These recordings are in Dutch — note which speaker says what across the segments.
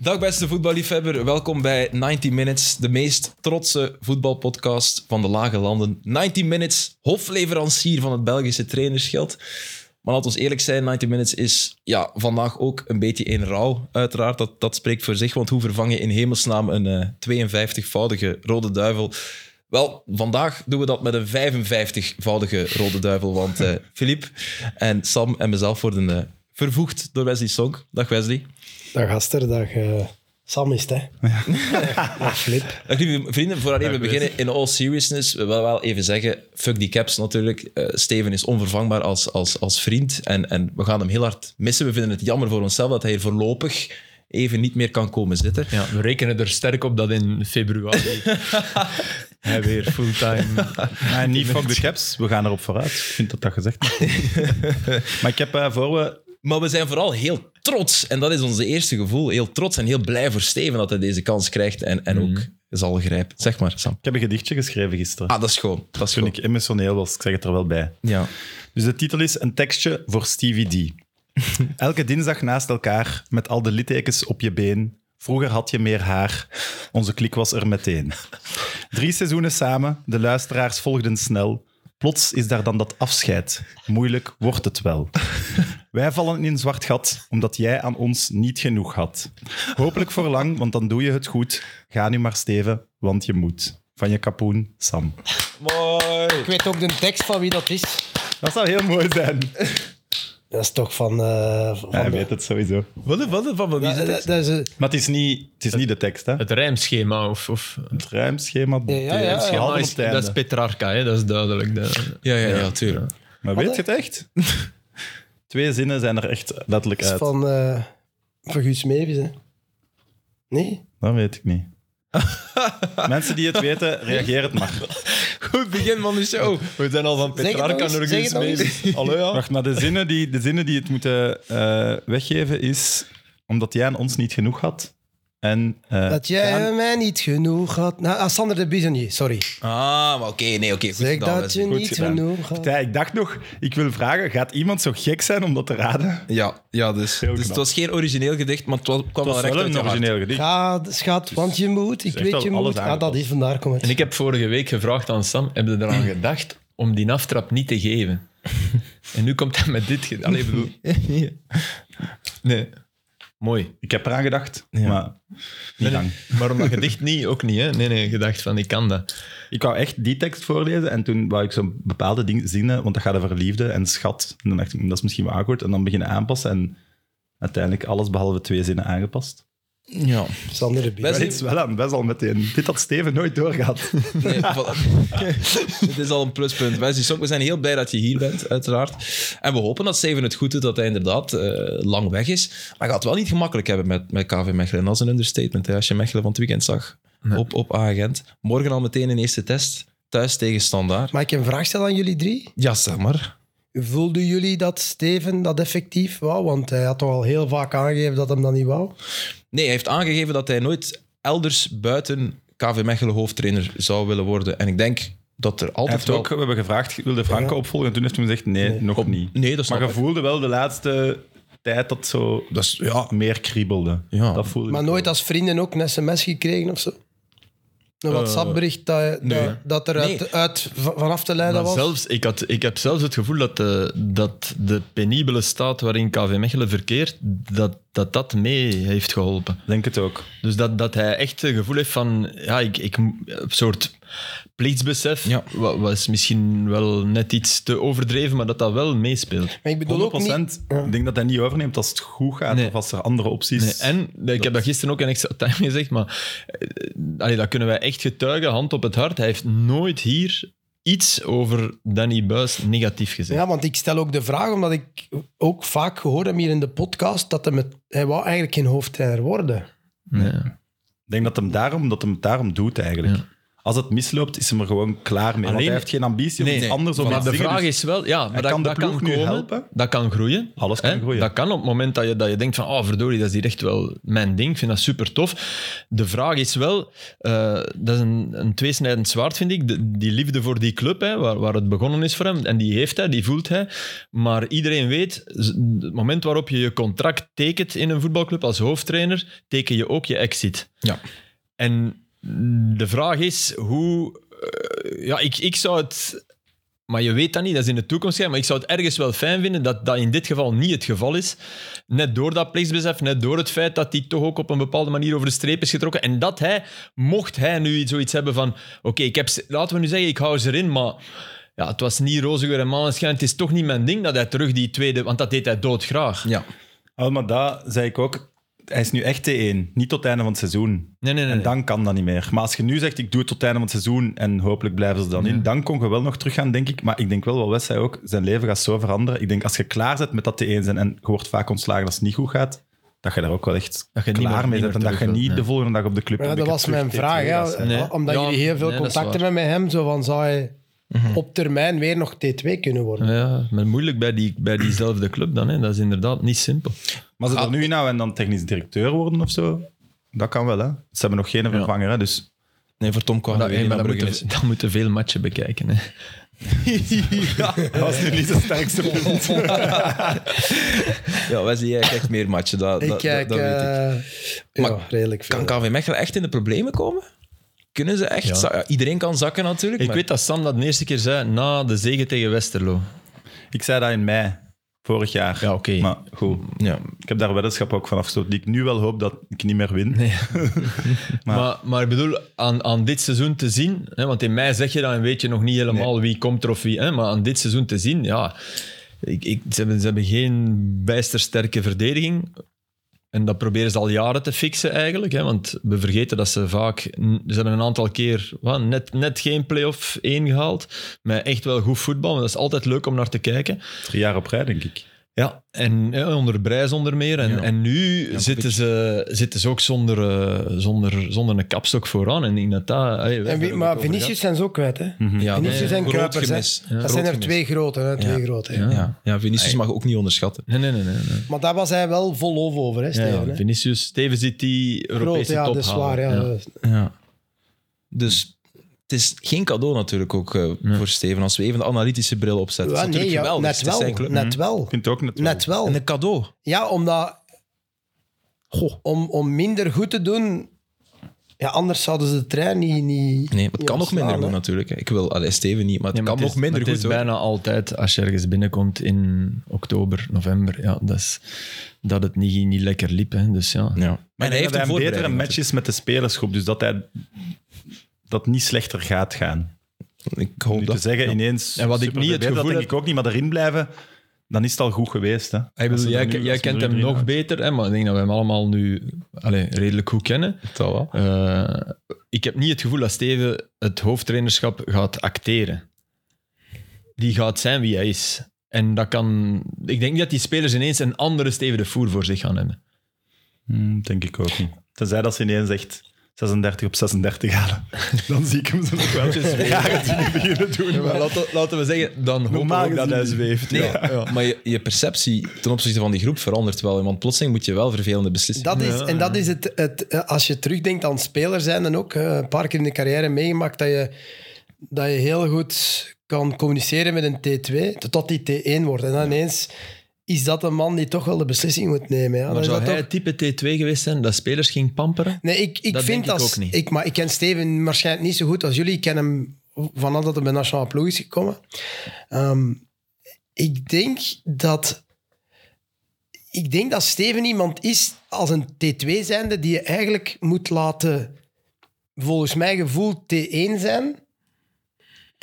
Speaker 1: Dag beste voetballiefhebber, welkom bij 90 Minutes, de meest trotse voetbalpodcast van de lage landen. 90 Minutes, hofleverancier van het Belgische trainersgeld. Maar laten we eerlijk zijn, 90 Minutes is ja, vandaag ook een beetje in rouw, uiteraard. Dat, dat spreekt voor zich, want hoe vervang je in hemelsnaam een eh, 52-voudige rode duivel? Wel, vandaag doen we dat met een 55-voudige rode duivel, want eh Filip en Sam en mezelf worden eh, vervoegd door Wesley Song. Dag Wesley.
Speaker 2: Dag Aster, dag eh, Sam is het, hè? dag Flip.
Speaker 1: Dag lieve vrienden, vooraleer we beginnen, in all seriousness, we willen wel even zeggen, fuck die caps natuurlijk. Eh, Steven is onvervangbaar als, als, als vriend en, en we gaan hem heel hard missen. We vinden het jammer voor onszelf dat hij hier voorlopig even niet meer kan komen zitten.
Speaker 3: Ja, we rekenen er sterk op dat in februari hij weer fulltime...
Speaker 4: Nee, niet fuck de caps. We gaan erop vooruit. Ik vind dat dat gezegd moet worden. Maar ik heb eh, voor we...
Speaker 1: Maar we zijn vooral heel trots, en dat is onze eerste gevoel, heel trots en heel blij voor Steven dat hij deze kans krijgt en, en
Speaker 3: Mhm.
Speaker 1: ook zal grijpen. Zeg maar, Sam.
Speaker 4: Ik heb een gedichtje geschreven gisteren.
Speaker 1: Ah, dat is gewoon. Dat is
Speaker 4: toen
Speaker 1: gewoon.
Speaker 4: ik emotioneel was. Ik zeg het er wel bij.
Speaker 1: Ja.
Speaker 4: Dus de titel is Een tekstje voor Stevie D. Elke dinsdag naast elkaar, met al de littekens op je been. Vroeger had je meer haar. Onze klik was er meteen. Drie seizoenen samen, de luisteraars volgden snel. Plots is daar dan dat afscheid. Moeilijk wordt het wel. Wij vallen in een zwart gat, omdat jij aan ons niet genoeg had. Hopelijk voor lang, want dan doe je het goed. Ga nu maar steven, want je moet. Van je kapoen, Sam.
Speaker 2: Ik weet ook de tekst van wie dat is.
Speaker 4: Dat zou heel mooi zijn.
Speaker 2: Dat is toch van... eh, van de- Dus,
Speaker 4: Hij
Speaker 2: eh,
Speaker 4: weet het sowieso.
Speaker 1: Wat, wat, wat, wat
Speaker 2: dat, dat- dat is een-
Speaker 4: Maar het is niet, het is niet de tekst, hè?
Speaker 3: Het rijmschema of... of het
Speaker 4: Het ruimschema.
Speaker 2: Ja, ja, ja.
Speaker 4: Het
Speaker 3: schema
Speaker 4: schema
Speaker 3: is, dat is Petrarca, hè? dat is duidelijk. De,
Speaker 1: Ja, ja, ja, tuurlijk.
Speaker 4: Maar weet je het echt? Twee zinnen zijn er echt letterlijk
Speaker 2: dat is
Speaker 4: uit.
Speaker 2: van, eh van Guus Meeuwis, hè? Nee?
Speaker 4: Dat weet ik niet. Mensen die het weten, reageer het maar.
Speaker 1: Goed begin van de show.
Speaker 3: we zijn al van
Speaker 2: het nog
Speaker 3: Petrarca
Speaker 2: eens,
Speaker 3: naar
Speaker 2: zeg het
Speaker 3: Guus
Speaker 2: nog
Speaker 3: mee. Hallo, ja.
Speaker 4: Wacht, maar de zinnen die, de zinnen die het moeten eh, weggeven is... Omdat jij aan ons niet genoeg had. En... eh,
Speaker 2: Dat jij
Speaker 4: gaan-
Speaker 2: mij niet genoeg had... Nou, ah, Sander de Bisonier, sorry.
Speaker 1: Ah, maar oké, nee, oké. goed
Speaker 2: Zeg
Speaker 1: gedaan,
Speaker 2: dat je
Speaker 1: Wesley.
Speaker 4: Goed
Speaker 2: niet
Speaker 4: gedaan.
Speaker 2: genoeg had.
Speaker 4: Ja, ik dacht nog, ik wil vragen, gaat iemand zo gek zijn om dat te raden?
Speaker 1: Ja, ja dus,
Speaker 4: Heel
Speaker 1: dus het
Speaker 4: knap.
Speaker 1: was geen origineel gedicht, maar het wa- kwam
Speaker 4: Dat
Speaker 1: wel
Speaker 4: is
Speaker 1: recht
Speaker 4: wel
Speaker 1: uit
Speaker 4: een
Speaker 1: je hart.
Speaker 4: origineel gedicht.
Speaker 2: Ga, schat, want je moet. Ik
Speaker 4: echt
Speaker 2: weet
Speaker 4: al
Speaker 2: je
Speaker 4: alles
Speaker 2: moet. Ah, dat
Speaker 4: aangepast.
Speaker 2: is, vandaar komt
Speaker 3: En
Speaker 2: het.
Speaker 3: ik heb vorige week gevraagd aan Sam, heb je eraan gedacht om die aftrap niet te geven? En nu komt hij met dit... ge- Allee, bedoel... Nee. Mooi.
Speaker 4: Ik heb eraan gedacht, maar niet
Speaker 3: Nee, nee.
Speaker 4: lang.
Speaker 3: Maar om dat gedicht niet, ook niet. Hè? Nee, nee, gedacht van, ik kan dat.
Speaker 4: Ik wou echt die tekst voorlezen en toen wou ik zo'n bepaalde ding, zinnen, want dat gaat over liefde en schat. En dan dacht ik, hm, dat is misschien wel akkoord. En dan beginnen aanpassen en uiteindelijk alles behalve twee zinnen aangepast.
Speaker 1: Ja.
Speaker 2: Sander de Bisonier.
Speaker 4: Maar
Speaker 1: Wesley-
Speaker 4: dit is wel aan, best al meteen. Dit had Steven nooit doorgehad.
Speaker 1: Nee, voilà. Dit is al een pluspunt. Wesley Sok, we zijn heel blij dat je hier bent, uiteraard. En we hopen dat Steven het goed doet, dat hij inderdaad eh, lang weg is. Maar hij gaat het wel niet gemakkelijk hebben met, met KV Mechelen. Dat is een understatement, hè, als je Mechelen van het weekend zag op, op agent. Morgen al meteen een eerste test, thuis tegen Standaard.
Speaker 2: Mag ik een vraag stellen aan jullie drie?
Speaker 1: Ja, zeg maar.
Speaker 2: Voelden jullie dat Steven dat effectief wou? Want hij had toch al heel vaak aangegeven dat hem dat niet wou.
Speaker 1: Nee, hij heeft aangegeven dat hij nooit elders buiten KV Mechelen hoofdtrainer zou willen worden. En ik denk dat er
Speaker 4: Hij
Speaker 1: altijd
Speaker 4: heeft
Speaker 1: wel...
Speaker 4: ook, we hebben gevraagd, wilde Franke opvolgen? En toen heeft hij gezegd, nee, nog niet.
Speaker 1: Nee, dat snap
Speaker 4: maar je
Speaker 1: ik.
Speaker 4: voelde wel de laatste tijd dat zo
Speaker 1: Dat is, ja,
Speaker 4: meer kriebelde.
Speaker 1: Ja. Eh,
Speaker 4: Dat voelde
Speaker 2: Maar
Speaker 4: ik
Speaker 2: nooit
Speaker 4: wel.
Speaker 2: als vrienden ook een sms gekregen of zo? Een WhatsApp-bericht dat, dat, dat er
Speaker 1: Nee.
Speaker 2: uit, uit- v- vanaf te leiden
Speaker 3: Maar
Speaker 2: was?
Speaker 3: zelfs, ik, had, ik heb zelfs het gevoel dat de, dat de penibele staat waarin KV Mechelen verkeert, dat dat, dat mee heeft geholpen.
Speaker 4: Denk het ook.
Speaker 3: Dus dat, dat hij echt het gevoel heeft van, ja, ik, ik, een soort plichtsbesef,
Speaker 1: Ja.
Speaker 3: wa- was misschien wel net iets te overdreven, maar dat dat wel meespeelt.
Speaker 2: Maar ik bedoel ook
Speaker 4: 100%.
Speaker 2: niet...
Speaker 4: Ik denk dat hij niet overneemt als het goed gaat
Speaker 3: Nee.
Speaker 4: of als er andere opties
Speaker 3: Nee, en ik heb dat gisteren ook in extra time gezegd, maar eh, allee, dat kunnen wij echt getuigen, hand op het hart. Hij heeft nooit hier iets over Danny Buis negatief gezegd.
Speaker 2: Ja, want ik stel ook de vraag, omdat ik ook vaak gehoord heb hier in de podcast, dat hij, met, hij wou eigenlijk geen hoofdtrainer worden.
Speaker 3: Nee.
Speaker 4: Ik denk dat hem daarom, dat hem het daarom doet eigenlijk. Als het misloopt, is hij er gewoon klaar mee. want
Speaker 3: Alleen-
Speaker 4: hij heeft geen ambitie om
Speaker 3: Nee,
Speaker 4: iets anders om
Speaker 3: maar
Speaker 4: te
Speaker 3: de
Speaker 4: zingen,
Speaker 3: vraag
Speaker 4: dus
Speaker 3: is wel, ja, maar dat
Speaker 4: kan de
Speaker 3: dat
Speaker 4: ploeg
Speaker 3: kan
Speaker 4: nu
Speaker 3: komen,
Speaker 4: helpen.
Speaker 3: Dat kan groeien.
Speaker 4: Alles kan
Speaker 3: hè.
Speaker 4: groeien.
Speaker 3: Dat kan op het moment dat je, dat je denkt van, oh verdorie, dat is hier echt wel mijn ding. Ik vind dat super tof. De vraag is wel, eh, dat is een, een tweesnijdend zwaard, vind ik. De- die liefde voor die club, hè, waar, waar het begonnen is voor hem, en die heeft hij, die voelt hij. Maar iedereen weet, z- het moment waarop je je contract tekent in een voetbalclub als hoofdtrainer, teken je ook je exit.
Speaker 1: Ja.
Speaker 3: En de vraag is hoe. eh, ja, ik, ik zou het. Maar je weet dat niet, dat is in de toekomst. hè, Maar ik zou het ergens wel fijn vinden dat dat in dit geval niet het geval is. Net door dat plichtsbesef, net door het feit dat hij toch ook op een bepaalde manier over de streep is getrokken. En dat hij, mocht hij nu zoiets hebben van: oké, ik heb ze- laten we nu zeggen, ik hou ze erin, maar ja, het was niet roze en maneschijn. Het is toch niet mijn ding dat hij terug die tweede, want dat deed hij doodgraag.
Speaker 1: Ja.
Speaker 4: Ah, maar dat zei ik ook. Hij is nu echt T1, niet tot het einde van het seizoen.
Speaker 3: Nee, nee, nee.
Speaker 4: En dan kan dat niet meer. Maar als je nu zegt, ik doe het tot het einde van het seizoen en hopelijk blijven ze dan in, dan kon je wel nog teruggaan, denk ik. Maar ik denk wel, wat Wes zei ook, zijn leven gaat zo veranderen. Ik denk, als je klaar bent met dat T1 zijn en je wordt vaak ontslagen als het niet goed gaat, dat je daar ook wel echt
Speaker 3: Dat je niet
Speaker 4: klaar
Speaker 3: meer-
Speaker 4: mee
Speaker 3: niet
Speaker 4: bent en
Speaker 3: meer
Speaker 4: dat je
Speaker 3: terug
Speaker 4: niet
Speaker 3: wilt,
Speaker 4: de volgende dag op de club...
Speaker 2: Ja, dat was mijn vraag.
Speaker 4: ja.
Speaker 2: hè.
Speaker 3: Nee.
Speaker 2: Omdat
Speaker 3: Ja,
Speaker 2: jullie heel veel
Speaker 3: nee, dat is
Speaker 2: contacten
Speaker 3: waar.
Speaker 2: hebben met hem, zo van zou hij
Speaker 1: Mhm.
Speaker 2: op termijn weer nog T2 kunnen worden.
Speaker 3: Ja, maar moeilijk bij, die, bij diezelfde club dan. Hè. Dat is inderdaad niet simpel.
Speaker 4: Maar ze er nu nou en dan technisch directeur worden of zo, dat kan wel, hè. Ze hebben nog geen vervanger, hè, dus...
Speaker 1: Nee, voor Tom kwam
Speaker 3: Maar
Speaker 1: dat
Speaker 3: dat, hey,
Speaker 1: weer
Speaker 3: maar
Speaker 1: naar
Speaker 3: dan
Speaker 1: Brugge.
Speaker 3: moeten,
Speaker 1: is.
Speaker 3: dan moeten veel matchen bekijken. Hè.
Speaker 4: Dat was nu niet het sterkste punt.
Speaker 1: Ja, Wesley, jij kijkt meer matchen. Dat,
Speaker 2: Ik
Speaker 1: dat,
Speaker 2: kijk
Speaker 1: dat, dat weet ik.
Speaker 2: eh, ja,
Speaker 1: Maar
Speaker 2: redelijk veel.
Speaker 1: Kan KV Mechelen echt in de problemen komen? Kunnen ze echt?
Speaker 3: Ja.
Speaker 1: za- ja, iedereen kan zakken natuurlijk.
Speaker 3: Ik
Speaker 1: maar-
Speaker 3: weet dat Sam dat de eerste keer zei na de zege tegen Westerlo.
Speaker 4: Ik zei dat in mei, vorig jaar.
Speaker 3: Ja, oké.
Speaker 4: Maar goed,
Speaker 1: Ja.
Speaker 4: ik heb daar weddenschap ook van afgestoten, die ik nu wel hoop dat ik niet meer win.
Speaker 3: Maar, maar, ik bedoel, aan, aan dit seizoen te zien, hè, want in mei zeg je dan weet je nog niet helemaal wie komt er of wie, hè, maar aan dit seizoen te zien, ja, ik, ik, ze, hebben, ze hebben geen bijster sterke verdediging. En dat proberen ze al jaren te fixen eigenlijk, hè, want we vergeten dat ze vaak, ze hebben een aantal keer wat, net, net geen play-off 1 gehaald, maar echt wel goed voetbal, want dat is altijd leuk om naar te kijken.
Speaker 4: Drie jaar op rij, denk ik.
Speaker 3: Ja, en ja, onder Brijs onder meer. En,
Speaker 1: Ja.
Speaker 3: en nu zitten, ze, zitten ze ook zonder, eh, zonder, zonder een kapstok vooraan. En in dat, dat- hey,
Speaker 2: En
Speaker 3: we hebben
Speaker 2: wie-
Speaker 3: er ook
Speaker 2: maar
Speaker 3: over
Speaker 2: Vinicius zijn ze ook kwijt, hè?
Speaker 3: Mhm.
Speaker 1: Ja,
Speaker 2: Vinicius
Speaker 1: nee,
Speaker 2: en
Speaker 1: groot
Speaker 2: Kuipers, hè.
Speaker 1: gemis. Ja.
Speaker 2: Dat
Speaker 1: Groot
Speaker 2: zijn er
Speaker 1: gemis.
Speaker 2: twee grote, hè? Twee
Speaker 1: Ja.
Speaker 2: grote. hè.
Speaker 3: gehad. Ja.
Speaker 1: Ja, ja Vinicius mag je ook niet onderschatten.
Speaker 3: Nee, nee, nee. nee, nee.
Speaker 2: Maar daar was hij wel vol over, over hè,
Speaker 3: Ja,
Speaker 2: Steven?
Speaker 3: ja,
Speaker 2: hè?
Speaker 3: Vinicius, Steven zit die
Speaker 2: Groot,
Speaker 3: Europese
Speaker 2: ja,
Speaker 3: top
Speaker 2: dat is waar. Ja.
Speaker 3: halen.
Speaker 2: dat is-
Speaker 1: Ja. Dus het is geen cadeau natuurlijk ook eh, voor Steven als we even de analytische bril opzetten.
Speaker 2: Ja,
Speaker 1: het is
Speaker 2: nee,
Speaker 1: natuurlijk
Speaker 2: ja,
Speaker 1: geweldig.
Speaker 2: net
Speaker 1: Het is
Speaker 2: wel.
Speaker 1: zijn club.
Speaker 2: Net wel.
Speaker 4: Ik vind het ook net wel.
Speaker 2: Net wel.
Speaker 1: En een cadeau.
Speaker 2: Ja, omdat... Goh, om, om minder goed te doen... Ja, anders zouden ze de trein niet... niet
Speaker 1: Nee, maar het
Speaker 2: niet
Speaker 1: kan nog
Speaker 2: ontslaan,
Speaker 1: minder
Speaker 2: hè.
Speaker 1: goed natuurlijk. hè. Ik wil allee, Steven niet, maar het
Speaker 3: Ja, maar
Speaker 1: kan
Speaker 3: het is-
Speaker 1: nog minder
Speaker 3: maar
Speaker 1: goed.
Speaker 3: Het is bijna altijd, als je ergens binnenkomt in oktober, november, ja, dat, is, dat het niet, niet lekker liep. Hè. Dus ja,
Speaker 1: hoor. Ja.
Speaker 4: Maar
Speaker 1: En hij heeft een
Speaker 4: een betere
Speaker 1: voorbereiding
Speaker 4: match is met de spelersgroep, dus dat hij dat niet slechter gaat gaan.
Speaker 1: natuurlijk. Ik hoop
Speaker 4: Nu te
Speaker 1: dat.
Speaker 4: zeggen, ineens...
Speaker 3: En wat ik
Speaker 4: super
Speaker 3: niet
Speaker 4: verbeterd,
Speaker 3: het gevoel
Speaker 4: Dat
Speaker 3: heb-
Speaker 4: denk ik ook niet, maar erin blijven, dan is het al goed geweest. Hè.
Speaker 3: Ik bedoel,
Speaker 4: Als ze
Speaker 3: jij,
Speaker 4: er nu-
Speaker 3: jij
Speaker 4: als ze
Speaker 3: kent
Speaker 4: er
Speaker 3: hem
Speaker 4: nu
Speaker 3: nog
Speaker 4: uit-
Speaker 3: beter, hè, maar ik denk dat we hem allemaal nu allee, redelijk goed kennen.
Speaker 1: Dat wel.
Speaker 3: Eh, ik heb niet het gevoel dat Steven het hoofdtrainerschap gaat acteren. Die gaat zijn wie hij is. En dat kan... Ik denk niet dat die spelers ineens een andere Steven de Voer voor zich gaan hebben.
Speaker 4: Hmm, denk ik ook niet. Tenzij dat ze ineens echt 36 op 36 halen. Dan zie ik hem zo nog wel eens weer beginnen doen.
Speaker 3: laten, we zeggen, dan hoop
Speaker 4: Normaal
Speaker 3: ik dat
Speaker 4: gezien
Speaker 3: hij
Speaker 4: niet.
Speaker 3: zweeft.
Speaker 1: Nee,
Speaker 3: Ja.
Speaker 1: maar je, je perceptie ten opzichte van die groep verandert wel. Want plotseling moet je wel vervelende beslissingen
Speaker 2: Dat is, en dat is het, het, eh, als je terugdenkt aan speler zijn, dan ook eh, een paar keer in de carrière meegemaakt dat je, dat je heel goed kan communiceren met een T2 tot die T1 wordt. En dan ineens is dat een man die toch wel de beslissing moet nemen. Ja. Dan
Speaker 3: Maar
Speaker 2: is
Speaker 3: zou
Speaker 2: dat
Speaker 3: hij
Speaker 2: toch-
Speaker 3: het type T2 geweest zijn dat spelers ging pamperen?
Speaker 2: Nee, ik, ik
Speaker 3: Dat
Speaker 2: vind
Speaker 3: denk ik
Speaker 2: dat.
Speaker 3: ook niet.
Speaker 2: Ik, maar ik ken Steven waarschijnlijk niet zo goed als jullie. Ik ken hem vanaf dat hij bij de nationale ploeg is gekomen. Ehm, ik denk dat. Ik denk dat Steven iemand is als een T2 zijnde die je eigenlijk moet laten, volgens mijn gevoel, T1 zijn.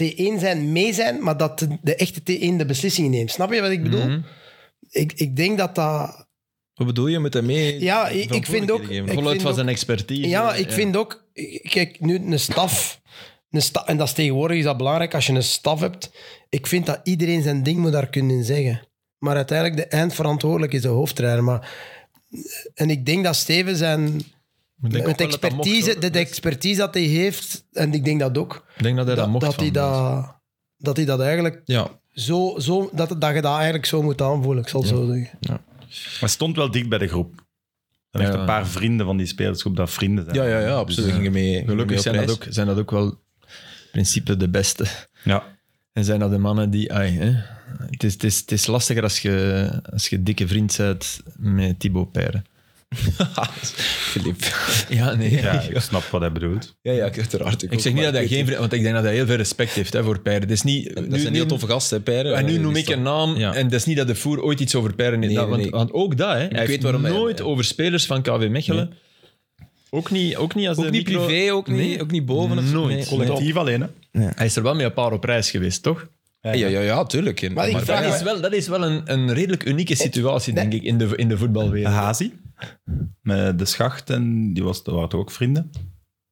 Speaker 2: T1 zijn, mee zijn, maar dat de, de echte T1 de beslissing neemt. Snap je wat ik bedoel?
Speaker 3: Mhm.
Speaker 2: Ik, ik denk dat dat...
Speaker 1: Wat bedoel je met daarmee?
Speaker 2: Ja, ik- ik vind ook-
Speaker 1: verantwoordelijkheden geven?
Speaker 2: ik-
Speaker 3: Voluit
Speaker 2: vind
Speaker 3: van
Speaker 2: ook-
Speaker 3: zijn expertise.
Speaker 2: Ja, maar ik vind ook... Kijk, nu een staf... Een sta, en dat is tegenwoordig is dat belangrijk als je een staf hebt. Ik vind dat iedereen zijn ding moet daar kunnen zeggen. Maar uiteindelijk, de eindverantwoordelijk is de hoofdtrainer. Maar, en ik denk dat Steven zijn
Speaker 3: Ik denk
Speaker 2: Met
Speaker 3: ook wel dat dat mocht,
Speaker 2: expertise,
Speaker 3: hoor.
Speaker 2: de, de expertise dat hij heeft, en ik denk dat ook,
Speaker 3: Ik denk dat hij dat, mocht
Speaker 2: dat,
Speaker 3: van
Speaker 2: hij
Speaker 3: mensen.
Speaker 2: dat, dat hij dat eigenlijk
Speaker 1: Ja,
Speaker 2: zo, zo dat, dat je dat eigenlijk zo moet aanvoelen, ik zal het zo zeggen.
Speaker 4: Maar stond wel dicht bij de groep. Er echt
Speaker 3: Ja.
Speaker 4: een paar vrienden van die spelersgroep dat vrienden zijn.
Speaker 1: ja, ja, ja absoluut.
Speaker 4: Dus,
Speaker 1: Ze gingen mee, gingen mee
Speaker 3: eh, Gelukkig
Speaker 1: op
Speaker 3: zijn dat,
Speaker 1: reis.
Speaker 3: ook, zijn dat ook wel in principe de beste.
Speaker 4: ja.
Speaker 3: En zijn dat de mannen die... Ai, hè? Het, is, het, is, het is lastiger als je, als je dikke vriend bent met Thibaut Peire.
Speaker 1: Filip.
Speaker 3: Ja, nee.
Speaker 4: Ja, ik snap wat hij bedoelt.
Speaker 1: Ja, ja, uiteraard.
Speaker 3: Ik zeg niet dat hij geen vriend... Want ik denk dat hij heel veel respect heeft hè, voor Peire. Het is niet...
Speaker 1: Dat
Speaker 3: nu-
Speaker 1: zijn
Speaker 3: nu-
Speaker 1: heel toffe gasten, hè, Peire.
Speaker 3: En nu
Speaker 1: Die
Speaker 3: noem
Speaker 1: is
Speaker 3: ik
Speaker 1: toch-
Speaker 3: een naam
Speaker 1: Ja.
Speaker 3: en dat is niet dat de voer ooit iets over Peren heeft.
Speaker 1: Nee,
Speaker 3: gedaan,
Speaker 1: nee,
Speaker 3: want,
Speaker 1: nee.
Speaker 3: want ook dat, hè. hij
Speaker 1: weet
Speaker 3: heeft
Speaker 1: waarom hij-
Speaker 3: nooit
Speaker 1: ja.
Speaker 3: over spelers van KW Mechelen. Ook, niet, ook niet als
Speaker 1: Ook
Speaker 3: de
Speaker 1: niet
Speaker 3: micro-
Speaker 1: privé, ook niet,
Speaker 3: Nee.
Speaker 1: ook niet boven. of zo.
Speaker 3: Nooit.
Speaker 1: Nee.
Speaker 4: Collectief alleen, hè?
Speaker 3: Hij is er wel met een paar op reis geweest, toch?
Speaker 1: Ja, ja, ja, ja, tuurlijk.
Speaker 2: Maar ik vraag
Speaker 3: Dat
Speaker 2: Ja.
Speaker 3: is wel, dat is wel een, een redelijk unieke situatie, denk ik, in de, in de
Speaker 1: Ah.
Speaker 3: voetbalwereld.
Speaker 4: Eh, Hazi. Met de schacht en die was, dat waren toch ook vrienden.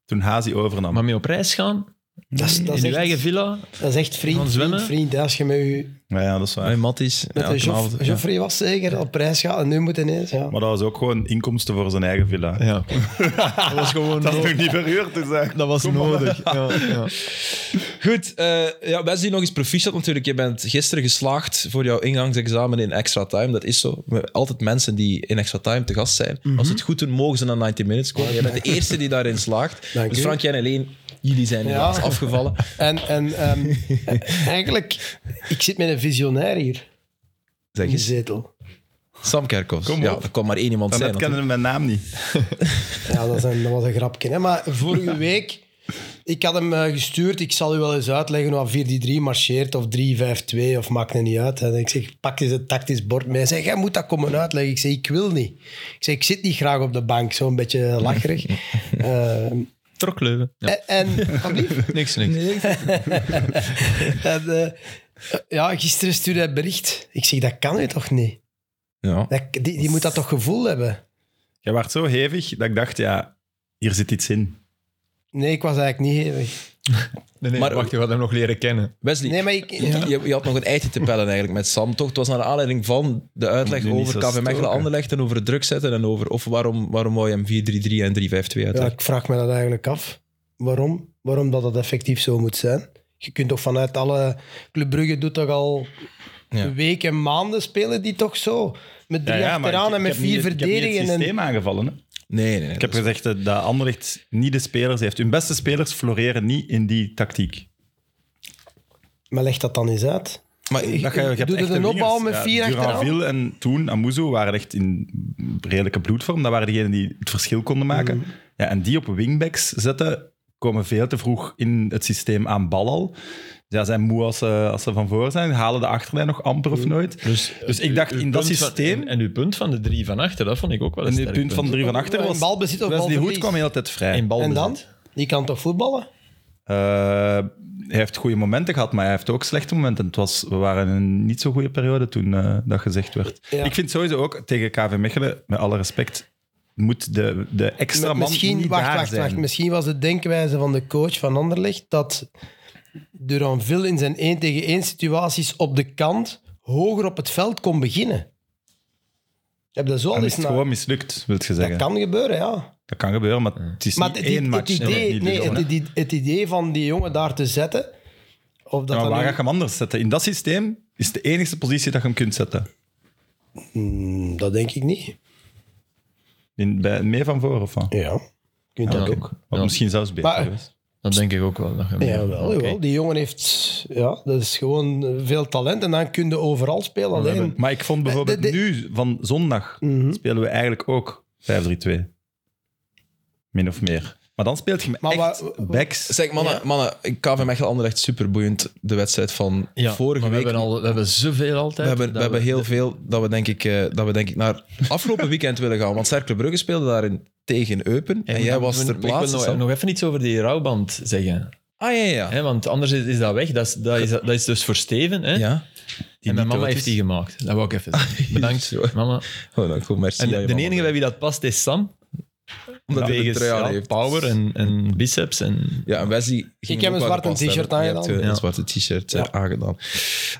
Speaker 4: Toen Hazi overnam.
Speaker 3: Maar mee op reis gaan,
Speaker 2: Dat is, dat
Speaker 3: in
Speaker 2: is
Speaker 3: je
Speaker 2: echt,
Speaker 3: eigen villa.
Speaker 2: dat is echt
Speaker 3: Gaan
Speaker 2: vriend, vriend,
Speaker 3: zwemmen?
Speaker 2: vriend. hè. Als je met, u,
Speaker 4: ja, ja, dat is waar.
Speaker 1: Bij Matties.
Speaker 2: met
Speaker 1: ja,
Speaker 2: de
Speaker 1: elke
Speaker 2: Joff-
Speaker 1: avond, ja.
Speaker 2: Joffrey was zeker op prijs gaat en nu moet ineens. Ja.
Speaker 4: Maar dat was ook gewoon inkomsten voor zijn eigen villa.
Speaker 3: Ja. dat was gewoon
Speaker 4: Dat is
Speaker 3: nood-
Speaker 4: nog niet verhuurd, dus eigenlijk.
Speaker 3: dat was nodig. Ja, ja.
Speaker 1: Goed, eh, ja, wij zien nog eens proficiat natuurlijk. Je bent gisteren geslaagd voor jouw ingangsexamen in extra time. Dat is zo. We hebben altijd mensen die in extra time te gast zijn.
Speaker 2: Mhm.
Speaker 1: Als ze het goed doen, mogen ze naar 90 minutes komen. Jij bent de eerste die daarin slaagt.
Speaker 2: Dank
Speaker 1: dus
Speaker 2: u.
Speaker 1: Frank, jij en Helene, jullie zijn inderdaad
Speaker 2: Ja.
Speaker 1: afgevallen.
Speaker 2: En, en ehm, eigenlijk, ik zit met een visionair hier
Speaker 1: Zeg
Speaker 2: in de
Speaker 1: eens,
Speaker 2: zetel.
Speaker 1: Sam Kerkhoffs.
Speaker 4: Kom
Speaker 1: ja,
Speaker 4: op.
Speaker 1: dat kan maar één iemand zijn.
Speaker 4: Dat
Speaker 1: natuurlijk.
Speaker 4: kennen mijn naam niet.
Speaker 2: Ja, dat, is een- dat was een grapje. Hè? Maar vorige week, ik had hem eh, gestuurd. Ik zal u wel eens uitleggen hoe 4-3 marcheert of 3-5-2 of maakt het niet uit. En ik zeg, pak eens het tactisch bord mee. Hij zegt, jij moet dat komen uitleggen. Ik zeg, ik wil niet. Ik zeg, ik zit niet graag op de bank. Zo'n beetje lacherig. Eh,
Speaker 3: Trokleuven. Ja.
Speaker 2: en- En, alsjeblieft.
Speaker 3: Niks, niks.
Speaker 2: En, eh, ja, gisteren stuurde hij een bericht. Ik zeg, dat kan u toch niet?
Speaker 1: Ja.
Speaker 2: Dat, die, die moet dat toch gevoel hebben?
Speaker 4: Jij werd zo hevig dat ik dacht, ja, hier zit iets in.
Speaker 2: Nee, ik was eigenlijk niet hevig.
Speaker 3: Nee, nee,
Speaker 1: Maar-
Speaker 3: wacht, je gaat hem nog leren kennen.
Speaker 1: Wesley,
Speaker 2: Nee, maar ik... ja.
Speaker 1: Je, je had nog een eitje te pellen eigenlijk met Sam, toch? Het was naar de aanleiding van de uitleg
Speaker 4: Moet nu niet
Speaker 1: over
Speaker 4: zo
Speaker 1: KV Mechelen
Speaker 4: stoken.
Speaker 1: Anderlecht en over het druk zetten en over of waarom, waarom wou je hem 4-3-3 en 3-5-2
Speaker 2: Ja,
Speaker 1: uitleggen.
Speaker 2: ik vraag me dat eigenlijk af. Waarom? Waarom dat dat effectief zo moet zijn? Je kunt toch vanuit alle... Club Brugge doet toch al
Speaker 1: Ja.
Speaker 2: weken en maanden spelen die toch zo? Met drie achteraan en met vier
Speaker 4: Ik heb
Speaker 2: verdedigen.
Speaker 4: niet het systeem
Speaker 2: en...
Speaker 4: aangevallen. Hè?
Speaker 1: Nee, nee, nee.
Speaker 4: Ik heb gezegd eh, dat Anderlecht niet de spelers heeft. Hun beste spelers floreren niet in die tactiek.
Speaker 2: Maar leg dat dan eens uit.
Speaker 1: maar,
Speaker 4: Dat ga je, je hebt
Speaker 2: Doe
Speaker 4: echte
Speaker 2: er een opbouw
Speaker 4: wingers.
Speaker 2: met vier achteraan?
Speaker 4: Duranville en Toen Amuzu waren echt in redelijke bloedvorm. Dat waren degenen die het verschil konden maken.
Speaker 2: Mm.
Speaker 4: Ja, en die op wingbacks zetten, komen veel te vroeg in het systeem aan bal al. Ja, zijn moe als ze, als ze van voor zijn. Halen de achterlijn nog amper
Speaker 2: Mm.
Speaker 4: of nooit. Dus, ik dacht,
Speaker 3: Eh, Uw
Speaker 4: in dat
Speaker 3: punt van-
Speaker 4: systeem...
Speaker 3: en, en uw punt van de drie van achter, dat vond ik ook wel een
Speaker 4: en het
Speaker 3: sterk
Speaker 4: punt van drie van achter was...
Speaker 2: In balbezit of
Speaker 4: Wesley Hoed
Speaker 2: balverlies?
Speaker 4: kwam heel de tijd vrij.
Speaker 3: In
Speaker 2: En
Speaker 3: balbezit.
Speaker 2: dan? Die kan toch voetballen?
Speaker 4: Eh, hij heeft goede momenten gehad, maar hij heeft ook slechte momenten. Het was, we waren in een niet zo goede periode toen eh, dat gezegd werd.
Speaker 2: Ja.
Speaker 4: Ik vind sowieso ook tegen KV Mechelen, met alle respect, moet de, de extra man
Speaker 2: misschien,
Speaker 4: niet
Speaker 2: wacht,
Speaker 4: daar
Speaker 2: wacht,
Speaker 4: zijn.
Speaker 2: wacht, misschien was de denkwijze van de coach van Anderlecht dat Duranville in zijn 1 tegen 1 situaties op de kant hoger op het veld kon beginnen. Ik heb dat zo al
Speaker 4: Dan
Speaker 2: eens
Speaker 4: is het
Speaker 2: na-
Speaker 4: gewoon mislukt, wil je
Speaker 2: nou- Dat
Speaker 4: zeggen. Dat kan,
Speaker 2: kan gebeuren, ja.
Speaker 4: gebeuren, maar het is
Speaker 2: Maar
Speaker 4: niet
Speaker 2: het,
Speaker 4: één
Speaker 2: het,
Speaker 4: match.
Speaker 2: idee,
Speaker 4: niet
Speaker 2: nee,
Speaker 4: gewonnen,
Speaker 2: het,
Speaker 4: hè.
Speaker 2: idee- het idee van die jongen daar te zetten... Of dat
Speaker 4: Ja, maar
Speaker 2: dan
Speaker 4: waar
Speaker 2: nu-
Speaker 4: ga je hem anders zetten? In dat systeem is het de enige positie dat je hem kunt zetten.
Speaker 2: Hmm, dat denk ik niet.
Speaker 4: In, bij, mee van voren of van?
Speaker 2: Ja, je kunt dat
Speaker 3: Ja.
Speaker 2: ook.
Speaker 4: Of
Speaker 3: Ja.
Speaker 4: misschien zelfs beter.
Speaker 2: Maar-
Speaker 4: geweest.
Speaker 3: Dat denk ik ook wel. Dat je
Speaker 2: Ja,
Speaker 3: meer-
Speaker 2: jawel,
Speaker 3: Oké.
Speaker 2: jawel. Die jongen heeft... Ja, dat is gewoon eh, veel talent. En dan kun je overal spelen. Alleen...
Speaker 4: Maar ik vond bijvoorbeeld
Speaker 2: de- de-
Speaker 4: nu, van zondag,
Speaker 2: Mhm.
Speaker 4: spelen we eigenlijk ook 5-3-2. Min of meer. Maar dan speelt je met
Speaker 2: Maar
Speaker 4: echt
Speaker 2: wa- wa-
Speaker 4: backs.
Speaker 1: Zeg, mannen, mannen KV Mechelen Anderlecht superboeiend, de wedstrijd van
Speaker 3: Ja,
Speaker 1: vorige
Speaker 3: maar
Speaker 1: week.
Speaker 3: We hebben, al, we hebben zoveel
Speaker 1: we
Speaker 3: altijd.
Speaker 1: hebben, we
Speaker 3: dat
Speaker 1: hebben heel veel dat we, denk ik, eh, dat we denk ik naar afgelopen weekend willen gaan. Want Cercle Brugge speelde daarin tegen Eupen. En,
Speaker 3: maar
Speaker 1: jij
Speaker 3: dan
Speaker 1: was
Speaker 3: moeten we-
Speaker 1: ter plaatse.
Speaker 3: Ik wil
Speaker 1: Sam.
Speaker 3: nog, nog even iets over die rouwband zeggen.
Speaker 1: Ah, ja, ja.
Speaker 3: Hè, want anders is, is dat weg. Dat is, dat, is, dat is dus voor Steven. Hè?
Speaker 1: Ja.
Speaker 3: en mijn
Speaker 4: niet
Speaker 3: mama
Speaker 4: dood
Speaker 3: heeft
Speaker 4: is.
Speaker 3: die gemaakt. Dat wou ik even zeggen.
Speaker 1: Zo.
Speaker 3: Bedankt, mama.
Speaker 1: Oh, nou, goed, merci.
Speaker 3: En
Speaker 1: dat je
Speaker 3: de
Speaker 1: mama
Speaker 3: enige bij
Speaker 1: bent.
Speaker 3: wie dat past is Sam.
Speaker 1: Omdat hij de
Speaker 3: Wegens
Speaker 1: trui aan
Speaker 3: ja,
Speaker 1: heeft.
Speaker 3: power en, en biceps. En,
Speaker 1: Ja, en Wesley ging
Speaker 2: heb
Speaker 1: hem ook
Speaker 2: een
Speaker 1: wel
Speaker 2: zwarte
Speaker 1: gepast hebben.
Speaker 2: t-shirt aangedaan.
Speaker 1: Je hebt, eh,
Speaker 3: Ja.
Speaker 1: een zwarte t-shirt eh, aangedaan.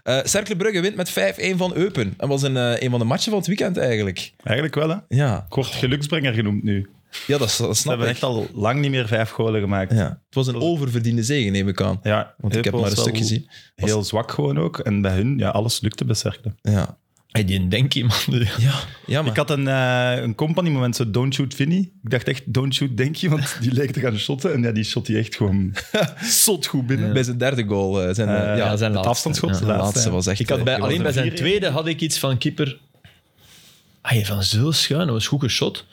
Speaker 1: Eh Cercle Brugge wint met 5-1 van Eupen. Dat was een, eh, een van de matchen van het weekend eigenlijk.
Speaker 4: Eigenlijk wel, hè.
Speaker 1: Ja.
Speaker 4: Ik word geluksbrenger genoemd nu.
Speaker 1: Ja, dat, dat
Speaker 4: Ze
Speaker 1: snap
Speaker 4: hebben
Speaker 1: ik.
Speaker 4: echt al lang niet meer vijf golen gemaakt.
Speaker 1: Ja. Het was een oververdiende zege, neem ik aan.
Speaker 4: Ja,
Speaker 1: Want ik heb
Speaker 4: Eupen
Speaker 1: maar een
Speaker 4: was
Speaker 1: stuk
Speaker 4: wel
Speaker 1: gezien. Was-
Speaker 4: Heel zwak gewoon ook. En bij hun, ja, alles lukte bij Cercle.
Speaker 1: Ja,
Speaker 3: Hey, die Denki, man.
Speaker 1: ja, ja maar
Speaker 4: Ik had een, eh een company moment, zo don't shoot Vinny. Ik dacht echt, don't shoot Denkie, want die leek te gaan shotten. En ja, die shot die echt gewoon zot goed binnen.
Speaker 1: bij zijn derde goal eh, zijn... eh,
Speaker 4: Eh,
Speaker 1: ja,
Speaker 3: ja, zijn
Speaker 4: het
Speaker 3: laatste.
Speaker 4: afstandsschot,
Speaker 3: Ja,
Speaker 4: de
Speaker 1: de
Speaker 4: laatste.
Speaker 1: laatste
Speaker 4: ja.
Speaker 1: was echt...
Speaker 3: Ik had bij,
Speaker 1: eh,
Speaker 3: alleen bij zijn
Speaker 4: vier in.
Speaker 3: tweede had ik iets van keeper. Ay, van zo schuin, dat was goed geschot.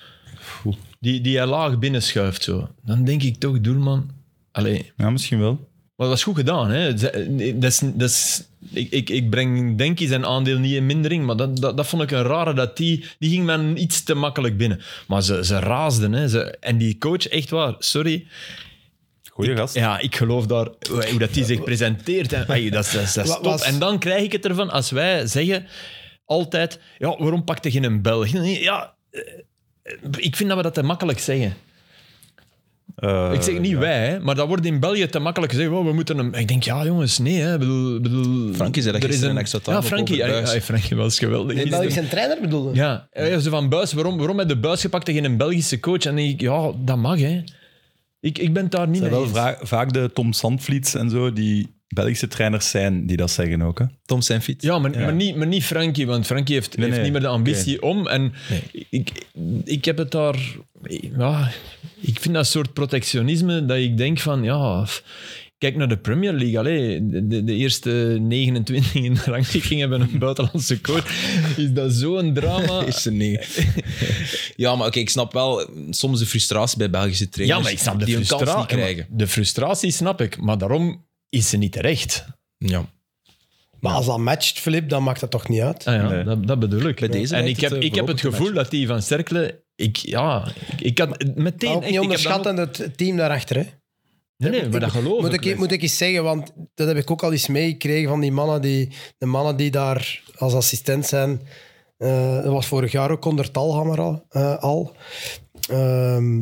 Speaker 3: Die, die hij laag binnenschuift zo. Dan denk ik toch, doelman. Allee,
Speaker 4: Ja, misschien wel.
Speaker 3: maar dat was goed gedaan. Hè. Ze- Dat is, dat is, ik, ik, ik breng denk ik zijn aandeel niet in mindering, maar dat, dat, dat vond ik een rare. Dat die, die ging men iets te makkelijk binnen. Maar ze, ze raasden. Hè. Ze, en die coach, echt waar, sorry.
Speaker 4: Goeie gast.
Speaker 3: Ja, ik geloof daar hoe dat die zich presenteert. Hè. Ai, dat, is- dat, is- dat is
Speaker 2: Wat
Speaker 3: top.
Speaker 2: was-
Speaker 3: En dan krijg ik het ervan als wij zeggen altijd: ja, waarom pakte je een Belg? Nee, Ja, eh, ik vind dat we dat te makkelijk zeggen.
Speaker 4: Eh,
Speaker 3: ik zeg niet
Speaker 4: ja.
Speaker 3: wij, hè, maar dat wordt in België te makkelijk gezegd. "Wow, we moeten hem. Ik denk, ja, jongens, nee. Hè, Ik bedoel, ik bedoel,
Speaker 1: Frankie zei dat
Speaker 3: er is
Speaker 1: gisteren en ik zat daar
Speaker 3: Ja,
Speaker 1: nog
Speaker 3: Frankie,
Speaker 1: over
Speaker 3: ja,
Speaker 1: thuis.
Speaker 3: ja, Frankie was geweldig.
Speaker 2: De
Speaker 3: gisteren.
Speaker 2: Belgische trainer bedoelde.
Speaker 3: Ja, ja, zo van Buis, waarom, waarom heb je Buis gepakt tegen een Belgische coach? En dan denk ik, ja, dat mag, hè. Ik, ik ben het daar niet
Speaker 4: Het zijn
Speaker 3: mee
Speaker 4: wel
Speaker 3: eens.
Speaker 4: vra- vaak de Tom Sandvliets en zo, die Belgische trainers zijn, die dat zeggen ook. Hè.
Speaker 1: Tom zijn fiets.
Speaker 3: Ja, maar, Maar, niet, maar niet Frankie, want Frankie heeft, heeft
Speaker 4: nee.
Speaker 3: niet meer de ambitie om. En ik, ik heb het daar... Ja, ik vind dat soort protectionisme dat ik denk van, ja... f- Kijk naar de Premier League. Allee, de, de, de eerste 29 in de rangschikking hebben een buitenlandse coach. Is dat zo'n drama?
Speaker 1: Is er niet. ja, maar oké, ik snap wel eh, soms de frustratie bij Belgische trainers.
Speaker 3: Ja, maar ik snap de
Speaker 1: die hun kans
Speaker 3: frustratie.
Speaker 1: niet krijgen.
Speaker 3: De frustratie snap ik, maar daarom is ze niet terecht.
Speaker 1: Ja.
Speaker 2: Maar als dat matcht, Filip, dan maakt dat toch niet uit?
Speaker 3: Ah ja,
Speaker 4: Nee.
Speaker 3: dat, dat bedoel ik.
Speaker 1: Bij deze
Speaker 3: en
Speaker 1: lijkt
Speaker 3: ik
Speaker 1: het,
Speaker 3: heb,
Speaker 1: eh,
Speaker 3: ik heb het
Speaker 1: voorlopig
Speaker 3: gevoel dat die van Cercle... Ik, ja, ik, ik had meteen...
Speaker 2: Maar ook niet
Speaker 3: echt- ik heb dat ook-
Speaker 2: onderschatten het team daarachter. Hè?
Speaker 3: Nee, nee, maar dat geloof
Speaker 2: Moet, ik,
Speaker 3: ik.
Speaker 2: moet ik eens zeggen, want dat heb ik ook al eens meegekregen van die mannen die, de mannen die daar als assistent zijn. Eh, dat was vorig jaar ook onder Talhammer al. eh, al. Ehm,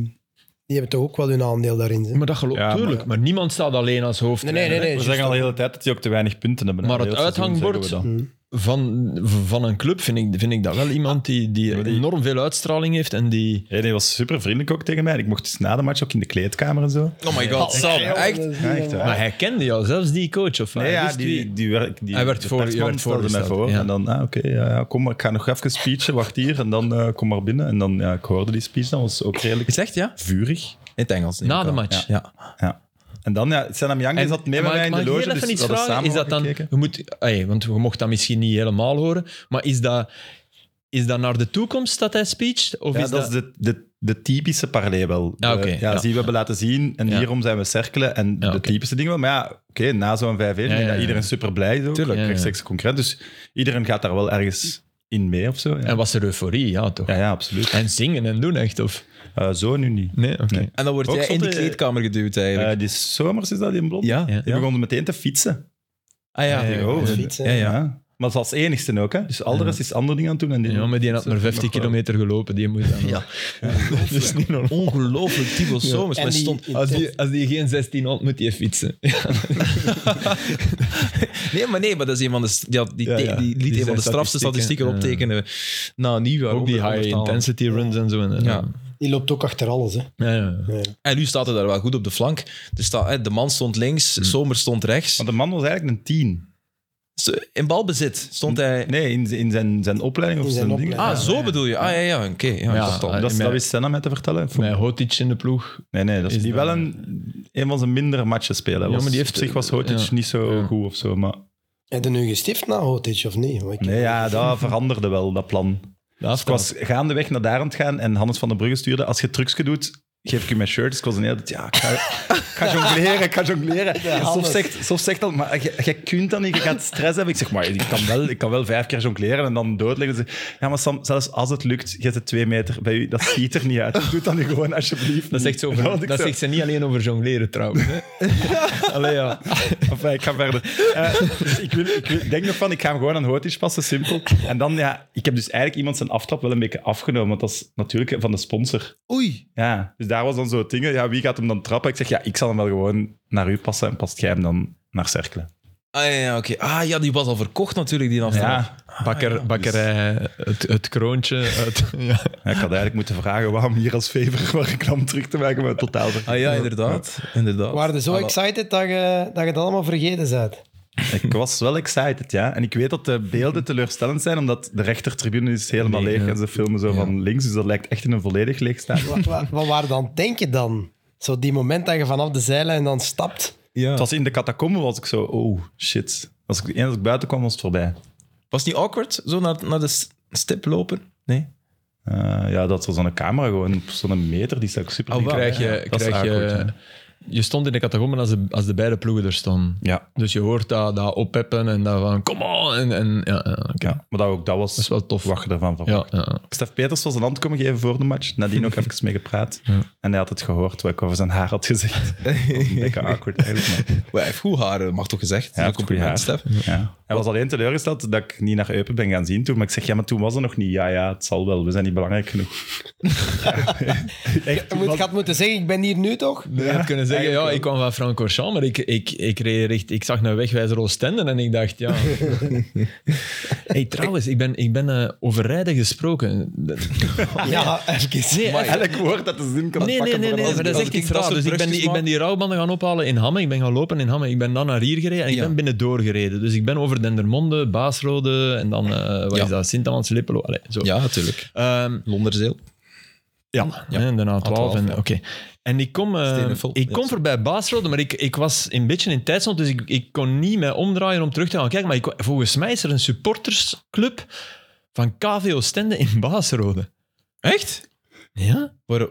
Speaker 2: die hebben toch ook wel hun aandeel daarin. hè?
Speaker 3: Maar dat geloof
Speaker 4: Ja, maar-
Speaker 3: tuurlijk. Maar, niemand staat alleen als hoofd.
Speaker 2: Nee, nee, nee. nee
Speaker 4: We
Speaker 2: juist.
Speaker 4: zeggen al de hele tijd dat die ook te weinig punten hebben. hè.
Speaker 3: Maar het
Speaker 4: Heel seizoen
Speaker 3: uithangbord-
Speaker 4: zeggen we
Speaker 2: Hmm.
Speaker 4: dat.
Speaker 3: Van, van een club vind ik, vind ik dat wel iemand die, die
Speaker 4: die-
Speaker 3: enorm veel uitstraling heeft en die...
Speaker 4: Ja, die was super vriendelijk ook tegen mij. En Ik mocht dus na de match ook in de kleedkamer en zo.
Speaker 1: Oh my god, Sam. Echt?
Speaker 2: Dat is
Speaker 4: Ja,
Speaker 2: niet
Speaker 4: echt, hè.
Speaker 2: normaal.
Speaker 3: Maar hij kende jou, zelfs die coach. Of
Speaker 4: Nee,
Speaker 3: hij
Speaker 4: ja,
Speaker 3: wist wie-
Speaker 4: die, die, werk, die
Speaker 3: Hij werd
Speaker 4: de
Speaker 3: voor- hij
Speaker 4: persman
Speaker 3: werd
Speaker 4: stelde mij
Speaker 3: voorgesteld,
Speaker 4: voor.
Speaker 3: ja.
Speaker 4: En dan, ah, oké, ja, ja, kom maar, ik ga nog even speechen, wacht hier. En dan eh, kom maar binnen. En dan, ja, ik hoorde die speech, dan was ook redelijk
Speaker 1: Is het echt, ja?
Speaker 4: vurig.
Speaker 1: In het Engels. neem
Speaker 3: Na
Speaker 1: ik
Speaker 3: de
Speaker 1: aan.
Speaker 3: match.
Speaker 1: Ja.
Speaker 4: Ja. En dan, ja, Senam Yang die zat mee bij
Speaker 3: mag
Speaker 4: mij
Speaker 3: ik-
Speaker 4: in de
Speaker 3: mag ik
Speaker 4: loge,
Speaker 3: heel
Speaker 4: dus
Speaker 3: even
Speaker 4: we
Speaker 3: iets
Speaker 4: hadden
Speaker 3: vragen?
Speaker 4: samen
Speaker 3: Is dat dan,
Speaker 4: gekeken.
Speaker 3: je moet, ey, want je mocht dat misschien niet helemaal horen, maar is dat, is dat naar de toekomst dat hij speecht? Of
Speaker 4: Ja,
Speaker 3: is
Speaker 4: dat, is de, de, de typische parley wel. De-
Speaker 3: Ah, oké,
Speaker 4: ja,
Speaker 3: ja.
Speaker 4: Zie, we hebben laten zien en
Speaker 3: Ja.
Speaker 4: hierom zijn we cirkelen en de
Speaker 3: oké.
Speaker 4: typische dingen wel. Maar ja, oké, na zo'n 5-1, ik
Speaker 3: ja,
Speaker 4: denk dat
Speaker 3: ja.
Speaker 4: iedereen super blij is ook. eh,
Speaker 3: Tuurlijk. Ja, ja.
Speaker 4: Rechtstreeks concurrent. Dus iedereen gaat daar wel ergens in mee of zo. Ja,
Speaker 3: En was er euforie, ja toch?
Speaker 4: ja, ja, absoluut.
Speaker 3: En zingen en doen echt, of?
Speaker 4: Eh, zo nu niet.
Speaker 3: Nee, oké.
Speaker 4: Nee.
Speaker 1: En dan word
Speaker 4: Ook
Speaker 1: jij in de
Speaker 4: zotte-
Speaker 1: kleedkamer geduwd, eigenlijk.
Speaker 4: Eh, die zomers is dat in blond.
Speaker 1: ja?
Speaker 3: ja.
Speaker 4: Die begonnen meteen te fietsen.
Speaker 1: Ah ja.
Speaker 4: Ja,
Speaker 1: Oh,
Speaker 4: ja,
Speaker 2: fietsen.
Speaker 1: Ja, ja.
Speaker 4: Ja. Maar dat is als enigste ook, hè? Dus Alderas is andere dingen aan het doen. En die,
Speaker 3: Ja, maar die had maar 50
Speaker 4: eh,
Speaker 3: kilometer gelopen, die moet dan...
Speaker 1: Ja.
Speaker 3: Dat is niet normaal.
Speaker 1: Ongelooflijk, Thibaut Somers.
Speaker 2: En
Speaker 1: Maar
Speaker 2: die-
Speaker 1: stond...
Speaker 3: Als die, als die geen 16 had, moet die fietsen.
Speaker 1: Nee, maar nee, maar dat is een van de, st- die, had- die,
Speaker 4: Ja,
Speaker 1: te-
Speaker 4: ja.
Speaker 1: die liet
Speaker 3: Die
Speaker 1: een van
Speaker 3: zijn
Speaker 1: de strafste
Speaker 3: statistieken,
Speaker 1: statistieken optekenen Nou, na nieuwjaar.
Speaker 3: Ook die
Speaker 1: onder-
Speaker 3: high
Speaker 1: ondertalen.
Speaker 3: intensity runs en zo. En,
Speaker 1: Ja.
Speaker 2: Die loopt ook achter alles. Hè.
Speaker 3: ja, ja.
Speaker 1: En nu staat hij daar wel goed op de flank. Er staat, hè, de man stond links, Somers stond rechts.
Speaker 4: Want de man was eigenlijk een tien.
Speaker 1: Ze- In balbezit stond hij...
Speaker 4: Nee, in, in zijn, zijn opleiding of
Speaker 2: In
Speaker 4: zijn,
Speaker 2: zijn
Speaker 4: dingen.
Speaker 1: Ah,
Speaker 2: Ja,
Speaker 1: zo bedoel je. Ah, ja, ja, oké. Ja,
Speaker 3: Ja,
Speaker 1: ik dacht al.
Speaker 3: ah,
Speaker 4: Dat, is-
Speaker 3: Mijn-
Speaker 4: dat wist Senna mij te vertellen.
Speaker 3: Met Hotic in de ploeg.
Speaker 4: Nee, nee, dat is,
Speaker 3: Is
Speaker 4: die
Speaker 3: dat-
Speaker 4: wel een, een van zijn mindere matchen spelen. Was,
Speaker 3: Ja, maar die heeft-
Speaker 4: op zich was Hotic
Speaker 3: ja.
Speaker 4: niet zo
Speaker 3: Ja.
Speaker 4: goed of zo, maar...
Speaker 2: Heb je nu gestift na Hotic of niet? Want ik-
Speaker 4: Nee, ja, dat veranderde wel, dat plan.
Speaker 3: Dat
Speaker 4: Ik was gaandeweg naar daar aan het gaan en Hannes van den Brugge stuurde, als je trucje doet, geef ik je mijn shirt. Dus ik was een hele tijd, ja, ik ga, ik ga jongleren, ik ga jongleren. En Sof
Speaker 2: Hannes.
Speaker 4: zegt, Sof zegt al, maar jij- jij kunt dat niet, je gaat stress hebben. Ik zeg, maar ik kan wel, ik kan wel vijf keer jongleren en dan doodleggen. Ze zegt, ja, maar Sam, zelfs als het lukt, je zit twee meter bij u, dat ziet er niet uit. Doe dat nu gewoon, alsjeblieft.
Speaker 3: Dat zegt, ze over-
Speaker 4: En dan had ik
Speaker 3: dat
Speaker 4: zo-
Speaker 3: zegt ze niet alleen over jongleren trouwens. hè. Allee ja.
Speaker 4: Enfin, ik ga verder. Eh, ik, wil, ik, wil- ik denk nog van, ik ga hem gewoon aan Hotisch passen, simpel. En dan, ja, ik heb dus eigenlijk iemand zijn aftrap wel een beetje afgenomen, want dat is natuurlijk van de sponsor.
Speaker 1: Oei.
Speaker 4: Ja, dus daar was dan zo'n ding, ja, wie gaat hem dan trappen? Ik zeg, ja, ik zal hem wel gewoon naar u passen en past jij hem dan naar Cercle.
Speaker 1: Ah ja, ja, oké. Ah ja, die was al verkocht natuurlijk, die afstand.
Speaker 4: Ah, Ja.
Speaker 3: Bakker, bakkerij, het, het kroontje. Het, ja.
Speaker 4: Ja, ik had eigenlijk moeten vragen waarom hier als fever waar ik kwam terug te maken, maar totaal ver-
Speaker 1: Ah ja, inderdaad. inderdaad.
Speaker 2: We waren zo
Speaker 1: Hallo.
Speaker 2: excited dat je, dat je het allemaal vergeten bent.
Speaker 4: Ik was wel excited, ja. En ik weet dat de beelden teleurstellend zijn, omdat de rechtertribune is helemaal
Speaker 3: Nee,
Speaker 4: leeg
Speaker 3: ja.
Speaker 4: en ze filmen zo van links, dus dat lijkt echt in een volledig leeg stadion.
Speaker 2: Wat, wat, wat waren dan denk je dan? Zo die moment dat je vanaf de zijlijn dan stapt.
Speaker 1: Ja.
Speaker 4: Het was in de catacombe was ik zo, oh shit. Als ik, eens als ik buiten kwam, was het voorbij.
Speaker 1: Was het niet awkward, zo naar, naar de s- stip lopen? Nee.
Speaker 4: Eh, ja, dat was zo'n camera gewoon, op zo'n meter, die staat super
Speaker 1: Oh,
Speaker 4: dicht.
Speaker 1: wauw.
Speaker 3: Krijg
Speaker 4: Ah, Ja,
Speaker 3: je,
Speaker 4: dat is
Speaker 3: krijg
Speaker 4: awkward,
Speaker 3: je,
Speaker 4: hè.
Speaker 3: je stond in de catacomben als de, als de beide ploegen er stonden.
Speaker 4: Ja,
Speaker 3: Dus je hoort dat, dat oppeppen en dat van, come on! En, en, ja, ja, oké.
Speaker 4: ja, maar dat, ook, dat was
Speaker 3: Dat is wel tof.
Speaker 4: wat je ervan verwacht.
Speaker 3: Ja, ja.
Speaker 4: Stef Peters was een hand komen geven voor de match. Nadien ook even mee gepraat. En hij had het gehoord wat ik over zijn haar had gezegd. Dat was een beetje awkward eigenlijk. maar-
Speaker 1: Hij heeft goed haar, eh, mag toch gezegd?
Speaker 4: Ja,
Speaker 1: Ja,
Speaker 4: hij
Speaker 1: een
Speaker 4: heeft goed haar.
Speaker 1: compliment, Stef.
Speaker 4: Ja. Hij was alleen teleurgesteld dat ik niet naar Eupen ben gaan zien toen. Maar ik zeg, ja, maar toen was er nog niet. Ja, ja, het zal wel. We zijn niet belangrijk genoeg. Echt,
Speaker 2: Je moet, je had moeten zeggen, ik ben hier nu toch?
Speaker 3: Je had kunnen zeggen, ja, ik kwam van Francorchamps, maar ik, ik, ik, reed richt, ik zag naar wegwijzer Oostende en ik dacht, ja... hey, trouwens, ik ben, ik ben eh, over rijden gesproken.
Speaker 2: Ja, even.
Speaker 3: Nee,
Speaker 1: Amai.
Speaker 4: Elk woord dat de zin kan
Speaker 3: Nee, nee,
Speaker 4: pakken.
Speaker 3: nee,
Speaker 4: voor
Speaker 3: nee, maar
Speaker 1: als-
Speaker 3: dat is
Speaker 1: als
Speaker 3: echt
Speaker 1: ik
Speaker 3: iets raars.
Speaker 1: dat
Speaker 3: Dus ik ben, die,
Speaker 1: brugjes
Speaker 3: ik ben die rouwbanden gaan ophalen in Hamme. Ik ben gaan lopen in Hamme. Ik ben dan naar hier gereden en ik
Speaker 1: Ja.
Speaker 3: ben binnen doorgereden. Dus ik ben over Dendermonde, Baasrode en dan, eh, wat
Speaker 1: Ja.
Speaker 3: is dat, Sint-Amans, Lippelo. Allee, zo.
Speaker 1: Ja, natuurlijk.
Speaker 3: Ehm,
Speaker 1: Londerzeel.
Speaker 3: ja,
Speaker 1: Ja.
Speaker 3: hè, en daarna
Speaker 1: A12,
Speaker 3: 12. En,
Speaker 1: ja.
Speaker 3: oké. en ik kom, eh,
Speaker 1: Steenenvol,
Speaker 3: ik kom
Speaker 1: ja.
Speaker 3: voorbij Baasrode, maar ik, ik was een beetje in tijdsnood, dus ik, ik kon niet mij omdraaien om terug te gaan kijken. Maar ik, volgens mij is er een supportersclub van KVO Stende in Baasrode.
Speaker 1: Echt?
Speaker 3: Ja?
Speaker 1: Waar,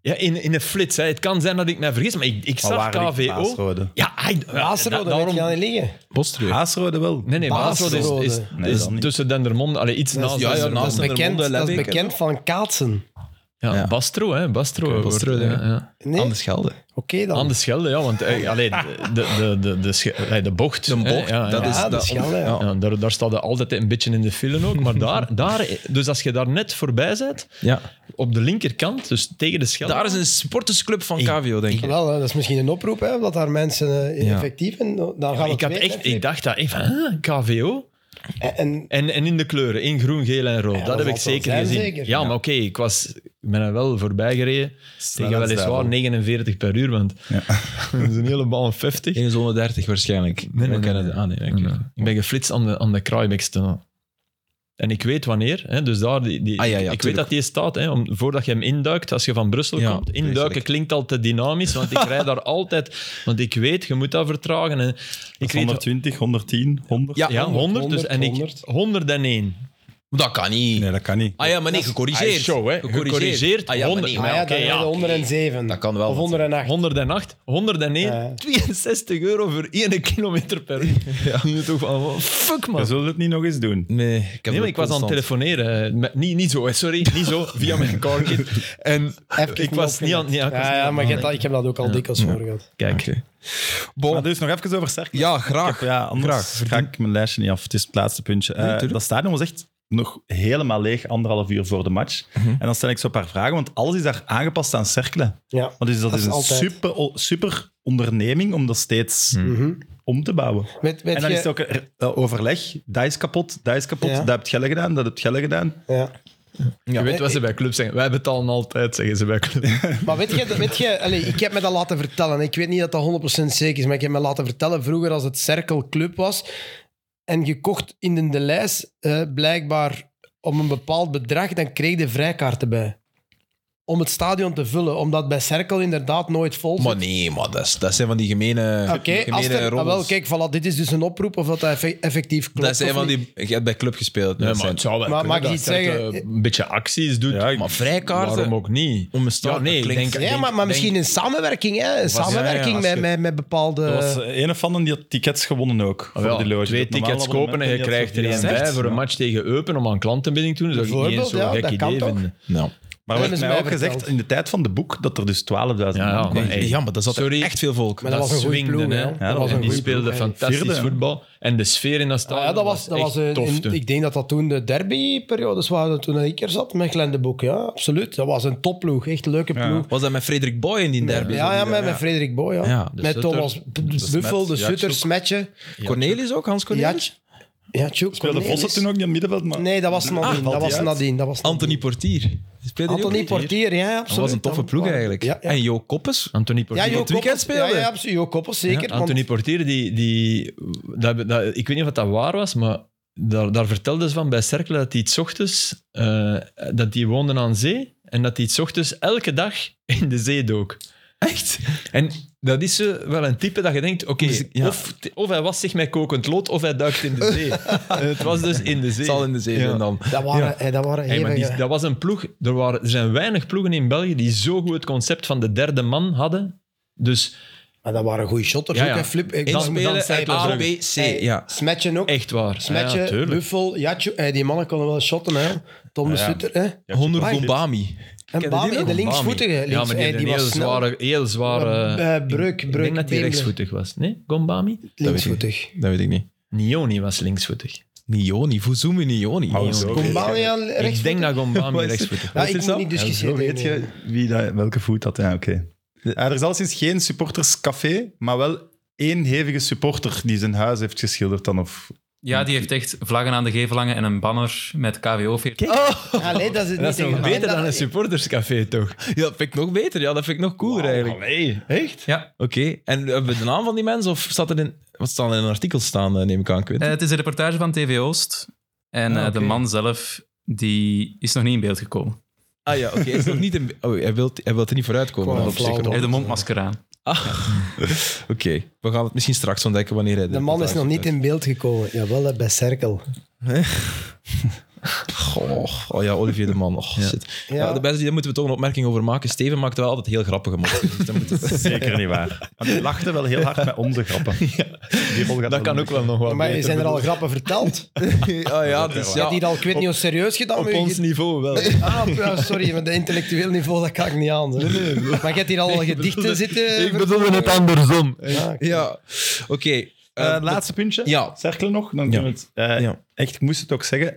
Speaker 3: Ja, in, in een flits. Hè. Het kan zijn dat ik mij vergis, maar ik, ik
Speaker 4: Maar
Speaker 3: zag
Speaker 4: waar ligt
Speaker 3: KVO.
Speaker 4: Haasrode?
Speaker 3: Ja, I- ja,
Speaker 2: Baasrode,
Speaker 3: da-
Speaker 2: daar
Speaker 3: daarom...
Speaker 2: je aan liggen.
Speaker 1: Bostreu.
Speaker 4: Haasrode wel.
Speaker 3: Nee, nee, Baasrode is, is,
Speaker 2: Baasrode.
Speaker 4: Nee,
Speaker 3: is
Speaker 4: dan niet.
Speaker 3: tussen Dendermonde. Allee, iets naast
Speaker 1: ja,
Speaker 3: Dendermonde.
Speaker 2: Dat
Speaker 1: naast
Speaker 2: is
Speaker 1: Dendermonde,
Speaker 2: bekend, dat is
Speaker 1: Lebbeke,
Speaker 2: bekend van kaatsen.
Speaker 3: Ja,
Speaker 1: Ja.
Speaker 3: Bastro, hè. Bastro. wordt-
Speaker 1: Bastro, ja.
Speaker 3: ja, ja.
Speaker 2: Nee?
Speaker 1: Aan de Schelde.
Speaker 2: Oké dan.
Speaker 3: Aan de Schelde, ja, want eh, allee, de, de, de, de, sche- allee, de bocht.
Speaker 1: De
Speaker 3: hè,
Speaker 1: bocht,
Speaker 3: ja,
Speaker 1: dat
Speaker 3: ja.
Speaker 1: is...
Speaker 2: Ja, de
Speaker 1: dat,
Speaker 2: Schelde, ja.
Speaker 3: Ja, daar, daar staat hij altijd een beetje in de film ook. Maar daar, daar, dus als je daar net voorbij bent,
Speaker 1: ja.
Speaker 3: op de linkerkant, dus tegen de Schelde.
Speaker 1: Daar is een sportersclub van KVO, denk ik.
Speaker 2: Wel, hè, dat is misschien een oproep, hè, omdat daar mensen eh,
Speaker 1: Ja.
Speaker 2: effectief in... Dan gaan we
Speaker 3: ik,
Speaker 2: het
Speaker 3: had
Speaker 2: weten,
Speaker 3: echt,
Speaker 2: hè.
Speaker 3: ik dacht dat even, huh, KVO.
Speaker 2: En, en
Speaker 3: En, en in de kleuren, in groen, geel en rood.
Speaker 2: Ja,
Speaker 3: dat
Speaker 2: dat
Speaker 3: heb ik
Speaker 2: zal het
Speaker 3: zeker
Speaker 2: wel zijn,
Speaker 3: gezien.
Speaker 2: zeker.
Speaker 3: Ja, maar oké, ik, was, ik ben er wel voorbij gereden. Tegen weliswaar
Speaker 4: duivel.
Speaker 3: 49 per uur, want dat is een hele bal 50.
Speaker 1: 1 zone 30 waarschijnlijk.
Speaker 3: nee,
Speaker 1: We
Speaker 3: nee,
Speaker 1: kennen
Speaker 3: nee. Mm-hmm.
Speaker 1: de- Ah, nee, oké.
Speaker 3: Nee, nee. Ik ben geflitst aan de, aan de Kraaibeekstunnel. En ik weet wanneer, hè, dus daar, die, die,
Speaker 1: Ah, ja, ja,
Speaker 3: ik weet
Speaker 1: tuurlijk.
Speaker 3: dat die staat, hè, om, voordat je hem induikt, als je van Brussel
Speaker 1: Ja,
Speaker 3: komt.
Speaker 1: vreselijk.
Speaker 3: Induiken klinkt al te dynamisch, want ik rijd daar altijd, want ik weet, je moet dat vertragen. En ik reed
Speaker 4: 120, 110, 100.
Speaker 1: Ja,
Speaker 3: ja, 100, dus,
Speaker 2: 100,
Speaker 3: en ik
Speaker 2: 100.
Speaker 3: 101.
Speaker 1: Dat kan niet.
Speaker 4: Nee, dat kan niet.
Speaker 1: Ah ja, maar nee, gecorrigeerd.
Speaker 3: Ah, show, hè. Gecorrigeerd,
Speaker 1: Ah, ja, maar
Speaker 3: 100.
Speaker 1: nee.
Speaker 2: ah,
Speaker 3: maar
Speaker 2: ja,
Speaker 3: oké,
Speaker 2: dan
Speaker 3: ja.
Speaker 2: rijden onder en zeven.
Speaker 1: Dat kan wel
Speaker 2: Of
Speaker 1: wat
Speaker 2: onder en acht.
Speaker 3: 108, 101,
Speaker 2: Ja.
Speaker 3: 62 euro voor 1 kilometer per uur. Ja. toch van, wat- fuck man.
Speaker 4: We zullen het niet nog eens doen.
Speaker 1: Nee, ik, heb
Speaker 3: Nee, maar
Speaker 1: dat
Speaker 3: ik was aan het
Speaker 1: constant.
Speaker 3: telefoneren. Eh, met- niet, niet zo, hè, sorry. Niet zo, via mijn carkit. En
Speaker 2: Even
Speaker 3: ik was niet aan... Ja, ik was
Speaker 2: Ja,
Speaker 3: niet
Speaker 2: ja,
Speaker 3: aan-
Speaker 2: maar je hebt dat- ik heb dat ook al dikwijls voor gehad.
Speaker 3: Kijk.
Speaker 4: Maar dus nog even over Cercle.
Speaker 1: Ja, graag.
Speaker 4: Ja,
Speaker 1: Graag.
Speaker 4: anders ga ik mijn lijstje niet af. Het is het laatste puntje. Eh,
Speaker 1: tuurlijk.
Speaker 4: dat stadion was echt nog helemaal leeg, anderhalf uur voor de match.
Speaker 1: Mhm.
Speaker 4: En dan stel ik zo een paar vragen, want alles is daar aangepast aan cerkelen.
Speaker 2: Ja.
Speaker 4: Want dus dat,
Speaker 2: Dat
Speaker 4: is
Speaker 2: is
Speaker 4: een
Speaker 2: altijd.
Speaker 4: super, o- super onderneming om dat steeds
Speaker 2: Mhm.
Speaker 4: om te bouwen.
Speaker 2: Weet, weet
Speaker 4: en dan
Speaker 2: je-
Speaker 4: is het ook een- eh, overleg. Dat is kapot, dat is kapot,
Speaker 2: Ja.
Speaker 4: dat hebt Gelle gedaan, dat hebt Gelle gedaan.
Speaker 2: ja.
Speaker 3: Je weet wat ze bij clubs zeggen. Wij betalen altijd, zeggen ze bij clubs.
Speaker 2: Maar weet je, weet je allee, ik heb me dat laten vertellen. Ik weet niet dat dat 100% zeker is, maar ik heb me laten vertellen vroeger als het Circle Club was. En je kocht in de, de lijst eh, blijkbaar om een bepaald bedrag, dan kreeg je vrijkaarten bij. Om het stadion te vullen, omdat bij Circle inderdaad nooit vol zit.
Speaker 1: Maar nee, maar dat, is- dat zijn van die gemene,
Speaker 2: Oké, als
Speaker 1: gemene
Speaker 2: er, ah, wel,
Speaker 1: roddels.
Speaker 2: kijk, voilà, dit is dus een oproep of dat, dat effe- effectief klopt.
Speaker 1: dat zijn
Speaker 2: of
Speaker 1: van
Speaker 2: niet.
Speaker 1: die... Je hebt bij club gespeeld. dat zijn-
Speaker 3: zou wel
Speaker 2: Maar
Speaker 3: kunnen
Speaker 2: mag ik eh,
Speaker 3: dat
Speaker 2: iets zeggen?
Speaker 3: Cercle Een beetje acties doet.
Speaker 4: Ja, ik-
Speaker 1: Maar vrijkaarten?
Speaker 3: Waarom ook niet?
Speaker 1: Om een start-
Speaker 3: Ja, nee,
Speaker 1: dat
Speaker 3: ik
Speaker 1: klinkt-
Speaker 3: denk...
Speaker 2: Ja,
Speaker 3: denk-
Speaker 2: maar, maar misschien in samenwerking, hè? In
Speaker 3: ja,
Speaker 2: samenwerking
Speaker 3: als
Speaker 2: met,
Speaker 3: je-
Speaker 2: met, met bepaalde.
Speaker 4: Er was eh, een van hen die had tickets gewonnen ook. voor
Speaker 3: Ah, wel,
Speaker 4: die loge.
Speaker 3: twee
Speaker 4: Normaal
Speaker 3: tickets
Speaker 4: abonnement
Speaker 3: kopen en je
Speaker 4: die had
Speaker 3: krijgt
Speaker 4: zo
Speaker 3: er één
Speaker 4: vierhonderd.
Speaker 3: bij voor een match tegen Eupen om aan klantenbinding te doen. Dat is ook niet eens
Speaker 2: Bijvoorbeeld,
Speaker 3: zo'n
Speaker 2: ja,
Speaker 3: gek
Speaker 2: dat kan
Speaker 3: idee
Speaker 2: toch?
Speaker 3: vinden.
Speaker 1: Nou,
Speaker 4: Maar
Speaker 2: Dat
Speaker 4: werd
Speaker 2: dus hebben ze
Speaker 4: mij ook
Speaker 2: mij
Speaker 4: gezegd
Speaker 2: verteld.
Speaker 4: in de tijd van de boek dat er dus 12.000
Speaker 3: Ja, ja.
Speaker 4: man kwamen.
Speaker 3: Nee,
Speaker 4: Echt.
Speaker 1: Ja, maar dat zat er
Speaker 3: Sorry.
Speaker 1: echt veel volk.
Speaker 2: Maar dat,
Speaker 3: Dat
Speaker 2: was een goede
Speaker 3: swingde,
Speaker 2: ploeg,
Speaker 3: hè.
Speaker 2: hè.
Speaker 3: Ja,
Speaker 4: dat
Speaker 2: was
Speaker 4: was-
Speaker 2: een
Speaker 3: En die
Speaker 2: goede
Speaker 3: speelden
Speaker 2: ploeg, hè.
Speaker 3: fantastisch
Speaker 4: Vierde, hè.
Speaker 3: voetbal. En de sfeer in dat
Speaker 2: Ah,
Speaker 3: stadion
Speaker 2: ja, dat was, dat was
Speaker 3: echt
Speaker 2: eh,
Speaker 3: tof
Speaker 2: in-
Speaker 3: toen.
Speaker 2: ik denk dat dat toen de derbyperiodes waren, toen ik er zat met Glendeboek. Ja, absoluut. Dat was een topploeg, echt een leuke
Speaker 4: Ja.
Speaker 2: ploeg.
Speaker 1: Was dat met Frederik Boy in die derby?
Speaker 2: Ja, ja, met, met Frederik Boy, ja.
Speaker 1: Ja, de
Speaker 2: met
Speaker 3: Sutter,
Speaker 2: Thomas B- Buffel, de
Speaker 4: Jack
Speaker 2: Sutter,
Speaker 4: Zoek.
Speaker 2: Smetje,
Speaker 1: Cornelis ook, Hans Cornelis?
Speaker 2: Jatje. Ja, Tjoek,
Speaker 4: Speelde
Speaker 2: Cornelis.
Speaker 3: dus-
Speaker 4: Vossen toen ook niet op middenveld? Maar...
Speaker 2: Nee, dat was
Speaker 4: Ah,
Speaker 2: Nadine.
Speaker 4: valt
Speaker 2: dat, was
Speaker 4: die uit?
Speaker 2: Nadine dat was Nadine.
Speaker 1: Anthony Portier. Speelde die ook
Speaker 2: Anthony
Speaker 1: niet?
Speaker 2: Portier, ja, absoluut.
Speaker 1: Dat was een toffe ploeg eigenlijk.
Speaker 2: Ja, ja.
Speaker 1: En Jo Koppes?
Speaker 3: Anthony Portier.
Speaker 2: Ja, Jo
Speaker 1: het weekend
Speaker 2: Koppers, ja,
Speaker 1: speelde.
Speaker 2: ja, absoluut. Jo Koppers, zeker. want-
Speaker 3: Anthony Portier, die, die, dat, dat, ik weet niet of dat waar was, maar daar, daar vertelde ze van bij Cercle dat hij iets ochtends, eh, dat die woonde aan zee en dat hij iets ochtends elke dag in de zee dook.
Speaker 1: Echt?
Speaker 3: En dat is eh, wel een type dat je denkt, oké,
Speaker 1: Dus, ja.
Speaker 3: of, of hij was zich met kokend lood of hij duikt in de zee. het was dus in de zee.
Speaker 1: Het zal in de zee
Speaker 3: Ja.
Speaker 1: zijn dan.
Speaker 2: dat waren, hey, dat waren
Speaker 3: Hey, maar die-
Speaker 2: hevige-
Speaker 3: dat was een ploeg. Er, waren, er zijn weinig ploegen in België die zo goed het concept van de derde man hadden. Dus
Speaker 2: maar dat waren goede shotters
Speaker 3: Ja,
Speaker 2: ook,
Speaker 3: ja.
Speaker 2: hè, Flip. Ik-
Speaker 3: Dan- dan
Speaker 1: Inspelen,
Speaker 3: Cercle
Speaker 1: A, B,
Speaker 3: Brugge.
Speaker 1: C.
Speaker 2: Hey,
Speaker 1: Ja.
Speaker 2: Smetjen ook.
Speaker 3: echt waar.
Speaker 2: Smetje,
Speaker 3: Ja, tuurlijk.
Speaker 2: Buffel, Jatje. Hey, die mannen konden wel shotten, hè. Tom de
Speaker 4: Ja.
Speaker 2: Sutter, hè.
Speaker 4: Ja,
Speaker 1: Honor
Speaker 2: Mike.
Speaker 1: Gombami.
Speaker 2: En Bami, de linksvoetige. Links,
Speaker 3: ja, maar die,
Speaker 2: hey,
Speaker 3: had een
Speaker 2: was
Speaker 3: heel
Speaker 2: snel.
Speaker 3: zware, heel zware...
Speaker 2: Eh,
Speaker 3: ik-
Speaker 2: Breuk,
Speaker 3: ik,
Speaker 2: Breuk,
Speaker 3: denk dat hij
Speaker 2: Beemle.
Speaker 3: rechtsvoetig was. Nee, Gombami?
Speaker 2: Linksvoetig.
Speaker 1: Dat weet ik niet.
Speaker 3: Nioni was linksvoetig.
Speaker 1: Nioni, Fuzumi Nioni.
Speaker 4: Oh, zo.
Speaker 1: Nioni.
Speaker 4: Kom-
Speaker 2: Gombani aan rechts.
Speaker 3: Ik denk dat Gombami
Speaker 1: Was-
Speaker 3: rechtsvoetig was.
Speaker 2: Ja, ik moet niet dus
Speaker 4: Ja,
Speaker 2: discussiëren.
Speaker 4: zo weet
Speaker 2: nee, nee.
Speaker 4: je wie dat, welke voet dat. Ja, oké. Ja, er is alleszins geen supporterscafé, maar wel één hevige supporter die zijn huis heeft geschilderd dan. Of...
Speaker 5: Ja, die heeft echt vlaggen aan de gevel hangen en een banner met KWO-veertien.
Speaker 2: Allee, Ah, dat is het
Speaker 3: Oh, Dat is
Speaker 2: niet
Speaker 3: nog
Speaker 2: tegen-
Speaker 3: beter
Speaker 2: dat-
Speaker 3: dan een supporterscafé, toch?
Speaker 1: Ja, dat vind ik nog beter. Ja, dat vind ik nog cooler eigenlijk.
Speaker 3: Allee, echt?
Speaker 5: Ja,
Speaker 1: Oké, en hebben we de naam van die mensen? Of staat er in, wat staat er in een artikel staan, eh, neem ik aan, ik weet
Speaker 5: eh,
Speaker 1: het.
Speaker 5: het is een reportage van TV Oost. En eh, de man zelf, die is nog niet in beeld gekomen.
Speaker 1: Ah ja, oké, hij is nog niet in... Oh, hij wil hij wilt er niet vooruitkomen.
Speaker 2: Kom,
Speaker 1: Dat op zich
Speaker 2: flauw.
Speaker 1: wel.
Speaker 5: Hij heeft een mondmasker aan.
Speaker 1: Oké, we gaan het misschien straks ontdekken wanneer hij...
Speaker 2: De man is nog
Speaker 3: dus.
Speaker 2: niet in beeld gekomen. Jawel, hè, bij Cerkel.
Speaker 1: Goh, oh ja, Olivier de Man. Oh, shit. Ja.
Speaker 2: Ja.
Speaker 1: de beste, daar moeten we toch een opmerking over maken. Steven maakt wel altijd heel grappige mopjes. Dus dan moet het-
Speaker 4: Zeker niet waar. Want die lachten wel heel hard met onze grappen. Die rol gaat
Speaker 3: Dat kan
Speaker 4: wel
Speaker 3: ook wel nog wat
Speaker 2: Maar
Speaker 3: beter,
Speaker 2: zijn er al
Speaker 3: bedoel-
Speaker 2: grappen verteld?
Speaker 1: Ah ja, dus
Speaker 2: Je hebt
Speaker 1: ja.
Speaker 2: hier al, ik weet niet hoe serieus gedaan. maar
Speaker 3: Op
Speaker 2: je-
Speaker 3: ons niveau wel.
Speaker 2: Ah, ja, sorry, maar de intellectueel niveau, dat kan ik niet aan. zeg. Maar je hebt hier al gedichten zitten... Ah,
Speaker 3: andersom.
Speaker 2: Ja,
Speaker 1: ja. Oké.
Speaker 4: Eh,
Speaker 1: eh,
Speaker 4: het laatste puntje.
Speaker 1: ja.
Speaker 4: Cerkelen nog. Dan
Speaker 1: Ja.
Speaker 4: doen we het. Eh,
Speaker 1: Ja.
Speaker 4: Echt, ik moest het ook zeggen.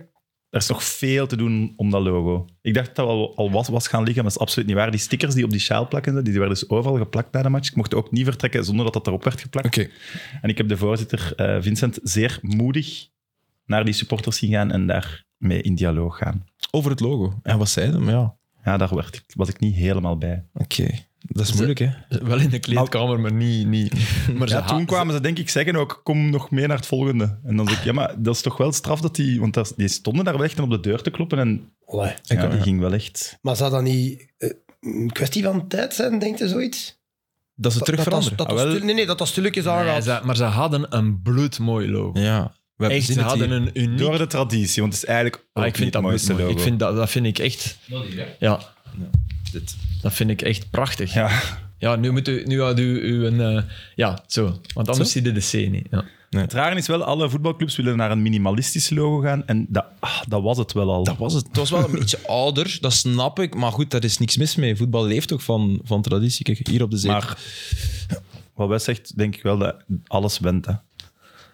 Speaker 4: Er is nog veel te doen om dat logo. Ik dacht dat dat al, al was, was gaan liggen, maar dat is absoluut niet waar. Die stickers die op die sjaal plakken, die werden dus overal geplakt na de match. Ik mocht ook niet vertrekken zonder dat dat erop werd geplakt.
Speaker 1: Oké.
Speaker 4: En ik heb de voorzitter, eh, Vincent, zeer moedig naar die supporters zien gaan en daarmee in dialoog gaan.
Speaker 1: Over het logo. En wat zei hij? Maar Ja,
Speaker 4: Ja, daar werd ik, was ik niet helemaal bij.
Speaker 1: oké. Dat is moeilijk, hè?
Speaker 3: Wel in de kleedkamer, maar niet... niet. Maar ze
Speaker 4: Ja, toen
Speaker 3: haat-
Speaker 4: kwamen ze denk ik zeggen ook, kom nog mee naar het volgende. En dan zeg ik, ja, maar dat is toch wel straf dat die... Want dat- die stonden daar wel echt om op de deur te kloppen en
Speaker 2: Allee.
Speaker 4: ja,
Speaker 1: ja.
Speaker 4: die ging wel echt...
Speaker 2: Maar zou dat niet eh, een kwestie van tijd zijn, denkt u zoiets?
Speaker 1: Dat ze
Speaker 2: Dat-
Speaker 1: terug
Speaker 2: dat- dat-
Speaker 1: veranderen.
Speaker 2: dat
Speaker 4: Ah, wel.
Speaker 2: stul- Nee, nee, dat dat stuk is
Speaker 3: Nee,
Speaker 2: aangehaald.
Speaker 3: ze- maar ze hadden een bloedmooi logo.
Speaker 1: Ja. We hebben
Speaker 3: Echt,
Speaker 1: gezien
Speaker 3: ze
Speaker 1: het
Speaker 3: hadden
Speaker 1: hier.
Speaker 3: een uniek...
Speaker 4: Door de traditie, want het is eigenlijk
Speaker 3: Ah, ik vind dat
Speaker 4: mooiste
Speaker 3: bloedmooi. Ik
Speaker 4: logo.
Speaker 3: vind dat, dat vind ik echt... Ja, dat vind ik echt prachtig. Ja,
Speaker 4: Ja,
Speaker 3: nu moet u... Nu had u, u een... eh, ja, zo. Want anders zie je de C niet. Ja.
Speaker 4: het rare is wel, alle voetbalclubs willen naar een minimalistisch logo gaan en dat, ah, dat was het wel al.
Speaker 1: Dat was het. Het was wel een beetje ouder, dat snap ik. Maar goed, daar is niks mis mee. Voetbal leeft toch van, van traditie. Kijk, hier op de zee.
Speaker 4: Maar wat Wes zegt, denk ik wel dat alles went. Hè.
Speaker 1: ja,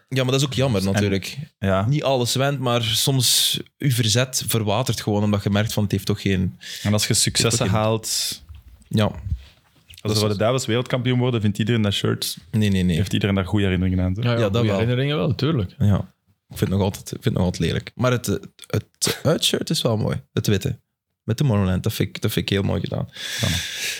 Speaker 1: maar dat is ook jammer natuurlijk.
Speaker 4: Ja.
Speaker 1: Niet alles went, maar soms uw verzet verwatert gewoon omdat je merkt van het heeft toch geen...
Speaker 4: En als je successen haalt...
Speaker 1: Ja,
Speaker 4: Als
Speaker 3: dus-
Speaker 4: we de Duivels wereldkampioen worden, vindt iedereen dat shirt...
Speaker 1: nee, nee, nee.
Speaker 4: Heeft iedereen daar goede herinneringen aan. toch?
Speaker 1: Ja, dat
Speaker 3: goeie
Speaker 1: wel.
Speaker 3: herinneringen wel, tuurlijk.
Speaker 1: Ja. Ik vind het nog altijd, ik vind het nog altijd lelijk. Maar het, eh, het uitshirt is wel mooi. Het witte. Met de Monoland. Dat vind ik, dat vind ik heel mooi gedaan.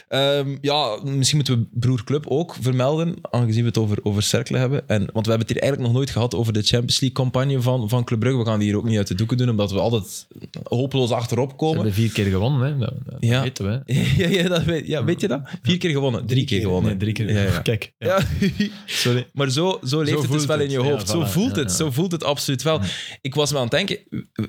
Speaker 1: Ehm, ja, misschien moeten we Broer Club ook vermelden. Aangezien we het over, over cerkelen hebben. En, want we hebben het hier eigenlijk nog nooit gehad over de Champions League-campagne van, van Club Brugge. We gaan die hier ook niet uit de doeken doen, omdat we altijd hopeloos achterop
Speaker 3: Ze
Speaker 1: komen.
Speaker 3: hebben vier keer gewonnen, hè. Dat, dat
Speaker 1: Ja.
Speaker 3: weten we. hè.
Speaker 1: Ja, ja, dat weet, ja, weet je dat? Vier keer gewonnen. Drie keer gewonnen.
Speaker 3: Nee, drie keer.
Speaker 1: Ja, ja.
Speaker 3: Kijk. Ja.
Speaker 1: Ja.
Speaker 3: Sorry.
Speaker 1: Maar zo, zo leeft het dus
Speaker 3: voelt
Speaker 1: wel
Speaker 3: het.
Speaker 1: in je
Speaker 3: Ja,
Speaker 1: hoofd. zo
Speaker 3: voilà.
Speaker 1: voelt
Speaker 3: Ja,
Speaker 1: het.
Speaker 3: ja.
Speaker 1: Zo voelt het absoluut wel. Ik was me aan het denken,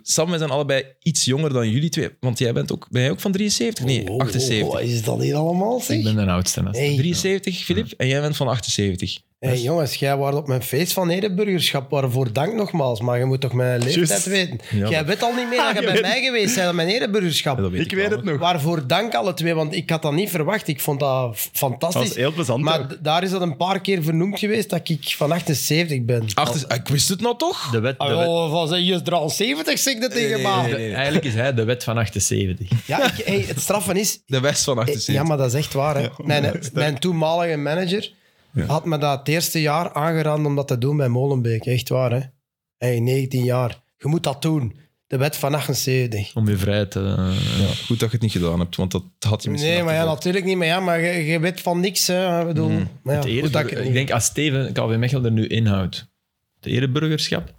Speaker 1: Sam, wij zijn allebei iets jonger dan jullie twee. Want jij bent ook, ben jij ook van 73? Nee,
Speaker 2: Oh, oh, oh,
Speaker 1: 78.
Speaker 2: Wat is dat hier allemaal, zeg?
Speaker 3: Ik ben de oudste. hè.
Speaker 2: Hey.
Speaker 1: 73, Filip, en jij bent van 78.
Speaker 2: Hey, jongens, jij was op mijn feest van edeburgerschap. Waarvoor dank nogmaals, maar je moet toch mijn leeftijd
Speaker 4: Juist.
Speaker 2: weten.
Speaker 1: Ja,
Speaker 2: jij weet al niet meer dat je
Speaker 4: Je
Speaker 2: bij
Speaker 4: weet-
Speaker 2: mij geweest bent aan mijn edeburgerschap.
Speaker 1: Ja, dat weet
Speaker 4: Ik
Speaker 1: ik
Speaker 4: weet
Speaker 1: wel,
Speaker 4: het nog.
Speaker 2: Waarvoor dank alle twee, want ik had dat niet verwacht. Ik vond dat f-
Speaker 4: Dat was
Speaker 2: fantastisch.
Speaker 4: heel plezant.
Speaker 2: maar
Speaker 4: ook.
Speaker 2: d- daar is dat een paar keer vernoemd geweest dat ik van 78 ben.
Speaker 1: Achter, ik wist het nou toch?
Speaker 3: Oh. De wet, de
Speaker 2: Ah,
Speaker 3: wet-
Speaker 2: joh, van zijn je 73 zeg ik dat tegen
Speaker 1: nee,
Speaker 2: ma.
Speaker 1: nee, nee.
Speaker 3: Eigenlijk is hij de wet van 78.
Speaker 2: Ja, ik, hey, het straffen is,
Speaker 1: De West van 78.
Speaker 2: Ja, maar dat is echt waar. Hè. Mijn, mijn toenmalige manager had me dat het eerste jaar aangeraden om dat te doen bij Molenbeek. Echt waar, hè? Hey, 19 jaar. Je moet dat doen. De wet van 78.
Speaker 3: Om je vrijheid te... eh,
Speaker 1: Ja, goed dat je het niet gedaan hebt, want dat had je misschien
Speaker 2: Nee, maar ja,
Speaker 1: achtervolgd.
Speaker 2: natuurlijk niet. Maar ja, maar je, je weet van niks, hè. Ik bedoel, maar ja,
Speaker 3: het
Speaker 2: goed dat ik het
Speaker 3: ereburger- ik,
Speaker 2: niet-
Speaker 3: denk als Steven KW Mechel er nu inhoudt. Het ereburgerschap?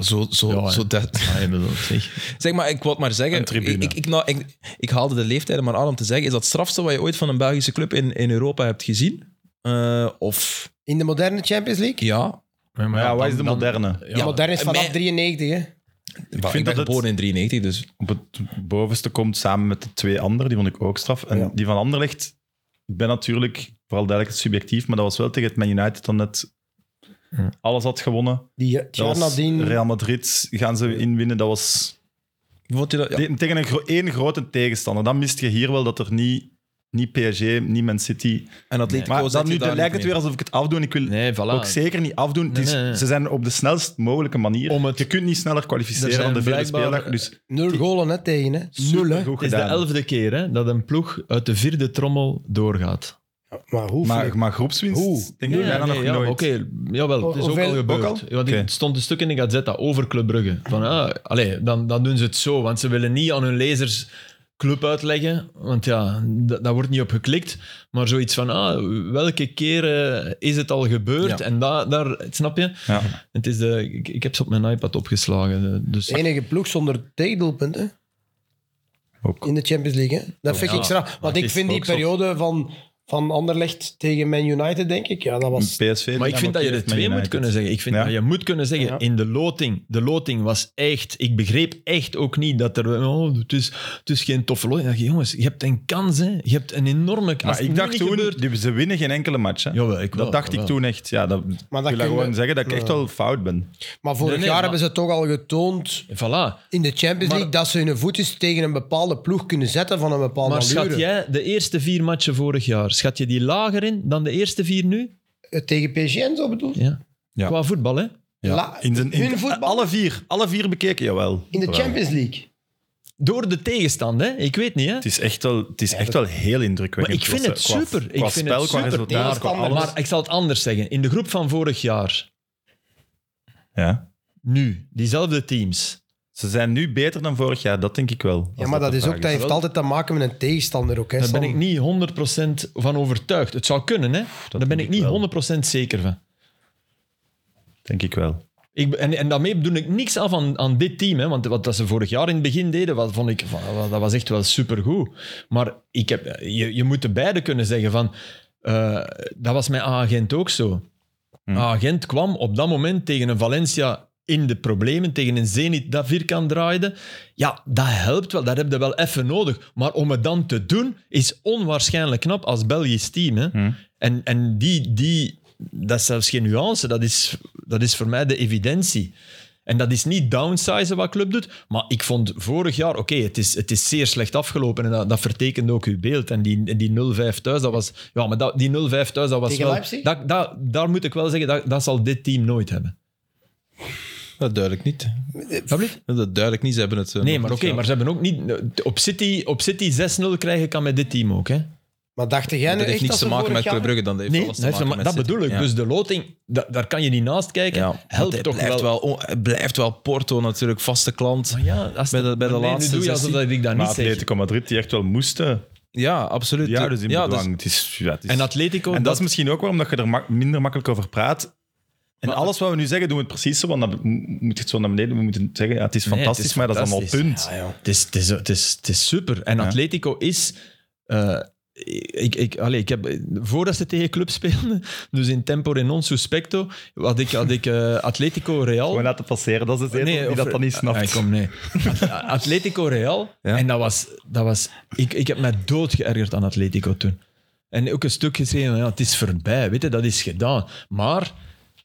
Speaker 1: Zo, zo,
Speaker 3: Ja, hè.
Speaker 1: zo dat.
Speaker 3: Ah, je bedoelt, zeg.
Speaker 1: Zeg maar, ik wou het maar zeggen.
Speaker 4: Een tribune.
Speaker 1: Ik, ik, ik, nou, ik, ik haalde de leeftijden maar aan om te zeggen. Is dat het strafste wat je ooit van een Belgische club in, in Europa hebt gezien? Eh, of
Speaker 2: In de moderne Champions League?
Speaker 1: ja.
Speaker 4: Maar ja, wat is de
Speaker 3: dan-
Speaker 4: moderne?
Speaker 2: Ja, moderne is vanaf
Speaker 1: mij-
Speaker 2: 93, hè.
Speaker 1: Ik,
Speaker 4: vind
Speaker 1: ben
Speaker 4: dat het-
Speaker 1: geboren in 93, dus
Speaker 4: Op het bovenste komt samen met de twee anderen, die vond ik ook straf. En
Speaker 2: Ja.
Speaker 4: die van Anderlecht, ik ben natuurlijk vooral duidelijk subjectief, maar dat was wel tegen het Man United dan net alles had gewonnen.
Speaker 2: Die het
Speaker 4: Dat
Speaker 2: jaar
Speaker 4: was
Speaker 2: nadien...
Speaker 4: Real Madrid gaan ze inwinnen, dat was
Speaker 1: vond je dat... Ja.
Speaker 4: te- tegen een gro- één grote tegenstander. Dan mist je hier wel dat er niet, niet PSG, niet Man City...
Speaker 1: En Atletico
Speaker 4: Maar
Speaker 1: zet
Speaker 4: dan
Speaker 1: je
Speaker 4: nu
Speaker 1: daar
Speaker 4: lijkt het
Speaker 1: niet
Speaker 4: weer
Speaker 1: mee.
Speaker 4: alsof ik het afdoe en ik wil
Speaker 3: Nee, voilà.
Speaker 4: ook zeker niet afdoen. Het
Speaker 3: Nee,
Speaker 4: is-
Speaker 3: nee, nee.
Speaker 4: Ze zijn op de snelst mogelijke manier.
Speaker 3: Om het-
Speaker 4: Je kunt niet sneller kwalificeren
Speaker 3: Er zijn
Speaker 4: dan de vierde
Speaker 3: blijkbaar-
Speaker 4: speeldag. Dus
Speaker 2: Nul golen, hè, tegen, hè. Nul, hè.
Speaker 4: goed
Speaker 3: Het is de
Speaker 4: gedaan.
Speaker 3: elfde keer hè, dat een ploeg uit de vierde trommel doorgaat.
Speaker 2: Maar hoe?
Speaker 4: Maar, maar groepswinst
Speaker 2: Hoe?
Speaker 4: denk ik bijna nog
Speaker 3: ja,
Speaker 4: nooit.
Speaker 3: Oké, jawel, het is
Speaker 2: Hoeveel-
Speaker 3: ook al gebeurd.
Speaker 4: ook al?
Speaker 3: Want
Speaker 4: Oké.
Speaker 3: Het stond een stuk in de Gazetta over Club Brugge. Van, ah, allee, dan, dan doen ze het zo, want ze willen niet aan hun lezers club uitleggen, want ja, dat, daar wordt niet op geklikt. Maar zoiets van, ah, welke keren is het al gebeurd?
Speaker 1: Ja.
Speaker 3: En da, daar, snap je?
Speaker 4: Ja.
Speaker 3: Het is de, ik, ik heb ze op mijn iPad opgeslagen. Dus
Speaker 2: De enige ploeg zonder tegendoelpunten.
Speaker 4: Ook.
Speaker 2: In de Champions League, hè? Dat vind
Speaker 3: Ja,
Speaker 2: ik straf. Want
Speaker 3: maar
Speaker 2: ik
Speaker 3: het is
Speaker 2: vind die
Speaker 3: ook zot.
Speaker 2: periode van, van Anderlecht tegen Man United, denk ik, ja, dat was...
Speaker 4: PSV.
Speaker 3: Maar ik vind dat je er twee moet kunnen zeggen. Ik vind
Speaker 4: Ja.
Speaker 3: dat je moet kunnen zeggen,
Speaker 2: Ja.
Speaker 3: in de loting, de loting was echt... Ik begreep echt ook niet dat er... Oh, het, is, het is geen toffe loting. Ik dacht, jongens, je hebt een kans, hè. Je hebt een enorme kans.
Speaker 4: Maar ik dacht toen, die- ze winnen geen enkele match. Hè?
Speaker 3: Jawel, ik wel,
Speaker 4: dat dacht
Speaker 3: jawel.
Speaker 4: ik toen echt. Ja, dat, maar
Speaker 2: Maar
Speaker 4: ik
Speaker 2: dat
Speaker 4: wil dat
Speaker 2: kun je-
Speaker 4: gewoon zeggen dat ik echt wel fout ben.
Speaker 2: Maar vorig
Speaker 3: Nee, nee,
Speaker 2: jaar
Speaker 3: maar-
Speaker 2: hebben ze toch al getoond
Speaker 3: Voilà.
Speaker 2: in de Champions
Speaker 3: Maar-
Speaker 2: League dat ze hun voetjes tegen een bepaalde ploeg kunnen zetten van een bepaalde
Speaker 3: Maar
Speaker 2: allure.
Speaker 3: schat jij de eerste vier matchen vorig jaar, schat je die lager in dan de eerste vier nu?
Speaker 2: Eh, Tegen PSG en zo bedoel je?
Speaker 3: Ja.
Speaker 4: Ja.
Speaker 3: Qua voetbal, hè?
Speaker 2: La-
Speaker 4: In zijn, in,
Speaker 2: hun voetbal
Speaker 4: alle vier, alle vier bekeken, jawel.
Speaker 2: in de
Speaker 4: Jawel.
Speaker 2: Champions League.
Speaker 3: Door de tegenstand, hè? Ik weet niet, hè?
Speaker 4: Het is echt wel, het is echt wel heel indrukwekkend.
Speaker 3: Maar ik vind
Speaker 4: Qua-
Speaker 3: het
Speaker 4: qua-
Speaker 3: super.
Speaker 4: Qua
Speaker 3: Ik vind
Speaker 4: spel,
Speaker 3: het
Speaker 4: qua
Speaker 3: super.
Speaker 4: resultaat, qua
Speaker 2: Tegenstander.
Speaker 4: alles.
Speaker 3: Maar ik zal het anders zeggen. In de groep van vorig jaar,
Speaker 4: Ja.
Speaker 3: nu, diezelfde teams...
Speaker 4: Ze zijn nu beter dan vorig jaar, dat denk ik wel.
Speaker 2: Ja, maar dat, is ook, dat heeft altijd te maken met een tegenstander ook. Hè,
Speaker 3: Daar ben
Speaker 2: Sam.
Speaker 3: ik niet 100% van overtuigd. Het zou kunnen, hè? Daar ben
Speaker 4: denk
Speaker 3: ik
Speaker 4: ik wel.
Speaker 3: niet 100% zeker van.
Speaker 4: Denk ik wel.
Speaker 3: Ik, be- en, en daarmee bedoel ik niks af aan, aan dit team. Hè, want wat dat ze vorig jaar in het begin deden, wat, vond ik, van, wa- dat was echt wel supergoed. Maar ik heb, je, je moet de beide kunnen zeggen van... eh, dat was met A-agent ook zo. A-agent Ah, kwam op dat moment tegen een Valencia in de problemen, tegen een Zenit dat vierkant draaide. Ja, dat helpt wel. Dat heb je wel even nodig. Maar om het dan te doen, is onwaarschijnlijk knap als Belgisch team. Hè? En, en die, die, dat is zelfs geen nuance, dat is, dat is voor mij de evidentie. En dat is niet downsizen wat club doet, maar ik vond vorig jaar, oké, het, is, het is zeer slecht afgelopen en dat, dat vertekende ook uw beeld. En die, en die 0-5 thuis, dat was, ja, maar dat, die 0-5 thuis, dat was
Speaker 2: Tegen
Speaker 3: wel...
Speaker 2: Leipzig?
Speaker 3: Dat, dat, daar moet ik wel zeggen, dat, dat zal dit team nooit hebben.
Speaker 1: Dat duidelijk niet. Eh, Dat duidelijk niet. Ze hebben het... eh,
Speaker 3: Nee,
Speaker 1: nog
Speaker 3: maar
Speaker 1: niet
Speaker 3: oké, maar
Speaker 1: gehad.
Speaker 3: ze hebben ook niet... Op City, op City 6-0 krijgen kan met dit team ook, hè.
Speaker 2: Maar dacht jij nu
Speaker 1: Dat heeft
Speaker 2: echt
Speaker 1: niks
Speaker 2: dat
Speaker 1: te
Speaker 2: ze
Speaker 1: maken met
Speaker 2: vorig
Speaker 1: Club Brugge.
Speaker 2: jaar...
Speaker 1: Dan dat heeft
Speaker 3: Nee,
Speaker 1: alles te
Speaker 3: dat,
Speaker 1: maken met City.
Speaker 3: bedoel ik.
Speaker 1: Ja.
Speaker 3: Dus de loting, da- daar kan je niet naast kijken.
Speaker 1: Ja, want
Speaker 3: helpt
Speaker 1: het
Speaker 3: toch
Speaker 1: blijft
Speaker 3: wel.
Speaker 1: wel. on- het blijft wel Porto natuurlijk, vaste klant.
Speaker 3: Maar ja, als
Speaker 1: Bij de- bij de
Speaker 3: maar nee,
Speaker 1: laatste
Speaker 3: Nu doe je alsof
Speaker 1: zestien-
Speaker 3: dat ik dat
Speaker 4: Maar
Speaker 3: niet zeg.
Speaker 4: Atletico Madrid, die echt wel moesten.
Speaker 1: Ja, absoluut.
Speaker 4: Ja, dus in
Speaker 1: dat is-
Speaker 4: bedwang. Het is, ja, het is-
Speaker 3: En Atletico,
Speaker 4: En dat
Speaker 3: dat,
Speaker 4: is misschien ook waarom dat je er mak- minder makkelijk over praat. En alles wat we nu zeggen, doen we het precies zo. Want dan m- moet je het zo naar beneden. We moeten zeggen, ja, het is
Speaker 3: Nee, het is
Speaker 4: fantastisch, maar dat is allemaal
Speaker 3: fantastisch.
Speaker 4: punt.
Speaker 3: het, is, het, is, het, is, het is super. En
Speaker 4: Ja.
Speaker 3: Atletico is... eh, ik, ik, allee, ik heb, voordat ze tegen clubs speelden, dus in tempo en non suspecto, had ik, had ik eh, Atletico Real.
Speaker 4: Gewoon laten passeren, dat is het enige die
Speaker 3: of-
Speaker 4: dat dan niet snapt.
Speaker 3: Ah, kom, nee. At- Atletico Real.
Speaker 1: Ja.
Speaker 3: En dat was... Dat was ik, ik heb mij dood geërgerd aan Atletico toen. En ook een stuk geschreven, ja, het is voorbij, weet je, dat is gedaan. Maar,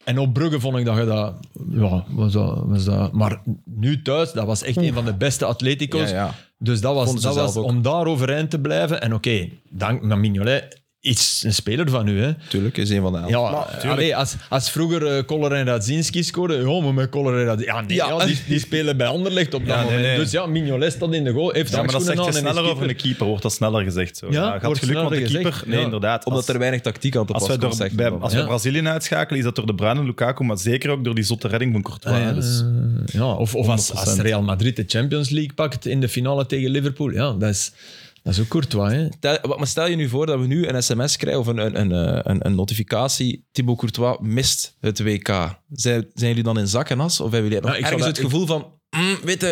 Speaker 3: en op Brugge vond ik dat je dat... Ja, was dat... Was dat maar nu thuis, dat was echt een van de beste atletico's.
Speaker 1: Ja, ja.
Speaker 3: Dus dat was,
Speaker 1: Vonden ze
Speaker 3: dat
Speaker 1: zelf
Speaker 3: was
Speaker 1: ook.
Speaker 3: om daar overeind te blijven. En oké, dank naar Mignolet, is een speler van u, hè.
Speaker 1: Tuurlijk, is een van de elf.
Speaker 3: Ja, eh, allee, als, als vroeger eh Koller en Radzinski scoorden, ja, maar met Koller en Radzinski... Ja, nee, ja.
Speaker 1: Ja.
Speaker 3: die, die spelen bij Anderlecht op
Speaker 4: Ja,
Speaker 3: dat
Speaker 4: nee,
Speaker 3: moment.
Speaker 4: nee.
Speaker 3: Dus ja, Mignolet staat in de goal, heeft
Speaker 4: Ja, maar dat
Speaker 3: handschoenen
Speaker 4: zegt je
Speaker 3: aan en is
Speaker 4: sneller over
Speaker 3: keeper.
Speaker 4: een keeper, wordt dat sneller gezegd. Zo.
Speaker 3: Ja,
Speaker 4: Ja, je had
Speaker 3: wordt
Speaker 4: geluk, want de
Speaker 3: sneller
Speaker 4: keeper...
Speaker 3: gezegd,
Speaker 4: Nee,
Speaker 3: ja.
Speaker 4: inderdaad.
Speaker 1: Omdat
Speaker 4: als-
Speaker 1: er weinig tactiek aan te
Speaker 4: Als
Speaker 1: pas
Speaker 4: wij,
Speaker 1: komt,
Speaker 4: door,
Speaker 1: zegt
Speaker 4: bij,
Speaker 1: men
Speaker 4: als
Speaker 1: dan.
Speaker 4: wij
Speaker 3: Ja.
Speaker 4: Brazilië uitschakelen, is dat door De Bruyne en Lukaku, maar zeker ook door die zotte redding van Courtois. hè. dus,
Speaker 3: Eh, ja, of of als, als
Speaker 4: 100%.
Speaker 3: Real Madrid de Champions League pakt in de finale tegen Liverpool. Ja, dat is, dat is ook Courtois. Hè?
Speaker 1: Stel- wat- Maar stel je nu voor dat we nu een sms krijgen of een, een, een, eh, een, een notificatie. Thibaut Courtois mist het WK. Zijn, zijn jullie dan in zak en as? Of hebben jullie nog
Speaker 3: ik zou
Speaker 1: ergens
Speaker 3: dat-
Speaker 1: het gevoel van... mm, weet je,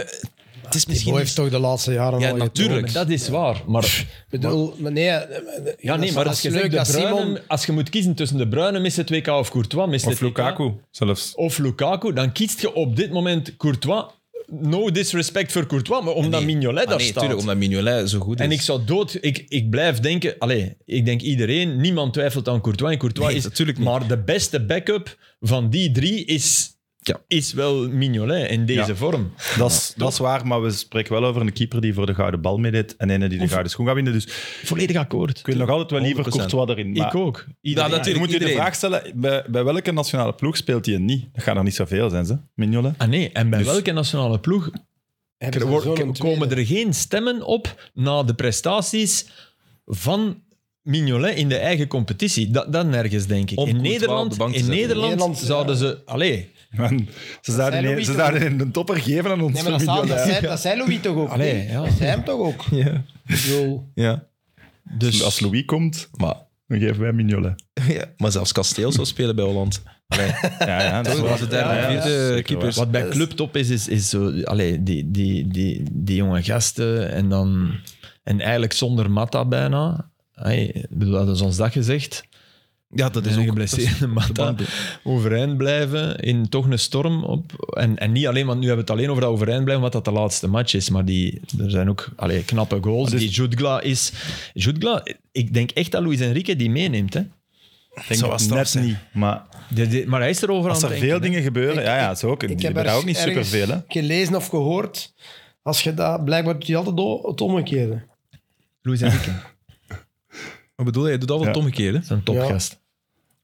Speaker 1: het is
Speaker 2: Die
Speaker 1: misschien...
Speaker 2: boy
Speaker 1: niet-
Speaker 2: heeft toch de laatste jaren
Speaker 1: Ja,
Speaker 2: al getoond.
Speaker 1: natuurlijk.
Speaker 3: Maar dat is waar. Maar,
Speaker 2: Ik bedoel, maar nee, eh,
Speaker 3: ja, nee, maar
Speaker 2: dat
Speaker 3: als
Speaker 2: is
Speaker 3: je,
Speaker 2: leuk
Speaker 3: zegt
Speaker 2: dat
Speaker 3: de Bruyne,
Speaker 2: Simon...
Speaker 3: als je moet kiezen tussen de Bruyne, mist het WK of Courtois, mist
Speaker 4: of
Speaker 3: het WK,
Speaker 4: Lukaku zelfs.
Speaker 3: of Lukaku, dan kiest je op dit moment Courtois. No disrespect voor Courtois, maar omdat
Speaker 1: Nee.
Speaker 3: Mignolet
Speaker 1: Ah,
Speaker 3: daar
Speaker 1: nee,
Speaker 3: staat.
Speaker 1: tuurlijk, omdat Mignolet zo goed is. Nou,
Speaker 3: En ik zou dood... Ik, ik blijf denken... Allee, ik denk iedereen, niemand twijfelt aan Courtois. En Courtois
Speaker 1: Nee,
Speaker 3: is...
Speaker 1: natuurlijk niet.
Speaker 3: Maar de beste backup van die drie is...
Speaker 1: Ja.
Speaker 3: Is wel Mignolet in deze
Speaker 4: Ja.
Speaker 3: vorm.
Speaker 4: Dat is, dat is waar, maar we spreken wel over een keeper die voor de gouden bal meedeed en een die de gouden schoen gaat winnen. Dus ik
Speaker 3: Volledig akkoord.
Speaker 4: wil nog altijd wel liever
Speaker 1: 100%.
Speaker 4: Courtois erin. Maar
Speaker 3: ik ook.
Speaker 1: Ja,
Speaker 4: je
Speaker 1: natuurlijk,
Speaker 4: moet je de
Speaker 1: iedereen.
Speaker 4: vraag stellen, bij, bij welke nationale ploeg speelt hij niet? Dat gaan er niet zoveel zijn, ze. Mignolet.
Speaker 3: Ah nee, en bij
Speaker 4: Dus-
Speaker 3: welke nationale ploeg
Speaker 2: Hebben
Speaker 3: er
Speaker 2: ze
Speaker 3: wordt-
Speaker 2: zo'n tweede?
Speaker 3: komen er geen stemmen op na de prestaties van Mignolet in de eigen competitie? Dat, dat nergens, denk ik.
Speaker 1: Om
Speaker 3: in
Speaker 1: Courtois op
Speaker 3: Nederland,
Speaker 1: de bank te
Speaker 3: in
Speaker 1: zetten.
Speaker 3: Nederland,
Speaker 2: Nederland, ja.
Speaker 3: zouden ze... Allee,
Speaker 4: Man, ze
Speaker 2: zijn
Speaker 4: zouden,
Speaker 2: Louis
Speaker 4: een, ze
Speaker 2: toch
Speaker 4: zouden een topper geven aan ons.
Speaker 2: Nee, maar dat,
Speaker 4: Mignolet.
Speaker 2: zei, dat, zei, dat zei Louis toch ook?
Speaker 3: Allee,
Speaker 2: nee?
Speaker 3: ja.
Speaker 2: Dat zei hem toch ook?
Speaker 1: Ja.
Speaker 2: Ik bedoel,
Speaker 1: ja.
Speaker 4: Dus als Louis komt,
Speaker 1: Maar,
Speaker 4: dan geven wij Mignolet.
Speaker 1: ja. maar zelfs Kasteel zou spelen bij Holland.
Speaker 4: Ja, ja, dat is
Speaker 1: Toen
Speaker 4: waar.
Speaker 1: was de derde
Speaker 4: Ja, ja,
Speaker 1: en
Speaker 4: zeker
Speaker 1: vierde
Speaker 4: waar.
Speaker 1: keepers.
Speaker 3: Wat
Speaker 4: eh,
Speaker 3: bij Club top is, is, is zo, allee, die, die, die, die jonge gasten en dan en eigenlijk zonder Matta bijna. Hey, ik bedoel, dat is ons dag gezegd.
Speaker 1: Ja, dat
Speaker 3: Dus
Speaker 1: is
Speaker 3: een
Speaker 1: ook...
Speaker 3: geblesseerde Matta overeind blijven in toch een storm op. En, en niet alleen, want nu hebben we het alleen over dat overeind blijven, wat dat de laatste match is. Maar die, er zijn ook allee, knappe goals.
Speaker 4: Dus-
Speaker 3: die Jutgla is... Jutgla, ik denk echt dat Luis Enrique die meeneemt. Hè.
Speaker 4: Ik denk
Speaker 1: Zou wel straf
Speaker 4: net
Speaker 1: zijn.
Speaker 4: niet, maar...
Speaker 3: Die- die- maar hij is er overal
Speaker 4: Als
Speaker 3: aan
Speaker 4: er
Speaker 3: het
Speaker 4: veel
Speaker 3: denken, hè.
Speaker 4: dingen gebeuren, ja, ja, zo ook.
Speaker 2: ik
Speaker 4: Die
Speaker 2: heb
Speaker 4: hebben daar ook
Speaker 2: ergens-
Speaker 4: niet
Speaker 2: ergens
Speaker 4: superveel, hè.
Speaker 2: gelezen of gehoord. Als je dat, blijkbaar doet hij altijd o- het omgekeerde.
Speaker 3: Luis Enrique, dat
Speaker 1: Wat bedoel je? Je doet altijd het
Speaker 4: Ja.
Speaker 1: omgekeerde.
Speaker 3: is een topgast.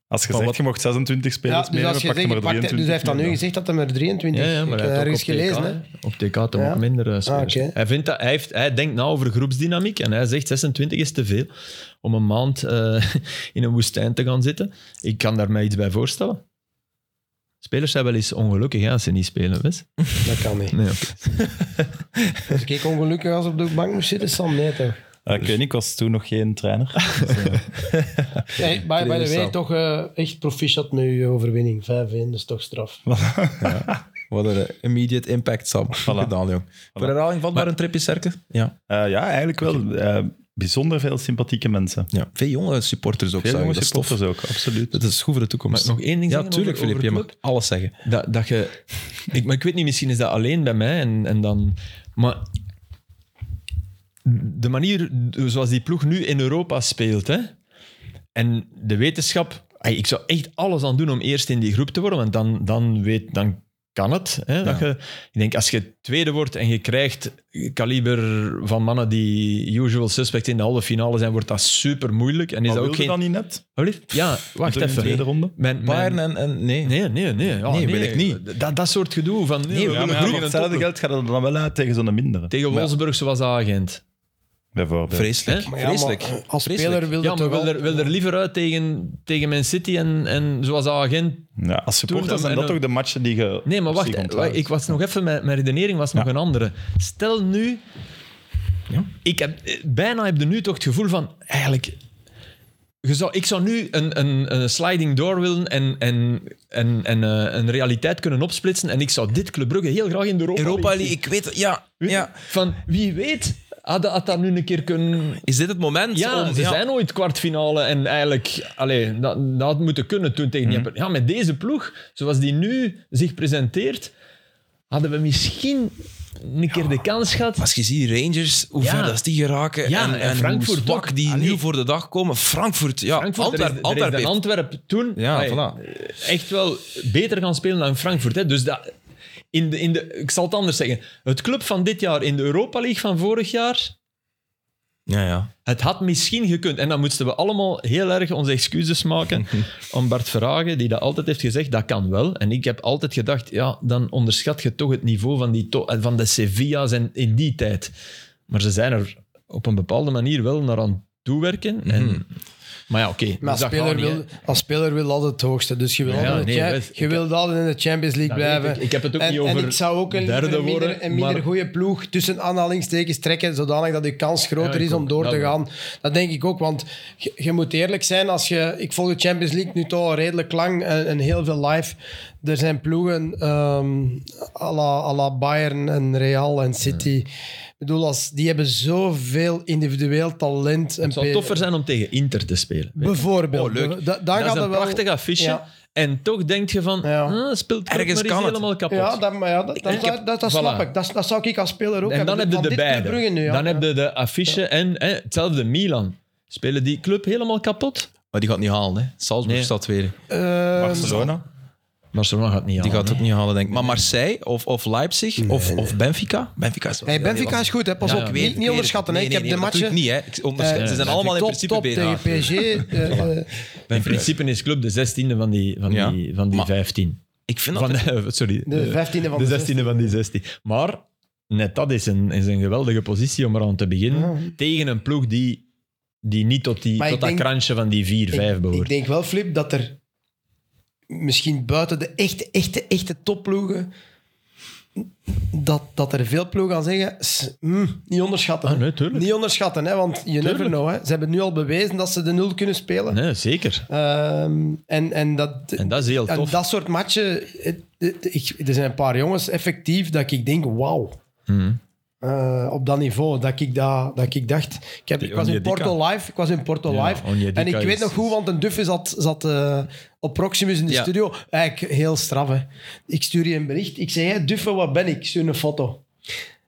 Speaker 4: Als je
Speaker 1: Maar
Speaker 4: zegt,
Speaker 1: wat-
Speaker 4: je mocht 26
Speaker 2: Ja,
Speaker 4: spelers
Speaker 2: dus,
Speaker 4: meenemen,
Speaker 2: als je
Speaker 4: pak je
Speaker 2: zegt,
Speaker 4: maar
Speaker 2: ik pak
Speaker 4: 23.
Speaker 2: de- dus hij heeft dan nu gezegd dat hij er 23
Speaker 3: Ja, ja, maar
Speaker 2: ik
Speaker 3: hij
Speaker 2: heb
Speaker 3: heeft
Speaker 2: ergens
Speaker 3: ook op TK,
Speaker 2: gelezen. hè.
Speaker 3: hè. Op TK had hij
Speaker 2: Ja.
Speaker 3: ook minder eh, spelers.
Speaker 2: Ah, oké.
Speaker 3: hij, vindt dat, hij, heeft, hij denkt na over groepsdynamiek en hij zegt 26 is te veel om een maand eh, in een woestijn te gaan zitten. Ik kan daar mij iets bij voorstellen. Spelers zijn wel eens ongelukkig hè, als ze niet spelen, wist?
Speaker 2: Dat kan niet.
Speaker 3: Nee, oké.
Speaker 2: Dus ik ongelukkig als op de bank moest zitten, Sam, nee toch.
Speaker 4: Eh, ik weet niet, ik was toen nog geen trainer.
Speaker 2: Hey, by, by the way,
Speaker 1: Sam.
Speaker 2: toch eh, echt proficiat met je overwinning. 5-1, dat is toch straf.
Speaker 1: Wat een eh, immediate impact, Sam. Gedaan, jong. Voor herhaling vatbaar een tripje, Serke? Ja.
Speaker 4: Eh, ja, eigenlijk wel eh, bijzonder veel sympathieke mensen.
Speaker 1: ja. Veel jonge supporters ook,
Speaker 4: Veel
Speaker 1: zou je.
Speaker 4: jonge
Speaker 1: Dat is tof.
Speaker 4: supporters ook, absoluut.
Speaker 1: Dat is goed voor de toekomst.
Speaker 3: Mag ik nog één ding
Speaker 1: ja,
Speaker 3: zeggen
Speaker 1: tuurlijk,
Speaker 3: over-
Speaker 1: Filip.
Speaker 3: over
Speaker 1: Je
Speaker 3: de
Speaker 1: mag alles zeggen.
Speaker 3: Dat, dat je... Ik, maar ik weet niet, misschien is dat alleen bij mij en, en dan... Maar de manier zoals die ploeg nu in Europa speelt, hè. En de wetenschap... ey, Ik zou echt alles aan doen om eerst in die groep te worden, want dan, dan, weet, dan kan het. Hè, dat je, ik denk, als je tweede wordt en je krijgt kaliber van mannen die usual suspect in de halve finale zijn, wordt dat super moeilijk. En is
Speaker 4: Maar
Speaker 3: dat
Speaker 4: wilde
Speaker 3: ook geen...
Speaker 4: dat niet net?
Speaker 3: Alsjeblieft. Ja, wacht
Speaker 4: Toen in de
Speaker 3: even.
Speaker 4: tweede ronde?
Speaker 3: Mijn, mijn,
Speaker 1: Bayern en... en nee.
Speaker 3: Nee, nee, Ah, nee. Ja,
Speaker 1: Nee, wil ik niet.
Speaker 3: Dat, dat soort gedoe van... Nee, we
Speaker 4: Ja,
Speaker 3: willen
Speaker 4: maar
Speaker 3: groeien
Speaker 4: voor
Speaker 3: en
Speaker 4: hetzelfde
Speaker 3: toppen.
Speaker 4: geld gaat het dan wel uit tegen zo'n mindere.
Speaker 3: Tegen Wolfsburg, zoals de agent.
Speaker 4: Bijvoorbeeld.
Speaker 1: Vreselijk.
Speaker 2: Maar ja, maar
Speaker 1: Vreselijk.
Speaker 2: als
Speaker 1: Vreselijk.
Speaker 2: speler wil je
Speaker 3: Ja, maar
Speaker 2: toch
Speaker 3: wil
Speaker 2: wel-
Speaker 3: er, wil er liever uit tegen, tegen Man City en, en zoals de agent...
Speaker 4: Ja, als
Speaker 3: Toen
Speaker 4: supporters
Speaker 3: dan-
Speaker 4: zijn dat
Speaker 3: en-
Speaker 4: toch de matchen die je...
Speaker 3: Nee, maar
Speaker 4: op zich
Speaker 3: wacht. eh,
Speaker 4: onthoudt.
Speaker 3: Ik was nog even... Mijn, mijn redenering was nog een andere. Stel nu...
Speaker 1: Ja.
Speaker 3: Ik heb, eh, bijna heb je nu toch het gevoel van... Eigenlijk... Je zou, ik zou nu een, een, een sliding door willen en, en, en, en eh, een realiteit kunnen opsplitsen. En ik zou dit Club Brugge heel graag in de Europa,
Speaker 1: Europa
Speaker 3: League
Speaker 1: League, ik weet het. Ja,
Speaker 3: Weet je?
Speaker 1: ja.
Speaker 3: Van wie weet, had, had dat nu een keer kunnen.
Speaker 1: Is dit het moment
Speaker 3: Ja,
Speaker 1: om...
Speaker 3: ze
Speaker 1: ja.
Speaker 3: zijn ooit kwartfinale en eigenlijk allee, dat, dat had moeten kunnen toen tegen
Speaker 1: Mhm.
Speaker 3: Dieppe. Ja, met deze ploeg, zoals die nu zich presenteert, hadden we misschien een keer de kans gehad.
Speaker 1: Als je ziet Rangers, hoe
Speaker 3: Ja.
Speaker 1: ver dat die geraken
Speaker 3: Ja,
Speaker 1: en,
Speaker 3: en Frankfurt
Speaker 1: hoe zwak
Speaker 3: ook.
Speaker 1: die
Speaker 3: Allee.
Speaker 1: nu voor de dag komen. Frankfurt, ja,
Speaker 3: Frankfurt, er is-
Speaker 1: Antwerp,
Speaker 3: er
Speaker 1: Antwerp
Speaker 3: is
Speaker 1: heeft-
Speaker 3: dan Antwerpen toen
Speaker 1: Ja,
Speaker 3: allee,
Speaker 1: voilà.
Speaker 3: echt wel beter gaan spelen dan Frankfurt. Hè. Dus dat, in de, in de, ik zal het anders zeggen. Het club van dit jaar in de Europa League van vorig jaar,
Speaker 1: Ja, ja.
Speaker 3: het had misschien gekund. En dan moesten we allemaal heel erg onze excuses maken aan Bart Verhagen, die dat altijd heeft gezegd, dat kan wel. En ik heb altijd gedacht, ja, dan onderschat je toch het niveau van, die to- eh, van de Sevilla's en in die tijd. Maar ze zijn er op een bepaalde manier wel naar aan toewerken. En,
Speaker 1: Mhm.
Speaker 3: Maar ja, oké.
Speaker 2: Maar als
Speaker 3: dus dat
Speaker 2: speler,
Speaker 3: gaat niet, hè.
Speaker 2: wil, als speler wil altijd het hoogste. Dus je wil,
Speaker 3: Ja,
Speaker 2: altijd,
Speaker 3: nee,
Speaker 2: ja,
Speaker 3: best.
Speaker 2: je
Speaker 3: Ik-
Speaker 2: wil altijd in de Champions League
Speaker 3: Dat
Speaker 2: blijven.
Speaker 3: weet Ik. Ik heb het ook
Speaker 2: en,
Speaker 3: niet
Speaker 2: en
Speaker 3: over
Speaker 2: ik zou ook een,
Speaker 3: derde
Speaker 2: een minder,
Speaker 3: worden,
Speaker 2: een minder
Speaker 3: maar-
Speaker 2: goede ploeg tussen aanhalingstekens trekken, zodanig dat je kans
Speaker 3: Ja,
Speaker 2: groter
Speaker 3: ik
Speaker 2: is om
Speaker 3: ook.
Speaker 2: door
Speaker 3: Ja,
Speaker 2: te
Speaker 3: ja.
Speaker 2: gaan. Dat denk ik ook, want je, je moet eerlijk zijn. Als je, ik volg de Champions League nu toch al redelijk lang en, en heel veel live. Er zijn ploegen ehm à, la, à la Bayern en Real en City. Ik bedoel, als, die hebben zoveel individueel talent. en
Speaker 3: Het zou
Speaker 2: pe-
Speaker 3: toffer zijn om tegen Inter te spelen.
Speaker 2: Bijvoorbeeld.
Speaker 3: Oh, leuk.
Speaker 2: Da- daar
Speaker 3: dat
Speaker 2: gaat
Speaker 3: is een
Speaker 2: het wel-
Speaker 3: prachtig affiche.
Speaker 2: Ja.
Speaker 3: En toch denk je van,
Speaker 2: Ja.
Speaker 3: ah, speelt Klopp
Speaker 1: Ergens
Speaker 3: maar eens
Speaker 1: kan het.
Speaker 3: helemaal kapot.
Speaker 2: Ja, dat, maar ja, dat, dat,
Speaker 3: Ik heb-
Speaker 2: dat, dat snap
Speaker 3: voilà.
Speaker 2: ik. Dat, dat zou ik als speler ook
Speaker 3: en
Speaker 2: hebben.
Speaker 3: dan heb je
Speaker 2: Van
Speaker 3: de
Speaker 2: dit Club
Speaker 3: beide.
Speaker 2: Brugge nu, ja.
Speaker 3: Dan heb
Speaker 2: Ja.
Speaker 3: je de affiche en hè, hetzelfde Milan. Spelen die club helemaal kapot?
Speaker 1: Maar die gaat het niet halen, hè. Salzburg
Speaker 3: Nee.
Speaker 1: staat weer.
Speaker 3: ehm,
Speaker 2: Eh,
Speaker 4: Barcelona?
Speaker 3: Barcelona gaat het niet
Speaker 1: Die
Speaker 3: halen,
Speaker 1: gaat het ook niet halen, denk ik. Maar Marseille of, of Leipzig of, of Benfica? Benfica is wel
Speaker 2: hey,
Speaker 1: heel
Speaker 2: Benfica
Speaker 1: lastig.
Speaker 2: is goed, hè. pas
Speaker 3: Ja,
Speaker 2: op.
Speaker 3: ja,
Speaker 1: Weet
Speaker 2: niet, niet
Speaker 1: weet
Speaker 2: onderschatten. hè.
Speaker 1: Nee,
Speaker 2: ik heb
Speaker 1: nee,
Speaker 2: de
Speaker 1: nee,
Speaker 2: matchen
Speaker 1: natuurlijk niet, hè. Ik onderschat.
Speaker 2: Eh,
Speaker 1: Ze zijn allemaal in
Speaker 2: top,
Speaker 1: principe
Speaker 2: top tegen
Speaker 1: beter.
Speaker 2: PSG. eh, eh,
Speaker 3: In principe is club de 16e van die, van
Speaker 1: Ja.
Speaker 3: die, van die
Speaker 1: Maar-
Speaker 3: 15.
Speaker 1: Ik vind dat
Speaker 3: Van, eh, sorry,
Speaker 2: de 15e van
Speaker 3: de
Speaker 2: de
Speaker 3: 16e van die 16. Maar net dat is een, is een geweldige positie om eraan te beginnen. Tegen een ploeg die, die niet tot, die,
Speaker 2: Maar
Speaker 3: tot
Speaker 2: ik
Speaker 3: dat
Speaker 2: denk-
Speaker 3: kransje van die 4, 5
Speaker 2: Ik,
Speaker 3: behoort.
Speaker 2: ik denk wel, Flip, dat er misschien buiten de echte, echte, echte topploegen... Dat, dat er veel ploegen gaan zeggen, "S- mm, niet onderschatten.
Speaker 3: Ah, nee, tuurlijk.
Speaker 2: niet onderschatten, hè, want je never
Speaker 3: Tuurlijk.
Speaker 2: know. Hè. Ze hebben nu al bewezen dat ze de nul kunnen spelen.
Speaker 3: nee, zeker.
Speaker 2: Ehm, en, en, dat,
Speaker 3: En dat is heel
Speaker 2: en
Speaker 3: tof.
Speaker 2: dat soort matchen, het- het- ik- er zijn een paar jongens effectief dat ik denk, wauw.
Speaker 3: Mhm.
Speaker 2: Eh, op dat niveau, dat ik, dat, dat ik dacht... Ik, heb, ik was in
Speaker 4: Onyedika.
Speaker 2: Porto Live, ik was in Porto
Speaker 3: Ja,
Speaker 2: Live
Speaker 3: Onyedika
Speaker 2: en ik weet
Speaker 3: is-
Speaker 2: nog goed, want een duffe zat, zat eh, op Proximus in de
Speaker 1: Ja.
Speaker 2: studio. Eigenlijk heel straf, hè. Ik stuur je een bericht. Ik zei, hey, duffe, wat ben ik? Ik stuur een foto.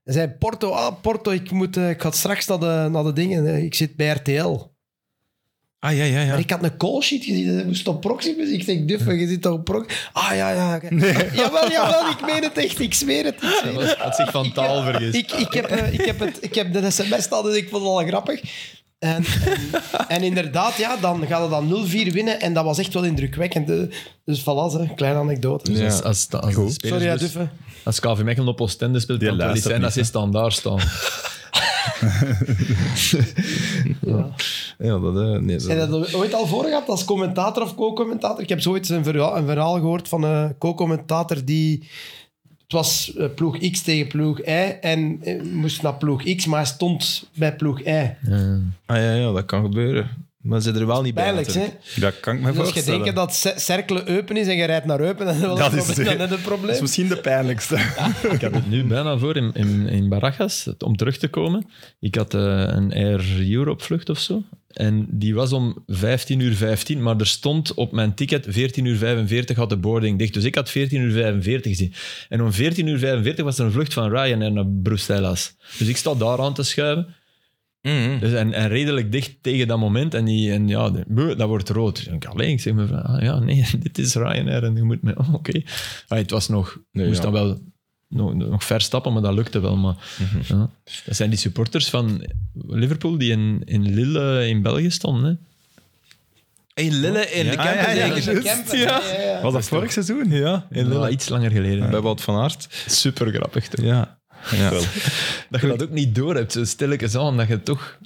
Speaker 2: Hij zei, Porto, ah, Porto, ik, moet, eh, ik ga straks naar de, naar de dingen. Ik zit bij RTL.
Speaker 1: Ah, ja, ja, ja.
Speaker 2: Maar ik had een call sheet gezien. dat moest op Proximus. Ik zeg, Duffen, je zit toch op Proximus? Ah, ja, ja. oké. Jawel, jawel, ik meen het echt. Ik zweer het. Ik, zweer het.
Speaker 3: Had zich van taal vergist.
Speaker 2: ik, ik, heb, eh, ik, heb, het, ik heb de sms al, dus ik vond het al grappig. En, en, en inderdaad, ja, dan gaat het dan 0-4 winnen. En dat was echt wel indrukwekkend. eh. Dus voilà, hè, kleine anekdote.
Speaker 3: Dus
Speaker 1: Ja.
Speaker 3: als, als, als, de spelers
Speaker 2: Sorry, ja,
Speaker 3: dus-
Speaker 2: Duffen.
Speaker 3: als KV Mechelen op Oostende speelt,
Speaker 4: Die
Speaker 3: kan het wel eens
Speaker 4: luistert
Speaker 3: zijn dat ze
Speaker 4: niet,
Speaker 3: standaard staan.
Speaker 1: ja dat, eh, nee, dat-
Speaker 2: Heb je dat ooit al voor gehad als commentator of co-commentator? Ik heb zoiets een verhaal, een verhaal gehoord van een co-commentator die... Het was eh, ploeg X tegen ploeg Y en eh, moest naar ploeg X, maar hij stond bij ploeg Y.
Speaker 1: Ah, ja, ja, dat kan gebeuren. Maar ze zijn er wel niet bij.
Speaker 2: Pijnlijk, hè?
Speaker 1: natuurlijk.
Speaker 4: Dat kan ik me
Speaker 2: Dus je
Speaker 4: voorstellen.
Speaker 2: denkt dat Cer- Cerkelen Eupen is en je rijdt naar Eupen, dan is
Speaker 4: Dat
Speaker 2: dat
Speaker 4: is-
Speaker 2: is net een
Speaker 4: Dat is
Speaker 2: probleem.
Speaker 4: misschien de pijnlijkste.
Speaker 3: Ik heb het nu bijna voor in, in, in Barajas, het- om terug te komen. Ik had eh, een Air Europe vlucht of zo. En die was om 15 uur 15, maar er stond op mijn ticket 14 uur 45 had de boarding dicht. Dus ik had 14 uur 45 gezien. En om 14 uur 45 was er een vlucht van Ryanair naar Bruxelles. Dus ik sta daar aan te schuiven.
Speaker 1: Mhm.
Speaker 3: Dus en, en redelijk dicht tegen dat moment. En, die, en ja, de- buh, dat wordt rood. Dus ik, alleen, ik zeg me van, ah, ja, nee, dit is Ryanair en je moet me... oh, Oké. Ah, het was nog...
Speaker 1: Nee,
Speaker 3: moest
Speaker 1: ja.
Speaker 3: dan wel nog, nog ver stappen, maar dat lukte wel. Maar, ja. Dat zijn die supporters van Liverpool die in, in Lille in België stonden. Hè.
Speaker 1: In Lille, in de
Speaker 3: Ja,
Speaker 1: camper.
Speaker 4: ja, ja,
Speaker 1: denk ik.
Speaker 4: juist, ja. Was dat vorig seizoen? Ja.
Speaker 3: In Lille. iets langer geleden.
Speaker 1: Bij Wout van Aert.
Speaker 3: Super grappig. toch?
Speaker 1: Ja. ja.
Speaker 4: Wel.
Speaker 3: Dat je dat ook niet door hebt, zo stilletjes aan, dat je toch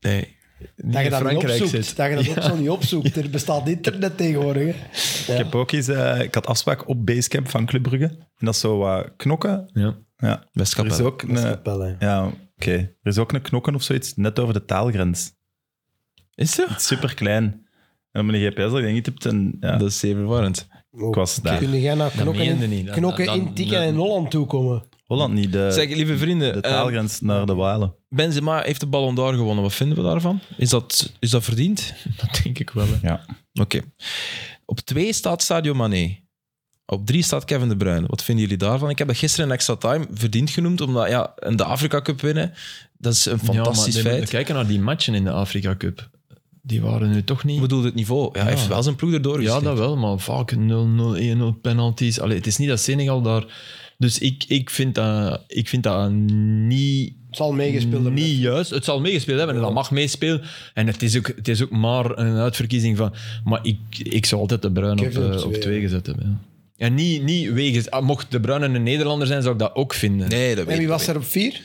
Speaker 1: Nee.
Speaker 3: niet
Speaker 2: Dat je
Speaker 3: in
Speaker 2: dat niet
Speaker 3: Frankrijk
Speaker 2: opzoekt.
Speaker 3: zit.
Speaker 2: Dat je dat ook zo niet opzoekt. Er bestaat internet tegenwoordig. hè.
Speaker 4: Ik heb ook eens... eh, ik had afspraak op Basecamp van Club Brugge. En dat is zo wat knokken.
Speaker 3: Ja.
Speaker 4: Ja.
Speaker 1: Best
Speaker 4: Er is
Speaker 1: kapel.
Speaker 4: ook een... Ja, oké. Er is ook een knokken of zoiets net over de taalgrens.
Speaker 1: Is het?
Speaker 4: Super klein. En op mijn GPS, ik denk niet, je hebt een... Ja,
Speaker 1: Dat is zeer verwarrend.
Speaker 4: Ik was daar.
Speaker 2: Kun jij naar knokken,
Speaker 3: meende
Speaker 2: in-
Speaker 3: niet. Dan-
Speaker 2: knokken
Speaker 3: dan-
Speaker 2: in Tikken
Speaker 3: dan-
Speaker 2: en Holland toekomen?
Speaker 4: Holland niet, de,
Speaker 1: Zeg, lieve
Speaker 4: Eh, de
Speaker 1: vrienden, eh,
Speaker 4: taalgrens naar de Walen.
Speaker 1: Benzema heeft de Ballon d'Or gewonnen. Wat vinden we daarvan? Is dat, is dat verdiend?
Speaker 3: Dat denk ik wel. hè.
Speaker 4: Ja.
Speaker 1: Oké. Op twee staat Sadio Mané. Op drie staat Kevin De Bruyne. Wat vinden jullie daarvan? Ik heb dat gisteren in extra time verdiend genoemd, omdat ja, en de Afrika Cup winnen, dat is een fantastisch
Speaker 3: ja, maar
Speaker 1: feit.
Speaker 3: Kijken naar die matchen in de Afrika Cup. Die waren nu toch
Speaker 1: Ik
Speaker 3: niet...
Speaker 1: bedoel, het niveau. Ja, Hij
Speaker 3: Ja.
Speaker 1: heeft wel zijn ploeg erdoor
Speaker 3: Ja,
Speaker 1: gesleept.
Speaker 3: dat wel, maar vaak 0-0, 1-0 penalties. Allee, het is niet dat Senegal daar... Dus ik, ik, vind, dat, ik vind dat niet
Speaker 2: Het zal meegespeeld hebben.
Speaker 3: Niet juist. Het zal meegespeeld hebben en dat mag meespelen. En het is ook, het is ook maar een uitverkiezing van... Maar ik, ik zou altijd de Bruin op,
Speaker 2: Kevin op
Speaker 3: eh, op
Speaker 2: twee,
Speaker 3: twee gezet hebben. ja. En niet, niet wegens... ah, mocht de Bruin een Nederlander zijn, zou ik dat ook vinden.
Speaker 1: Nee, dat weet,
Speaker 2: En wie
Speaker 1: ik-
Speaker 2: was er op vier?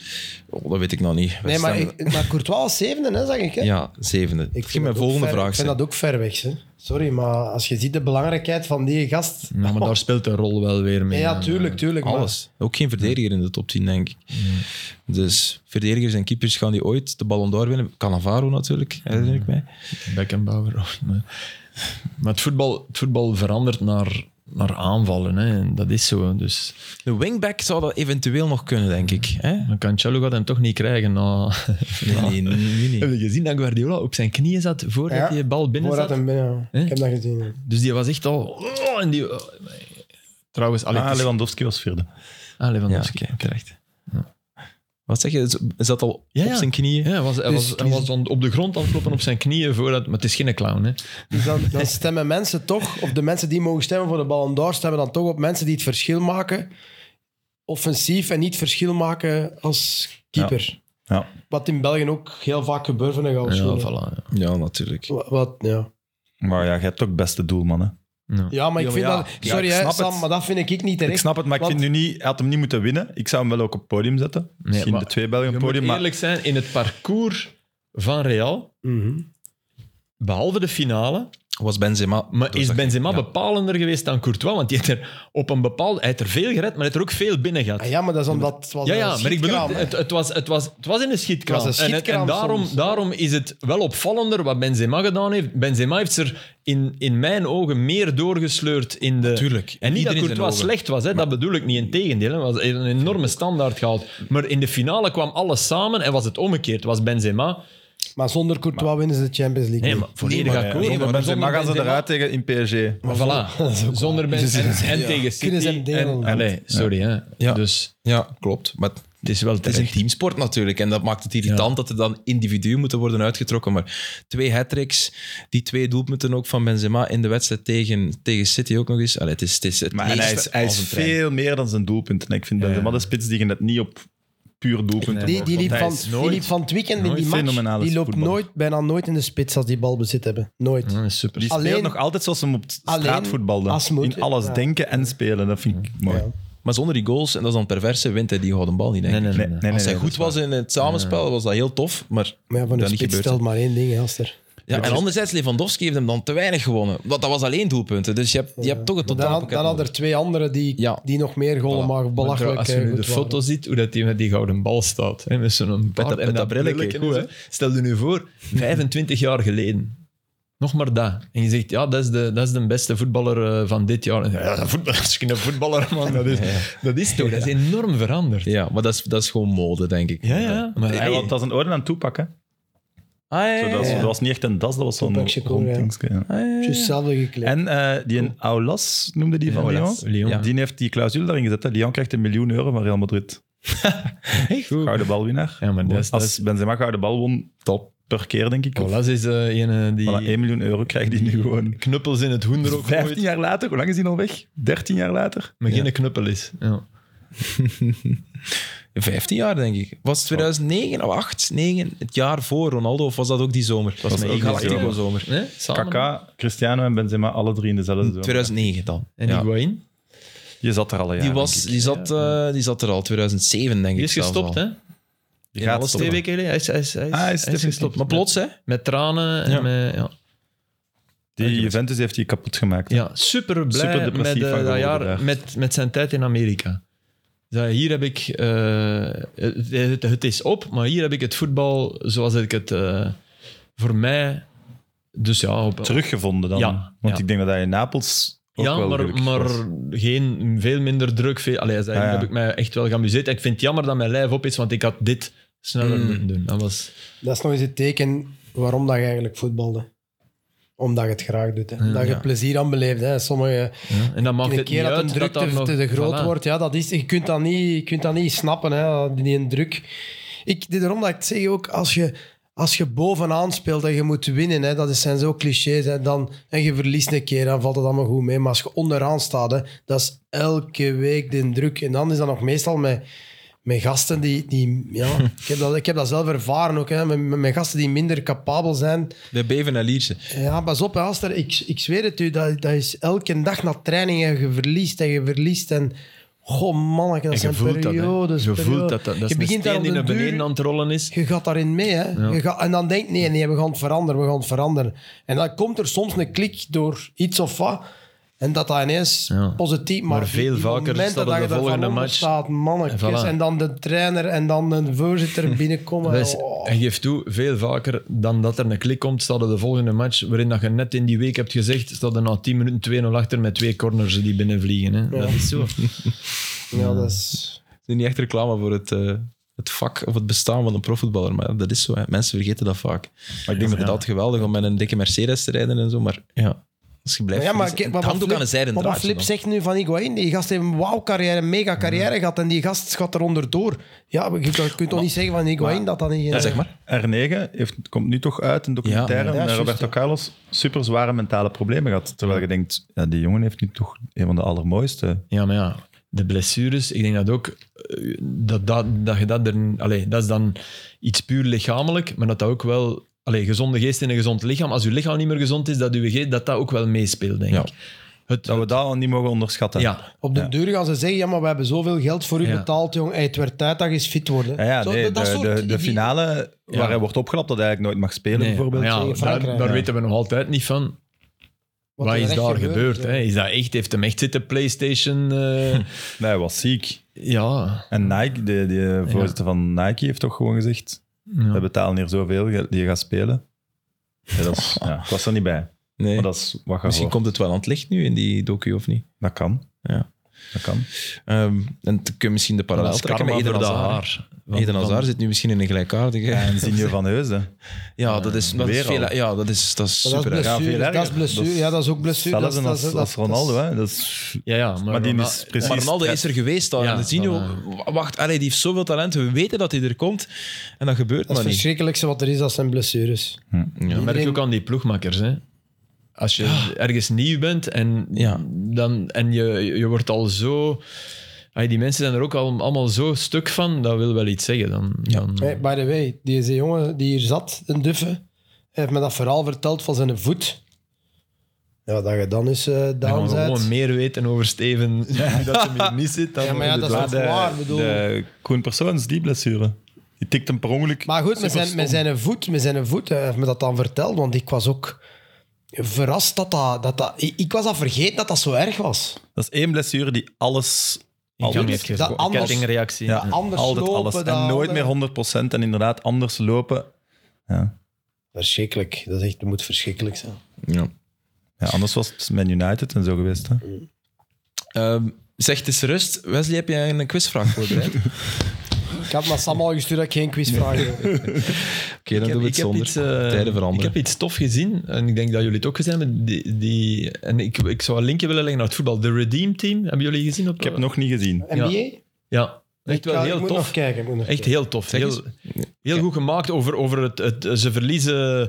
Speaker 1: oh, dat weet ik nog niet. Wij
Speaker 2: Nee, maar,
Speaker 1: staan-
Speaker 2: ik, maar Courtois was zevende, hè, zeg ik. Hè?
Speaker 1: Ja, zevende. Ik
Speaker 2: Ik
Speaker 1: ging
Speaker 2: vind
Speaker 1: mijn
Speaker 2: dat ook
Speaker 1: volgende
Speaker 2: ver-
Speaker 1: vraag
Speaker 2: Ik vind
Speaker 1: stellen.
Speaker 2: dat ook ver weg. Hè. Sorry, maar als je ziet de belangrijkheid van die gast.
Speaker 3: Ja, maar daar speelt de rol wel weer
Speaker 2: Ja,
Speaker 3: mee.
Speaker 2: ja, tuurlijk, tuurlijk. maar-
Speaker 1: Alles. Ook geen verdediger in de top 10, denk ik. Dus verdedigers en keepers gaan die ooit de Ballon d'Or winnen. Cannavaro natuurlijk, herinner ik mij.
Speaker 3: Beckenbauer. oh, nee. Maar het voetbal, het voetbal verandert naar, naar aanvallen. Hè. En Dat is zo. Dus
Speaker 1: De wingback zou dat eventueel nog kunnen, denk ik. Hè?
Speaker 3: een Cancelo gaat hem toch niet krijgen. Na...
Speaker 1: Nee, nee, nee, nee.
Speaker 3: Heb je gezien dat Guardiola op zijn knieën zat voordat
Speaker 2: Ja,
Speaker 3: hij de bal binnen
Speaker 2: Voordat
Speaker 3: zat?
Speaker 2: hem binnen.
Speaker 3: Hè?
Speaker 2: Ik heb dat gezien. ja.
Speaker 3: Dus die was echt al... oh, en die... Trouwens, Alex...
Speaker 4: Ah, Lewandowski was vierde.
Speaker 3: Ah,
Speaker 1: Ja,
Speaker 3: Lewandowski.
Speaker 1: oké, terecht. Wat zeg je? Is- Is dat al
Speaker 3: Ja,
Speaker 1: op
Speaker 3: ja.
Speaker 1: zijn knieën?
Speaker 3: Ja, hij was, hij
Speaker 2: Dus-
Speaker 3: was, hij was dan op de grond aan het kloppen op zijn knieën voordat... Maar het is geen clown, hè.
Speaker 2: Dus dan, dan stemmen mensen toch, of de mensen die mogen stemmen voor de Ballon d'Or, stemmen dan toch op mensen die het verschil maken. Offensief en niet verschil maken als keeper.
Speaker 4: Ja.
Speaker 2: Wat in België ook heel vaak gebeurt van de
Speaker 3: Ja,
Speaker 2: gouden
Speaker 3: voilà. Ja.
Speaker 1: Ja, natuurlijk.
Speaker 2: Wa- Wat, ja.
Speaker 4: Maar ja, je hebt ook beste doelman. Hè.
Speaker 2: ja, maar ik
Speaker 4: Ja,
Speaker 2: vind
Speaker 4: maar ja,
Speaker 2: dat...
Speaker 4: ja,
Speaker 2: Sorry,
Speaker 4: ik
Speaker 2: hè,
Speaker 4: snap
Speaker 2: Sam,
Speaker 4: het.
Speaker 2: maar dat vind ik niet terecht.
Speaker 4: Ik snap het, maar ik
Speaker 2: Want-
Speaker 4: vind nu niet, hij had hem niet moeten winnen. Ik zou hem wel ook op het podium zetten. Misschien
Speaker 3: maar
Speaker 4: de twee Belgen op
Speaker 3: Je
Speaker 4: het
Speaker 3: moet
Speaker 4: podium. Maar
Speaker 3: eerlijk zijn, in het parcours van Real,
Speaker 2: Mhm.
Speaker 3: behalve de finale,
Speaker 1: Was Benzema.
Speaker 3: maar
Speaker 1: dus
Speaker 3: is
Speaker 1: dat-
Speaker 3: Benzema
Speaker 1: ja.
Speaker 3: bepalender geweest dan Courtois? Want die heeft er op een bepaalde... Hij heeft er veel gered, maar hij heeft er ook veel binnen gehad.
Speaker 2: Ah, ja, maar dat is omdat... het was
Speaker 3: Ja,
Speaker 2: een
Speaker 3: ja maar ik bedoel,
Speaker 2: schietkraam, hè.
Speaker 3: het, het, was, het, was, het was in een schietkraam.
Speaker 2: Het was een
Speaker 3: En het- en
Speaker 2: schietkraam
Speaker 3: daarom,
Speaker 2: soms.
Speaker 3: daarom is het wel opvallender wat Benzema gedaan heeft. Benzema heeft er in, in mijn ogen meer doorgesleurd in de...
Speaker 1: Tuurlijk.
Speaker 3: En niet
Speaker 1: Iedereen
Speaker 3: dat
Speaker 1: zijn ogen.
Speaker 3: Courtois slecht was, hè, dat bedoel ik niet. Integendeel, hè. hij was een enorme standaard gehaald. Maar in de finale kwam alles samen en was het omgekeerd. Was Benzema...
Speaker 2: Maar zonder Courtois winnen ze de Champions League
Speaker 3: Nee,
Speaker 2: niet.
Speaker 3: maar volledig
Speaker 4: Ja,
Speaker 3: akkoord.
Speaker 4: nee, maar
Speaker 3: maar
Speaker 4: Benzema
Speaker 3: zonder
Speaker 4: gaan ze
Speaker 3: Benzema-
Speaker 4: eruit tegen in PSG.
Speaker 3: Maar voilà, zonder Benzema en, en tegen
Speaker 2: Kunnen ze hem
Speaker 3: City.
Speaker 2: delen?
Speaker 3: En, allee, sorry, hè.
Speaker 1: Ja.
Speaker 3: Dus
Speaker 1: Ja, klopt. Maar
Speaker 3: het is wel
Speaker 1: het is een
Speaker 3: terecht.
Speaker 1: teamsport natuurlijk. En dat maakt het irritant dat er dan individuen moeten worden uitgetrokken. Maar twee hat-tricks, die twee doelpunten ook van Benzema in de wedstrijd tegen, tegen City ook nog eens. Allee, het is, het is het
Speaker 4: Maar en hij
Speaker 1: meeste
Speaker 4: is, hij
Speaker 1: als
Speaker 4: is
Speaker 1: een trein.
Speaker 4: veel meer dan zijn doelpunten. En Ik vind Benzema de spits die je net niet op puur doelpunten
Speaker 2: Die,
Speaker 4: mag,
Speaker 2: die, liep
Speaker 4: want hij
Speaker 2: van,
Speaker 4: is
Speaker 2: die
Speaker 4: nooit-
Speaker 2: liep van het weekend in
Speaker 4: nooit
Speaker 2: die match.
Speaker 4: fenomenale
Speaker 2: Die loopt
Speaker 4: voetballer.
Speaker 2: nooit, bijna nooit in de spits als die balbezit hebben. Nooit.
Speaker 3: Ja, super.
Speaker 4: Die speelt
Speaker 2: Alleen-
Speaker 4: nog altijd zoals hem op het
Speaker 2: Alleen
Speaker 4: straat voetbalde.
Speaker 2: als moet,
Speaker 4: In alles
Speaker 2: ja.
Speaker 4: denken en spelen. Dat vind ik mooi.
Speaker 2: Ja.
Speaker 1: Maar zonder die goals, en dat is dan perverse, wint hij die gouden bal niet, denk ik.
Speaker 3: Nee, nee, nee. nee.
Speaker 1: Als hij
Speaker 4: dat
Speaker 1: goed
Speaker 4: is waar.
Speaker 1: was in het samenspel, was dat heel tof. Maar,
Speaker 2: Maar ja, van de
Speaker 1: dat niet
Speaker 2: spits
Speaker 1: gebeurd.
Speaker 2: stelt maar één ding, hè, Aster.
Speaker 1: Ja, en anderzijds, Lewandowski heeft hem dan te weinig gewonnen. Want dat was alleen doelpunten. Dus je hebt, je hebt toch het
Speaker 2: Maar Dan,
Speaker 1: totaal
Speaker 2: had- dan hadden er twee anderen die,
Speaker 1: Ja.
Speaker 2: die nog meer golen
Speaker 1: Voilà.
Speaker 2: maken. Of
Speaker 3: Maar
Speaker 2: belachelijk
Speaker 3: trouw- Als je
Speaker 2: eh,
Speaker 3: nu de
Speaker 2: goed
Speaker 3: foto ziet, hoe dat die met die gouden bal staat. Hè, met zo'n baard
Speaker 1: dat-
Speaker 3: en
Speaker 1: met dat brilletje,
Speaker 3: brilletje
Speaker 1: goed,
Speaker 3: en zo. Stel je nu voor, 25 jaar geleden. Nog maar dat. En je zegt, ja, dat is de, dat is de beste voetballer eh, van dit jaar. En Ja, dat voetballer, dat is geen voetballer, man. Dat is, dat is toch, dat is enorm veranderd.
Speaker 1: Ja, maar dat is, dat is gewoon mode, denk ik.
Speaker 3: Ja, ja. Maar
Speaker 4: Eh, Hij
Speaker 3: hey,
Speaker 4: had dat zijn oren aan het toepakken.
Speaker 1: Ah, ja,
Speaker 4: Zo, dat, was,
Speaker 2: ja.
Speaker 4: dat was niet echt een das, dat was zo'n
Speaker 2: Toepakje
Speaker 4: rond
Speaker 2: koren, ja.
Speaker 4: dingetje, ja.
Speaker 1: Ah, ja,
Speaker 2: waren.
Speaker 1: ja.
Speaker 2: Juist hetzelfde gekleed.
Speaker 4: En eh, die een Aulas noemde die van Lyon.
Speaker 3: Aulas, Lyon.
Speaker 4: Die heeft die clausule daarin gezet. Hè. Lyon krijgt een miljoen euro van Real Madrid.
Speaker 3: hey, goed.
Speaker 4: Gouden balwinnaar.
Speaker 3: Ja, maar dat is-
Speaker 4: Als
Speaker 3: dat is-
Speaker 4: Benzema gouden bal won, top per keer, denk ik. Of,
Speaker 3: Colas is eh, een die
Speaker 4: voilà, 1 miljoen euro krijgt hij nu gewoon.
Speaker 3: knuppels in het hoender ook
Speaker 4: 15
Speaker 3: gooit,
Speaker 4: jaar later, hoe lang is hij al weg? 13 jaar later?
Speaker 3: maar geen knuppel is. Ja.
Speaker 1: 15 jaar, denk ik. Was het 2009 of 8, 9? Het jaar voor Ronaldo, of was dat ook die zomer? Dat
Speaker 4: was ook die zomer.
Speaker 1: zomer.
Speaker 3: Nee, samen.
Speaker 4: Kaka, Cristiano en Benzema, alle drie in dezelfde zomer.
Speaker 1: 2009 dan.
Speaker 3: En
Speaker 1: ja.
Speaker 3: Higuaín.
Speaker 4: Je zat er al een jaar.
Speaker 1: Die, was, die, zat, eh, die zat er al, 2007 denk ik.
Speaker 3: Die is
Speaker 1: zelfs
Speaker 3: gestopt,
Speaker 1: al.
Speaker 3: hè?
Speaker 4: Je
Speaker 1: in
Speaker 4: gaat
Speaker 1: alles
Speaker 4: stoppen.
Speaker 3: Twee weken geleden. Hij is, hij is, hij is,
Speaker 4: Ah, hij
Speaker 3: hij
Speaker 4: is
Speaker 3: is
Speaker 4: definitief.
Speaker 3: gestopt.
Speaker 1: Maar plots, hè?
Speaker 3: Met tranen en
Speaker 1: Ja.
Speaker 3: met... Ja.
Speaker 4: Die Juventus heeft die kapot gemaakt.
Speaker 3: Ja, super blij
Speaker 4: Super depressief
Speaker 3: met eh,
Speaker 4: van
Speaker 3: dat
Speaker 4: geworden
Speaker 3: jaar,
Speaker 4: daar.
Speaker 3: met, met zijn tijd in Amerika. Zei, hier heb ik... eh, het, het is op, maar hier heb ik het voetbal zoals ik het eh, voor mij... Dus ja, op,
Speaker 4: Teruggevonden dan.
Speaker 3: Ja,
Speaker 4: Want
Speaker 3: ja.
Speaker 4: ik denk dat hij in Napels ook
Speaker 3: ja
Speaker 4: wel
Speaker 3: maar,
Speaker 4: gelukkig
Speaker 3: maar
Speaker 4: was.
Speaker 3: geen, veel minder druk. Veel, allee, hij zei,
Speaker 4: Ah,
Speaker 3: hier
Speaker 4: ja.
Speaker 3: heb ik mij echt wel geamuseerd. En ik vind het jammer dat mijn lijf op is, want ik had dit sneller
Speaker 1: Mm.
Speaker 3: moeten doen. Dat was...
Speaker 2: Dat is nog eens het teken waarom dat je eigenlijk voetbalde. omdat je het graag doet. Hè. Omdat je
Speaker 1: ja.
Speaker 2: plezier aan beleeft. Hè. Sommige
Speaker 3: Ja, En dan maakt
Speaker 2: een
Speaker 3: het niet
Speaker 2: keer dat
Speaker 3: uit
Speaker 2: een druk
Speaker 3: daar
Speaker 2: te,
Speaker 3: nog-
Speaker 2: te groot
Speaker 3: voilà.
Speaker 2: wordt, ja, dat is, je, kunt dat niet, je kunt dat niet snappen, hè, die een druk. Ik, dit daarom dat ik het zeg ook, als je, als je bovenaan speelt en je moet winnen, hè, dat is- zijn zo clichés, hè, dan, en je verliest een keer, dan valt het allemaal goed mee. Maar als je onderaan staat, hè, dat is elke week de druk. En dan is dat nog meestal met, met gasten die... die ja, ik, heb dat, ik heb dat zelf ervaren ook, hè, met, met- met gasten die minder capabel zijn.
Speaker 1: Bij Beven en Lierse.
Speaker 2: Ja, pas op, hè, Aster. Ik, ik zweer het u, dat, dat is elke dag na training en je verliest en je verliest. En, goh, man, dat
Speaker 3: En je
Speaker 2: zijn
Speaker 3: voelt dat, hè.
Speaker 2: periodes.
Speaker 3: Je voelt
Speaker 2: periodes.
Speaker 3: dat, dat, dat
Speaker 2: je
Speaker 3: is een
Speaker 2: begint daar
Speaker 3: steen
Speaker 2: op den
Speaker 3: die naar beneden
Speaker 2: duur-
Speaker 3: aan het rollen is.
Speaker 2: je gaat daarin mee. Hè? Je gaat, en dan denkt nee, nee, we gaan het veranderen, we gaan het veranderen. En dan komt er soms een klik door iets of wat. En dat dat ineens
Speaker 3: Ja.
Speaker 2: positief
Speaker 3: Maar
Speaker 2: maakt.
Speaker 3: veel
Speaker 2: Die
Speaker 3: vaker
Speaker 2: momenten
Speaker 3: staat
Speaker 2: dat
Speaker 3: het de
Speaker 2: je daarvan
Speaker 3: volgende
Speaker 2: onder
Speaker 3: match.
Speaker 2: Staat, mannetjes.
Speaker 3: En
Speaker 2: En,
Speaker 3: voilà.
Speaker 2: dan de trainer en dan de voorzitter binnenkomen.
Speaker 3: Dat is-
Speaker 2: Oh.
Speaker 3: En geef Dus toe, veel vaker dan dat er een klik komt, staat er de volgende match, waarin dat je net in die week hebt gezegd, staat er na 10 minuten 2-0 achter met twee corners die binnenvliegen. Hè. Dat is zo.
Speaker 2: Ja, dat is...
Speaker 1: Het is niet echt reclame voor het, eh, het vak of het bestaan van een profvoetballer, maar dat is zo. hè. Mensen vergeten dat vaak. Maar ik denk dat het altijd geweldig om met een dikke Mercedes te rijden en zo, maar ja, als je blijft...
Speaker 2: Maar ja, maar,
Speaker 1: verliezen-
Speaker 2: kijk,
Speaker 1: het
Speaker 2: maar
Speaker 1: hangt
Speaker 2: wat
Speaker 1: ook aan de zijde
Speaker 2: maar wat
Speaker 1: draadje
Speaker 2: Flip
Speaker 1: dan.
Speaker 2: zegt nu van Higuain, die gast heeft een wauw-carrière, een mega-carrière gehad en die gast gaat er onderdoor. Ja, maar je kunt toch niet zeggen van Higuain dat dat niet... eh,
Speaker 1: Ja, zeg maar.
Speaker 4: R9 heeft, komt nu toch uit, een documentaire
Speaker 1: Ja,
Speaker 4: met
Speaker 2: ja, juist,
Speaker 4: Roberto
Speaker 2: ja.
Speaker 4: Carlos. Super zware mentale problemen gehad. Terwijl je denkt, ja, die jongen heeft nu toch een van de allermooiste.
Speaker 3: Ja, maar ja, de blessures, ik denk dat ook, eh, dat, dat, dat je dat er... Allee, dat is dan iets puur lichamelijk, maar dat dat ook wel... Allee, gezonde geest in een gezond lichaam. Als je lichaam niet meer gezond is, dat uw geest, dat dat ook wel meespeelt, denk
Speaker 4: Ja.
Speaker 3: ik. Het,
Speaker 4: Dat we dat al niet mogen onderschatten.
Speaker 3: ja,
Speaker 2: Op de duur gaan ze zeggen, ja, maar we hebben zoveel geld voor u
Speaker 3: Ja.
Speaker 2: betaald, jong. Hey, het werd tijd dat je eens fit wordt. hè.
Speaker 4: Ja, ja,
Speaker 2: Zo,
Speaker 4: nee,
Speaker 2: dat- dat
Speaker 4: de,
Speaker 2: soort
Speaker 4: de, de
Speaker 2: idioten.
Speaker 4: finale
Speaker 3: Ja.
Speaker 4: waar hij wordt opgelapt dat hij eigenlijk nooit mag spelen,
Speaker 3: nee,
Speaker 4: bijvoorbeeld.
Speaker 3: maar ja,
Speaker 2: tegen
Speaker 3: daar,
Speaker 2: Frankrijk.
Speaker 3: daar
Speaker 4: Ja.
Speaker 3: weten we nog altijd niet van. Wat,
Speaker 2: er
Speaker 3: is
Speaker 2: echt
Speaker 3: daar
Speaker 2: gebeurt,
Speaker 3: gebeurd?
Speaker 2: ja.
Speaker 3: Hè? Is dat echt, heeft hem echt zitten PlayStation? eh,
Speaker 4: Nee, hij was ziek.
Speaker 3: ja.
Speaker 4: En Nike, de, de voorzitter van Nike, heeft toch gewoon gezegd: we
Speaker 3: ja.
Speaker 4: betalen hier zoveel, je- je gaat spelen. Ja, dat is, ja, ik was er niet bij.
Speaker 1: Nee.
Speaker 4: Maar dat is wat je
Speaker 1: Misschien
Speaker 4: hoort.
Speaker 1: komt het wel aan het licht nu in die docu, of niet?
Speaker 4: Dat kan.
Speaker 1: Ja.
Speaker 4: Dat kan.
Speaker 1: Ehm, en dan kun je misschien de parallel
Speaker 3: Dat is
Speaker 1: trekken met
Speaker 3: karma
Speaker 1: Eden
Speaker 3: voor de
Speaker 1: Hazard.
Speaker 3: haar. Want
Speaker 1: Eden
Speaker 3: dan-
Speaker 1: Hazard zit nu misschien in een gelijkaardige... Ja,
Speaker 4: En Zinje van Heusden.
Speaker 1: dat is, dat is,
Speaker 4: weer al.
Speaker 1: veel, ja, dat is, dat is
Speaker 2: Maar
Speaker 1: super
Speaker 2: dat is
Speaker 1: erg.
Speaker 4: Ja,
Speaker 2: blessure.
Speaker 4: veel
Speaker 2: dat is
Speaker 4: erger.
Speaker 2: blessure.
Speaker 4: Dat is
Speaker 2: Ja, dat is ook blessure.
Speaker 4: Hetzelfde
Speaker 2: Dat is- dat is-
Speaker 4: als,
Speaker 2: dat
Speaker 4: als
Speaker 2: is-
Speaker 4: Ronaldo. Hè. Dat is,
Speaker 3: Ja, ja, maar,
Speaker 4: maar die
Speaker 3: Ronaldo-
Speaker 4: is precies...
Speaker 1: Maar Ronaldo is er geweest al.
Speaker 3: Ja,
Speaker 1: en de Zino, wacht, allee, die heeft zoveel talent. We weten dat hij er komt. En dat gebeurt
Speaker 2: Dat is
Speaker 1: maar
Speaker 2: het
Speaker 1: niet.
Speaker 2: verschrikkelijkste wat er is, dat zijn blessures.
Speaker 3: Ja, merk je
Speaker 2: Iedereen-
Speaker 3: ook aan die ploegmakkers. Hè? Als je ergens nieuw bent en,
Speaker 1: Ja.
Speaker 3: dan, en je, je wordt al zo. Ay, die mensen zijn er ook al, allemaal zo stuk van, dat wil wel iets zeggen. Dan, dan,
Speaker 2: Hey, by the way, deze jongen die hier zat, een duffe, heeft me dat verhaal verteld van zijn voet. Ja, dat je dan eens eh
Speaker 3: dan gaan
Speaker 2: down
Speaker 3: we
Speaker 2: bent.
Speaker 3: gewoon meer weten over Steven. dat hem hier niet zit. Dan
Speaker 2: Ja, maar ja,
Speaker 3: wordt
Speaker 2: dat
Speaker 3: het
Speaker 2: is
Speaker 3: wel-
Speaker 2: Dat waar, bedoel-
Speaker 4: de Koen Persoons, die blessure. Die tikt hem per ongeluk.
Speaker 2: Maar goed, met zijn, met zijn voet, met zijn voet, hij heeft me dat dan verteld, want ik was ook verrast dat dat... dat, dat ik, ik was al vergeten dat dat zo erg was.
Speaker 4: Dat is één blessure die alles...
Speaker 3: in gang
Speaker 4: alles-
Speaker 3: heeft gezet.
Speaker 2: dat anders-
Speaker 3: Kettingreactie.
Speaker 4: ja,
Speaker 2: anders
Speaker 4: altijd
Speaker 2: lopen
Speaker 4: alles.
Speaker 2: dan-
Speaker 4: En nooit meer 100% en inderdaad anders lopen. Ja.
Speaker 2: Verschrikkelijk. Dat, is echt, dat moet verschrikkelijk zijn.
Speaker 1: Ja.
Speaker 4: Ja, anders was het Man United en zo geweest. Hè.
Speaker 1: Ehm, zeg, het is rust. Wesley, heb jij een quizvraag voorbereid? Oké,
Speaker 2: Ik had naar Sam al gestuurd dat ik geen quizvragen wil.
Speaker 1: dan doen we het
Speaker 3: ik heb
Speaker 1: zonder.
Speaker 3: iets, eh,
Speaker 1: Tijden veranderen.
Speaker 3: Ik heb iets tof gezien, en ik denk dat jullie het ook gezien hebben. Die, die, en ik, ik zou een linkje willen leggen naar het voetbal. De Redeem Team, hebben jullie gezien? Op,
Speaker 4: Ik heb het nog niet gezien.
Speaker 2: NBA?
Speaker 3: Ja, echt
Speaker 2: Ik ga-
Speaker 3: wel
Speaker 2: ik
Speaker 3: heel
Speaker 2: moet
Speaker 3: tof.
Speaker 2: nog kijken. ik moet nog
Speaker 3: Echt
Speaker 2: kijken.
Speaker 3: heel tof.
Speaker 1: Zeg
Speaker 3: Heel, heel goed gemaakt over, over het, het... Ze verliezen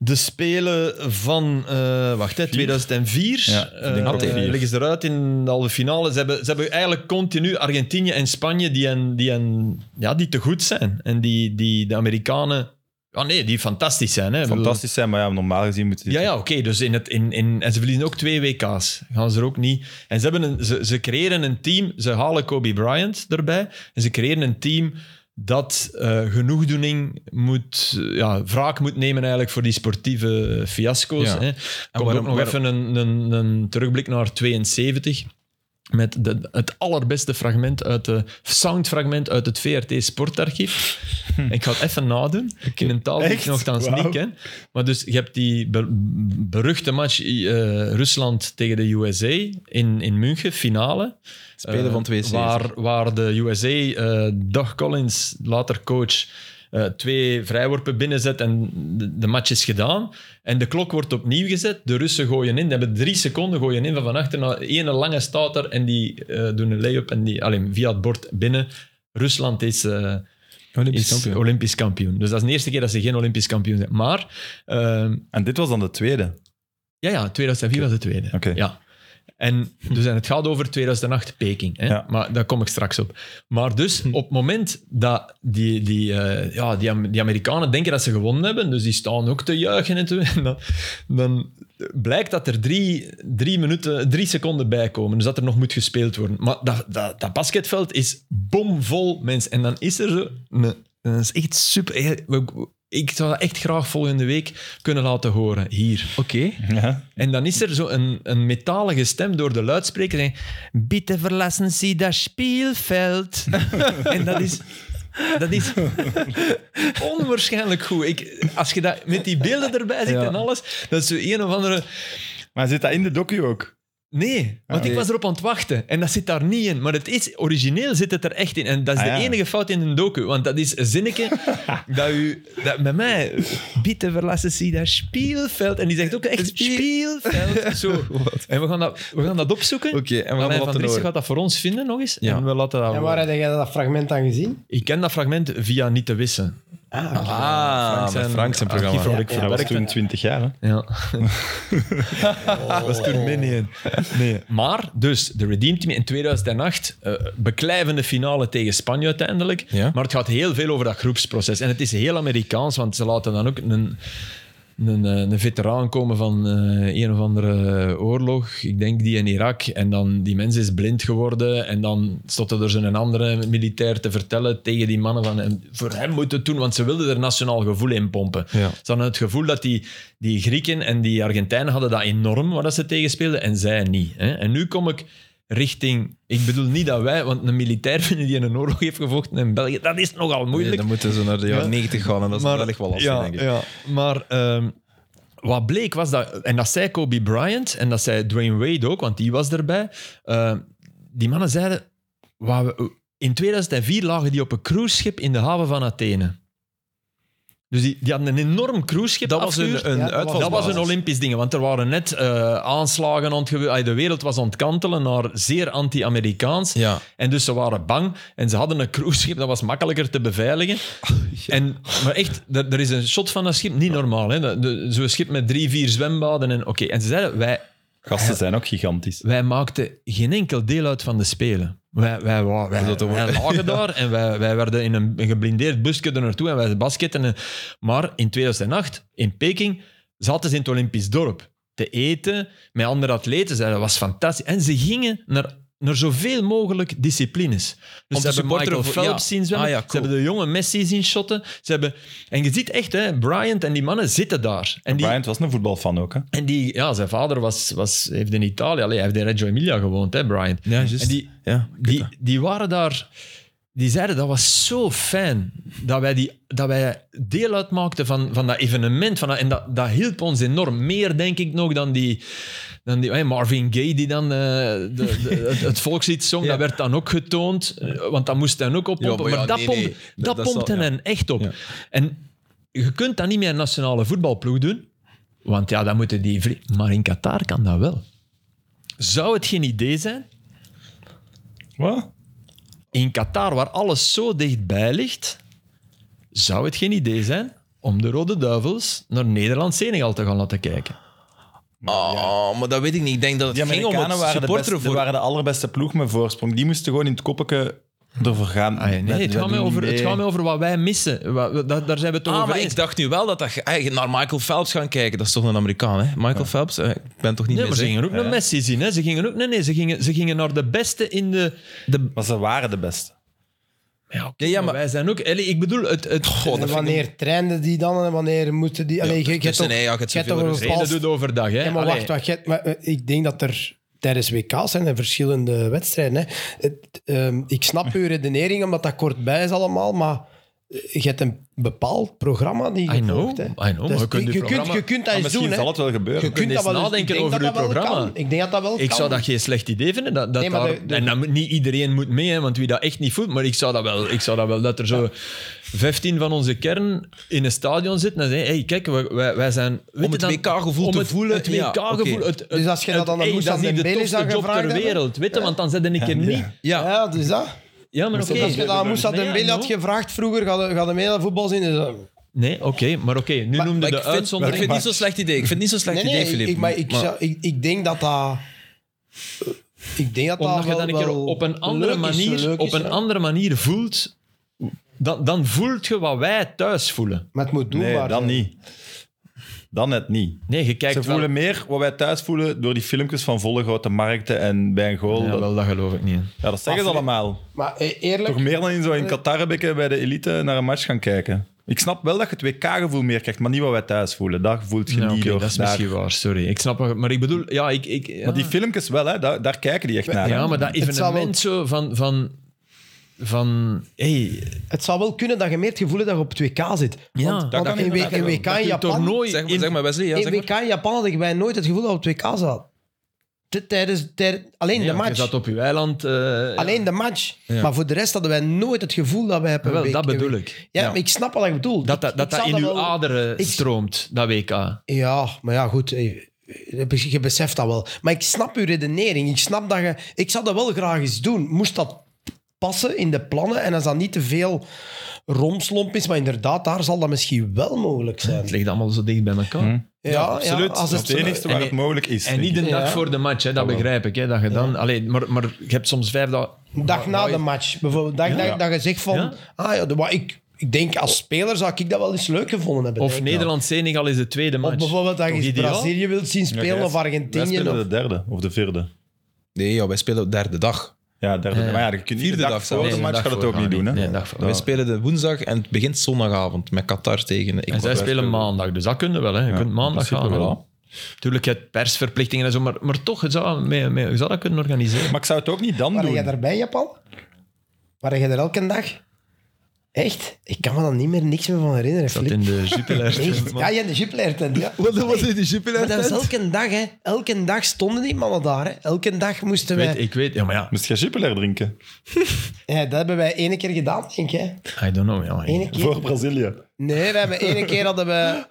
Speaker 3: de Spelen van... eh, wacht, hè, 2004.
Speaker 4: Ja, ik denk
Speaker 3: Eh,
Speaker 4: ook
Speaker 3: eh,
Speaker 4: vier.
Speaker 3: liggen ze eruit in de halve finale. Ze hebben, ze hebben eigenlijk continu Argentinië en Spanje die, hen- die, hen- ja, die te goed zijn. En die, die de Amerikanen... Ah nee, die fantastisch zijn. Hè. Ik bedoel,
Speaker 4: Fantastisch zijn, maar ja, normaal gezien moet je...
Speaker 3: ja, ja, oké. Dus in het, in, in, en ze verliezen ook twee WK's. Gaan ze er ook niet. En ze, hebben een, ze, ze creëren een team. Ze halen Kobe Bryant erbij. En ze creëren een team dat eh, genoegdoening moet, eh, ja, wraak moet nemen eigenlijk voor die sportieve fiasco's.
Speaker 1: Ja.
Speaker 3: Hè.
Speaker 1: En
Speaker 3: Komt
Speaker 1: waarom-
Speaker 3: ook nog
Speaker 1: waarom-
Speaker 3: even een, een, een terugblik naar 72. Met de, het allerbeste fragment uit de soundfragment uit het VRT Sportarchief. En Ik ga het even nadoen. In een taal die ik
Speaker 4: Hm. Echt?
Speaker 3: nogthans
Speaker 4: Wauw.
Speaker 3: niet ken. Maar dus je hebt die be- beruchte match eh, Rusland tegen de USA in, in München, finale.
Speaker 1: Spelen van
Speaker 3: Eh,
Speaker 1: twee zeven.
Speaker 3: Waar, waar de USA, eh Doug Collins, later coach, eh, twee vrijworpen binnenzet en de, de match is gedaan. En de klok wordt opnieuw gezet. De Russen gooien in. Die hebben drie seconden gooien in van van achter. naar ene lange staat er en die eh, doen een lay-up en die alleen via het bord binnen. Rusland is, eh,
Speaker 1: Olympisch
Speaker 3: is
Speaker 1: kampioen.
Speaker 3: Olympisch kampioen. Dus dat is de eerste keer dat ze geen Olympisch kampioen zijn. Maar ehm,
Speaker 4: En dit was dan de tweede.
Speaker 3: ja, ja, 2004 was de tweede.
Speaker 4: Oké.
Speaker 3: Ja. En, dus, en het gaat over 2008 Peking. Hè?
Speaker 4: Ja. Hm.
Speaker 3: Maar daar kom ik straks op. Maar dus op het moment dat die, die, eh, ja, die, Am- die Amerikanen denken dat ze gewonnen hebben, dus die staan ook te juichen en, te, en dan, dan blijkt dat er drie, drie, minuten, drie seconden bij komen. Dus dat er nog moet gespeeld worden. Maar dat, dat, dat basketveld is bomvol mensen. En dan is er zo. een- dat is echt super. Ik zou dat echt graag volgende week kunnen laten horen. Hier. Oké.
Speaker 4: Ja.
Speaker 3: En dan is er zo een, een metalige stem door de luidspreker. die, Bitte verlassen Sie dat Spielfeld. en dat is, dat is onwaarschijnlijk goed. Ik, als je dat met die beelden erbij ziet
Speaker 1: Ja.
Speaker 3: en alles, dat is zo een of andere.
Speaker 4: Maar zit dat in de docu ook?
Speaker 3: Nee,
Speaker 1: Ah,
Speaker 3: want ik
Speaker 1: nee.
Speaker 3: was erop aan het wachten. En dat zit daar niet in. Maar het is, origineel zit het er echt in. En dat is
Speaker 4: Ah,
Speaker 3: de
Speaker 4: ja.
Speaker 3: enige fout in een docu. Want dat is een zinnetje dat u... Dat met mij... Bitte verlassen Sie dat Spielfeld. En die zegt ook echt Spielfeld. Zo. En we gaan dat, we gaan dat opzoeken.
Speaker 1: Oké, en we gaan
Speaker 3: Alain
Speaker 1: dat
Speaker 3: van
Speaker 1: laten
Speaker 3: Driessen
Speaker 1: horen.
Speaker 3: gaat dat voor ons vinden nog eens.
Speaker 1: Ja.
Speaker 3: En we laten dat
Speaker 2: En waar
Speaker 3: horen.
Speaker 2: heb jij dat fragment dan gezien?
Speaker 3: Ik ken dat fragment via Niet te Wissen.
Speaker 2: Ah, oké.
Speaker 1: Ah, met Frank zijn programma.
Speaker 3: archief waar ik
Speaker 2: Ja,
Speaker 3: voor
Speaker 4: dat was
Speaker 3: werkte.
Speaker 4: toen 20 jaar. Hè?
Speaker 3: Ja. was toen mee niet in. Nee. Oh. Maar, dus, de Redeem Team in 2008, eh beklijvende finale tegen Spanje uiteindelijk.
Speaker 1: Ja.
Speaker 3: Maar het gaat heel veel over dat groepsproces. En het is heel Amerikaans, want ze laten dan ook een, een, eh, een veteraan komen van eh, een of andere oorlog. Ik denk die in Irak. En dan die mens is blind geworden. En dan stond er zo'n andere militair te vertellen tegen die mannen van... "En Voor hem moet het doen, want ze wilden er nationaal gevoel in pompen.
Speaker 1: Ja.
Speaker 3: Ze hadden het gevoel dat die, die Grieken en die Argentijnen hadden dat enorm, wat dat ze tegenspeelden, en zij niet. Hè? En nu kom ik richting... Ik bedoel niet dat wij, want een militair vinden die in een oorlog heeft gevochten in België, dat is nogal moeilijk.
Speaker 1: Nee, dan moeten ze naar de jaren
Speaker 3: Ja.
Speaker 1: 90 gaan en dat is
Speaker 3: Maar-
Speaker 1: wellicht wel lastig,
Speaker 3: ja,
Speaker 1: denk ik.
Speaker 3: Ja, maar ehm, wat bleek was dat, en dat zei Kobe Bryant en dat zei Dwayne Wade ook, want die was erbij. eh, die mannen zeiden, wat we- in 2004 lagen die op een cruiseschip in de haven van Athene. Dus die, die hadden een enorm cruiseschip
Speaker 1: Dat was
Speaker 3: afgehuurd.
Speaker 1: een, een
Speaker 2: Ja, dat was-
Speaker 3: Dat was
Speaker 1: uitvalsbasis.
Speaker 3: een Olympisch ding, want er waren net eh, aanslagen aan het gebeuren. Ay, De wereld was aan het kantelen naar zeer anti-Amerikaans.
Speaker 1: Ja.
Speaker 3: En dus ze waren bang en ze hadden een cruiseschip, dat was makkelijker te beveiligen. En, maar echt, er, er is een shot van dat schip, niet normaal. hè. Dat- de- Zo'n schip met drie, vier zwembaden en oké. En ze zeiden, wij,
Speaker 4: Gasten zijn ook gigantisch.
Speaker 3: wij maakten geen enkel deel uit van de Spelen. Wij, wij, wa- wij,
Speaker 1: Dat dat
Speaker 3: wij
Speaker 1: wordt-
Speaker 3: lagen daar en wij, wij werden in een geblindeerd busje er naartoe en wij basketten. en- maar in 2008, in Peking, zaten ze in het Olympisch dorp te eten met andere atleten. Ze- Dat was fantastisch. En ze gingen naar, naar zoveel mogelijk disciplines. Dus
Speaker 1: Om
Speaker 3: ze
Speaker 1: te
Speaker 3: hebben
Speaker 1: supporteren
Speaker 3: Michael
Speaker 1: voor- ja.
Speaker 3: Phelps zien zwemmen.
Speaker 1: Ah ja, cool.
Speaker 3: Ze hebben de jonge Messi zien shotten. Ze hebben, en je ziet echt, hè, Bryant en die mannen zitten daar. En die,
Speaker 4: Bryant was een voetbalfan ook. Hè?
Speaker 3: en die, ja, zijn vader was, was, heeft in Italië, allee, hij heeft in Reggio Emilia gewoond, hè, Brian.
Speaker 1: Ja, juist.
Speaker 3: En die,
Speaker 1: ja,
Speaker 3: die, die waren daar, die zeiden dat was zo fijn dat wij, die, dat wij deel uitmaakten van, van dat evenement. Van dat, en dat, dat hielp ons enorm. Meer denk ik nog dan die, dan die hey, Marvin Gaye die dan eh, de, de- het, het volkslied zong.
Speaker 1: Ja.
Speaker 3: Dat werd dan ook getoond, eh, want dat moest dan ook op
Speaker 1: Ja,
Speaker 3: pompen.
Speaker 1: maar
Speaker 3: maar
Speaker 1: ja,
Speaker 3: dat,
Speaker 1: nee,
Speaker 3: pompt-
Speaker 1: nee.
Speaker 3: dat,
Speaker 1: Dat- dat
Speaker 3: pompte
Speaker 1: zal- ja.
Speaker 3: hen echt op.
Speaker 1: Ja.
Speaker 3: En je kunt dat niet met een nationale voetbalploeg doen. Want ja, dan moeten die... vlie- Maar in Qatar kan dat wel. Zou het geen idee zijn
Speaker 4: Wat?
Speaker 3: in Qatar, waar alles zo dichtbij ligt, zou het geen idee zijn om de Rode Duivels naar Nederland-Senegal te gaan laten kijken.
Speaker 1: Oh, maar dat weet ik niet. Ik denk dat het
Speaker 4: Die
Speaker 1: ging om het
Speaker 4: Amerikanen waren de, beste,
Speaker 1: supporteren
Speaker 4: die
Speaker 1: voor...
Speaker 4: waren de allerbeste ploeg met voorsprong. Die moesten gewoon in het koppeke ervoor gaan.
Speaker 1: Ah,
Speaker 3: Nee,
Speaker 4: Dat-
Speaker 3: het,
Speaker 4: dat
Speaker 3: gaat mij
Speaker 4: doen
Speaker 3: over,
Speaker 4: niet
Speaker 3: het
Speaker 4: mee.
Speaker 3: gaat mij over wat wij missen. Wa- wa- Daar, daar zijn we het toch
Speaker 1: Ah,
Speaker 3: over
Speaker 1: maar
Speaker 3: eens.
Speaker 1: ik dacht nu wel dat dat... ge- Hey, naar Michael Phelps gaan kijken. Dat is toch een Amerikaan, hè? Michael Phelps? Eh, Ik ben toch niet
Speaker 3: Nee,
Speaker 1: meer
Speaker 3: maar ze gingen ook naar Messi zien. Hè? Ze gingen ook... Nee, nee, ze gingen, ze gingen naar de beste in de... de
Speaker 4: Maar ze waren de beste.
Speaker 3: ja, oké,
Speaker 1: Ja, ja,
Speaker 3: maar
Speaker 1: maar-
Speaker 3: wij zijn ook... Allee, ik bedoel, het... het
Speaker 1: God,
Speaker 2: En wanneer trainden die dan en wanneer moeten die... Allee, je, je hebt
Speaker 1: tussen,
Speaker 2: toch-
Speaker 1: hè, ja, je hebt
Speaker 2: je hebt
Speaker 1: zoveel
Speaker 2: toch een
Speaker 3: het
Speaker 1: reden.
Speaker 2: bepaald-
Speaker 3: doet overdag, hè.
Speaker 2: Ja, maar
Speaker 3: Allee.
Speaker 2: wacht, wacht. je hebt- maar, eh, ik denk dat er tijdens WK's zijn er verschillende wedstrijden. Hè. Het, ehm, ik snap uw redenering, omdat dat kort bij is allemaal, maar je hebt een bepaald programma die je
Speaker 3: I know,
Speaker 2: volgt. Hè.
Speaker 3: I know, maar
Speaker 2: Dus
Speaker 3: je kunt je
Speaker 2: kunt,
Speaker 3: programma- Ah,
Speaker 2: je kunt
Speaker 6: Maar
Speaker 2: dat eens
Speaker 6: misschien
Speaker 2: doen. hè.
Speaker 6: zal het wel gebeuren.
Speaker 2: Je kunt
Speaker 3: eens
Speaker 2: dat wel eens- ik
Speaker 3: nadenken
Speaker 2: denk
Speaker 3: over
Speaker 2: dat
Speaker 3: uw
Speaker 2: dat wel
Speaker 3: programma.
Speaker 2: kan. Ik denk dat dat wel
Speaker 3: Ik
Speaker 2: Oh, kan.
Speaker 3: zou dat geen slecht idee vinden. Dat, dat
Speaker 2: Nee, maar
Speaker 3: daar-
Speaker 2: de- de-
Speaker 3: En dan, moet- niet iedereen moet mee, hè, want wie dat echt niet voelt. Maar ik zou dat wel, ik zou dat, wel dat er zo 15 van onze kern in een stadion zitten en zeggen: hey, kijk, wij- wij, wij zijn. weet
Speaker 1: Om
Speaker 3: je
Speaker 1: het
Speaker 3: dan-
Speaker 1: WK-gevoel
Speaker 3: om
Speaker 1: te
Speaker 3: het-
Speaker 1: voelen,
Speaker 3: Het
Speaker 1: ja, oké.
Speaker 3: WK-gevoel.
Speaker 2: Dus als je dat dan aan
Speaker 3: hey,
Speaker 2: Moussa
Speaker 3: dat is niet de
Speaker 2: Dembele
Speaker 3: topste
Speaker 2: zou
Speaker 3: job
Speaker 2: gevraagd
Speaker 3: ter
Speaker 2: hebben.
Speaker 3: wereld, weet je, want dan zit ik er niet.
Speaker 1: Ja,
Speaker 2: Ja, dus dat.
Speaker 3: Ja, maar oké.
Speaker 2: Als je dat aan Moussa
Speaker 3: Nee, I
Speaker 2: Dembele had
Speaker 3: know.
Speaker 2: gevraagd vroeger, ga je- ga je mee naar voetbal zien? Dus, eh,
Speaker 3: Nee, oké, maar oké. Nu noemde
Speaker 1: Maar
Speaker 3: de
Speaker 1: ik vind,
Speaker 3: uitzondering.
Speaker 1: Ik vind het niet zo'n slecht idee. Ik vind het niet zo'n slecht
Speaker 2: Nee, nee,
Speaker 1: idee,
Speaker 2: ik-
Speaker 1: Filip.
Speaker 2: ik, maar ik, zou- ik, ik denk dat dat... Ik denk dat
Speaker 3: Omdat
Speaker 2: dat
Speaker 3: je
Speaker 2: wel-
Speaker 3: dan een keer
Speaker 2: wel
Speaker 3: op een andere
Speaker 2: leuk is,
Speaker 3: manier,
Speaker 2: leuk
Speaker 3: op
Speaker 2: is,
Speaker 3: een
Speaker 2: hè.
Speaker 3: andere manier voelt, dan, dan voelt je wat wij thuis voelen.
Speaker 2: Maar het moet doelbaar
Speaker 4: Nee, dan
Speaker 2: zijn.
Speaker 4: niet. Dan net niet.
Speaker 3: Nee, je kijkt
Speaker 4: Ze
Speaker 3: wel-
Speaker 4: voelen meer wat wij thuis voelen door die filmpjes van volle grote markten en bij een goal.
Speaker 3: Ja,
Speaker 4: dat,
Speaker 3: wel, dat geloof ik niet.
Speaker 4: ja, dat zeggen ze allemaal.
Speaker 2: Maar eh, eerlijk,
Speaker 4: Toch meer dan in, zo in Qatar heb ik eh, bij de elite naar een match gaan kijken. Ik snap wel dat je het WK-gevoel meer krijgt, maar niet wat wij thuis voelen. Dat voelt je
Speaker 3: Ja,
Speaker 4: niet
Speaker 3: oké,
Speaker 4: door.
Speaker 3: dat is
Speaker 4: daar.
Speaker 3: misschien waar, sorry. Ik snap het, maar ik bedoel, ja, ik... ik ja.
Speaker 4: Maar die filmpjes wel, hè, daar, daar kijken die echt naar. hè.
Speaker 3: ja, maar dat
Speaker 2: Het zou wel-
Speaker 3: evenement zo van... van, van hey,
Speaker 2: het zou wel kunnen dat je meer het gevoel hebt dat je op 2K zit.
Speaker 5: Ja.
Speaker 2: want,
Speaker 1: Dat
Speaker 2: want
Speaker 1: kan
Speaker 2: in,
Speaker 1: inderdaad
Speaker 2: WK in WK in
Speaker 3: je
Speaker 2: Ah, Japan...
Speaker 3: toernooi...
Speaker 1: Zeg,
Speaker 3: in-
Speaker 1: zeg maar, Wesley. Ja,
Speaker 2: in
Speaker 1: zeg maar.
Speaker 2: WK in Japan hadden wij nooit het gevoel dat we op 2K zaten. T- Tijdens, tij- alleen
Speaker 3: Nee,
Speaker 2: de
Speaker 3: want
Speaker 2: match.
Speaker 3: Je zat op je eiland... eh,
Speaker 2: Alleen de match. Maar voor de rest hadden wij nooit het gevoel dat wij... op
Speaker 3: ja,
Speaker 2: een
Speaker 3: wel,
Speaker 2: week-
Speaker 3: dat bedoel ik.
Speaker 2: Ja,
Speaker 1: Ja.
Speaker 2: maar ik snap wat je bedoelt.
Speaker 3: Dat dat,
Speaker 2: Ik-
Speaker 3: dat,
Speaker 2: ik
Speaker 3: dat
Speaker 2: zou
Speaker 3: in uw
Speaker 2: wel-
Speaker 3: aderen
Speaker 2: ik-
Speaker 3: stroomt, dat WK.
Speaker 2: Ja, maar ja, goed. eh, Je je beseft dat wel. Maar ik snap uw redenering. Ik snap dat je... Ik zou dat wel graag eens doen. Moest dat passen in de plannen en als dat niet te veel romslomp is, maar inderdaad, daar zal dat misschien wel mogelijk
Speaker 3: Het
Speaker 2: zijn.
Speaker 3: ligt allemaal zo dicht bij elkaar.
Speaker 2: Ja,
Speaker 4: Absoluut.
Speaker 2: ja, als
Speaker 4: dat is het
Speaker 2: het,
Speaker 4: enige waar
Speaker 3: en-
Speaker 4: het mogelijk is.
Speaker 3: En
Speaker 4: denk
Speaker 3: niet de
Speaker 4: ik.
Speaker 3: dag
Speaker 2: Ja.
Speaker 3: voor de match, hè, dat begrijp ik. Hè, dat je dan, allee, maar, maar je hebt soms vijf dagen...
Speaker 2: een dag na de match, bijvoorbeeld, dag, dag, dat je zegt van...
Speaker 3: Ja.
Speaker 2: Ah ja, de- wat ik, ik denk als speler zou ik dat wel eens leuk gevonden hebben.
Speaker 3: Of
Speaker 2: denk ik.
Speaker 3: Nederland-Senegal is de tweede
Speaker 2: Of
Speaker 3: match.
Speaker 2: bijvoorbeeld dat
Speaker 3: Toch
Speaker 2: je
Speaker 3: ideaal?
Speaker 2: Brazilië wilt zien
Speaker 4: Ja,
Speaker 2: spelen
Speaker 4: jij-
Speaker 2: of
Speaker 4: Wij
Speaker 2: Argentinië.
Speaker 4: spelen
Speaker 2: of-
Speaker 4: de derde of de vierde.
Speaker 1: Nee, joh, wij spelen op derde dag.
Speaker 4: Ja, derde.
Speaker 3: Ja.
Speaker 4: Maar ja, je kunt niet
Speaker 1: Vierde
Speaker 4: de dag
Speaker 1: dag
Speaker 4: voor
Speaker 1: zelfs.
Speaker 4: de
Speaker 3: Nee,
Speaker 4: match
Speaker 3: dag
Speaker 4: gaat het
Speaker 3: voor
Speaker 4: ook niet
Speaker 3: gaan
Speaker 4: doen. Hè?
Speaker 3: niet. Nee, dag voor.
Speaker 1: Wij
Speaker 3: Ja.
Speaker 1: spelen de woensdag en het begint zondagavond met Qatar tegen
Speaker 3: En zij
Speaker 1: Ecuador.
Speaker 3: spelen maandag, dus dat kunnen wel. Hè. Je
Speaker 4: Ja,
Speaker 3: kunt maandag
Speaker 4: in
Speaker 3: gaan.
Speaker 4: principe
Speaker 3: Wel.
Speaker 4: wel.
Speaker 3: Tuurlijk, je hebt persverplichtingen en zo, maar, maar toch, je zou, mee, mee- je zou dat kunnen organiseren.
Speaker 4: Maar ik zou het ook niet dan
Speaker 2: Waren
Speaker 4: doen.
Speaker 2: jij daarbij, Japan? Waren jij er elke dag? Echt? Ik kan me dan niet meer niks meer van herinneren.
Speaker 3: Dat
Speaker 2: Filip.
Speaker 3: in de Jupiler.
Speaker 2: Echt? Ja, jij in de Jupiler tent, ja.
Speaker 1: dat was in de Jupiler
Speaker 2: Maar dat was elke dag, hè. Elke dag stonden die mannen daar, hè. Elke dag moesten
Speaker 3: weet,
Speaker 2: wij...
Speaker 3: ik weet, ja, maar ja,
Speaker 4: Moest je Jupiler drinken?
Speaker 2: Ja, dat hebben wij ene keer gedaan, denk ik, hè.
Speaker 3: I don't know. Ja,
Speaker 2: Ene keer.
Speaker 4: Voor Brazilië.
Speaker 2: Nee, we hebben ene keer hadden we...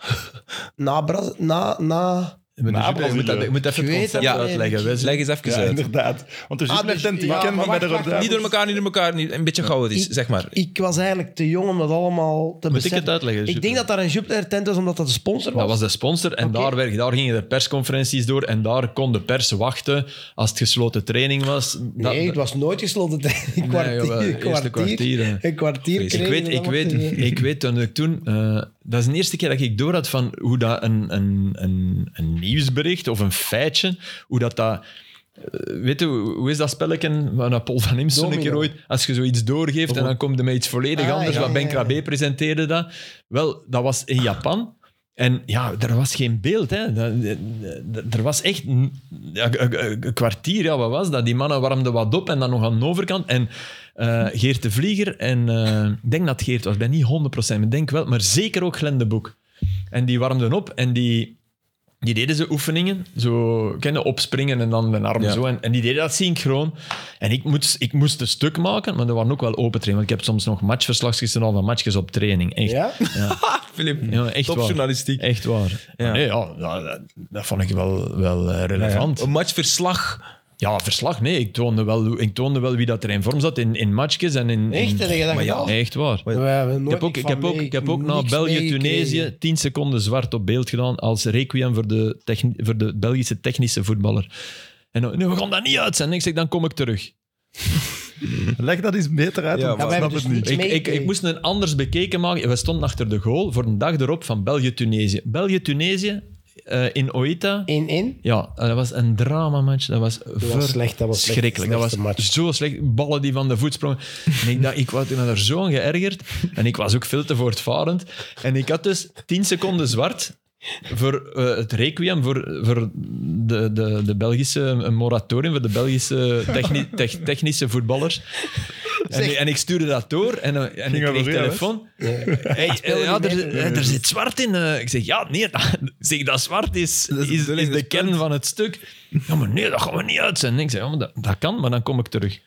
Speaker 2: Na Braz... Na... na...
Speaker 3: Je moet de
Speaker 4: Na
Speaker 3: Jupiler- je moet, dat- je moet even
Speaker 2: Ik weet
Speaker 3: het concept
Speaker 2: dat niet.
Speaker 3: uitleggen.
Speaker 1: Dus
Speaker 3: Wesley.
Speaker 1: leg eens even
Speaker 4: Ja,
Speaker 1: uit.
Speaker 4: inderdaad. Want de
Speaker 2: Ah,
Speaker 4: Jupiler
Speaker 2: dus-
Speaker 4: tent, die
Speaker 2: ja,
Speaker 4: kennen
Speaker 2: maar
Speaker 4: we bij de
Speaker 2: wacht, wacht,
Speaker 4: Rode
Speaker 1: Niet door elkaar, niet door elkaar. Niet, een beetje chaotisch,
Speaker 2: Ik-
Speaker 1: zeg maar.
Speaker 2: Ik was eigenlijk te jong om dat allemaal te
Speaker 3: Moet ik
Speaker 2: beseffen.
Speaker 3: het uitleggen,
Speaker 2: Ik denk
Speaker 3: Jupiler?
Speaker 2: dat daar een Jupiler tent was, omdat dat de sponsor was.
Speaker 3: Dat was de sponsor en
Speaker 2: Oké.
Speaker 3: daar, werd, daar gingen de persconferenties door en daar kon de pers wachten als het gesloten training was. Dat-
Speaker 2: Nee, het was nooit gesloten. Een kwartier.
Speaker 3: jawel,
Speaker 2: een
Speaker 3: eerste
Speaker 2: kwartier,
Speaker 3: kwartier, hè.
Speaker 2: Een kwartier
Speaker 1: Ik
Speaker 3: Ik
Speaker 2: kregen
Speaker 3: weet,
Speaker 2: we
Speaker 3: ik
Speaker 2: dan
Speaker 3: weet,
Speaker 2: op tv.
Speaker 3: ik weet toen ik toen... eh, dat is de eerste keer dat ik door had van hoe dat een, een, een, een nieuwsbericht of een feitje, hoe dat dat... eh, Weet je, hoe hoe is dat spelletje van dat Paul van Imsen een
Speaker 2: Domino.
Speaker 3: keer ooit? Als je zoiets doorgeeft en dan komt er met iets volledig
Speaker 2: Ah,
Speaker 3: anders.
Speaker 2: ja,
Speaker 3: wat Ben
Speaker 2: ja, ja.
Speaker 3: Krabbe presenteerde dat. Wel, dat was in Japan. En ja, er was geen beeld. Hè. Dat- dat- dat- Er was echt n- ja, een- een een kwartier, ja, wat was dat? Die mannen warmden wat op en dan nog aan de overkant. En eh, Geert de Vlieger en eh, ik denk dat het Geert was, ik ben niet 100%, maar ik denk wel, maar zeker ook Glenn de Boek. En die warmden op en die, die deden ze oefeningen, zo kennen opspringen en dan de arm
Speaker 1: Ja.
Speaker 3: zo. En, en die deden dat synchroon. En ik moest, ik moest een stuk maken, maar er waren ook wel open trainingen. Want ik heb soms nog matchverslagjes en al van matchjes op training. Echt.
Speaker 2: Ja?
Speaker 1: Filip,
Speaker 3: Ja, echt waar.
Speaker 1: topjournalistiek.
Speaker 3: Echt waar.
Speaker 1: Ja.
Speaker 3: Maar Nee, ja, dat, dat- dat vond ik wel, wel eh, relevant. Ja,
Speaker 1: Een matchverslag.
Speaker 3: verslag, nee. Ik toonde, wel, ik toonde wel wie dat er in vorm zat in, in matchjes en in... in-
Speaker 2: Echt? Heb je dat
Speaker 1: Maar ja,
Speaker 2: gedaan?
Speaker 3: echt waar.
Speaker 2: We hebben
Speaker 3: Ik
Speaker 2: nooit
Speaker 3: heb ook,
Speaker 2: iets
Speaker 3: ik
Speaker 2: van
Speaker 3: heb ook,
Speaker 2: mee-
Speaker 3: ik heb ook na
Speaker 2: niks
Speaker 3: België-Tunesië
Speaker 2: meegekregen.
Speaker 3: 10 seconden zwart op beeld gedaan als requiem voor de, techni- voor de Belgische technische voetballer. En dan, nee, we gaan dat niet uitzenden. Ik zeg, dan kom ik terug.
Speaker 4: Leg dat eens beter uit,
Speaker 1: Ja,
Speaker 4: want
Speaker 1: maar-
Speaker 4: ik
Speaker 2: Ja, wij
Speaker 4: snap
Speaker 2: hebben
Speaker 4: het
Speaker 2: dus niet-
Speaker 4: niet.
Speaker 3: Ik, ik, ik
Speaker 2: meegekregen.
Speaker 3: moest een anders bekeken maken. We stonden achter de goal voor een dag erop van België-Tunesië. België-Tunesië eh, in Oita.
Speaker 2: 1-1?
Speaker 3: Ja, eh, dat was een dramamatch. Dat was,
Speaker 2: was slecht, dat was slecht.
Speaker 3: verschrikkelijk. Dat was
Speaker 2: Slechtste match.
Speaker 3: zo slecht. Ballen die van de voet sprongen. En ik, dacht, ik was toen er zo aan geërgerd. En ik was ook veel te voortvarend. En ik had dus 10 seconden zwart voor eh, het requiem, voor, voor de, de, de Belgische een moratorium, voor de Belgische techni- tech- technische voetballers. En, ik- en ik stuurde dat door en, eh, en ik
Speaker 4: over
Speaker 3: kreeg
Speaker 4: u,
Speaker 3: telefoon. Hey, eh, ja, er, eh, er zit zwart in. eh. Ik zeg, ja, nee, dat, zeg, dat zwart is,
Speaker 1: is de
Speaker 3: is,
Speaker 1: bedoeling, dat
Speaker 3: is de
Speaker 1: is
Speaker 3: kern van het stuk. Ja, maar nee, dat gaan we niet uitzenden. Ik zeg, ja, maar dat, dat kan, maar dan kom ik terug.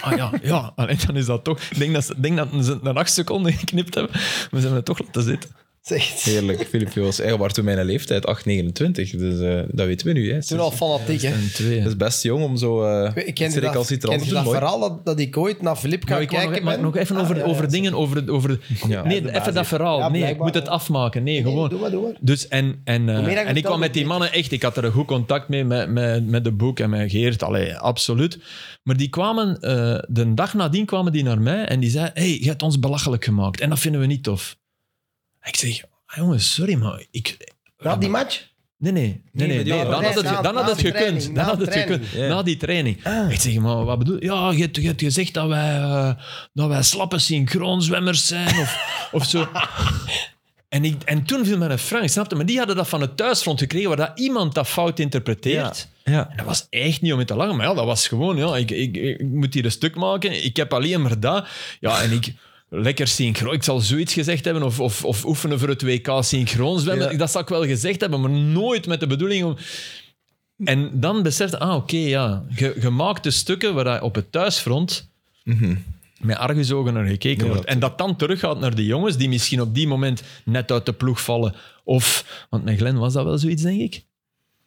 Speaker 3: Ah ja, ja. Alleen dan is dat toch... Ik denk dat, ze- ik denk dat ze het na acht seconden geknipt hebben. Maar ze hebben het toch laten zitten.
Speaker 2: Zegt.
Speaker 1: Heerlijk, Filip Joos. Hij was toen mijn leeftijd, 8, 29. Dus eh, dat weten we nu. Hè.
Speaker 2: Toen al fanatiek, hè.
Speaker 3: En twee.
Speaker 1: Dat is best jong om zo uh,
Speaker 2: Ik ken je dat, ken je
Speaker 1: recalcitrant te
Speaker 2: dat
Speaker 1: doen. mooi.
Speaker 2: verhaal dat, dat ik ooit naar Filip ga
Speaker 3: Maar Nou, ik wou
Speaker 2: kijken?
Speaker 3: nog, maar
Speaker 2: ben?
Speaker 3: nog even
Speaker 2: Ah,
Speaker 3: over,
Speaker 2: ja, ja,
Speaker 3: over
Speaker 2: ja.
Speaker 3: dingen, over... over
Speaker 1: Ja.
Speaker 3: nee,
Speaker 4: de basis.
Speaker 3: even dat verhaal.
Speaker 2: Ja,
Speaker 3: nee, ik
Speaker 2: blijkbaar,
Speaker 3: moet het
Speaker 2: ja.
Speaker 3: afmaken. Nee,
Speaker 2: Nee,
Speaker 3: gewoon.
Speaker 2: Doe maar, doe maar.
Speaker 3: Dus en, en, eh,
Speaker 2: Hoe meer dat
Speaker 3: en ik
Speaker 2: vertelt,
Speaker 3: kwam met die
Speaker 2: hoe
Speaker 3: mannen echt, ik had er een goed contact mee, met, met, met de boek en met Geert, allee, absoluut. Maar die kwamen, eh, de dag nadien kwamen die naar mij en die zei, hey, je hebt ons belachelijk gemaakt en dat vinden we niet tof. Ik zeg, "Ah, jongens, sorry, maar ik...
Speaker 2: Na die match?
Speaker 3: Nee, nee, nee, nee,
Speaker 1: maar die
Speaker 3: nee,
Speaker 1: waren
Speaker 3: dan
Speaker 1: bij-
Speaker 3: had het,
Speaker 2: na-
Speaker 3: ge- dan
Speaker 2: na
Speaker 3: had het
Speaker 2: de
Speaker 3: gekund.
Speaker 2: training,
Speaker 3: Dan
Speaker 2: na
Speaker 3: had
Speaker 2: de
Speaker 3: het gekund.
Speaker 1: training. Ja.
Speaker 3: Na die training. Ik zeg, maar wat bedoel je? Ja, je hebt, je hebt gezegd dat wij, eh, dat wij slappe synchroonzwemmers zijn of, of zo. En, ik, en toen viel mij een frank, snapte Maar die hadden dat van het thuisfront gekregen waar dat iemand dat fout interpreteert.
Speaker 1: Ja.
Speaker 3: En dat was echt niet om in te lachen, maar ja, dat was gewoon, ja, ik, ik, ik moet hier een stuk maken, ik heb alleen maar dat. Ja, en ik... Lekker synchroon. Ik zal zoiets gezegd hebben. Of, of, of oefenen voor het WK synchroon zwemmen.
Speaker 1: Ja.
Speaker 3: Dat zal ik wel gezegd hebben, maar nooit met de bedoeling om... En dan besefte ah, oké, ja. Je, je maakt de stukken waar hij op het thuisfront met argusogen naar gekeken
Speaker 1: Mhm. Ja,
Speaker 3: wordt. En dat dan teruggaat naar de jongens die misschien op die moment net uit de ploeg vallen. Of... Want met Glenn was dat wel zoiets, denk ik.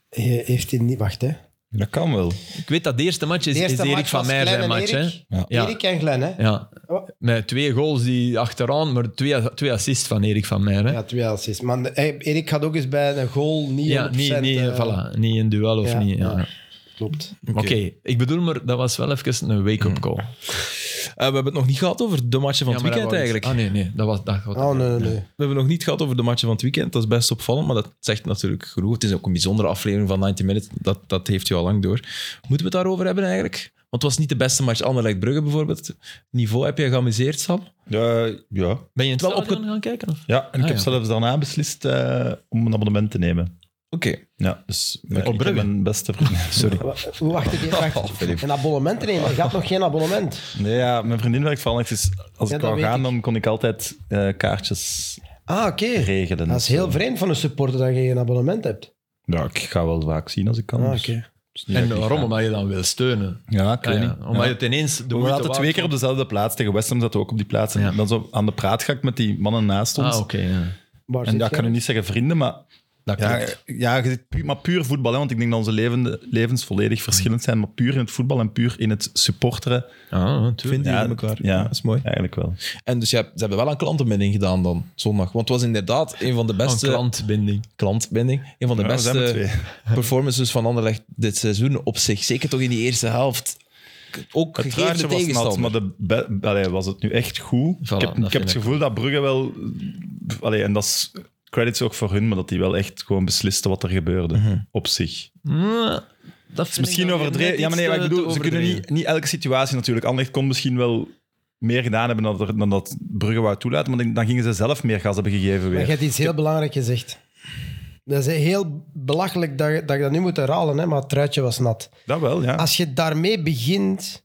Speaker 2: He- Heeft hij niet... Wacht, hè.
Speaker 1: Dat kan wel.
Speaker 3: Ik weet dat de eerste match is,
Speaker 2: De
Speaker 3: is
Speaker 2: eerste
Speaker 3: Erik
Speaker 2: match
Speaker 3: van
Speaker 2: was
Speaker 3: Meijer
Speaker 2: Glenn
Speaker 3: zijn
Speaker 2: en
Speaker 3: match.
Speaker 2: Erik. Oh.
Speaker 3: Hè?
Speaker 1: Ja.
Speaker 2: Erik en Glenn, hè.
Speaker 3: Ja.
Speaker 2: Ja.
Speaker 3: Met twee goals die achteraan, maar twee, twee assists van Erik van Meijer. Hè?
Speaker 2: Ja, twee assists. Maar de- hey, Erik had ook eens bij een goal niet
Speaker 3: Ja,
Speaker 2: 100%.
Speaker 3: niet, niet,
Speaker 2: eh,
Speaker 3: voilà, niet in duel of
Speaker 2: ja,
Speaker 3: niet. Ja.
Speaker 2: ja. Klopt.
Speaker 3: Oké, Hmm. ik bedoel, maar dat was wel even een wake-up call.
Speaker 1: Eh, we hebben het nog niet gehad over de matchen van
Speaker 3: Ja,
Speaker 1: het
Speaker 3: maar dat
Speaker 1: weekend
Speaker 3: wou ik-
Speaker 1: eigenlijk.
Speaker 3: Ah, nee, nee, dat was dat.
Speaker 2: Oh, nee, nee, nee.
Speaker 1: We hebben nog niet gehad over de matchen van het weekend. Dat is best opvallend, maar dat zegt natuurlijk genoeg. Het is ook een bijzondere aflevering van 90 Minutes. Dat, dat heeft u al lang door. Moeten we het daarover hebben eigenlijk? Want het was niet de beste match. Anderlecht Brugge bijvoorbeeld. Niveau heb je geamuseerd, Sam?
Speaker 4: Eh, ja.
Speaker 3: Ben je in het
Speaker 1: Wel
Speaker 3: wel opge... gaan kijken? Of?
Speaker 4: Ja, en ik
Speaker 3: Ah,
Speaker 4: heb
Speaker 3: ja.
Speaker 4: zelfs daarna beslist eh, om een abonnement te nemen.
Speaker 1: Oké.
Speaker 4: Ja, dus
Speaker 1: Ja,
Speaker 4: ik,
Speaker 1: op
Speaker 4: ik heb
Speaker 1: Brugge.
Speaker 4: mijn beste vriendin. Sorry.
Speaker 2: Wa- Hoe wacht ik even?
Speaker 1: Oh,
Speaker 2: Wacht.
Speaker 1: Filip.
Speaker 2: Een abonnement te nemen? Je had nog geen abonnement.
Speaker 4: Nee, ja, mijn vriendin werkt vooral Dus als
Speaker 2: Ja, dat
Speaker 4: ik wou
Speaker 2: weet
Speaker 4: gaan,
Speaker 2: ik.
Speaker 4: dan kon ik altijd eh, kaartjes
Speaker 2: Ah, oké.
Speaker 4: regelen.
Speaker 2: Dat is heel vreemd van een supporter dat je geen abonnement hebt.
Speaker 4: Ja, ik ga wel vaak zien als ik kan.
Speaker 2: Ah,
Speaker 4: dus
Speaker 2: oké.
Speaker 4: het is niet
Speaker 3: En
Speaker 4: dat ik
Speaker 3: waarom?
Speaker 4: ga.
Speaker 3: Omdat je dan wil steunen.
Speaker 4: Ja, ik weet
Speaker 3: Ah, ja.
Speaker 4: niet.
Speaker 3: Omdat
Speaker 4: Ja.
Speaker 3: je het ineens... De
Speaker 4: we
Speaker 3: moeite
Speaker 4: zaten twee
Speaker 3: waard
Speaker 4: keer op
Speaker 3: vond.
Speaker 4: dezelfde plaats. Tegen West Ham zaten we ook op die plaats. En
Speaker 3: Ja.
Speaker 4: dan zo aan de praat ga ik met die mannen naast ons.
Speaker 3: Ah, oké. ja.
Speaker 2: Waar
Speaker 4: En
Speaker 2: zit
Speaker 4: ja,
Speaker 2: jij?
Speaker 4: ik kan nu niet zeggen vrienden, maar...
Speaker 3: Dat
Speaker 4: Ja,
Speaker 3: klopt.
Speaker 4: ja je zit pu- maar puur voetbal. Hè, want ik denk dat onze levende, levens volledig verschillend zijn. Maar puur in het voetbal en puur in het supporteren.
Speaker 3: Ah,
Speaker 1: Vinden
Speaker 3: natuurlijk.
Speaker 1: jullie
Speaker 4: Ja,
Speaker 1: elkaar?
Speaker 4: ja.
Speaker 1: dat is mooi.
Speaker 4: Eigenlijk wel.
Speaker 1: En dus je hebt- ze hebben wel een klantenbinding gedaan dan, zondag. Want het was inderdaad een van de
Speaker 3: Een
Speaker 1: beste...
Speaker 3: klantbinding.
Speaker 1: klantbinding. Een van de
Speaker 4: Ja, we zijn met
Speaker 1: beste performances van Anderlecht dit seizoen op zich. Zeker toch in die eerste helft. Ook
Speaker 4: Het
Speaker 1: gegeven de
Speaker 4: truitje was nat, maar
Speaker 1: tegenstander.
Speaker 4: de be- allee, was het nu echt goed? ik heb,
Speaker 3: dat
Speaker 4: ik heb
Speaker 3: vind
Speaker 4: het
Speaker 3: ik
Speaker 4: gevoel dat Brugge wel... Allee, en dat is credits ook voor hun, maar dat die wel echt gewoon beslisten wat er gebeurde op zich.
Speaker 3: Dat
Speaker 4: Het is misschien overdreven. Ja, maar nee, maar ik bedoel, ze kunnen niet, niet elke situatie natuurlijk. Anderlecht kon misschien wel meer gedaan hebben dan, dat er- dan dat Brugge wou toelaten, maar dan- dan gingen ze zelf meer gas hebben gegeven
Speaker 2: Maar
Speaker 4: weer.
Speaker 2: je hebt iets heel belangrijks gezegd. Dat is heel belachelijk dat, je- dat je dat nu moet herhalen, hè, maar het truitje was nat.
Speaker 4: Dat wel, ja.
Speaker 2: Als je daarmee begint,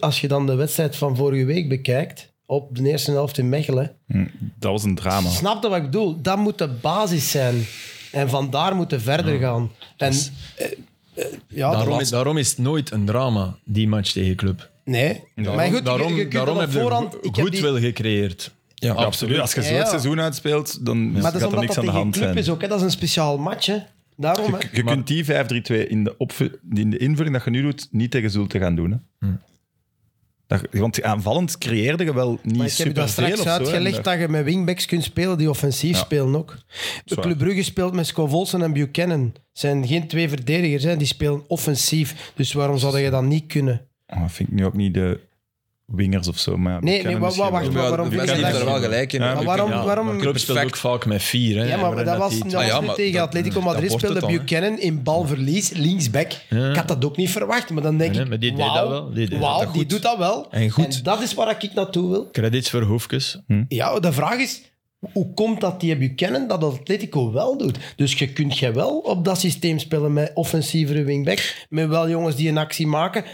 Speaker 2: als je dan de wedstrijd van vorige week bekijkt, op de eerste helft in Mechelen,
Speaker 4: Hm, Dat was een drama.
Speaker 2: Snap je wat ik bedoel? Dat moet de basis zijn. En vandaar moeten we verder gaan. En
Speaker 4: Dus,
Speaker 2: eh, eh, ja,
Speaker 3: Daarom
Speaker 2: dat was-
Speaker 3: is, daarom is het nooit een drama, die match tegen club.
Speaker 2: Nee. maar goed, je-
Speaker 3: daarom,
Speaker 2: je, kunt
Speaker 3: daarom
Speaker 2: dat op
Speaker 3: heb je
Speaker 2: voorhand...
Speaker 3: go-
Speaker 2: ik heb die-
Speaker 3: goodwill gecreëerd.
Speaker 1: Ja,
Speaker 4: Absoluut. Als je zo
Speaker 2: Ja,
Speaker 4: het
Speaker 2: ja.
Speaker 4: seizoen uitspeelt, dan
Speaker 2: Maar dat
Speaker 4: gaat
Speaker 2: is
Speaker 4: er
Speaker 2: omdat
Speaker 4: niks
Speaker 2: dat
Speaker 4: aan de
Speaker 2: tegen een
Speaker 4: hand
Speaker 2: club
Speaker 4: zijn.
Speaker 2: is ook. Hè? Dat is een speciaal match. Hè? Daarom, hè.
Speaker 4: Je, je kunt die 5-3-2 in de, opvu- die in de invulling dat je nu doet, niet tegen Zulte gaan doen. Hè? Dat, want aanvallend creëerde je wel
Speaker 2: Maar
Speaker 4: niet
Speaker 2: ik heb je
Speaker 4: super
Speaker 2: dat straks uitgelegd dat je met wingbacks kunt spelen die offensief
Speaker 4: Ja.
Speaker 2: spelen ook.
Speaker 4: Zwaar.
Speaker 2: Club Brugge speelt met Scovolsen en Buchanan. Het zijn geen twee verdedigers, hè? die spelen offensief. Dus waarom zou je dat niet kunnen?
Speaker 4: dat Oh, vind ik nu ook niet de wingers of zo. Maar
Speaker 2: Nee,
Speaker 4: ja, we
Speaker 2: nee,
Speaker 4: kennen
Speaker 2: wa-
Speaker 4: misschien
Speaker 2: wa-
Speaker 4: wel.
Speaker 2: wacht,
Speaker 1: Maar
Speaker 2: waarom
Speaker 1: de
Speaker 2: vind
Speaker 1: Belgen
Speaker 2: je
Speaker 1: hebben
Speaker 2: dat-
Speaker 1: er wel gelijk in.
Speaker 4: Ja,
Speaker 2: Maar
Speaker 4: maar
Speaker 2: waarom...
Speaker 3: Ja,
Speaker 2: waarom...
Speaker 3: maar club speelt ook vaak met vier. Hè,
Speaker 2: Ja, maar dat was, dat
Speaker 1: Ah, ja,
Speaker 2: was nu
Speaker 1: maar
Speaker 2: tegen
Speaker 1: dat-
Speaker 2: Atletico Madrid.
Speaker 1: dat wordt
Speaker 2: Speelde
Speaker 1: het dan,
Speaker 2: Buchanan in balverlies, linksback. Ik had dat ook niet verwacht, maar dan denk
Speaker 3: Nee,
Speaker 2: ik...
Speaker 3: maar die deed
Speaker 2: wauw,
Speaker 3: dat wel. Die deed
Speaker 2: wauw,
Speaker 3: dat
Speaker 2: die
Speaker 3: goed.
Speaker 2: doet dat wel.
Speaker 1: En goed.
Speaker 2: dat is waar ik naartoe wil.
Speaker 3: Credits voor Hoefkes.
Speaker 2: Ja, de vraag is, hoe komt dat die Buchanan dat Atletico wel doet? Dus je kunt jij wel op dat systeem spelen met offensievere wingbacks, met wel jongens die een actie maken,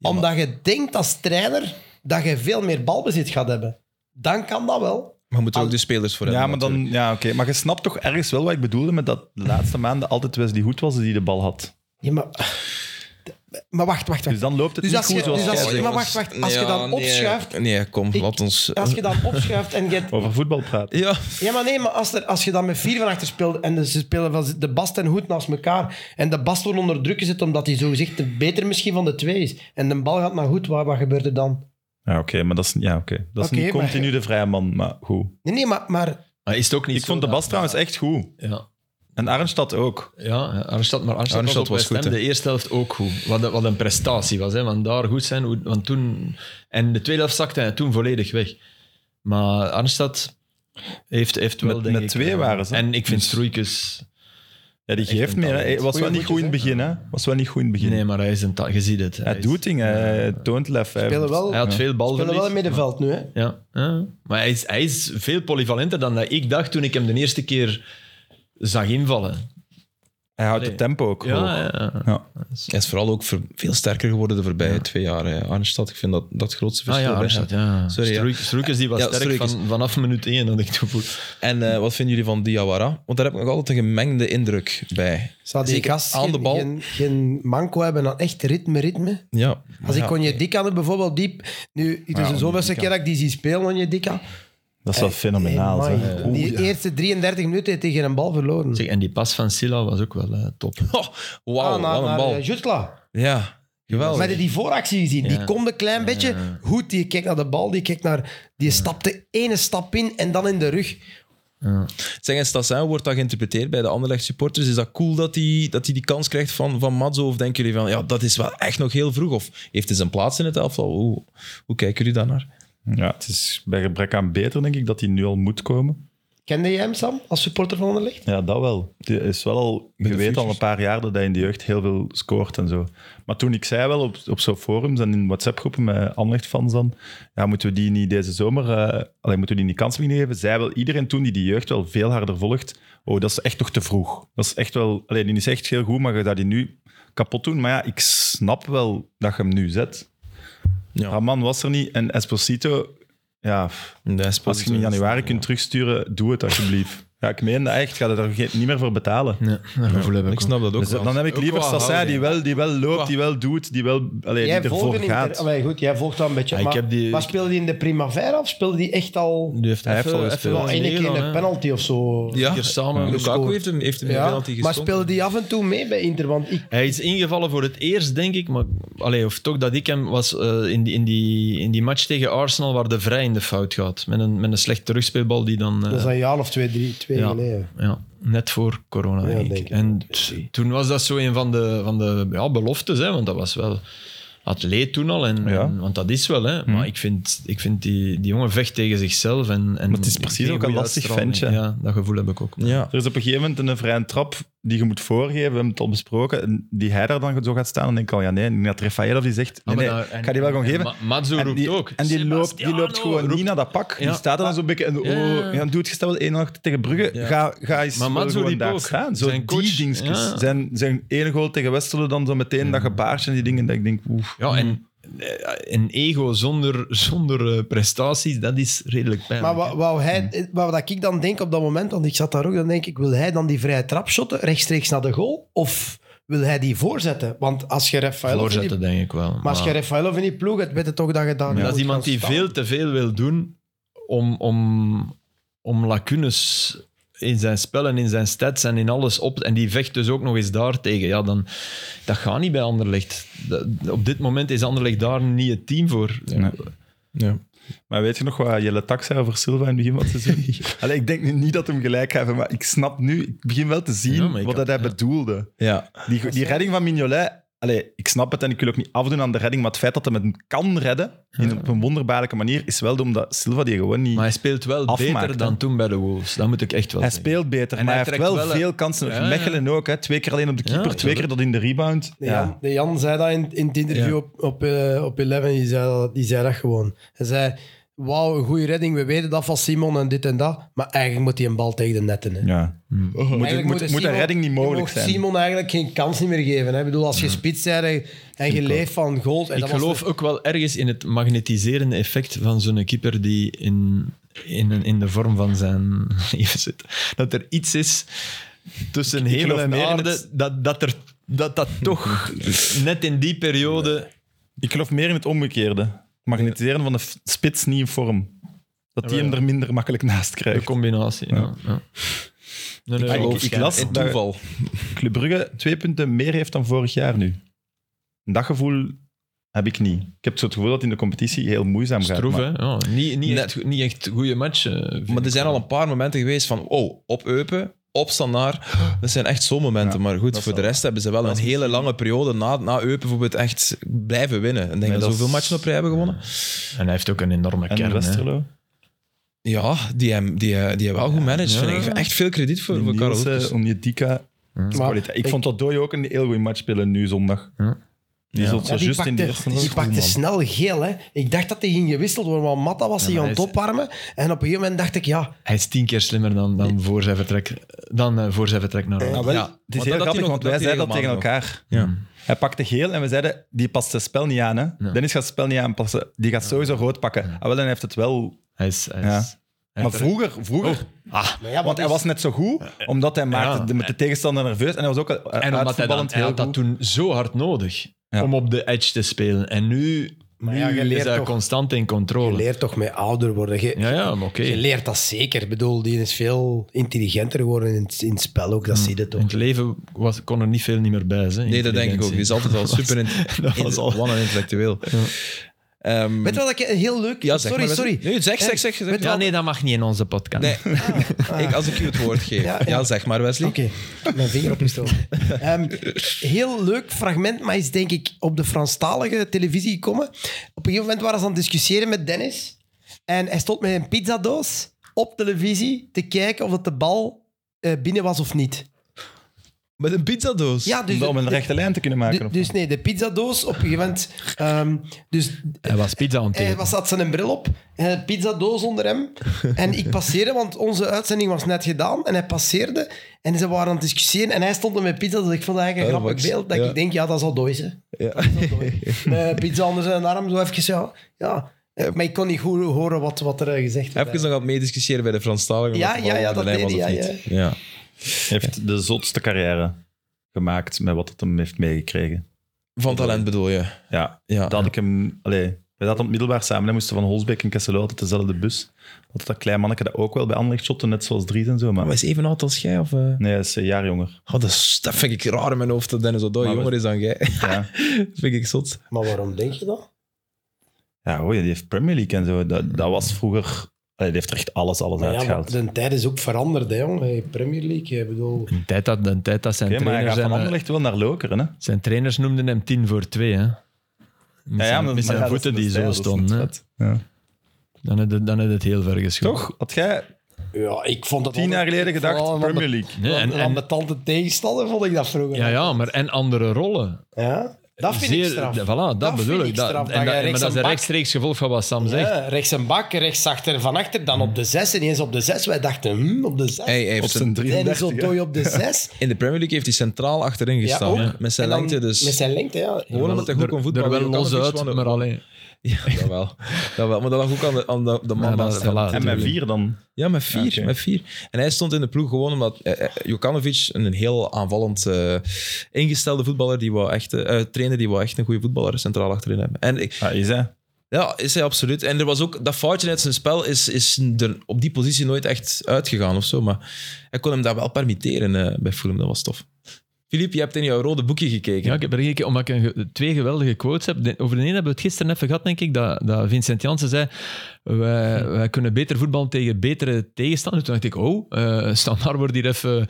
Speaker 2: omdat je denkt als trainer dat je veel meer balbezit gaat hebben. Dan kan dat wel.
Speaker 1: Maar moeten we ook de spelers voor
Speaker 4: Ja,
Speaker 1: hebben.
Speaker 4: maar dan...
Speaker 1: natuurlijk.
Speaker 4: Ja, oké. Maar je snapt toch ergens wel wat ik bedoelde met dat de laatste maanden altijd Wesley Hoed was die de bal had.
Speaker 2: Ja, maar, maar wacht, wacht, wacht.
Speaker 4: Dus dan loopt het
Speaker 2: Dus
Speaker 4: niet
Speaker 2: als
Speaker 4: goed
Speaker 2: je-
Speaker 4: zoals
Speaker 2: dus als
Speaker 4: jij
Speaker 2: je-
Speaker 4: zegt.
Speaker 2: maar wacht, wacht. Als je dan
Speaker 1: nee,
Speaker 2: opschuift-
Speaker 1: Nee, kom,
Speaker 2: Ik-
Speaker 1: laat ons... eh,
Speaker 2: Als je dan opschuift en je hebt
Speaker 4: Over voetbal praten.
Speaker 1: Ja,
Speaker 2: Ja, maar nee, maar als, er, als je dan met vier van achter speelt en de- ze spelen van de Bast en Hoed naast elkaar en de Bast wordt onder druk gezet omdat hij zogezegd de beter misschien van de twee is en de bal gaat naar Hoed, wat, wat gebeurt er dan?
Speaker 4: Ja, oké. maar dat is, ja, oké. dat is
Speaker 2: Oké,
Speaker 4: niet
Speaker 2: maar-
Speaker 4: continu de vrije man, maar goed.
Speaker 2: Nee, nee, maar, maar
Speaker 3: Maar is het ook niet
Speaker 4: Ik
Speaker 3: zo
Speaker 4: vond de
Speaker 3: dat-
Speaker 4: Bas trouwens echt goed.
Speaker 3: Ja,
Speaker 4: En Arnstad ook.
Speaker 3: ja Arnstad, maar Arnstad,
Speaker 1: Arnstad was
Speaker 3: was, op West Ham
Speaker 1: goed, hè.
Speaker 3: de eerste helft ook goed. Wat, een- wat een prestatie was, hè. Want daar goed zijn, hoe- want toen... En de tweede helft zakte hij toen volledig weg. Maar Arnstad heeft, heeft wel,
Speaker 4: Met-
Speaker 3: denk
Speaker 4: met
Speaker 3: ik,
Speaker 4: twee
Speaker 3: eh,
Speaker 4: waren ze.
Speaker 3: En ik vind
Speaker 4: Dus-
Speaker 3: Stroeikens...
Speaker 4: Ja, die
Speaker 3: Echt
Speaker 4: geeft
Speaker 3: een
Speaker 4: meer.
Speaker 3: talent.
Speaker 4: Hij was wel
Speaker 3: Goeie
Speaker 4: niet goed in het
Speaker 3: voetjes,
Speaker 4: begin, hè? Was wel niet goed in het begin.
Speaker 3: Nee, maar hij is een... ta- Je ziet het.
Speaker 4: Hmm. hij
Speaker 3: is-
Speaker 4: doet dingen, hij toont lef. Hij
Speaker 2: spelen wel,
Speaker 3: Hij had
Speaker 4: Ja.
Speaker 3: veel balverlies.
Speaker 2: spelen wel in middenveld nu, hè?
Speaker 3: Ja, ja. maar hij is, hij is veel polyvalenter dan dat ik dacht toen ik hem de eerste keer zag invallen.
Speaker 4: Hij houdt
Speaker 3: Allee.
Speaker 4: het tempo ook hoog.
Speaker 3: Ja, ja, ja.
Speaker 1: hij is vooral ook ver- veel sterker geworden de voorbije twee jaar. hè. Arnstad, ik vind dat, dat het grootste
Speaker 3: Ah
Speaker 1: verschil.
Speaker 3: ja,
Speaker 1: bij
Speaker 4: Dus
Speaker 3: Arnstad,
Speaker 1: hem.
Speaker 3: ja.
Speaker 1: Sorry, ja.
Speaker 3: Stroeik- Stroeikens die was
Speaker 1: Ja,
Speaker 3: sterk
Speaker 1: Stroeikens.
Speaker 3: van, vanaf minuut 1, had ik toevoeg.
Speaker 1: En eh, wat vinden jullie van Diawara? Want daar heb ik nog altijd een gemengde indruk bij.
Speaker 2: Zou die
Speaker 1: Zeker
Speaker 2: gast
Speaker 1: aan de
Speaker 2: geen,
Speaker 1: bal.
Speaker 2: Geen, geen manco hebben aan echt ritme, ritme?
Speaker 1: Ja.
Speaker 2: Als
Speaker 1: Ja.
Speaker 2: ik Onjedika had bijvoorbeeld diep... Nu, het
Speaker 4: Ja,
Speaker 2: is de zoveelste
Speaker 4: Onyedika.
Speaker 2: keer dat ik die zie spelen, Onjedika.
Speaker 4: Dat is wel fenomenaal.
Speaker 2: Hey,
Speaker 4: zeg.
Speaker 2: man,
Speaker 4: Oeh,
Speaker 2: Die
Speaker 4: ja.
Speaker 2: eerste 33 minuten heeft hij geen bal verloren.
Speaker 3: Zeg, en die pas van Silla was ook wel eh, top.
Speaker 1: Oh, wauw,
Speaker 2: naar-
Speaker 1: wat een
Speaker 2: naar,
Speaker 1: bal.
Speaker 2: eh, Jutla.
Speaker 1: Oh, Ja, geweldig.
Speaker 2: Maar die vooractie gezien,
Speaker 3: Ja.
Speaker 2: die komt een klein beetje. Goed, die kijkt naar de bal, die kijkt naar... Die stapt de ene stap in en dan in de rug.
Speaker 1: Zeg eens, Stassin, wordt dat geïnterpreteerd bij de Anderlecht supporters? Is dat cool dat hij dat die, die kans krijgt van, van Mazzo? Of denken jullie van, ja, dat is wel echt nog heel vroeg? Of heeft hij zijn plaats in het elftal? Hoe, hoe kijken jullie daarnaar?
Speaker 4: Ja, het is bij gebrek aan beter, denk ik, dat hij nu al moet komen.
Speaker 2: Kende jij hem, Sam, als supporter van Anderlecht?
Speaker 4: Ja, dat wel. Die is wel al,
Speaker 1: de
Speaker 4: je weet al
Speaker 1: futures.
Speaker 4: een paar jaar dat hij in de jeugd heel veel scoort en zo. Maar toen ik zei wel op, op zo'n forums en in WhatsApp-groepen met Anlecht-fans dan, ja, moeten we die niet deze zomer, eh alleen moeten we die niet kans meer geven? Zei wel iedereen toen die die jeugd wel veel harder volgt, oh, dat is echt nog te vroeg. Dat is echt wel, alleen die is echt heel goed, maar je gaat die nu kapot doen. Maar ja, ik snap wel dat je hem nu zet.
Speaker 1: Ja.
Speaker 4: Raman was er niet en Esposito, ja, pff, als je hem in januari kunt terugsturen, doe het alsjeblieft. Ja, ik meen dat echt. Ga je daar geen- niet meer voor betalen.
Speaker 3: Nee, dat gevoel heb
Speaker 1: Ik
Speaker 3: ik ook.
Speaker 1: snap dat ook
Speaker 4: Dus
Speaker 1: wel.
Speaker 4: dan heb ik liever
Speaker 3: qua
Speaker 4: Sassa die
Speaker 3: houding,
Speaker 4: wel, die wel loopt, die wel doet, die wel allee, die ervoor
Speaker 2: volgde Ah,
Speaker 4: gaat.
Speaker 2: In de, Allee, goed, jij volgt dat een beetje.
Speaker 3: Ja, ik
Speaker 2: maar,
Speaker 3: heb die-
Speaker 2: maar speelde hij in de Primavera of speelde hij echt al...
Speaker 3: Die heeft
Speaker 4: Hij heeft
Speaker 3: even-
Speaker 4: al
Speaker 3: even
Speaker 4: gespeeld.
Speaker 2: Wel
Speaker 3: wel
Speaker 2: één keer
Speaker 3: meegedaan,
Speaker 2: een
Speaker 3: hè.
Speaker 2: penalty of zo.
Speaker 1: ja,
Speaker 3: keer samen
Speaker 1: Lukaku
Speaker 2: gescoord.
Speaker 1: heeft hem, heeft hem
Speaker 2: Ja,
Speaker 1: een penalty
Speaker 2: maar
Speaker 1: geschoten.
Speaker 2: speelde die af en toe mee bij Inter? Want ik,
Speaker 3: Hij is ingevallen voor het eerst, denk ik. Maar, allee, of toch dat ik hem was eh, in, die, in, die, in die match tegen Arsenal waar de vrij in de fout gaat. Met een, met een slecht terugspeelbal die dan... eh,
Speaker 2: dat is een jaar of twee, drie, twee
Speaker 3: Ja.
Speaker 2: geleden.
Speaker 3: Ja, net voor corona,
Speaker 2: Ja,
Speaker 3: denk ik.
Speaker 2: denk ik.
Speaker 3: En t- toen was dat zo een van de, van de ja, beloftes, hè, want dat was wel atleet toen al. En,
Speaker 4: Ja. Hm.
Speaker 3: en- want dat is wel, hè. Maar ik vind, ik vind die, die jongen vecht tegen zichzelf. En, en
Speaker 4: Maar het is
Speaker 3: ik
Speaker 4: precies
Speaker 3: denk
Speaker 4: ook een
Speaker 3: goede
Speaker 4: lastig
Speaker 3: uitstraling.
Speaker 4: ventje.
Speaker 3: Ja, dat gevoel heb ik ook. Ah,
Speaker 1: Ja.
Speaker 4: Er is op een gegeven moment een vrije trap die je moet voorgeven, we hebben het al besproken, en die hij daar dan zo gaat staan. En denk ik al, ja nee, en dat Rafael of die zegt, nee, nee,
Speaker 3: Ah, maar daar-
Speaker 4: ik ga die wel gewoon
Speaker 3: en
Speaker 4: geven.
Speaker 3: Ma- Matsu
Speaker 4: En
Speaker 3: roept
Speaker 4: die,
Speaker 3: ook.
Speaker 4: En die loopt, die loopt
Speaker 3: Sebastiano
Speaker 4: gewoon
Speaker 3: roept-
Speaker 4: niet naar dat pak.
Speaker 3: Ja.
Speaker 4: Die staat er dan zo'n beetje en oh,
Speaker 3: Ja.
Speaker 4: ja. doe het gestel wel 1-0 tegen Brugge.
Speaker 1: Ja.
Speaker 4: Ga, ga eens
Speaker 3: Maar
Speaker 4: wel
Speaker 3: Matsu
Speaker 4: gewoon
Speaker 3: liep
Speaker 4: daar
Speaker 3: ook.
Speaker 4: staan. Zo
Speaker 3: Zijn
Speaker 4: die
Speaker 3: coach,
Speaker 4: dingetjes.
Speaker 3: ja.
Speaker 4: Zijn, zijn ene goal tegen Westerlo dan zo meteen dat gebaartje en die dingen. Dat ik denk, oef.
Speaker 3: Ja, en
Speaker 4: Mm.
Speaker 3: eh, een ego zonder, zonder eh, prestaties, dat is redelijk
Speaker 2: Maar
Speaker 3: pijnlijk.
Speaker 2: wou, wou
Speaker 3: Hmm.
Speaker 2: hij, wou dat ik dan denk op dat moment, want ik zat daar ook, dan denk ik, wil hij dan die vrije trap shotten rechtstreeks naar de goal? Of wil hij die voorzetten? Want als je Rafael of in die-
Speaker 3: Voorzetten, denk ik wel.
Speaker 2: maar als je Rafael of in die ploeg hebt, weet je toch dat je daar...
Speaker 3: Maar
Speaker 2: moet
Speaker 3: dat is iemand
Speaker 2: gaan
Speaker 3: die
Speaker 2: staan.
Speaker 3: veel te veel wil doen om, om, om lacunes in zijn spel en in zijn stats en in alles op. En die vecht dus ook nog eens daar tegen. Ja, dan, dat gaat niet bij Anderlecht. Dat- op dit moment is Anderlecht daar niet het team voor.
Speaker 4: Nee.
Speaker 1: Ja.
Speaker 4: Maar weet je nog wat Jelle Tak zei over Silva in het begin van het seizoen? Allee, ik denk nu niet dat hem gelijk heeft, maar ik snap nu, ik begin wel te
Speaker 3: Ja,
Speaker 4: zien
Speaker 3: maar ik
Speaker 4: wat dat
Speaker 3: had-
Speaker 4: hij
Speaker 3: ja.
Speaker 4: bedoelde.
Speaker 1: Ja.
Speaker 4: Die, die redding van Mignolet, allee, ik snap het en ik wil ook niet afdoen aan de redding, maar het feit dat hij hem kan redden in, op een wonderbaarlijke manier is wel omdat Silva die gewoon niet...
Speaker 3: Maar hij speelt wel
Speaker 4: Afmaakt,
Speaker 3: beter
Speaker 4: hè?
Speaker 3: dan toen bij de Wolves. Dat moet ik echt wel
Speaker 4: hij
Speaker 3: zeggen.
Speaker 4: speelt beter,
Speaker 3: En
Speaker 4: maar
Speaker 3: hij
Speaker 4: hij heeft
Speaker 3: trekt
Speaker 4: wel,
Speaker 3: wel een-
Speaker 4: veel kansen.
Speaker 3: Ja, ja.
Speaker 4: Mechelen ook, hè. twee keer alleen op de keeper, twee
Speaker 3: tuurlijk.
Speaker 4: keer dat in de rebound.
Speaker 2: De
Speaker 4: Ja.
Speaker 2: Jan, de Jan zei dat in, in het interview op, op, eh, op Eleven, die zei dat, die zei dat gewoon. Hij zei, wauw, een goede redding, we weten dat van Simon en dit en dat. Maar eigenlijk moet hij een bal tegen de netten. Hè.
Speaker 4: Ja. Moet,
Speaker 2: Eigenlijk
Speaker 4: moet,
Speaker 2: moet
Speaker 4: moet een
Speaker 2: Simon-
Speaker 4: redding niet
Speaker 2: Je
Speaker 4: mogelijk
Speaker 2: mocht
Speaker 4: zijn.
Speaker 2: Simon eigenlijk geen kans niet meer geven. Hè. Ik bedoel, als je spits bent en- en je leeft van gold... En
Speaker 3: Ik
Speaker 2: Eh, dat was
Speaker 3: geloof
Speaker 2: de-
Speaker 3: ook wel ergens in het magnetiserende effect van zo'n keeper die in, in, een- in de vorm van zijn leven zit. Dat er iets is tussen hemel
Speaker 4: geloof
Speaker 3: en
Speaker 4: meer in
Speaker 3: aarde,
Speaker 4: het-
Speaker 3: dat, dat, er, dat dat toch net in die periode...
Speaker 4: Ik geloof meer in het omgekeerde. Het Magnetiseren van de f- spits niet in vorm. Dat die
Speaker 3: Jawel.
Speaker 4: hem er minder makkelijk naast
Speaker 3: De
Speaker 4: krijgt.
Speaker 3: combinatie, ja. ja. Nee, nee,
Speaker 4: Ik-
Speaker 3: ook-
Speaker 4: ik, ik las
Speaker 1: En
Speaker 4: dat
Speaker 1: toeval.
Speaker 4: Club Brugge twee punten meer heeft dan vorig jaar nu. En dat gevoel heb ik niet. Ik heb zo het gevoel dat het in de competitie heel moeizaam gaat.
Speaker 3: Stroef,
Speaker 4: maar-
Speaker 3: hè? Ja, niet, niet,
Speaker 1: Nee.
Speaker 3: echt, go- niet echt goede matchen. vind
Speaker 1: Maar er
Speaker 3: ik.
Speaker 1: zijn al een paar momenten geweest van, oh, op Eupen, op Standaard. Dat zijn echt zo'n momenten.
Speaker 4: Ja,
Speaker 1: maar goed,
Speaker 4: dat
Speaker 1: voor de
Speaker 4: zal-
Speaker 1: rest hebben ze wel een
Speaker 4: dat is
Speaker 1: hele
Speaker 4: misschien-
Speaker 1: lange periode na, na Eupen bijvoorbeeld echt blijven winnen. En denk
Speaker 4: Nee,
Speaker 1: dat ze
Speaker 4: dat
Speaker 1: zoveel
Speaker 4: is-
Speaker 1: matchen op rij hebben gewonnen.
Speaker 3: En hij heeft ook een enorme
Speaker 4: En
Speaker 3: kern. hè.
Speaker 4: Westerlo?
Speaker 1: Ja, die hebben die, hebben- die hebben wel goed managed.
Speaker 3: Ja.
Speaker 1: vind Ik Ik heb echt veel krediet voor, voor Karel
Speaker 4: Nielsen,
Speaker 1: Hoefkes.
Speaker 4: Onyedika.
Speaker 2: Maar-
Speaker 4: kwaliteit. Ik vond dat Dooi ook een heel goede match spelen nu zondag.
Speaker 3: Ja.
Speaker 4: Die
Speaker 1: Ja.
Speaker 4: zult zo
Speaker 2: Ja, die
Speaker 4: juist in de
Speaker 2: pakte,
Speaker 4: eerste
Speaker 2: die
Speaker 4: helft
Speaker 2: pakte
Speaker 4: doen, man.
Speaker 2: snel geel. Hè. Ik dacht dat hij ging gewisseld worden, want Matta was
Speaker 3: maar
Speaker 2: hier aan
Speaker 3: hij
Speaker 2: het
Speaker 3: is-
Speaker 2: opwarmen. En op een gegeven moment dacht ik, ja,
Speaker 3: Hij is tien keer slimmer dan, dan, voor, zijn vertrek, dan eh, voor zijn vertrek naar Rome.
Speaker 4: Ah, wel,
Speaker 1: Ja, want
Speaker 4: het is
Speaker 1: dat
Speaker 4: heel
Speaker 1: had hij
Speaker 4: grappig,
Speaker 1: nog-
Speaker 4: want
Speaker 1: dat
Speaker 4: wij
Speaker 1: had hij
Speaker 4: zeiden dat tegen
Speaker 1: helemaal
Speaker 4: elkaar.
Speaker 3: Ja.
Speaker 4: Hij pakte geel en we zeiden, die past zijn spel niet aan. Hè? Dennis gaat het spel niet aanpassen. Die gaat sowieso rood pakken. Ah, wel, en hij Oh. heeft het wel...
Speaker 3: Hij is... Hij
Speaker 4: Ja.
Speaker 3: is hij
Speaker 4: Maar
Speaker 3: heeft-
Speaker 4: vroeger, vroeger
Speaker 3: Ah,
Speaker 2: maar ja
Speaker 4: want hij was net zo goed, omdat hij maakte
Speaker 3: Ja.
Speaker 4: de, met de tegenstander nerveus. En hij was ook eh,
Speaker 3: en omdat hij, dan,
Speaker 4: uitvoetballend
Speaker 3: hij
Speaker 4: heel
Speaker 3: had dat
Speaker 4: goed.
Speaker 3: toen zo hard nodig
Speaker 4: Ja.
Speaker 3: om op de edge te spelen. En nu,
Speaker 2: Maar
Speaker 3: nu
Speaker 2: ja, je
Speaker 3: is
Speaker 2: leert
Speaker 3: hij
Speaker 2: toch-
Speaker 3: constant in
Speaker 2: je
Speaker 3: controle.
Speaker 2: leert toch met ouder worden. Je,
Speaker 3: ja, ja, maar oké.
Speaker 2: je leert dat zeker. Ik bedoel, die is veel intelligenter geworden in, het- in het spel ook. Dat zie je
Speaker 3: In
Speaker 2: toch.
Speaker 3: het leven was, kon er niet veel niet meer bij zijn.
Speaker 1: Nee, dat denk ik ook. Die is
Speaker 4: Dus
Speaker 1: altijd al super in,
Speaker 3: Dat was
Speaker 1: in-
Speaker 3: al-
Speaker 1: man en intellectueel. Ehm,
Speaker 2: Weet je wat ik heel leuk...
Speaker 1: ja, zeg
Speaker 2: sorry,
Speaker 1: maar, weet-
Speaker 2: sorry.
Speaker 1: Nee, zeg, zeg, zeg. zeg.
Speaker 2: Weet je
Speaker 3: Ja, nee, dat mag niet in onze podcast.
Speaker 1: Nee, ik, als ik u het woord geef. Ja,
Speaker 2: Ja, ja.
Speaker 1: zeg maar, Wesley.
Speaker 2: Oké, mijn vinger opgestoken. Ehm heel leuk fragment, maar is denk ik op de Franstalige televisie gekomen. Op een gegeven moment waren ze aan het discussiëren met Dennis. En hij stond met een pizzadoos op televisie te kijken of dat de bal eh, binnen was of niet.
Speaker 1: Met een pizzadoos.
Speaker 2: Ja, dus,
Speaker 4: Om- om een
Speaker 2: de-
Speaker 4: rechte lijn te kunnen maken.
Speaker 2: de-
Speaker 4: of
Speaker 2: dus nee, de pizzadoos op een gegeven moment... ehm, dus
Speaker 3: Hij was pizza aan het
Speaker 2: hij
Speaker 3: eten.
Speaker 2: was, had zijn bril op, en een pizzadoos onder hem. En ik passeerde, want onze uitzending was net gedaan. En hij passeerde en ze waren aan het discussiëren. En hij stond er met pizza, dus ik vond dat eigenlijk een
Speaker 1: Oh,
Speaker 2: grappig
Speaker 1: wat-
Speaker 2: beeld. Dat
Speaker 1: ja.
Speaker 2: ik denk, ja, dat zal dooi zijn.
Speaker 1: Ja.
Speaker 2: Met pizza onder zijn arm, zo even, ja. ja. Maar ik kon niet goed horen wat, wat er eh, gezegd werd.
Speaker 1: Even nog aan het meediscussiëren bij de Franstaligen.
Speaker 2: Ja,
Speaker 1: wat de
Speaker 2: ja,
Speaker 1: bal
Speaker 2: ja,
Speaker 1: over de
Speaker 2: dat
Speaker 1: lijn
Speaker 2: deed
Speaker 1: was
Speaker 2: hij,
Speaker 1: of
Speaker 2: ja,
Speaker 1: niet. Ja.
Speaker 4: heeft de zotste carrière gemaakt met wat het hem heeft meegekregen.
Speaker 1: Van talent bedoel je.
Speaker 4: Ah, Ja,
Speaker 1: Ja.
Speaker 4: dat had ik hem... Allee, wij zaten op het middelbaar samen. Hij moesten van Holsbeek en Kesselo altijd dezelfde bus. Altijd dat klein manneke dat ook wel bij Anderlecht shotte, net zoals Dries en zo. Maar
Speaker 1: Maar is even oud als jij? Of, eh?
Speaker 4: nee, hij is een jaar jonger.
Speaker 1: oh, dat, is- dat vind ik raar in mijn hoofd dat Dennis Odoi
Speaker 4: Maar
Speaker 1: jonger
Speaker 4: we-
Speaker 1: is dan jij.
Speaker 4: Ja,
Speaker 1: dat vind ik zot.
Speaker 2: Maar waarom denk je dat?
Speaker 4: ja hoor, die heeft Premier League en zo. Dat, dat was vroeger... Allee, die heeft er echt alles, alles
Speaker 2: Maar ja,
Speaker 4: uitgehaald.
Speaker 2: de tijd is ook veranderd, hè, jong. Hey, Premier League, ik bedoel...
Speaker 3: Een tijd dat, een tijd dat zijn,
Speaker 4: Oké, maar hij
Speaker 3: trainers
Speaker 4: gaat van
Speaker 3: hem, eh,
Speaker 4: Anderlecht wel naar Lokeren, hè?
Speaker 3: zijn trainers noemden hem 10 voor 2. Hè. Met
Speaker 4: Ja, ja,
Speaker 3: zijn,
Speaker 4: maar-
Speaker 3: met zijn
Speaker 4: maar ja,
Speaker 3: voeten
Speaker 4: dat dus is-
Speaker 3: die
Speaker 4: dat
Speaker 3: zo
Speaker 4: is- dat is
Speaker 3: stonden. hè.
Speaker 4: vet. Ja.
Speaker 3: Dan had het, dan had het heel ver geschoten.
Speaker 4: Toch? Had jij
Speaker 2: Ja, ik vond dat...
Speaker 4: tien jaar geleden gedacht, Premier League?
Speaker 3: Nee, en,
Speaker 2: en
Speaker 3: en,
Speaker 2: met tante tegenstander vond ik dat vroeger.
Speaker 3: ja, ja, maar en andere rollen.
Speaker 2: Ja? Dat vind ik straf.
Speaker 3: Voilà, dat,
Speaker 2: Dat vind
Speaker 3: bedoel
Speaker 2: ik
Speaker 3: ik. Dat,
Speaker 2: straf, dat
Speaker 3: en
Speaker 2: jij
Speaker 3: maar
Speaker 2: rechts een
Speaker 3: dat is een
Speaker 2: bak-
Speaker 3: rechtstreeks gevolg van wat Sam zegt.
Speaker 2: Ja, rechts een bak, rechts achter, van achter, dan op de zes. En eens op de zes. Wij dachten, hmm, op de zes.
Speaker 1: Hij, hij heeft
Speaker 4: Op
Speaker 1: zijn-
Speaker 4: zijn
Speaker 2: en is
Speaker 4: 33.
Speaker 2: op dooi op de zes.
Speaker 1: in de Premier League heeft hij centraal achterin
Speaker 2: Ja,
Speaker 1: gestaan.
Speaker 2: ook.
Speaker 1: hè. Met zijn
Speaker 2: En dan
Speaker 1: lengte dus.
Speaker 2: Met zijn lengte, ja.
Speaker 1: Gewoon omdat hij goed kon
Speaker 3: Er
Speaker 1: voetballen. dus
Speaker 3: wel
Speaker 1: Je kan
Speaker 3: los
Speaker 1: er niks
Speaker 3: uit,
Speaker 1: van-
Speaker 3: maar alleen.
Speaker 1: Ja, dat wel. Dat wel. Maar dat lag ook aan de, aan de, de man
Speaker 3: Ja, dat-
Speaker 1: naast hem.
Speaker 3: voilà.
Speaker 4: En met vier dan?
Speaker 1: Ja, met vier,
Speaker 4: Ja, oké.
Speaker 1: met vier. En hij stond in de ploeg gewoon omdat eh, eh, Jokanovic, een heel aanvallend eh, ingestelde voetballer, die wou echt, eh, trainer die wou echt een goede voetballer centraal achterin hebben. En ik,
Speaker 4: Ah, is hij?
Speaker 1: ja, is hij absoluut. En er was ook, dat foutje uit zijn spel is, is er op die positie nooit echt uitgegaan of zo. Maar hij kon hem dat wel permitteren eh, bij Fulham, dat was tof. Filip, je hebt in jouw rode boekje gekeken.
Speaker 3: Ja, ik heb er gekeken, omdat ik een ge- twee geweldige quotes heb. De- Over de ene hebben we het gisteren even gehad, denk ik, dat, dat Vincent Janssen zei wij, wij kunnen beter voetballen tegen betere tegenstanders. Toen dacht ik, oh, eh Standaard wordt hier even...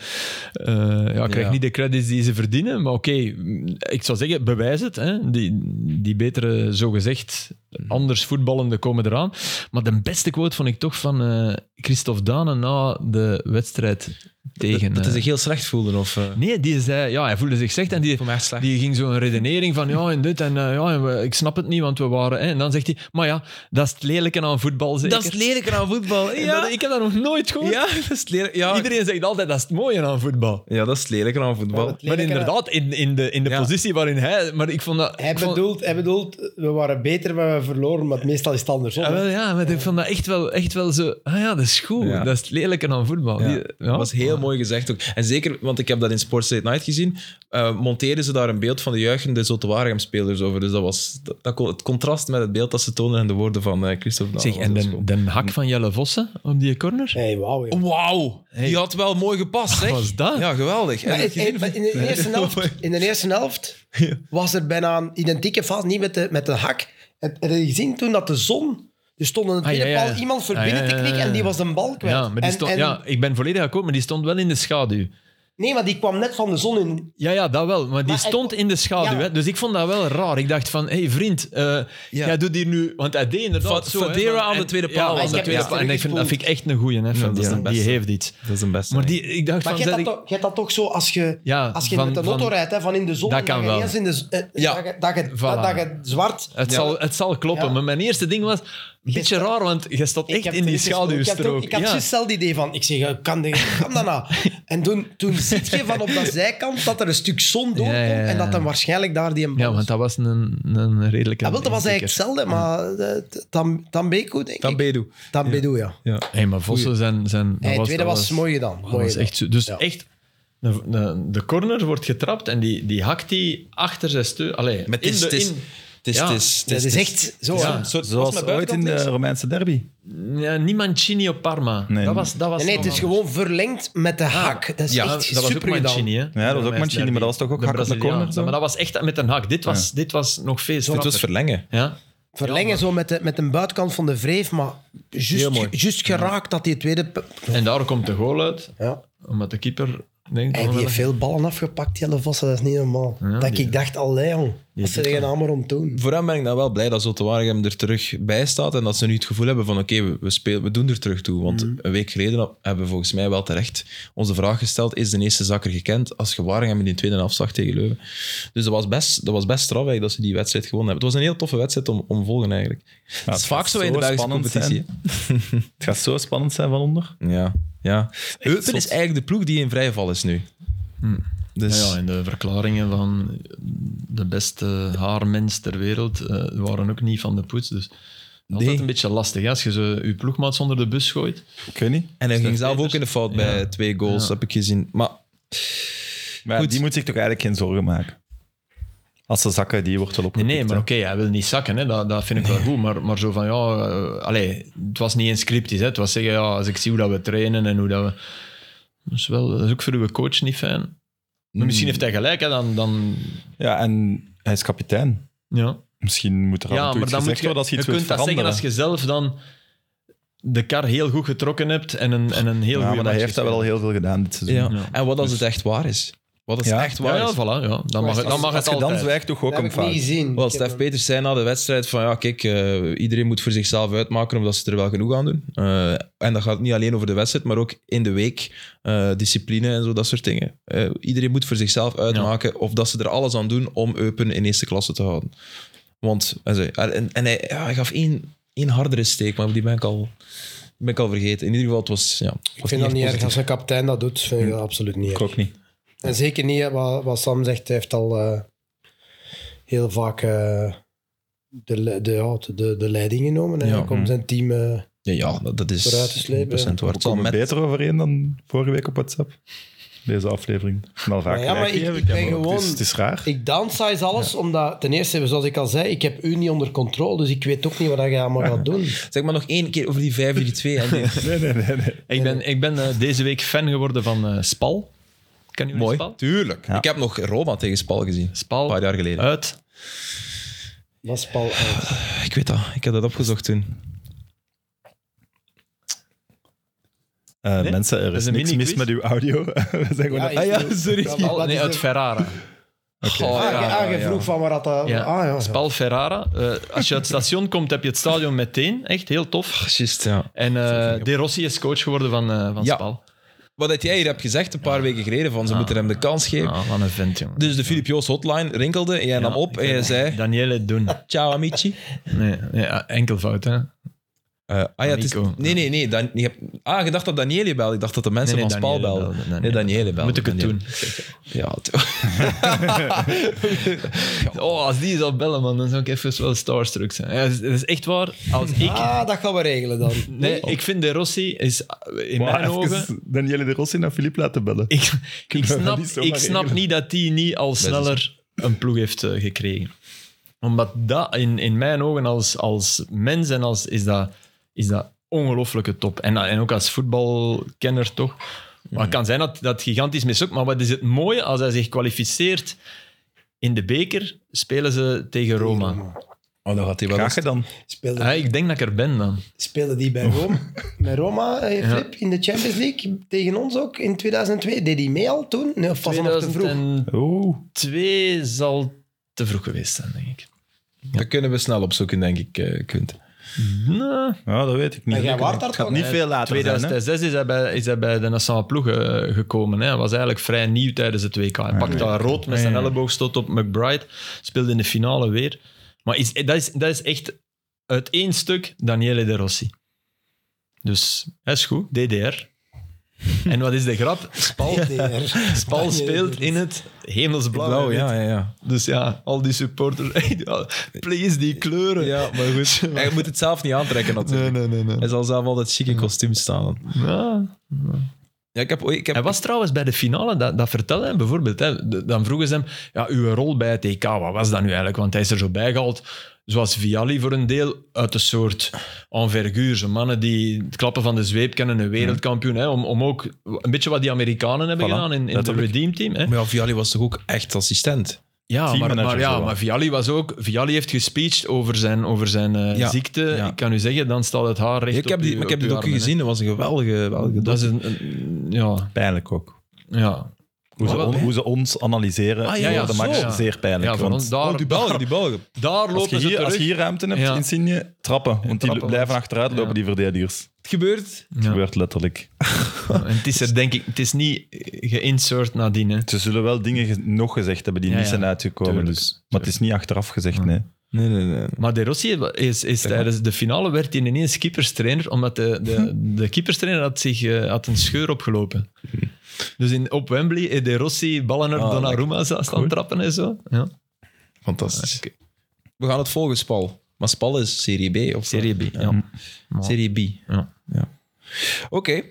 Speaker 3: eh ja, krijgt
Speaker 1: Ja.
Speaker 3: niet de credits die ze verdienen, maar oké, mm, ik zou zeggen, bewijs het. Hè. Die, die betere, zogezegd,
Speaker 1: Mhm.
Speaker 3: anders voetballende komen eraan. Maar de beste quote vond ik toch van eh Christophe Dane na de wedstrijd tegen.
Speaker 1: dat hij
Speaker 3: eh,
Speaker 1: zich heel slecht voelde? Of, eh,
Speaker 3: Nee, die zei, ja, hij voelde zich slecht en die,
Speaker 1: voor mij echt slecht.
Speaker 3: die ging zo'n redenering van ja en dit en eh, ja, en we- ik snap het niet, want we waren. Hè. En dan zegt hij, maar ja, dat is het lelijke aan voetbal. Zeker.
Speaker 1: dat is het lelijke aan voetbal.
Speaker 3: En
Speaker 1: Ja,
Speaker 3: dat- ik heb dat nog nooit gehoord.
Speaker 1: ja, dat is het lelijke- ja.
Speaker 3: Iedereen zegt altijd dat is het mooie aan voetbal.
Speaker 1: ja, dat is het lelijke aan voetbal.
Speaker 2: Ja, dat-
Speaker 3: Maar
Speaker 2: Lelijke-
Speaker 3: inderdaad, in, in de, in de
Speaker 1: Ja.
Speaker 3: positie waarin hij. Maar ik vond dat.
Speaker 2: Hij
Speaker 3: ik vond-
Speaker 2: bedoelt, hij bedoelt, we waren beter, maar we verloren. Maar meestal is het andersom.
Speaker 3: Ja,
Speaker 2: hè.
Speaker 3: Ah, wel, ja, maar ik vond dat echt wel, echt wel zo. Ah ja, dat is goed.
Speaker 1: Ja.
Speaker 3: Dat is het lelijke aan voetbal.
Speaker 1: Ja.
Speaker 3: Die- ja.
Speaker 1: Dat was heel mooi gezegd ook. En zeker, want ik heb dat in Sports Late Night gezien, eh monteren ze daar een beeld van de juichende Zotewaregem-spelers over. Dus dat was dat, dat kon- het contrast met het beeld dat ze tonen en de woorden van eh Christophe Nava
Speaker 3: Zeg,
Speaker 1: was
Speaker 3: en
Speaker 1: dus
Speaker 3: de,
Speaker 1: gewoon-
Speaker 3: de hak van Jelle Vossen op die corner?
Speaker 2: Nee, wauw. joh.
Speaker 1: Wauw, die had wel mooi gepast, zeg.
Speaker 3: was dat?
Speaker 1: Ja, geweldig.
Speaker 2: Maar
Speaker 1: En,
Speaker 2: in, in- maar in de eerste helft, in de eerste helft was er bijna een identieke fase, niet met de, met de hak. En, en heb je gezien toen dat de zon... Er stond aan de tweede
Speaker 3: Ah, ja, ja.
Speaker 2: paal iemand voor
Speaker 3: Ah, ja,
Speaker 2: binnen
Speaker 3: ja,
Speaker 2: te knikken
Speaker 3: ja, ja.
Speaker 2: en die was een bal kwijt.
Speaker 3: Ja, maar die
Speaker 2: En-
Speaker 3: stond,
Speaker 2: en-
Speaker 3: ja, ik ben volledig akkoord, maar die stond wel in de schaduw.
Speaker 2: Nee, maar die kwam net van de zon in.
Speaker 3: Ja, ja, dat wel. Maar die
Speaker 2: Maar hij-
Speaker 3: stond in de schaduw.
Speaker 2: Ja.
Speaker 3: Hè? Dus ik vond dat wel raar. Ik dacht van, hé hey, vriend, eh, jij doet hier nu... Want hij deed inderdaad
Speaker 1: Fa-
Speaker 3: zo... hè,
Speaker 1: Fadera
Speaker 3: van-
Speaker 1: aan de
Speaker 3: en-
Speaker 1: tweede
Speaker 3: ja,
Speaker 1: paal
Speaker 3: aan
Speaker 1: was
Speaker 3: de
Speaker 1: dat.
Speaker 3: tweede
Speaker 1: Ja,
Speaker 3: paal. En ik vind, dat vind ik echt een goeie. Hè, Fadera.
Speaker 1: dat is de
Speaker 3: die
Speaker 1: beste.
Speaker 3: heeft iets.
Speaker 1: dat is een beste.
Speaker 3: Maar die, ik dacht
Speaker 2: Maar
Speaker 3: van...
Speaker 2: jij hebt
Speaker 3: nee.
Speaker 2: dat, toch- jij hebt dat toch zo als je,
Speaker 3: Ja,
Speaker 2: als je
Speaker 3: van-
Speaker 2: met een auto
Speaker 3: van-
Speaker 2: rijdt, hè, van in de zon.
Speaker 3: Dat
Speaker 2: en
Speaker 3: kan
Speaker 2: je
Speaker 3: wel.
Speaker 2: ineens in de, z- eh,
Speaker 1: Ja.
Speaker 2: dat, je, dat, je,
Speaker 3: Voilà.
Speaker 2: dat, dat je zwart...
Speaker 3: het,
Speaker 1: Ja.
Speaker 3: zal, het zal kloppen.
Speaker 2: Ja.
Speaker 3: Maar mijn eerste ding was... Een beetje
Speaker 2: heb-
Speaker 3: raar, want je stond
Speaker 2: Ik
Speaker 3: echt
Speaker 2: heb
Speaker 3: in die
Speaker 2: het gesproken. Ik had,
Speaker 3: schaduwstrook.
Speaker 2: ook- ik had
Speaker 3: Ja.
Speaker 2: juist hetzelfde idee van, ik zeg, eh, kan, dit- kan dat nou? En toen, toen zie je van op dat zijkant dat er een stuk zon doorkomt
Speaker 3: Ja, ja, ja.
Speaker 2: en dat dan waarschijnlijk daar die een bal
Speaker 3: ja, want dat was een, een redelijke...
Speaker 2: Ja, Ah, wel, dat was eigenlijk
Speaker 3: insteker.
Speaker 2: hetzelfde, maar eh, t- Tam- Tambeko, denk ik.
Speaker 1: Tambedu.
Speaker 2: Tambedu, ja.
Speaker 3: Hé, maar Vossen zijn... zijn dat
Speaker 2: Hey, Het
Speaker 3: was-
Speaker 2: tweede
Speaker 3: dat
Speaker 2: was mooi gedaan.
Speaker 3: Dat
Speaker 2: Mooi
Speaker 3: was
Speaker 2: gedaan.
Speaker 3: echt zo. Dus
Speaker 2: Ja.
Speaker 3: echt, de, de, de corner wordt getrapt en die, die hakt die achter zijn steun. Allee,
Speaker 1: Met
Speaker 3: in
Speaker 1: tis,
Speaker 3: de-
Speaker 1: tis,
Speaker 3: in-
Speaker 1: tis,
Speaker 3: Ja.
Speaker 1: tis,
Speaker 2: Dat
Speaker 1: tis,
Speaker 2: is
Speaker 1: tis.
Speaker 2: echt zo.
Speaker 3: Ja.
Speaker 2: hè.
Speaker 1: Zo- zoals
Speaker 4: Zoals
Speaker 1: met
Speaker 4: ooit in
Speaker 1: buitenkant
Speaker 4: de
Speaker 1: links.
Speaker 4: Romeinse derby.
Speaker 3: Ja, niet Mancini op Parma.
Speaker 4: Nee,
Speaker 3: dat
Speaker 4: nee.
Speaker 3: was, dat was
Speaker 2: Nee, nee, het is
Speaker 3: normaal.
Speaker 2: gewoon verlengd met de hak. Dat is
Speaker 1: ja,
Speaker 3: Ja,
Speaker 2: echt
Speaker 3: dat was ook
Speaker 2: super gedaan.
Speaker 3: Mancini, hè?
Speaker 4: was ook Mancini,
Speaker 3: derby.
Speaker 4: maar dat was toch ook
Speaker 3: De
Speaker 4: hak op de
Speaker 3: Braziliaan.
Speaker 4: corner, zo?
Speaker 3: Ja, Maar dat was echt met een hak. Dit was, dit was nog veel
Speaker 1: Dit was
Speaker 3: straffer.
Speaker 1: verlengen.
Speaker 3: Ja.
Speaker 2: Verlengen zo met, de, met een buitenkant van de wreef, maar
Speaker 1: Heel mooi.
Speaker 2: juist juist geraakt dat die tweede... p-
Speaker 3: En daar komt de goal uit,
Speaker 2: Ja.
Speaker 3: omdat de keeper... Nee,
Speaker 2: Hey, die heeft veel ballen afgepakt, Jelle Vossen, dat is niet normaal.
Speaker 3: Ja,
Speaker 2: dat
Speaker 3: die-
Speaker 2: ik dacht, allee jong, wat ze
Speaker 3: doet
Speaker 2: er
Speaker 3: dat.
Speaker 2: allemaal om doen.
Speaker 1: Voor hem ben ik dan wel blij dat Zotewaregem er terug bij staat en dat ze nu het gevoel hebben van oké, we, we, spelen- we doen er terug toe. Want een week geleden hebben we volgens mij wel terecht onze vraag gesteld, is de eerste zakker gekend als je Waregem in die tweede helft zag tegen Leuven? Dus dat was best, dat was best straf eigenlijk dat ze die wedstrijd gewonnen hebben. Het was een heel toffe wedstrijd om, om volgen eigenlijk. het is
Speaker 4: het
Speaker 1: vaak
Speaker 4: gaat
Speaker 1: zo in de
Speaker 4: zo
Speaker 1: Belgische
Speaker 4: spannend
Speaker 1: competitie.
Speaker 4: Het gaat zo spannend zijn van onder.
Speaker 1: hè. Ja, ja. Eupen
Speaker 4: zot.
Speaker 1: is eigenlijk de ploeg die in vrije val is nu. Dus
Speaker 3: Ja, ja, in de verklaringen van de beste haarmens ter wereld eh, waren ook niet van de poets. Dus altijd
Speaker 1: Nee.
Speaker 3: een beetje lastig. hè. Als je zo je ploegmaats onder de bus gooit.
Speaker 4: Ik weet niet.
Speaker 1: En hij ging
Speaker 3: Stef
Speaker 1: zelf ook
Speaker 3: Peters.
Speaker 1: in de fout bij twee goals, heb ik gezien. Maar
Speaker 4: Maar ja, die moet zich toch eigenlijk geen zorgen maken. Als ze zakken, die wordt wel
Speaker 3: Nee,
Speaker 4: opgepikt.
Speaker 3: nee maar
Speaker 4: hè.
Speaker 3: oké, hij wil niet zakken. Hè. Dat, dat vind ik wel goed. Maar, maar zo van, ja... eh, allee, het was niet eens cryptisch. Hè. Het was zeggen, ja, als ik zie hoe dat we trainen en hoe dat we... Dat is, wel, dat is ook voor uw coach niet fijn.
Speaker 1: Mm.
Speaker 3: Maar misschien heeft hij gelijk, hè, dan... dan
Speaker 4: Ja, en hij is kapitein.
Speaker 3: ja.
Speaker 4: Misschien moet er af en
Speaker 3: Ja,
Speaker 4: toe
Speaker 3: maar
Speaker 4: iets
Speaker 3: dan moet
Speaker 4: gezegd
Speaker 3: je,
Speaker 4: worden als je
Speaker 3: je
Speaker 4: iets
Speaker 3: kunt
Speaker 4: wilt
Speaker 3: dat
Speaker 4: veranderen.
Speaker 3: zeggen als je zelf dan de kar heel goed getrokken hebt en een, en een heel
Speaker 4: ja,
Speaker 3: goede
Speaker 4: maar hij
Speaker 3: match
Speaker 4: heeft dat wel
Speaker 3: gespeeld.
Speaker 4: al heel veel gedaan dit seizoen.
Speaker 1: ja.
Speaker 3: Ja.
Speaker 1: En wat als het echt waar is? Wat als
Speaker 4: Ja.
Speaker 1: het echt waar
Speaker 3: Ja,
Speaker 1: is?
Speaker 3: ja, voilà, ja. Dan mag, het- dan
Speaker 2: Als-
Speaker 3: mag
Speaker 4: Als
Speaker 3: het
Speaker 4: je dan
Speaker 3: altijd.
Speaker 4: zwijgt, toch ook
Speaker 2: Dat heb
Speaker 4: een
Speaker 2: ik niet
Speaker 4: fout.
Speaker 2: gezien.
Speaker 1: Wel,
Speaker 2: Ik heb
Speaker 1: Stef
Speaker 2: hem-
Speaker 1: Peters zei na de wedstrijd van ja, kijk, eh, iedereen moet voor zichzelf uitmaken of dat ze er wel genoeg aan doen. Eh, en dat gaat niet alleen over de wedstrijd, maar ook in de week, eh, discipline en zo, dat soort dingen. Eh, iedereen moet voor zichzelf uitmaken of dat ze er alles aan doen om Eupen in eerste klasse te houden. Want, hij zei- en, en hij, ja, hij gaf één, één hardere steek, maar die ben ik al... die Ben ik al vergeten. In ieder geval, het was. Ja, het
Speaker 2: Ik
Speaker 1: was
Speaker 2: vind dat
Speaker 1: echt
Speaker 2: niet erg.
Speaker 1: positief.
Speaker 2: Als een kapitein dat doet, vind ik dat absoluut niet
Speaker 4: Ik
Speaker 2: erg.
Speaker 4: ook niet.
Speaker 2: En zeker niet hè, wat, wat Sam zegt. Hij heeft al eh, heel vaak eh, de, le- de, ja, de, de leiding genomen eigenlijk, om
Speaker 3: Mhm.
Speaker 4: mm.
Speaker 2: zijn team... eh,
Speaker 1: Ja, ja dat, dat is.
Speaker 2: Vooruit te slepen,
Speaker 1: 100% waar.
Speaker 4: We
Speaker 1: Het zal
Speaker 4: komen
Speaker 1: met-
Speaker 4: beter overeen dan vorige week op WhatsApp. Deze aflevering. Ik ben al vaak
Speaker 2: Maar ja, maar
Speaker 4: gelijk
Speaker 2: ik-
Speaker 4: gegeven,
Speaker 2: ik
Speaker 4: heb
Speaker 2: ben
Speaker 4: ook-
Speaker 2: gewoon-
Speaker 4: Het is, het is raar.
Speaker 2: Ik downsize alles, omdat ten eerste, zoals ik al zei, ik heb u niet onder controle, dus ik weet ook niet wat je allemaal gaat doen.
Speaker 1: Zeg maar nog één keer over die 5-3-2. en die-
Speaker 4: Nee, nee, nee. nee.
Speaker 3: Ik ben, ik ben eh, deze week fan geworden van eh, Spal. Ken jullie
Speaker 1: Mooi.
Speaker 3: Spal?
Speaker 1: Tuurlijk. Ik heb nog Roma tegen Spal gezien.
Speaker 3: Spal.
Speaker 1: Een paar jaar geleden.
Speaker 3: Uit.
Speaker 2: Dat is pal
Speaker 4: Ah,
Speaker 2: uit.
Speaker 1: Eh, Ik weet dat. Ik heb dat opgezocht toen.
Speaker 4: Eh, Mensen, er
Speaker 3: dat
Speaker 4: is,
Speaker 3: is een
Speaker 4: niks
Speaker 3: mini-quiz.
Speaker 4: mis met uw audio. We zijn gewoon...
Speaker 2: Ja,
Speaker 4: aan-
Speaker 2: ik-
Speaker 4: ah ja, sorry.
Speaker 2: Ja,
Speaker 3: Spal,
Speaker 2: wat
Speaker 3: nee,
Speaker 2: is
Speaker 3: uit
Speaker 2: er-
Speaker 3: Ferrara.
Speaker 1: Oh,
Speaker 2: Ah,
Speaker 1: ja,
Speaker 2: je- ah,
Speaker 1: ja,
Speaker 2: je
Speaker 1: ja.
Speaker 2: vroeg van waar dat... eh,
Speaker 3: Ja.
Speaker 2: Ah, ja.
Speaker 3: Spal Ferrara. Eh, als je uit het station komt, heb je het stadion meteen. Echt heel tof.
Speaker 1: Ah, Juist, ja.
Speaker 3: En eh, De Rossi is coach geworden van, eh, van
Speaker 1: Ja.
Speaker 3: Spal.
Speaker 1: wat dat jij hier hebt gezegd een paar weken geleden, van ze
Speaker 3: Ja.
Speaker 1: moeten hem de kans geven.
Speaker 3: Ah, wat een vent, jongen.
Speaker 1: Dus de Filip Joos hotline rinkelde en jij nam op
Speaker 4: eh,
Speaker 1: en jij zei,
Speaker 3: Daniele, doen.
Speaker 1: ciao amici.
Speaker 3: Nee, nee ah, enkelvoud, hè.
Speaker 1: Eh, ah ja, het is,
Speaker 3: Nico.
Speaker 1: nee, nee, nee. Dan, je hebt, ah, je dacht dat Daniele belde. Ik dacht dat de mensen
Speaker 3: Nee, nee,
Speaker 1: van Spaal
Speaker 3: Daniele
Speaker 1: belden.
Speaker 3: belde. Nee,
Speaker 1: Nee,
Speaker 3: nee.
Speaker 1: Daniele belde.
Speaker 3: Moet ik het
Speaker 1: Daniele.
Speaker 3: doen?
Speaker 1: Ja, het-
Speaker 3: Oh, als die zou bellen, man, dan zou ik even wel starstruck zijn. Ja, dat is- dat is echt waar. Als ik... Oh.
Speaker 2: Ah, dat gaan we regelen dan. Oh,
Speaker 3: Nee, ik vind De Rossi is eh, in
Speaker 4: Maar
Speaker 3: mijn
Speaker 4: even
Speaker 3: ogen...
Speaker 4: Daniele de Rossi naar Filip laten bellen.
Speaker 3: Ik, ik,
Speaker 4: dat
Speaker 3: snap,
Speaker 4: niet zomaar
Speaker 3: ik snap
Speaker 4: regelen?
Speaker 3: niet dat die niet al sneller een ploeg heeft eh, gekregen. Omdat dat in, in mijn ogen als, als mens en als is dat, is dat ongelooflijke top. En, eh, en ook als voetbalkenner toch.
Speaker 1: Hmm.
Speaker 3: Maar het kan zijn dat dat gigantisch mislukt. Maar wat is het mooie als hij zich kwalificeert in de beker, spelen ze tegen Roma.
Speaker 1: Oh, dan gaat hij wel
Speaker 4: Graag gedaan.
Speaker 2: Speelde,
Speaker 3: Ja, ik denk dat ik er ben dan.
Speaker 2: speelde die bij Rome, met Roma, eh, Flip, in de Champions League. Tegen ons ook in 2002. Deed hij mee al toen? Nee, of was hij nog te vroeg?
Speaker 4: Oh.
Speaker 3: 2002 zal te vroeg geweest zijn, denk ik.
Speaker 1: Dat kunnen we snel opzoeken, denk ik, eh Kunt.
Speaker 3: Nou,
Speaker 4: Ja, dat weet ik niet.
Speaker 2: Maar jij waart daar
Speaker 4: het gaat
Speaker 2: toch?
Speaker 4: niet veel later zijn, hè?
Speaker 3: 2006 Ah, is hij bij, is hij bij de nationale ploeg eh, gekomen. Hè. Hij was eigenlijk vrij nieuw tijdens het WK. Hij pakte daar rood met zijn
Speaker 4: Ja, ja.
Speaker 3: elleboog, stoot op McBride, speelde in de finale weer. Maar is, dat, is, dat is echt uit één stuk Daniele De Rossi. Dus hij is goed, DDR. en wat is de grap? Spal, Spal speelt in het hemelsblauw.
Speaker 1: Blauw,
Speaker 3: hè,
Speaker 1: ja,
Speaker 3: weet.
Speaker 1: ja, ja.
Speaker 3: Dus ja, al die supporters. ja, Please, die kleuren.
Speaker 1: Ja, maar goed. Hij moet het zelf niet aantrekken, natuurlijk.
Speaker 3: Nee, nee, nee. nee.
Speaker 1: Hij zal zelf altijd chic in kostuum staan.
Speaker 3: Ja.
Speaker 1: Ja, ik heb, oei, ik heb,
Speaker 3: Hij was trouwens bij de finale, dat, dat vertelde hij bijvoorbeeld. Hè, De- dan vroegen ze hem, ja, uw rol bij het EK, wat was dat nu eigenlijk? Want hij is er zo bijgehaald, zoals Vialli voor een deel, uit een soort enverguur. Zo mannen die het klappen van de zweep kennen, een wereldkampioen. Hè, om, om ook een beetje wat die Amerikanen hebben
Speaker 1: Voilà,
Speaker 3: gedaan in, in het
Speaker 1: letterlijk.
Speaker 3: Redeem Team. Hè.
Speaker 1: Maar ja, Vialli was toch ook echt assistent?
Speaker 3: Ja, maar,
Speaker 4: Teammanager
Speaker 3: maar, ja,
Speaker 4: zo.
Speaker 3: maar Vialli was ook... Vialli heeft gespeecht over zijn, over zijn eh,
Speaker 1: Ja,
Speaker 3: ziekte.
Speaker 1: ja.
Speaker 3: Ik kan u zeggen, dan staat het haar recht
Speaker 1: ik heb
Speaker 3: op
Speaker 1: die,
Speaker 3: uw-
Speaker 1: maar ik heb
Speaker 3: op
Speaker 1: die
Speaker 3: uw
Speaker 1: docu
Speaker 3: armen, hè.
Speaker 1: gezien, dat was een geweldige, geweldige
Speaker 3: Dat is
Speaker 1: docu.
Speaker 3: een... een- ja,
Speaker 4: Pijnlijk ook.
Speaker 3: ja.
Speaker 4: Hoe ze,
Speaker 3: Maar
Speaker 4: on-
Speaker 3: wel-
Speaker 4: hoe ze ons analyseren
Speaker 3: Ah, ja, ja,
Speaker 4: voor de match,
Speaker 3: zo.
Speaker 4: zeer pijnlijk.
Speaker 3: ja, voor
Speaker 4: want
Speaker 3: ons daar,
Speaker 1: Oh, die Belgen, die Belgen.
Speaker 3: daar
Speaker 4: als, je
Speaker 3: lopen ze
Speaker 4: hier,
Speaker 3: terug.
Speaker 4: als je hier ruimte hebt
Speaker 3: Ja.
Speaker 4: in Signe, trappen. Want die
Speaker 3: trappen,
Speaker 4: blijven
Speaker 3: want-
Speaker 4: achteruit lopen,
Speaker 3: ja.
Speaker 4: die verdedigers.
Speaker 1: Het gebeurt.
Speaker 4: Het
Speaker 3: Ja.
Speaker 4: gebeurt letterlijk.
Speaker 3: En het is er denk ik, het is niet geïnsert nadien. Hè.
Speaker 4: Ze zullen wel dingen ge- nog gezegd hebben die
Speaker 3: Ja,
Speaker 4: niet
Speaker 3: ja.
Speaker 4: zijn uitgekomen.
Speaker 3: Tuurlijk.
Speaker 4: Dus, maar het is niet achteraf gezegd, nee.
Speaker 1: Nee, nee, nee.
Speaker 3: Maar De Rossi is, is tijdens de finale werd hij ineens keeperstrainer, omdat de, de,
Speaker 1: Hm.
Speaker 3: de keeperstrainer had, zich, eh, had een scheur opgelopen. Dus in, op Wembley, eh, De Rossi, ballen naar
Speaker 1: Ah,
Speaker 3: Donnarumma zou staan trappen en zo. Ja.
Speaker 1: Fantastisch.
Speaker 3: Ah,
Speaker 1: We gaan het volgen, Spal. Maar Spal is Serie B, of zo?
Speaker 3: Serie B, ja.
Speaker 1: Serie B.
Speaker 3: Ja.
Speaker 1: Oké.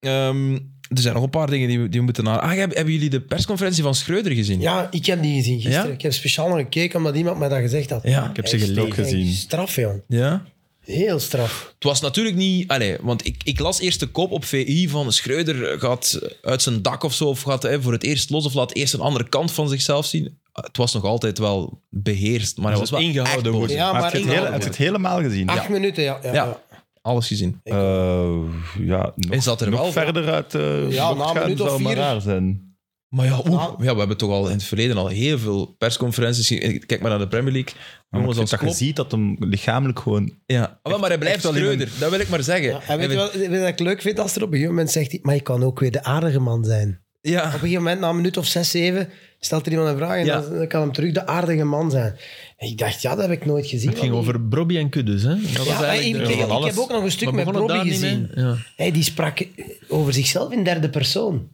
Speaker 1: Ehm, er zijn nog een paar dingen die we, die we moeten naar. Ah, heb- hebben jullie de persconferentie van Schreuder gezien?
Speaker 2: Ja, ik heb die gezien gisteren.
Speaker 1: Ja?
Speaker 2: Ik heb speciaal nog gekeken omdat iemand mij dat gezegd had.
Speaker 1: Ja, ik
Speaker 4: heb
Speaker 2: Echt,
Speaker 4: ze gelezen.
Speaker 2: echt
Speaker 4: gezien.
Speaker 2: Straf, joh.
Speaker 1: Ja?
Speaker 2: Heel straf.
Speaker 1: Het was natuurlijk niet... Allee, want ik, ik las eerst de kop op VI van Schreuder eh, gaat uit zijn dak of zo, of gaat hè, voor het eerst los, of laat eerst een andere kant van zichzelf zien. Ah, Het was nog altijd wel beheerst, maar hij was
Speaker 3: Dus
Speaker 1: wel
Speaker 3: ingehouden
Speaker 1: echt boos.
Speaker 3: worden.
Speaker 2: Ja,
Speaker 4: Maar heb
Speaker 2: maar
Speaker 4: je het,
Speaker 2: ik-
Speaker 4: hele- heb je het helemaal gezien?
Speaker 2: acht minuten, ja. Ja,
Speaker 1: Ja,
Speaker 2: ja.
Speaker 1: alles gezien.
Speaker 4: Eh, ja, nog,
Speaker 1: Is dat er
Speaker 4: nog
Speaker 1: wel?
Speaker 4: verder uit de
Speaker 2: Ja, na een minuut
Speaker 4: zou
Speaker 2: of
Speaker 4: maar
Speaker 2: vier.
Speaker 4: raar zijn.
Speaker 1: Maar ja, oeh,
Speaker 2: Nou.
Speaker 1: ja, we hebben toch al in het verleden al heel veel persconferenties gezien. Eh, Kijk maar naar de Premier League. Jongens als
Speaker 4: dat je
Speaker 1: Klopp.
Speaker 4: ziet dat hem lichamelijk gewoon...
Speaker 1: Ja. Ah, wel, maar hij blijft
Speaker 4: echt wel in
Speaker 1: Schreuder, dat wil ik maar zeggen.
Speaker 2: Ja, en weet je
Speaker 1: Hij-
Speaker 2: wat, weet je wat ik leuk vind? Als er op een gegeven moment zegt, hij, maar je kan ook weer de aardige man zijn. Op
Speaker 1: Ja.
Speaker 2: een gegeven moment, na een minuut of zes, zeven, stelt er iemand een vraag en
Speaker 1: Ja.
Speaker 2: dan, dan kan hem terug de aardige man zijn. En ik dacht, ja, dat heb ik nooit gezien.
Speaker 3: Het ging over Brobby en Kudus. Hè. Dat was
Speaker 2: Ja, maar ik,
Speaker 3: eigenlijk de-
Speaker 2: ik, ik
Speaker 4: alles.
Speaker 2: heb ook nog een stuk
Speaker 3: Maar
Speaker 2: met
Speaker 3: begon het
Speaker 2: Bobby
Speaker 3: daar niet mee?
Speaker 2: gezien.
Speaker 3: Ja.
Speaker 2: Hey, die sprak over zichzelf in derde persoon.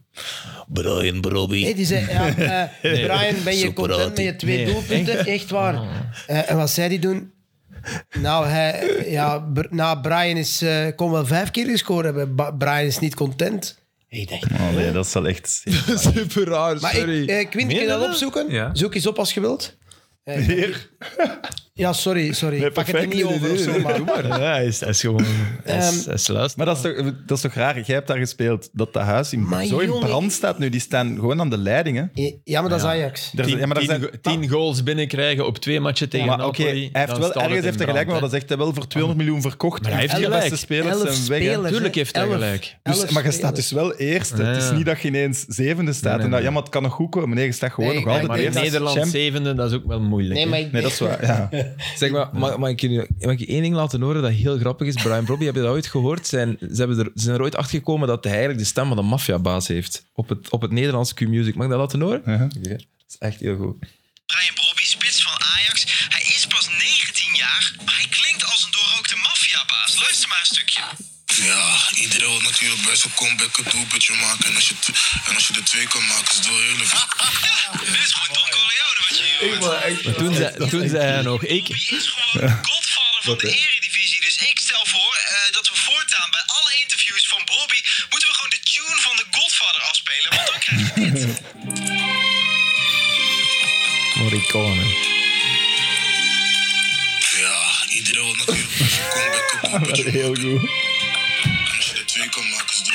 Speaker 1: Brian Brobby.
Speaker 2: Hey, die zei, ja, eh, Brian, ben je content met je twee
Speaker 3: Nee,
Speaker 2: doelpunten? Echt, waar. Eh, en wat zei die doen? Nou, hij, ja, Br- nou Brian is, eh, kon wel vijf keer gescoord hebben. Ba- Brian is niet content. Ik dacht,
Speaker 4: Oh nee, dat is wel echt...
Speaker 1: Super raar,
Speaker 2: maar
Speaker 1: sorry.
Speaker 2: ik, eh, Quint, kun je dat opzoeken?
Speaker 5: Ja.
Speaker 2: Zoek eens op als je wilt.
Speaker 4: Hier?
Speaker 2: Ja, sorry, sorry. Ik pak het er
Speaker 4: perfect,
Speaker 2: niet
Speaker 4: nee,
Speaker 2: over of
Speaker 4: nee,
Speaker 2: zo,
Speaker 4: nee,
Speaker 2: maar...
Speaker 3: Ja, hij is, hij is gewoon... Hij is, hij is luister.
Speaker 4: Ehm, Maar dat is, toch, dat is toch raar? Jij hebt daar gespeeld dat dat huis in,
Speaker 2: Maar
Speaker 4: zo in
Speaker 2: jongen.
Speaker 4: brand staat nu. Die staan gewoon aan de leiding, hè?
Speaker 2: Ja, maar dat is Ajax.
Speaker 4: Er zijn-
Speaker 3: Tien,
Speaker 4: ja, maar daar
Speaker 3: tien
Speaker 4: zijn-
Speaker 3: go- tien goals binnenkrijgen op twee matchen tegen
Speaker 4: maar oké,
Speaker 3: Napoli.
Speaker 4: hij heeft
Speaker 3: dan
Speaker 4: wel
Speaker 3: staat het
Speaker 4: ergens heeft
Speaker 3: in
Speaker 4: hij
Speaker 3: brand,
Speaker 4: gelijk, maar
Speaker 3: hè.
Speaker 4: dat zegt hij wel voor 200 miljoen verkocht.
Speaker 3: Maar hij heeft
Speaker 4: En de
Speaker 3: gelijk.
Speaker 4: beste spelers
Speaker 2: Elf
Speaker 4: zijn weg. hè.
Speaker 2: spelers,
Speaker 3: Tuurlijk
Speaker 2: hè.
Speaker 3: heeft hij
Speaker 2: Elf-
Speaker 3: gelijk.
Speaker 2: elf
Speaker 4: Dus, maar je staat
Speaker 2: spelers.
Speaker 4: dus wel eerste.
Speaker 3: Ja.
Speaker 4: Het is niet dat je ineens zevende staat.
Speaker 3: Nee, nee,
Speaker 4: en dat,
Speaker 3: nee.
Speaker 4: ja, maar het kan nog goed komen. Nee, je staat gewoon
Speaker 2: Nee,
Speaker 4: nog altijd
Speaker 3: Maar
Speaker 2: nee,
Speaker 3: in
Speaker 4: eerste.
Speaker 3: Nederland
Speaker 4: Champ-
Speaker 3: zevende, dat is ook wel moeilijk.
Speaker 2: Nee,
Speaker 3: hè.
Speaker 2: maar ik
Speaker 4: Nee, dat is waar. Ja.
Speaker 1: Zeg maar, mag, mag, ik je, mag ik je één ding laten horen dat heel grappig is? Brian Brobby, heb je dat ooit gehoord? Zijn, ze, hebben er, ze zijn er ooit achter gekomen dat hij eigenlijk de stem van een maffiabaas heeft. Op het, op het Nederlands Q-Music. Mag ik dat laten horen?
Speaker 4: Ja.
Speaker 1: Oké. Dat is echt heel goed.
Speaker 6: Brian Brobby, spits van Ajax. Hij is pas 19 jaar, maar hij klinkt als een doorrookte maffiabaas. Luister maar een stukje.
Speaker 7: Ja, iedereen wil natuurlijk best een comeback een doelpuntje maken. En als, je t- en als je er twee kan maken, is het wel heel veel.
Speaker 6: Dit is gewoon Don Corleone wat je hier hoort.
Speaker 3: Toen, zei, toen zei hij nog, ik...
Speaker 6: Brobby is gewoon de godvader van de eredivisie. Dus ik stel voor eh, dat we voortaan bij alle interviews van Brobby... moeten we gewoon de tune van de godvader afspelen. Want dan krijg je dit.
Speaker 1: Morricone.
Speaker 7: Ja, iedereen wil natuurlijk best een comeback een doelpuntje maken. Heel goed. En als je er twee kan maken, is het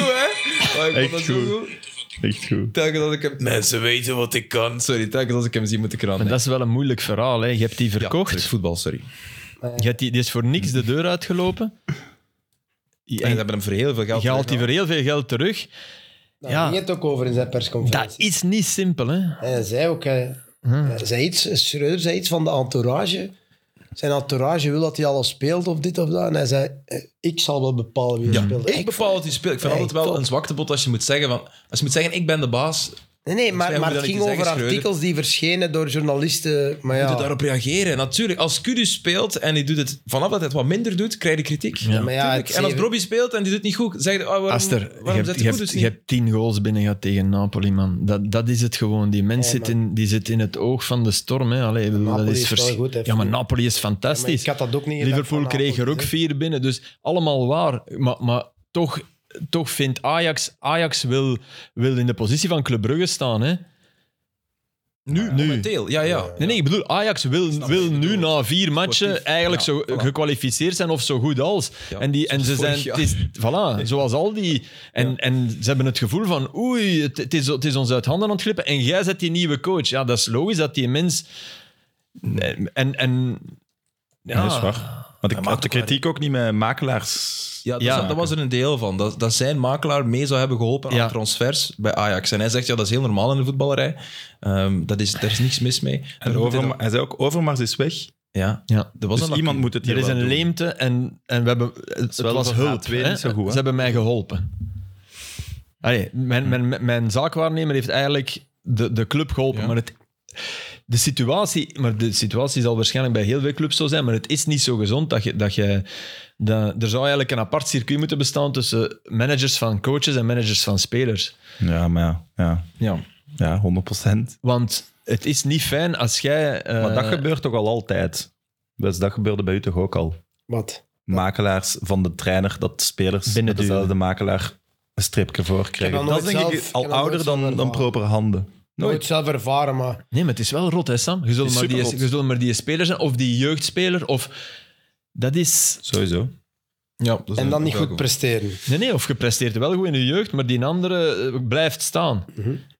Speaker 7: wel heel
Speaker 1: ik vond
Speaker 7: veel.
Speaker 1: dat
Speaker 4: Echt
Speaker 1: zo
Speaker 4: goed. Echt goed.
Speaker 1: Telkens als ik hem... Mensen weten wat ik kan. Sorry, telkens als ik hem zie, moet ik eraan
Speaker 3: Maar dat is wel een moeilijk verhaal. Hè. Je hebt die
Speaker 1: denken. Ja,
Speaker 3: verkocht.
Speaker 1: terug voetbal, sorry.
Speaker 3: je hebt die, die is voor niks de deur uitgelopen.
Speaker 1: En ze hebben hem voor heel veel geld
Speaker 3: Je haalt die voor heel veel geld terug.
Speaker 2: Daar
Speaker 3: Ja.
Speaker 2: ging Nou, het ook over in zijn
Speaker 3: Dat
Speaker 2: persconferentie.
Speaker 3: is niet simpel, hè?
Speaker 2: En hij zei ook, eh, eh, zei iets, Schreuder zei iets van de entourage. Zijn entourage wil dat hij alles speelt of dit of dat. En hij zei, eh, ik zal wel bepalen wie er speelt.
Speaker 1: Ik bepaal wat hij speelt. Ik vind
Speaker 2: Ja,
Speaker 1: altijd
Speaker 2: ik
Speaker 1: wel
Speaker 2: top.
Speaker 1: een zwaktebot als je moet zeggen van... Als je moet zeggen, ik ben de baas,
Speaker 2: Nee, nee, maar,
Speaker 1: hoef
Speaker 2: maar
Speaker 1: je
Speaker 2: het
Speaker 1: dat
Speaker 2: ging
Speaker 1: niet te
Speaker 2: over
Speaker 1: zeggen, Schreuder.
Speaker 2: artikels die verschenen door journalisten. Maar
Speaker 1: moet
Speaker 2: ja,
Speaker 1: je daarop reageren. Natuurlijk, als Kudu speelt en die doet het... Vanaf dat hij het wat minder doet, krijg je kritiek.
Speaker 2: maar ja,
Speaker 1: Tuurlijk.
Speaker 2: het
Speaker 1: en als
Speaker 2: zeven-
Speaker 1: Brobby speelt en die doet het niet goed, zeg je... ah, waarom,
Speaker 3: Aster, je
Speaker 1: waarom zet
Speaker 3: hebt,
Speaker 1: je
Speaker 3: je,
Speaker 1: Kudus
Speaker 3: hebt, je
Speaker 1: niet?
Speaker 3: hebt tien goals binnen gehad tegen Napoli, man. Dat, dat is het gewoon. Die mens zit, in, die zit in het oog van de storm. Hè. Allee, ik bedoel,
Speaker 2: Napoli
Speaker 3: dat
Speaker 2: is
Speaker 3: is
Speaker 2: wel
Speaker 3: vers-
Speaker 2: goed, hè.
Speaker 3: ja, maar Napoli is
Speaker 2: maar
Speaker 3: fantastisch.
Speaker 2: ik had dat ook niet gedacht
Speaker 3: Liverpool
Speaker 2: van
Speaker 3: kreeg er
Speaker 2: Napoli,
Speaker 3: ook
Speaker 2: hè.
Speaker 3: vier binnen. Dus allemaal waar. Maar, maar toch, toch vindt Ajax... Ajax wil, wil in de positie van Club Brugge staan, hè. Nu, nu.
Speaker 1: Momenteel, ja, ja.
Speaker 3: Nee, nee, ik bedoel, Ajax wil, wil nu na vier matchen
Speaker 1: Sportief.
Speaker 3: eigenlijk
Speaker 1: Ja,
Speaker 3: zo
Speaker 1: voilà.
Speaker 3: gekwalificeerd zijn of zo goed als.
Speaker 1: Ja,
Speaker 3: en die, en ze
Speaker 1: zoals
Speaker 3: zijn,
Speaker 1: vorig
Speaker 3: het is, voilà, zoals al die. En, en ze hebben het gevoel van, oei, het, het is, het is ons uit handen aan het glippen. En jij zet die nieuwe coach. Ja, dat is logisch dat die mens. En, en
Speaker 4: Ja, dat is waar. Want ik had de kritiek ook niet met makelaars.
Speaker 1: Ja, dat,
Speaker 3: Ja.
Speaker 1: dat was er een deel van. Dat, dat zijn makelaar mee zou hebben geholpen aan
Speaker 3: Ja.
Speaker 1: transfers bij Ajax. En hij zegt, ja, dat is heel normaal in de voetballerij. Ehm, dat is, daar is niks mis mee.
Speaker 4: En
Speaker 1: Daar moet
Speaker 4: Overma-
Speaker 1: hij dan-
Speaker 4: hij zei ook, Overmars is weg.
Speaker 1: ja,
Speaker 3: Ja.
Speaker 1: er was
Speaker 4: dus
Speaker 1: een
Speaker 4: iemand moet het hier
Speaker 3: Er is
Speaker 4: wel
Speaker 3: een
Speaker 4: doen.
Speaker 3: leemte en, en we hebben, het
Speaker 4: wel
Speaker 3: was
Speaker 4: over
Speaker 3: hulp.
Speaker 4: H2 niet
Speaker 3: hè.
Speaker 4: zo goed, hè?
Speaker 3: Ze hebben mij geholpen. Allee, mijn, mijn, mijn zaakwaarnemer heeft eigenlijk de, de club geholpen.
Speaker 1: Ja.
Speaker 3: Maar, het, de situatie, maar de situatie zal waarschijnlijk bij heel veel clubs zo zijn. Maar het is niet zo gezond dat je... Dat je dat, er zou eigenlijk een apart circuit moeten bestaan tussen managers van coaches en managers van spelers.
Speaker 4: Ja, maar ja. Ja,
Speaker 1: Ja.
Speaker 4: ja 100 procent.
Speaker 3: Want het is niet fijn als jij... eh,
Speaker 4: Maar dat gebeurt toch al altijd? Dus dat gebeurde bij u toch ook al?
Speaker 2: Wat?
Speaker 4: Makelaars van de trainer, dat spelers
Speaker 3: Binnen
Speaker 4: met dezelfde makelaar een stripje voor
Speaker 2: Ik
Speaker 4: krijgen.
Speaker 2: heb
Speaker 4: Dat
Speaker 2: dat
Speaker 4: is denk
Speaker 2: nooit zelf-
Speaker 4: ik
Speaker 2: ik
Speaker 4: al
Speaker 2: heb dat
Speaker 4: ouder
Speaker 2: nooit
Speaker 4: dan,
Speaker 2: zelf
Speaker 4: dan
Speaker 2: ervaren.
Speaker 4: propere handen.
Speaker 2: Nooit
Speaker 4: Nooit.
Speaker 2: zelf ervaren, maar...
Speaker 3: Nee, maar het is wel rot, hè, Sam. Je zult,
Speaker 4: is
Speaker 3: maar die,
Speaker 4: superrot.
Speaker 3: je zult maar die speler zijn, of die jeugdspeler, of... Dat is...
Speaker 4: Sowieso.
Speaker 1: Ja, dat is
Speaker 2: En dan
Speaker 1: ook
Speaker 2: niet
Speaker 1: wel
Speaker 2: goed presteren.
Speaker 3: Nee, nee, of je presteert wel goed in je jeugd, maar die andere eh, blijft staan.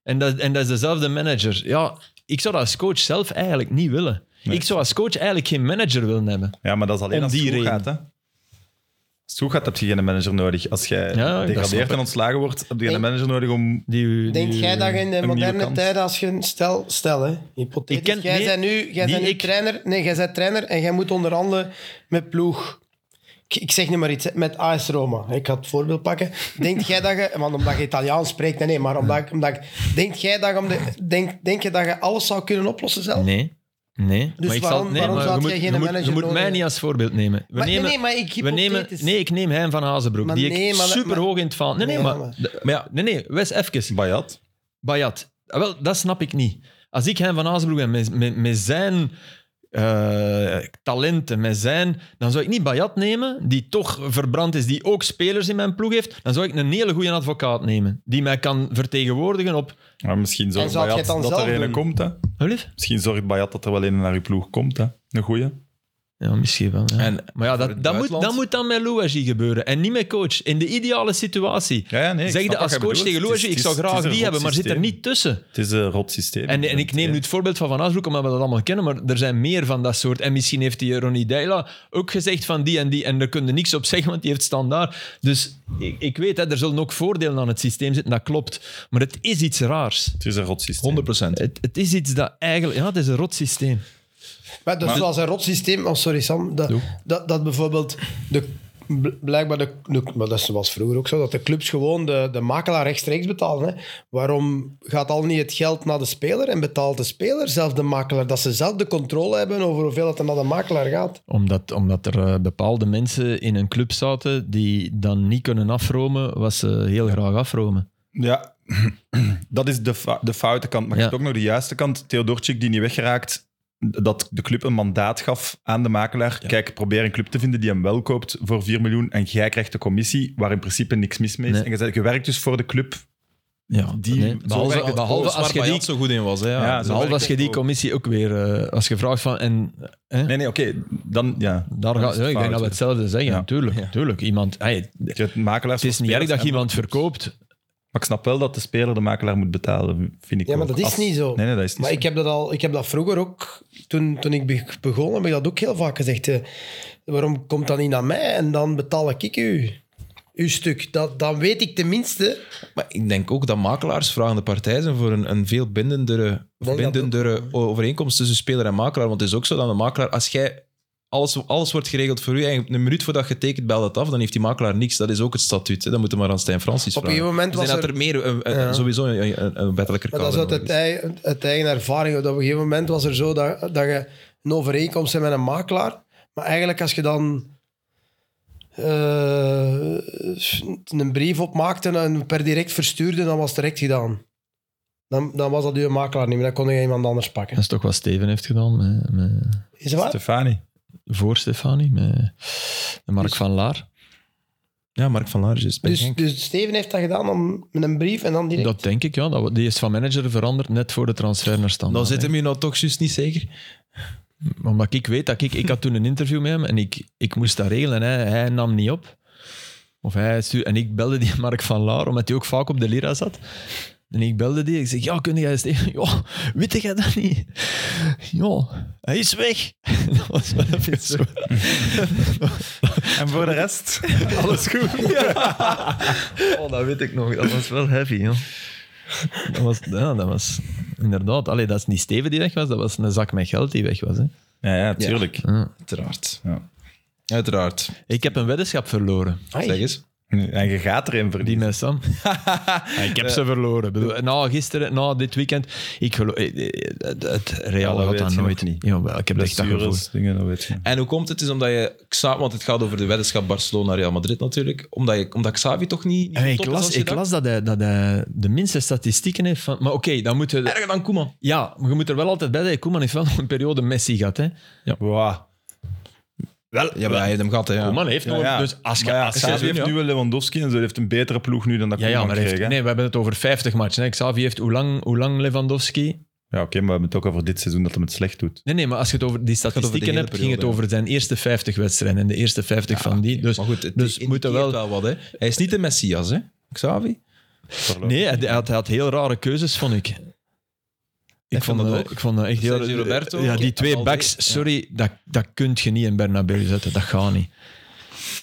Speaker 3: en, dat, en dat is dezelfde manager. Ja, ik zou dat als coach zelf eigenlijk niet willen. Ik zou als coach eigenlijk geen manager willen hebben.
Speaker 4: Ja, maar dat is alleen
Speaker 3: Om
Speaker 4: als het
Speaker 3: die
Speaker 4: goed
Speaker 3: reden.
Speaker 4: gaat, hè? Als het goed gaat, heb je geen manager nodig. Als jij
Speaker 3: dat snap
Speaker 4: degradeert
Speaker 3: ik.
Speaker 4: en ontslagen wordt, heb je geen
Speaker 2: Denk-
Speaker 4: manager nodig om...
Speaker 3: Die, u-
Speaker 2: Denk
Speaker 3: die u-
Speaker 2: jij dat je in de
Speaker 4: nieuwe
Speaker 2: moderne
Speaker 4: kans.
Speaker 2: tijden, als je... Stel, stel hè, hypothetisch.
Speaker 3: Ik ken-
Speaker 2: jij
Speaker 3: nee,
Speaker 2: bent nu, jij
Speaker 3: niet
Speaker 2: bent nu
Speaker 3: ik.
Speaker 2: trainer, nee, jij bent trainer en jij moet onderhandelen met ploeg. Ik, ik zeg nu maar iets, hè, met AS Roma. Ik ga het voorbeeld pakken. Denk jij dat je... Want omdat je Italiaans spreekt, nee, nee, maar omdat, ik- omdat ik... Denk jij dat je, om de, denk, denk je dat je alles zou kunnen oplossen zelf?
Speaker 3: Nee. Nee,
Speaker 2: Dus
Speaker 3: maar ik
Speaker 2: waarom-
Speaker 3: zal, nee,
Speaker 2: waarom
Speaker 3: maar
Speaker 2: zou
Speaker 3: je moet,
Speaker 2: jij
Speaker 3: je
Speaker 2: geen
Speaker 3: moet-
Speaker 2: manager
Speaker 3: je moet
Speaker 2: nodig
Speaker 3: mij
Speaker 2: hebben?
Speaker 3: niet als voorbeeld nemen. We
Speaker 2: Maar,
Speaker 3: nemen,
Speaker 2: nee, nee, maar ik
Speaker 3: we nemen,
Speaker 2: hypothetisch.
Speaker 3: nee, ik neem hem van Hazenbroek,
Speaker 2: Maar
Speaker 3: die
Speaker 2: nee,
Speaker 3: ik
Speaker 2: maar-
Speaker 3: super hoog in het vaandel... Nee, nee,
Speaker 2: Nee,
Speaker 3: maar,
Speaker 2: maar-
Speaker 3: maar ja, nee, nee, Wes, even.
Speaker 4: Bayat.
Speaker 3: Bayat. Ah, Wel, dat snap ik niet. Als ik hem van Azenbroek ben, met, met, met zijn eh, talenten, met zijn... Dan zou ik niet Bayat nemen, die toch verbrand is, die ook spelers in mijn ploeg heeft. Dan zou ik een hele goede advocaat nemen, die mij kan vertegenwoordigen op...
Speaker 4: Maar misschien zorgt
Speaker 2: zou jij
Speaker 4: Bayat
Speaker 2: het dan
Speaker 4: dat
Speaker 2: zelf
Speaker 4: er een
Speaker 2: doen?
Speaker 4: komt, hè?
Speaker 3: Oh, lief?
Speaker 4: Misschien zorgt Bayat dat er wel een naar uw ploeg komt, hè? Een goeie.
Speaker 3: Ja, misschien wel. ja.
Speaker 1: En
Speaker 3: maar ja,
Speaker 1: voor
Speaker 3: dat,
Speaker 1: het
Speaker 3: dat, moet,
Speaker 1: buitenland?
Speaker 3: dat moet dan met Louagie gebeuren en niet met coach. In de ideale situatie.
Speaker 4: Ja, ja, nee, ik
Speaker 3: zeg
Speaker 4: snap wat
Speaker 3: je als
Speaker 4: jij
Speaker 3: coach
Speaker 4: bedoelt.
Speaker 3: tegen
Speaker 4: Het is-
Speaker 3: Louagie, ik
Speaker 4: het
Speaker 3: zou
Speaker 4: is- het
Speaker 3: graag
Speaker 4: is een
Speaker 3: die hebben, maar zit er
Speaker 4: systeem.
Speaker 3: niet tussen.
Speaker 4: Het is een rot systeem.
Speaker 3: En, en ik neem nu het voorbeeld van Van Asbroek, omdat we dat allemaal kennen, maar er zijn meer van dat soort. En misschien heeft die Ronnie Deila ook gezegd van die en die, en daar kun je niks op zeggen, want die heeft standaard. Dus ik, ik weet, hè, er zullen ook voordelen aan het systeem zitten, dat klopt. Maar het is iets raars.
Speaker 4: Het is een rot systeem.
Speaker 1: 100 procent.
Speaker 3: Het, het is iets dat eigenlijk... Ja, het is een rot systeem.
Speaker 2: Maar dat is zoals een rotsysteem, oh sorry Sam, dat, dat, dat bijvoorbeeld de, bl- blijkbaar de, de- maar dat was vroeger ook zo, dat de clubs gewoon de, de makelaar rechtstreeks betalen. Hè. Waarom gaat al niet het geld naar de speler en betaalt de speler zelf de makelaar? Dat ze zelf de controle hebben over hoeveel het er naar de makelaar gaat.
Speaker 3: Omdat, omdat er eh, bepaalde mensen in een club zaten die dan niet kunnen afromen wat ze heel graag afromen.
Speaker 4: Ja, dat is de, fa- de foute kant. Maar je
Speaker 3: Ja.
Speaker 4: hebt ook nog de juiste kant. Theodorczyk die niet weggeraakt, dat de club een mandaat gaf aan de makelaar. Kijk, probeer een club te vinden die hem wel koopt voor 4 miljoen en jij krijgt de commissie, waar in principe niks mis mee is.
Speaker 3: Nee.
Speaker 4: En je, zegt, je werkt dus voor de club.
Speaker 3: Ja,
Speaker 4: Die-
Speaker 3: nee,
Speaker 4: zo
Speaker 3: behalve,
Speaker 4: werkt Oh, het.
Speaker 3: behalve
Speaker 1: Alles waar
Speaker 3: als je die
Speaker 1: Payet zo goed in was. Hè, ja.
Speaker 4: Ja, zo
Speaker 3: Behalve
Speaker 4: werkt
Speaker 3: als je
Speaker 4: het
Speaker 3: die
Speaker 4: ook.
Speaker 3: commissie ook weer, eh, als je vraagt van, en hè,
Speaker 4: Nee, nee, oké. Dan, ja.
Speaker 3: daar
Speaker 4: dan
Speaker 3: gaat,
Speaker 4: is
Speaker 3: ja,
Speaker 4: het
Speaker 3: ik denk
Speaker 4: fout.
Speaker 3: dat we hetzelfde zeggen,
Speaker 4: Ja.
Speaker 3: tuurlijk, tuurlijk. Iemand, hey, het
Speaker 4: Je hebt makelaars
Speaker 3: is
Speaker 4: voor
Speaker 3: niet erg
Speaker 4: spelers
Speaker 3: dat je
Speaker 4: en-
Speaker 3: iemand verkoopt.
Speaker 4: Maar ik snap wel dat de speler de makelaar moet betalen, vind ik
Speaker 2: Ja, maar
Speaker 4: ook.
Speaker 2: dat is
Speaker 4: Als-
Speaker 2: niet zo.
Speaker 4: Nee, nee, dat is niet
Speaker 2: Maar
Speaker 4: zo.
Speaker 2: ik heb dat, al, ik heb dat vroeger ook, toen, toen ik be- begon, heb ik dat ook heel vaak gezegd. eh, waarom komt dat niet naar mij en dan betaal ik u uw stuk? Dat, dan weet ik tenminste.
Speaker 1: Maar ik denk ook dat makelaars vragende partij zijn voor een, een veel bindendere,
Speaker 2: dat
Speaker 1: bindendere overeenkomst tussen speler en makelaar. Want het is ook zo dat een makelaar, als jij alles, alles wordt geregeld voor u en een minuut voordat je tekent belt het af, dan heeft die makelaar niks. Dat is ook het statuut. Hè. Dat moeten we maar aan Stijn Francis
Speaker 2: Op een
Speaker 1: vragen.
Speaker 2: gegeven moment
Speaker 1: Ik denk
Speaker 2: was
Speaker 1: dat
Speaker 2: er-
Speaker 1: er meer, een- een-
Speaker 2: Ja.
Speaker 1: sowieso een, een, een wettelijker
Speaker 2: Maar
Speaker 1: kader
Speaker 2: dat is uit, het
Speaker 1: nodig
Speaker 2: eigen, uit eigen ervaring. Op een gegeven moment was er zo dat, dat je een overeenkomst hebt met een makelaar. Maar eigenlijk als je dan eh, een brief opmaakte en per direct verstuurde, dan was het direct gedaan. Dan, dan was dat je makelaar niet meer. Dan kon je iemand anders pakken.
Speaker 3: Dat is toch wat Steven heeft gedaan met, met,
Speaker 2: Is dat waar?
Speaker 4: Stefani.
Speaker 3: voor Stefanie, met Mark
Speaker 4: Dus-
Speaker 3: van Laar.
Speaker 1: Ja, Mark van Laars is bij
Speaker 2: Dus,
Speaker 1: Genk.
Speaker 2: dus Steven heeft dat gedaan om, met een brief en dan direct...
Speaker 3: Dat denk ik, ja. Dat, we- die is van manager veranderd net voor de transfer naar standaard.
Speaker 1: Dan zit
Speaker 3: hè.
Speaker 1: hem je nou toch juist niet zeker.
Speaker 3: Omdat ik weet dat ik... Ik had toen een interview met hem en ik, ik moest dat regelen. Hè. Hij nam niet op. Of hij stuurde, en ik belde die Mark van Laar, omdat hij ook vaak op de Lira zat. En ik belde die. Ik zeg, ja, kun jij eens tegen... Ja, weet jij dat niet? Ja, hij is weg. Dat was wel even zo.
Speaker 4: En voor de rest?
Speaker 3: Alles goed. Oh, dat weet ik nog. Dat was wel heavy, joh. Dat was, ja, dat was inderdaad. Allee, dat is niet Steven die weg was, dat was een zak met geld die weg was. Hè.
Speaker 4: Ja, ja, tuurlijk.
Speaker 1: Uiteraard.
Speaker 4: Ja.
Speaker 1: Uiteraard.
Speaker 3: Ik heb een weddenschap verloren.
Speaker 2: Ai.
Speaker 1: Zeg eens.
Speaker 4: En je gaat erin
Speaker 3: Die
Speaker 4: verdienen.
Speaker 3: met Sam. ik heb ze verloren. Bedoel, Na gisteren, na dit weekend. Ik geloof, eh, eh, het, het Real
Speaker 4: Ja, dat
Speaker 3: had
Speaker 4: weet
Speaker 3: dat
Speaker 4: je
Speaker 3: nooit.
Speaker 4: nog niet.
Speaker 3: Jawel, ik heb echt dat gevoel.
Speaker 4: Blessures, dingen, dat weet je.
Speaker 1: En hoe komt het? Het Is omdat je, Xa- want het gaat over de weddenschap Barcelona-Real Madrid natuurlijk, omdat, je, omdat Xavi toch niet, niet zo
Speaker 3: En ik
Speaker 1: top is
Speaker 3: las,
Speaker 1: als je
Speaker 3: ik
Speaker 1: dacht?
Speaker 3: las dat, hij, dat hij de minste statistieken heeft. Van, maar oké, dan moeten we...
Speaker 1: Erger dan Koeman.
Speaker 3: Ja, maar je moet er wel altijd bij zijn. Koeman heeft wel nog een periode Messi gehad. Hè?
Speaker 4: Wow. Wel,
Speaker 1: Ja, maar hij heeft hem gehad, hè, ja.
Speaker 3: Koeman heeft nog...
Speaker 4: ja.
Speaker 3: Dus als je...
Speaker 4: Maar ja,
Speaker 3: als je-
Speaker 4: Xavi
Speaker 1: seizoen,
Speaker 4: heeft
Speaker 1: ja.
Speaker 4: nu wel Lewandowski en ze heeft een betere ploeg nu dan dat
Speaker 3: ja, ja,
Speaker 4: Koeman
Speaker 3: maar hij
Speaker 4: kreeg.
Speaker 3: heeft,
Speaker 4: hè?
Speaker 3: nee, we hebben het over 50 matchen. Hè. Xavi heeft hoe lang, hoe lang Lewandowski?
Speaker 4: Ja, oké, maar we hebben het ook over dit seizoen dat hem het slecht doet.
Speaker 3: Nee, nee, maar als je het over die
Speaker 1: over de
Speaker 3: statistieken
Speaker 1: hele
Speaker 3: hebt, ging
Speaker 1: periode,
Speaker 3: het over zijn eerste 50 wedstrijden en de eerste 50 van die. Dus,
Speaker 1: maar goed, het
Speaker 3: dus
Speaker 1: dus
Speaker 3: moeten wel...
Speaker 1: wel wat. Hè. Hij is niet de Messias, hè? Xavi.
Speaker 3: Nee, hij, hij had, hij had heel rare keuzes, vond ik. Ik
Speaker 1: vond
Speaker 3: vond,
Speaker 1: dat
Speaker 3: dat
Speaker 1: ook.
Speaker 3: ik vond dat echt heel...
Speaker 1: Sergio Roberto.
Speaker 3: Ja, die
Speaker 1: Ja,
Speaker 3: twee
Speaker 1: Valde-
Speaker 3: backs,
Speaker 1: ja.
Speaker 3: sorry, dat, dat kunt je niet in Bernabeu zetten. Dat gaat niet.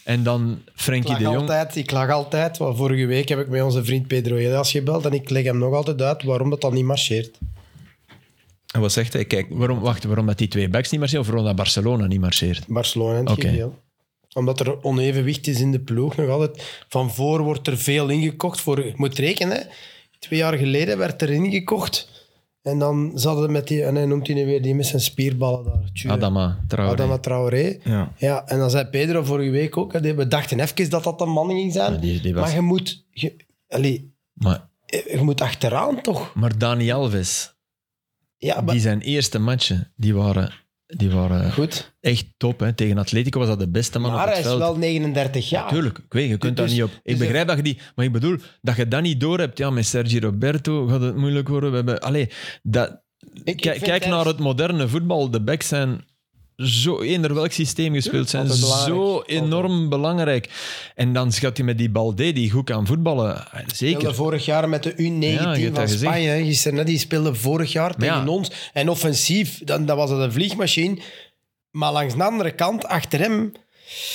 Speaker 3: En dan
Speaker 2: Ik
Speaker 3: Frenkie de
Speaker 2: lag,
Speaker 3: Jong.
Speaker 2: altijd, ik lag altijd, want vorige week heb ik met onze vriend Pedro Helaas gebeld en ik leg hem nog altijd uit waarom dat dan niet marcheert.
Speaker 1: En wat zegt hij? Kijk,
Speaker 3: Waarom, wacht, waarom dat die twee backs niet marcheert of waarom dat Barcelona niet marcheert?
Speaker 2: Barcelona in het
Speaker 3: Oké.
Speaker 2: geheel. Omdat er onevenwicht is in de ploeg nog altijd. Van voor wordt er veel ingekocht. Voor, je moet rekenen, hè. twee jaar geleden werd er ingekocht. En dan zaten ze met die, en hij noemt hij nu weer die met zijn spierballen daar. Tjure.
Speaker 3: Adama, Traoré.
Speaker 2: Adama Traoré.
Speaker 1: Ja.
Speaker 2: ja. En dan zei Pedro vorige week ook, hè, die- we dachten even dat dat een man ging zijn.
Speaker 3: Ja, die- die was-
Speaker 2: Maar je moet, je, allee,
Speaker 3: Maar,
Speaker 2: je moet achteraan toch?
Speaker 3: maar Dani Alves,
Speaker 2: Ja, maar,
Speaker 3: die zijn eerste matchen, die waren, die waren
Speaker 2: goed.
Speaker 3: echt top. Hè. Tegen Atletico was dat de beste man
Speaker 2: Maar
Speaker 3: op
Speaker 2: hij
Speaker 3: het
Speaker 2: is
Speaker 3: veld.
Speaker 2: wel 39 jaar.
Speaker 3: Tuurlijk, ik weet, je kunt
Speaker 2: Dus-
Speaker 3: daar niet op. Ik
Speaker 2: dus-
Speaker 3: begrijp dat je die... Maar ik bedoel, dat je dat niet doorhebt. Ja, met Sergi Roberto gaat het moeilijk worden. We hebben, allee, dat,
Speaker 2: Ik- ik
Speaker 3: kijk-
Speaker 2: vind
Speaker 3: kijk
Speaker 2: dat-
Speaker 3: naar het moderne voetbal. De backs zijn zo... Eender welk systeem gespeeld zijn,
Speaker 2: altijd belangrijk.
Speaker 3: zo
Speaker 2: Altijd.
Speaker 3: enorm belangrijk. En dan schat je met die Balde, die goed kan voetballen. Ah,
Speaker 2: speelde
Speaker 3: Zeker.
Speaker 2: vorig jaar met de
Speaker 3: Ja,
Speaker 2: U19
Speaker 3: je hebt
Speaker 2: van
Speaker 3: dat gezien.
Speaker 2: Spanje. hè. Gisteren, hè, die speelde vorig jaar tegen
Speaker 3: ja.
Speaker 2: ons. En offensief, dan, dan was het een vliegmachine. Maar langs de andere kant, achter hem,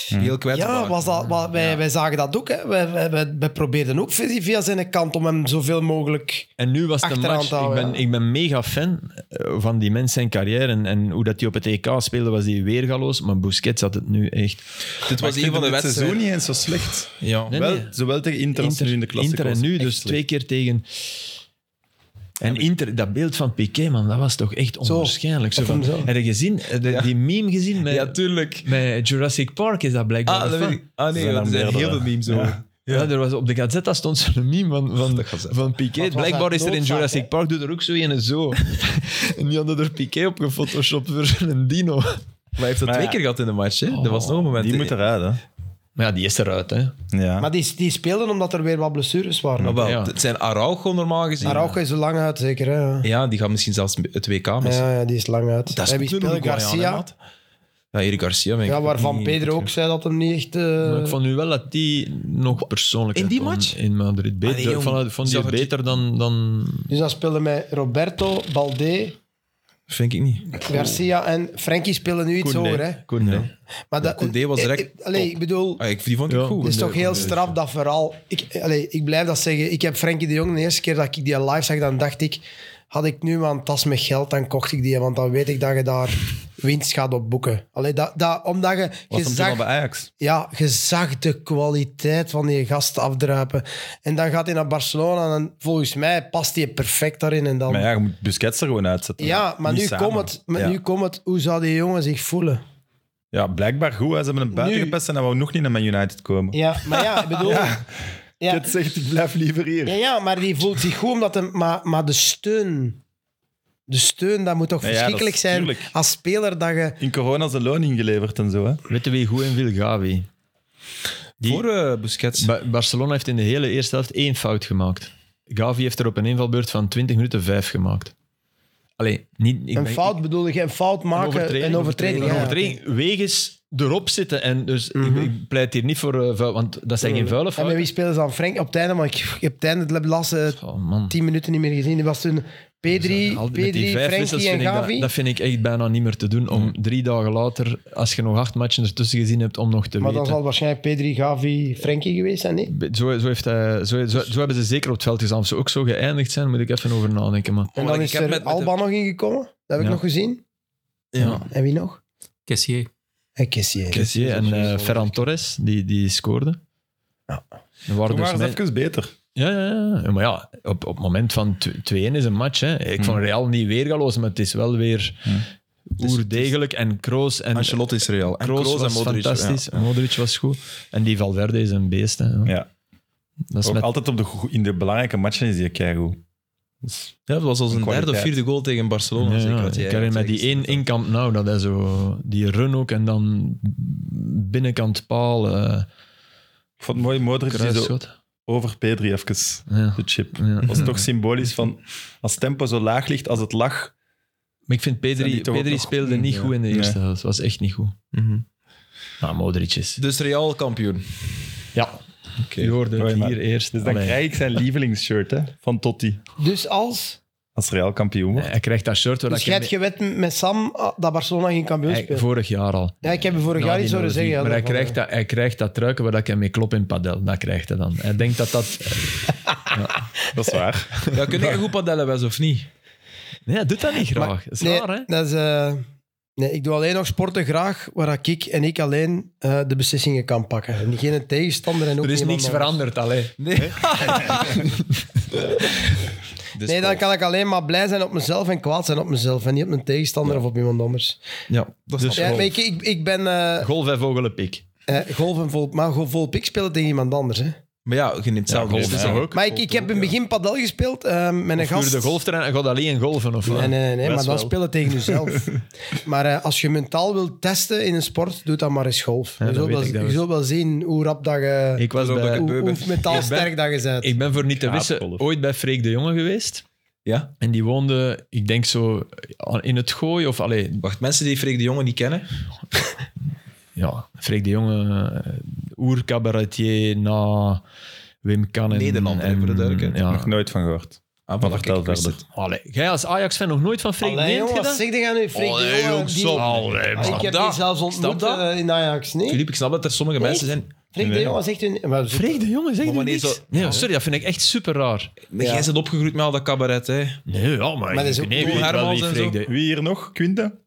Speaker 1: Heel kwijt.
Speaker 2: Ja, was dat, wa- wij, wij zagen dat ook. Hè. Wij, wij, wij, wij probeerden ook via via zijn kant om hem zoveel mogelijk...
Speaker 3: En nu was de
Speaker 2: Achteraan
Speaker 3: match...
Speaker 2: te
Speaker 3: Ik
Speaker 2: houden,
Speaker 3: ben,
Speaker 2: ja.
Speaker 3: ik ben mega fan eh, van die mens zijn carrière. En, en hoe dat hij op het EK speelde, was hij weergaloos. Maar Busquets had het nu echt...
Speaker 1: Dit was een
Speaker 4: vind
Speaker 1: van de
Speaker 4: hem dit seizoen
Speaker 1: wedstrijden.
Speaker 4: niet eens zo slecht.
Speaker 1: Ja.
Speaker 3: Nee,
Speaker 4: wel,
Speaker 3: nee.
Speaker 4: Zowel tegen Inter, als nu in de klasse.
Speaker 3: Inter en nu, dus twee keer tegen... En Inter, dat beeld van Piqué, man, dat was toch echt onwaarschijnlijk. Zo,
Speaker 2: op hem
Speaker 3: van,
Speaker 2: zo.
Speaker 3: heb je gezien, Heb je die meme gezien? Met,
Speaker 1: ja, tuurlijk.
Speaker 3: met Jurassic Park is dat blijkbaar.
Speaker 1: Ah,
Speaker 3: de
Speaker 1: dat
Speaker 3: fan.
Speaker 1: weet ik. Ah, nee,
Speaker 4: Zijn
Speaker 1: want
Speaker 4: er
Speaker 1: er zijn heel
Speaker 4: meerdere.
Speaker 1: veel memes over.
Speaker 3: Ja, er was, op de Gazette stond zo'n meme van, van,
Speaker 1: Gazette.
Speaker 3: van Piqué.
Speaker 2: Wat was
Speaker 3: Blijkbaar
Speaker 2: dat
Speaker 3: is er in
Speaker 2: noodzaak,
Speaker 3: Jurassic
Speaker 2: hè?
Speaker 3: Park doet er ook zo een zo. en die hadden er Piqué op gefotoshopt voor een dino.
Speaker 1: Maar hij heeft dat
Speaker 4: Maar
Speaker 1: twee
Speaker 4: ja.
Speaker 1: keer gehad in de match. Hè? er was nog een moment.
Speaker 4: Die moet eruit, hè.
Speaker 3: Maar ja, die is eruit, hè.
Speaker 1: Eh,
Speaker 4: Ja.
Speaker 2: Maar die, die speelden omdat er weer wat blessures waren.
Speaker 1: Maar Ah, wel,
Speaker 3: Ja.
Speaker 1: Het zijn Araujo normaal gezien.
Speaker 2: Araujo is er lang uit, zeker. Hè? Ja,
Speaker 1: Ja, die gaan misschien zelfs het WK missen.
Speaker 2: ja, die is lang uit.
Speaker 1: Dat is
Speaker 2: en wie
Speaker 1: ook een
Speaker 2: speelde
Speaker 1: Uruguayan, hè,
Speaker 2: Garcia?
Speaker 1: maat? Ja, Erik Garcia.
Speaker 2: Ja, waarvan Pedro ook zei dat hem niet echt... eh,
Speaker 3: Maar ik vond nu wel dat die nog persoonlijk
Speaker 1: In die
Speaker 3: uitkwam
Speaker 1: match?
Speaker 3: in Madrid. Beter,
Speaker 1: Ah, nee,
Speaker 3: ik vond, ik vond die
Speaker 1: jongen. Zag het-
Speaker 3: beter dan, dan...
Speaker 2: Dus dat speelde met Roberto, Balde,
Speaker 1: Vind ik niet.
Speaker 2: Garcia en Frenkie spelen nu iets
Speaker 3: Koundé.
Speaker 2: hoger. Hè?
Speaker 3: Koundé.
Speaker 2: Maar dat,
Speaker 1: Koundé was
Speaker 2: eh,
Speaker 1: direct
Speaker 2: eh, Allee,
Speaker 1: top.
Speaker 2: ik bedoel,
Speaker 1: Ah, ik, die vond ik
Speaker 3: Ja.
Speaker 1: goed.
Speaker 2: het is
Speaker 1: Nee,
Speaker 2: toch heel
Speaker 1: nee.
Speaker 2: straf dat vooral... Ik, allee, ik blijf dat zeggen. Ik heb Frenkie de Jong de eerste keer dat ik die live zag, dan dacht ik... Had ik nu maar een tas met geld, dan kocht ik die. Want dan weet ik dat je daar winst gaat op boeken. Allee, dat, dat, omdat je...
Speaker 4: was
Speaker 2: je
Speaker 4: hem toen
Speaker 2: zag-
Speaker 4: al bij Ajax.
Speaker 2: ja, je zag de kwaliteit van die gasten afdruipen. En dan gaat hij naar Barcelona en volgens mij past hij perfect daarin. En dan...
Speaker 4: Maar
Speaker 2: ja,
Speaker 4: ja, je moet Busquets er gewoon uitzetten.
Speaker 2: maar,
Speaker 4: Niet
Speaker 2: nu
Speaker 4: samen.
Speaker 2: komt het, maar
Speaker 4: ja.
Speaker 2: nu komt het. Hoe zou die jongen zich voelen?
Speaker 4: Ja, blijkbaar goed. hè. Ze hebben hem buiten
Speaker 2: Nu-
Speaker 4: gepest en hij wou nog niet naar Man United komen.
Speaker 2: Ja, maar ja, ik bedoel... Ja. Ja,
Speaker 4: Busquets zegt, ik blijf liever hier.
Speaker 2: ja, maar die voelt zich goed omdat hem... Maar, maar de steun... De steun, dat moet toch
Speaker 4: Ja, ja, dat is
Speaker 2: verschrikkelijk zijn
Speaker 4: tuurlijk.
Speaker 2: als speler dat je...
Speaker 4: In corona zijn loon ingeleverd en zo, hè.
Speaker 3: Weet je wie goed en wil Gavi? Die-
Speaker 1: Voor eh, Busquets.
Speaker 3: Ba- Barcelona heeft in de hele eerste helft één fout gemaakt. Gavi heeft er op een invalbeurt van 20 minuten vijf gemaakt. Allee, niet... Ik
Speaker 2: Een
Speaker 3: ben-
Speaker 2: fout bedoel je, een fout maken, een overtreding.
Speaker 3: Een
Speaker 2: ja.
Speaker 3: overtreding wegens erop zitten. En dus ik- ik, pleit hier niet voor eh, vuil, want dat zijn geen vuile
Speaker 2: En met
Speaker 3: fouten.
Speaker 2: wie spelen ze dan? Frank op het einde, want ik ik heb het einde het laatste
Speaker 3: Oh man.
Speaker 2: tien minuten niet meer gezien. Die was toen P3,
Speaker 3: Al- met
Speaker 2: P3 Frenkie
Speaker 3: vind
Speaker 2: en
Speaker 3: ik dat-
Speaker 2: Gavi.
Speaker 3: Dat, vind ik echt bijna niet meer te doen. Om drie dagen later, als je nog acht matchen ertussen gezien hebt, om nog te
Speaker 2: maar dan
Speaker 3: weten.
Speaker 2: zal het waarschijnlijk P3, Gavi, Frenkie geweest zijn, nee?
Speaker 3: Be- Zo, zo, heeft hij, zo, zo, zo hebben ze zeker op het veld gestaan. Of ze ook zo geëindigd zijn, moet ik even over nadenken. Maar
Speaker 2: En
Speaker 1: Omdat
Speaker 2: dan
Speaker 1: ik
Speaker 2: is
Speaker 1: heb
Speaker 2: er
Speaker 1: met- met
Speaker 2: Alba nog ingekomen. Dat heb ik
Speaker 3: Ja.
Speaker 2: nog gezien.
Speaker 1: Ja.
Speaker 2: En wie nog?
Speaker 5: Kessier.
Speaker 2: En Kessier.
Speaker 3: Kessié en eh, Ferran Torres, die, die scoorden.
Speaker 2: Ja.
Speaker 3: Er
Speaker 4: Toen
Speaker 3: waren dus
Speaker 4: waren ze
Speaker 3: men-
Speaker 4: even beter.
Speaker 3: Ja, ja, ja. Ja, Maar ja, op, op het moment van tw- 2-1 is een match. Hè.
Speaker 1: Hmm.
Speaker 3: Ik vond Real niet weergaloos, maar het is wel weer oerdegelijk. En Kroos en
Speaker 1: Ancelotti is real. En
Speaker 3: Kroos
Speaker 1: Kroos en
Speaker 3: was
Speaker 1: Modric.
Speaker 3: fantastisch.
Speaker 1: ja.
Speaker 3: Modric was goed. En die Valverde is een beest. Hè.
Speaker 4: Ja.
Speaker 3: Dat is
Speaker 4: Ook
Speaker 3: Dus met...
Speaker 4: altijd op de, goe- in de belangrijke matchen is hij keigoed.
Speaker 1: Ja, dat was al zijn derde of
Speaker 4: kwaliteit.
Speaker 1: vierde goal tegen Barcelona.
Speaker 3: Ja,
Speaker 1: zeker,
Speaker 3: ja.
Speaker 1: dat hij
Speaker 3: ik herinner mij die één inkamp nou, dat hij zo... Die run ook en dan binnenkant paal, eh
Speaker 4: Ik vond het mooi, Modric die zo
Speaker 3: kruisschot.
Speaker 4: over P3 even
Speaker 3: Ja.
Speaker 4: de chip.
Speaker 3: Ja.
Speaker 4: Dat is toch symbolisch van als tempo zo laag ligt als het lag.
Speaker 3: Maar ik vind
Speaker 4: Zijn
Speaker 3: Pedri,
Speaker 4: die toch ook
Speaker 3: Pedri
Speaker 4: nog-
Speaker 3: speelde niet
Speaker 4: Ja.
Speaker 3: goed in de
Speaker 4: Nee.
Speaker 3: eerste helft. Dat was echt niet goed.
Speaker 1: Mhm.
Speaker 3: Nou, Modric is...
Speaker 1: Dus Real kampioen.
Speaker 3: Ja,
Speaker 1: Oké.
Speaker 3: je hoorde het
Speaker 4: Mooi, maar-
Speaker 3: hier eerst.
Speaker 4: Dus dan
Speaker 3: Allee.
Speaker 4: krijg ik zijn lievelingsshirt hè, van Totti.
Speaker 2: Dus als...
Speaker 4: Als Real kampioen wordt.
Speaker 3: Nee, hij krijgt dat shirt waar
Speaker 2: Dus
Speaker 3: ik
Speaker 2: jij hebt
Speaker 3: mee-
Speaker 2: gewet met Sam ah, dat Barcelona geen kampioen
Speaker 3: hij-
Speaker 2: speelt.
Speaker 3: vorig jaar al.
Speaker 2: Ja, ik heb je vorig
Speaker 3: Nou,
Speaker 2: jaar
Speaker 3: die
Speaker 2: iets horen
Speaker 3: nodig
Speaker 2: zeggen.
Speaker 3: niet,
Speaker 2: ja,
Speaker 3: maar hij
Speaker 2: daarvan,
Speaker 3: krijgt,
Speaker 2: ja.
Speaker 3: dat, hij krijgt dat truiken waar ik hem mee klop in padel. Dat krijgt hij dan. Hij denkt dat dat...
Speaker 4: Dat is waar.
Speaker 1: Ja, kun je goed padellen, Wes, of niet?
Speaker 3: Nee, hij doet dat niet graag.
Speaker 2: Maar-
Speaker 3: dat is
Speaker 2: nee,
Speaker 3: raar, hè?
Speaker 2: Dat is, eh, nee, ik doe alleen nog sporten graag waar ik en ik alleen eh, de beslissingen kan pakken. En geen tegenstander en ook
Speaker 3: Er is
Speaker 2: niemand
Speaker 3: niks
Speaker 2: anders.
Speaker 3: veranderd, allee.
Speaker 1: Dus
Speaker 2: Nee, dan kan ik alleen maar blij zijn op mezelf en kwaad zijn op mezelf. En niet op mijn tegenstander of op iemand anders.
Speaker 1: Ja, dat is
Speaker 3: Dus-
Speaker 2: Ja,
Speaker 1: ja,
Speaker 2: maar ik, ik, ik ben eh
Speaker 3: Golf en vogelenpik.
Speaker 2: eh, golf en vol, maar golf vol pik spelen tegen iemand anders. Hè.
Speaker 1: Maar ja, je neemt zelf
Speaker 3: golf
Speaker 1: dus
Speaker 3: is
Speaker 1: ja.
Speaker 3: toch ook?
Speaker 2: Maar ik, ik heb in het begin padel gespeeld eh, met een
Speaker 3: Vuur
Speaker 2: gast.
Speaker 3: de golfterrein en gaat alleen golfen of wat?
Speaker 2: Nee, nee, nee, nee, maar dan
Speaker 4: wel.
Speaker 2: spelen tegen jezelf. maar eh, als je mentaal wilt testen in een sport, doe dat maar eens golf.
Speaker 3: Ja,
Speaker 2: je
Speaker 3: dat
Speaker 2: zult
Speaker 3: weet
Speaker 2: wel,
Speaker 3: ik, dat
Speaker 2: je
Speaker 3: weet
Speaker 2: zult wel zien hoe rap dat je...
Speaker 3: Ik was
Speaker 1: Zodat
Speaker 3: bij...
Speaker 1: ik-
Speaker 2: hoe,
Speaker 1: beu ben.
Speaker 2: hoe mentaal
Speaker 3: Ik ben-
Speaker 2: sterk dat je bent.
Speaker 3: Ik ben voor niet te
Speaker 4: Gaaf,
Speaker 3: wissen
Speaker 4: golf.
Speaker 3: ooit bij Freek de Jonge geweest.
Speaker 1: Ja.
Speaker 3: En die woonde, ik denk zo, in het Gooi of... Allee,
Speaker 1: Wacht, mensen die Freek de Jonge niet kennen. Ah,
Speaker 3: ja, Freek de Jonge, eh, oercabaretier na Wim Kan. en-
Speaker 1: Nederlander,
Speaker 3: en-
Speaker 1: hè, voor de duidelijkheid.
Speaker 3: Ja,
Speaker 4: Nog nooit van gehoord.
Speaker 1: Ah,
Speaker 4: Maar
Speaker 1: voilà,
Speaker 4: vertel
Speaker 1: kijk, ik wist
Speaker 4: verder.
Speaker 1: het.
Speaker 3: Allee, jij als Ajax-fan nog nooit van Freek
Speaker 2: Allee,
Speaker 3: Neemt
Speaker 2: jongen, wat
Speaker 3: gedaan?
Speaker 2: zeg je nu? Freek
Speaker 1: Allee,
Speaker 2: de Jonge,
Speaker 1: jong,
Speaker 2: die-
Speaker 1: stop.
Speaker 3: Allee, man.
Speaker 2: Ik heb die
Speaker 1: dat?
Speaker 2: zelfs ontmoet
Speaker 1: Snap dat?
Speaker 2: eh, in Ajax, nee?
Speaker 1: Filip, ik snap dat er sommige
Speaker 2: Nee.
Speaker 1: mensen zijn...
Speaker 2: Freek de
Speaker 4: Nee.
Speaker 2: Jonge zegt u... Eh, Maar,
Speaker 3: Freek de jongen, zeg
Speaker 1: Maar
Speaker 3: je
Speaker 1: wanneer
Speaker 3: niks?
Speaker 1: zo-
Speaker 3: Nee, sorry, dat vind ik echt super raar.
Speaker 1: Maar
Speaker 2: Ja.
Speaker 1: Jij bent opgegroeid met al dat cabaret, hè.
Speaker 3: Nee, ja, maar,
Speaker 2: dat is ook
Speaker 3: nee,
Speaker 1: Koen
Speaker 3: weet wel
Speaker 1: Hermans
Speaker 3: wie
Speaker 1: en
Speaker 3: Freek
Speaker 1: zo.
Speaker 3: de...
Speaker 4: Wie hier nog? Quinten?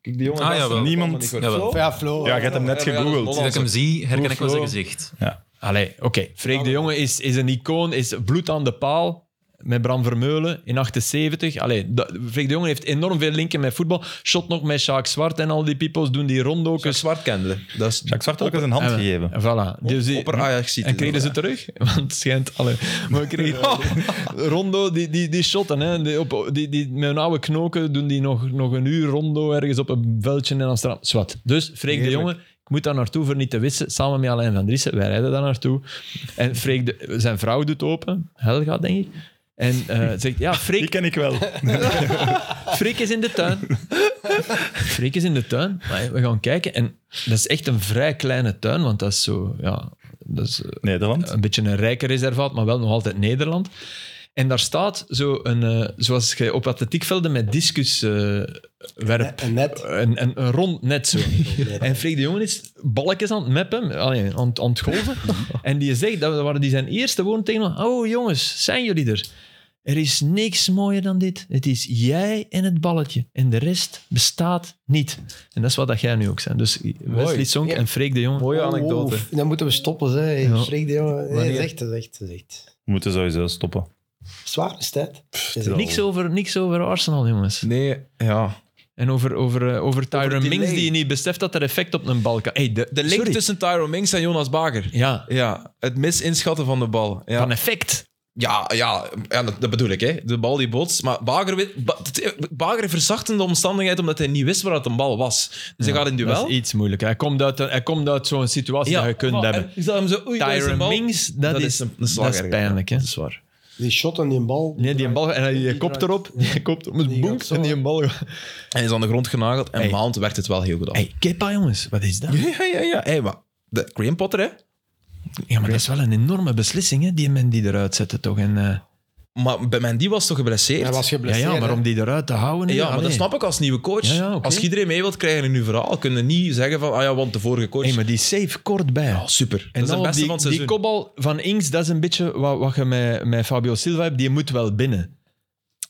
Speaker 1: Kijk, die jongen
Speaker 5: Ah,
Speaker 1: gasten,
Speaker 5: jawel.
Speaker 1: niemand-
Speaker 4: Niemand.
Speaker 5: Jawel.
Speaker 2: Ja, Flo.
Speaker 4: Ja, je hebt hem
Speaker 1: Ja,
Speaker 4: net
Speaker 1: maar ja, dat is
Speaker 4: gegoogeld.
Speaker 5: Als ik hem zie, herken ik wel zijn
Speaker 4: Flo.
Speaker 5: gezicht.
Speaker 3: Allee, oké. Freek de Jonge is, is een icoon, is bloed aan de paal. Met Bram Vermeulen in 78. Allee, dat- Freek de Jonge heeft enorm veel linken met voetbal. Shot nog met Sjaak Zwart en al die peoples doen die
Speaker 1: Ik
Speaker 3: rondokers.
Speaker 1: zwart kende. Dat is
Speaker 4: Jacques Zwart ook eens een hand
Speaker 3: En-
Speaker 4: gegeven.
Speaker 3: Voilà. Dus die-
Speaker 1: opper ajax
Speaker 3: en kregen ze terug? Want het schijnt... Allee, maar we kregen- rondo, die, die, die shotten. Hè. Die, op, die, die, met hun oude knoken doen die nog, nog een uur rondo ergens op een veldje in Amsterdam. Zwat. Dus Freek de Jonge, ik moet daar naartoe voor niet te wissen. Samen met Alain van Driessen, wij rijden daar naartoe. En Freek de, zijn vrouw doet open. Helga, denk ik. En eh, zegt, ja,
Speaker 4: Die
Speaker 3: Freek,
Speaker 4: ken ik wel.
Speaker 3: Freek is in de tuin. Freek is in de tuin. Maar we gaan kijken. En dat is echt een vrij kleine tuin, want dat is zo... Ja, dat is, eh,
Speaker 4: Nederland.
Speaker 3: een beetje een rijke reservaat, maar wel nog altijd Nederland. En daar staat zo een, eh, zoals je op atletiekvelden met discus eh, werp.
Speaker 2: Een eh, net.
Speaker 3: Een, een, een rond net zo. en Freek de Jongen is balkjes aan het meppen, allee, aan, het- aan het golven. en die zegt, dat waren die zijn eerste woorden tegen hem. Oh jongens, zijn jullie er? Er is niks mooier dan dit. Het is jij en het balletje. En de rest bestaat niet. En dat is wat dat jij nu ook zijn. Dus Wesley Sonk
Speaker 2: Ja.
Speaker 3: en Freek de Jongen.
Speaker 1: Mooie
Speaker 2: Oh,
Speaker 1: anekdote.
Speaker 2: Oef, Dan moeten we stoppen, hè.
Speaker 3: Ja.
Speaker 2: Freek de Jonge.
Speaker 3: Maar
Speaker 2: Nee,
Speaker 3: die-
Speaker 2: zegt, zegt, zegt.
Speaker 4: We moeten sowieso stoppen.
Speaker 2: Zwaar is tijd. Is het-
Speaker 3: Niks over, niks over Arsenal, jongens.
Speaker 1: Nee, ja.
Speaker 3: En over, over, eh, over Tyron
Speaker 1: delay.
Speaker 3: Mings, die je niet beseft dat er effect op een bal kan. Hey, de,
Speaker 1: De link
Speaker 3: sorry.
Speaker 1: tussen Tyrone Mings en Jonas Bager.
Speaker 3: Ja,
Speaker 1: Ja, het misinschatten van de bal. Ja,
Speaker 3: van effect.
Speaker 1: ja, ja, ja, dat, dat bedoel ik. Hè. De bal die botst. Maar Bager, wi- Ba- t- Bager verzachtende omstandigheid omdat hij niet wist waar dat een bal was. Dus hij gaat in
Speaker 3: Dat
Speaker 1: duel.
Speaker 3: is iets moeilijker. Hij komt uit, een- hij komt uit zo'n situatie dat je kunt
Speaker 1: voilà.
Speaker 3: hebben.
Speaker 1: En is dat hem zo, oei, daar is een
Speaker 3: Tyron
Speaker 1: bal.
Speaker 3: Mings, dat,
Speaker 1: Dat
Speaker 3: is,
Speaker 1: is een- een slag
Speaker 3: dat is
Speaker 1: erger, ja.
Speaker 3: pijnlijk. Hè?
Speaker 1: Dat is waar.
Speaker 2: Die shot en die bal.
Speaker 3: Nee, die bal, en hij je kopt erop, je kopt erop,
Speaker 2: Die
Speaker 3: boem,
Speaker 2: gaat zo.
Speaker 3: en die bal...
Speaker 1: Hij is aan de grond genageld en
Speaker 3: Hey.
Speaker 1: Maand werkt het wel heel goed af.
Speaker 3: Hey, Kepa, jongens, wat is dat?
Speaker 1: Ja, ja, ja. Hey, maar de Graham Potter, hè?
Speaker 3: Ja, maar dat is wel een enorme beslissing, hè, die men die eruit zette, toch? En, eh,
Speaker 1: Maar bij Mandy was toch geblesseerd?
Speaker 2: Hij was
Speaker 3: ja,
Speaker 2: geblesseerd.
Speaker 3: ja, maar
Speaker 2: hè.
Speaker 3: om die eruit te houden...
Speaker 1: Ja,
Speaker 3: hè,
Speaker 1: maar
Speaker 3: allee.
Speaker 1: dat snap ik als nieuwe coach.
Speaker 3: Ja, ja, oké.
Speaker 1: Als je iedereen mee wilt krijgen in uw verhaal, kun je niet zeggen van, ah ja, want de vorige coach...
Speaker 3: Hey, maar die save kort bij.
Speaker 1: Ja, super.
Speaker 3: En
Speaker 1: dat is
Speaker 3: dan
Speaker 1: het beste
Speaker 3: die,
Speaker 1: van het
Speaker 3: die
Speaker 1: seizoen.
Speaker 3: kopbal van Ings, dat is een beetje wat, wat je met, met Fabio Silva hebt. Die moet wel binnen.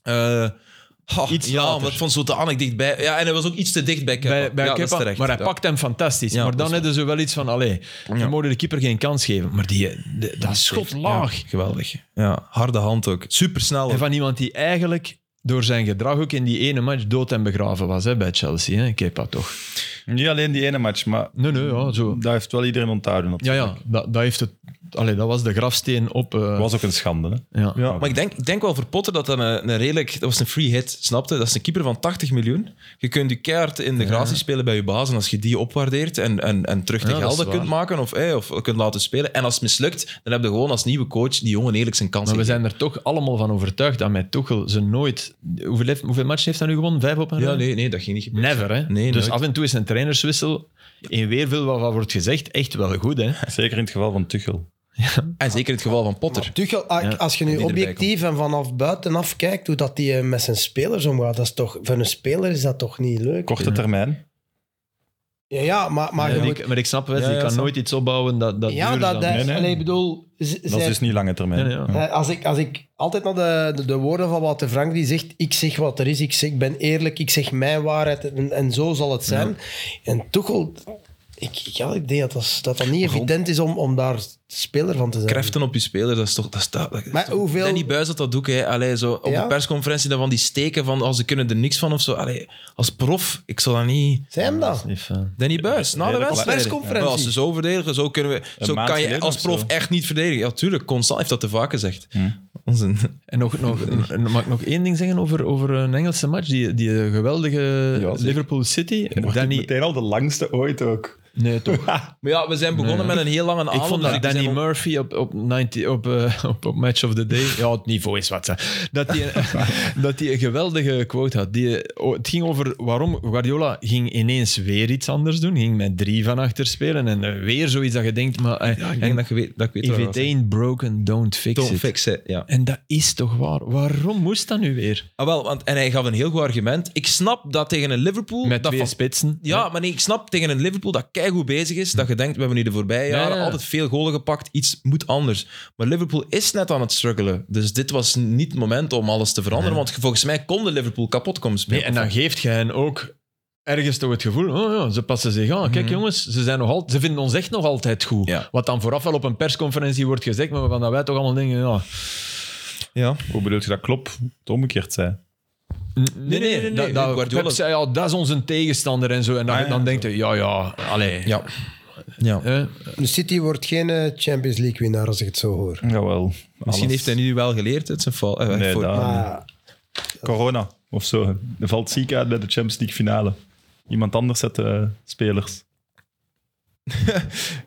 Speaker 1: Eh, ha,
Speaker 3: Iets
Speaker 1: ja,
Speaker 3: later.
Speaker 1: maar van zodanig dichtbij. Ja, en hij was ook iets te dicht bij Kepa.
Speaker 3: Bij, bij
Speaker 1: ja, dat
Speaker 3: Kepa.
Speaker 1: is terecht.
Speaker 3: maar hij
Speaker 1: Ja.
Speaker 3: pakt hem fantastisch.
Speaker 1: Ja,
Speaker 3: maar
Speaker 1: dat
Speaker 3: dan
Speaker 1: is
Speaker 3: hebben ze wel iets van, allee, we
Speaker 1: Ja.
Speaker 3: mogen de keeper geen kans geven. Maar die, de- dat schot laag.
Speaker 1: Ja, geweldig. Ja, harde hand ook. Supersnel.
Speaker 3: En
Speaker 1: ook.
Speaker 3: van iemand die eigenlijk door zijn gedrag ook in die ene match dood en begraven was hè, bij Chelsea. Hè. Kepa toch?
Speaker 4: Niet alleen die ene match, maar
Speaker 3: Nee, nee, ja, zo.
Speaker 4: dat heeft wel iedereen onthouden.
Speaker 3: Ja, ja, dat, dat, heeft het, allee, dat was de grafsteen op... eh,
Speaker 4: Dat was ook een schande. Hè?
Speaker 3: ja.
Speaker 4: Ja.
Speaker 1: Maar ik denk, ik denk wel voor Potter dat dat een, een redelijk... Dat was een free hit, snapte? Dat is een keeper van 80 miljoen. Je kunt je keihard in de gratie spelen bij je baas. En als je die opwaardeert en, en, en terug de
Speaker 3: Ja, dat is
Speaker 1: gelden kunt maken of, eh, of kunt laten spelen. En als het mislukt, dan heb je gewoon als nieuwe coach die jongen eerlijk zijn kans
Speaker 3: Maar we
Speaker 1: gegeven.
Speaker 3: zijn er toch allemaal van overtuigd dat met Tuchel ze nooit... Hoeveel, heeft- hoeveel matchen heeft hij nu gewonnen? Vijf op een
Speaker 1: Ja,
Speaker 3: rij?
Speaker 1: nee, nee, dat ging niet gebeuren.
Speaker 3: Never, hè?
Speaker 1: Nee,
Speaker 3: dus
Speaker 1: nooit.
Speaker 3: af en toe is een trainerswissel in weerveel wat wat wordt gezegd echt wel goed, hè?
Speaker 4: Zeker in het geval van Tuchel.
Speaker 1: En zeker in het geval van Potter.
Speaker 2: Tuchel, a-
Speaker 3: Ja,
Speaker 2: als je
Speaker 1: die
Speaker 2: nu
Speaker 1: erbij
Speaker 2: objectief en vanaf buitenaf kijkt hoe dat die eh, met zijn spelers omgaat, dat is toch, voor een speler is dat toch niet leuk?
Speaker 4: Korte termijn.
Speaker 2: Ja, ja maar, maar
Speaker 3: Ah, Ja,
Speaker 2: je
Speaker 3: die-
Speaker 2: moet...
Speaker 3: maar ik snap wel,
Speaker 1: Ja,
Speaker 3: je
Speaker 1: ja,
Speaker 3: kan
Speaker 1: snap.
Speaker 3: nooit iets opbouwen dat dat
Speaker 2: ja,
Speaker 3: duurzaam
Speaker 2: dat, dat,
Speaker 3: is.
Speaker 4: Nee, nee.
Speaker 2: Allee, ik bedoel... z-
Speaker 4: Dat is
Speaker 2: zij-
Speaker 4: dus niet lange termijn.
Speaker 3: Nee, nee, ja.
Speaker 2: eh, als, ik, als ik altijd naar de, de, de woorden van Wouter Frank, die zegt, ik zeg wat er is, ik, zeg, ik ben eerlijk, ik zeg mijn waarheid en, en zo zal het zijn. En Tuchel, ik, ja, ik denk dat dat, dat dat niet evident is om, om daar speler van te zijn.
Speaker 1: Kreften op je speler, dat is toch... Dat is, dat, dat is
Speaker 2: Maar
Speaker 1: toch-
Speaker 2: hoeveel-
Speaker 1: Danny Buis had dat ook, hè. Allee, zo, op
Speaker 2: Ja.
Speaker 1: de persconferentie dan van die steken van... als ze kunnen er niks van of zo. Allee, als prof, ik zal dat niet...
Speaker 2: Zijn hem dat?
Speaker 3: Niet fijn.
Speaker 1: Danny Buis, na de
Speaker 4: Redelijk
Speaker 1: wedstrijd.
Speaker 2: persconferentie.
Speaker 1: Als ze zo verdedigen, zo, kunnen we,
Speaker 4: Een
Speaker 1: zo Hm.
Speaker 4: maand
Speaker 1: kan je
Speaker 4: geleden
Speaker 1: als
Speaker 4: of
Speaker 1: prof
Speaker 4: zo.
Speaker 1: echt niet verdedigen. Ja, tuurlijk, Constant heeft dat te vaak gezegd. Onzin.
Speaker 3: En nog, nog, en mag ik nog één ding zeggen over, over een Engelse match? Die, die geweldige
Speaker 4: zeker.
Speaker 3: Liverpool City.
Speaker 4: Wordt
Speaker 3: Danny,
Speaker 4: meteen al de langste ooit ook.
Speaker 3: Nee, toch.
Speaker 1: Maar ja, we zijn begonnen
Speaker 3: Nee.
Speaker 1: met een heel lange avond.
Speaker 3: Ik vond
Speaker 1: dus
Speaker 3: dat
Speaker 1: we
Speaker 3: Danny
Speaker 1: zijn al-
Speaker 3: Murphy op, op, 90, op, eh, op, op Match of the Day... Ja, het niveau is wat. Hè. Dat hij dat die een geweldige quote had. Die, oh, het ging over waarom Guardiola ging ineens weer iets anders doen. Ging met drie van achter spelen en eh, weer zoiets dat je denkt... Maar, eh,
Speaker 1: Ja, ik
Speaker 3: en
Speaker 1: denk dat je weet, dat ik weet
Speaker 3: if
Speaker 1: waar
Speaker 3: it
Speaker 1: we zijn.
Speaker 3: ain't broken, don't fix
Speaker 1: Don't
Speaker 3: it.
Speaker 1: fix it, ja.
Speaker 3: En dat is toch waar? Waarom moest dat nu weer?
Speaker 1: Ah, wel, want, en hij gaf een heel goed argument. Ik snap dat tegen een Liverpool...
Speaker 3: Met
Speaker 1: dat
Speaker 3: twee
Speaker 1: van-
Speaker 3: spitsen.
Speaker 1: Ja, maar nee, ik snap tegen een Liverpool dat keigoed bezig is. Dat je denkt, we hebben nu de voorbije jaren
Speaker 3: ja.
Speaker 1: altijd veel golen gepakt. Iets moet anders. Maar Liverpool is net aan het struggelen. Dus dit was niet het moment om alles te veranderen. Want volgens mij kon de Liverpool kapot komen spelen.
Speaker 3: Nee, en dan geeft je hen ook ergens toch het gevoel, oh ja, ze passen zich aan. Kijk jongens, ze, zijn nog al, ze vinden ons echt nog altijd goed.
Speaker 1: Ja.
Speaker 3: Wat dan vooraf wel op een persconferentie wordt gezegd, maar waarvan dat wij toch allemaal denken, ja...
Speaker 1: Ja.
Speaker 4: Hoe bedoel je dat Klopp het omgekeerd zei?
Speaker 3: Nee,
Speaker 1: nee, nee,
Speaker 3: Dat,
Speaker 1: nee,
Speaker 3: dat,
Speaker 1: Guardiola-
Speaker 3: Pep zei al, dat is onze tegenstander en zo. En dan,
Speaker 4: Ah, ja,
Speaker 3: dan
Speaker 4: zo.
Speaker 3: denkt hij, ja, ja, allee.
Speaker 1: Ja. Ja.
Speaker 3: Hè?
Speaker 2: De City wordt geen eh, Champions League winnaar als ik het zo hoor.
Speaker 4: Jawel.
Speaker 1: Misschien heeft hij nu wel geleerd uit zijn fout. eh,
Speaker 4: Nee,
Speaker 1: voor-
Speaker 4: dat-
Speaker 2: Maar
Speaker 4: Corona of zo. Er valt ziek uit bij de Champions League finale. Iemand anders zet de spelers.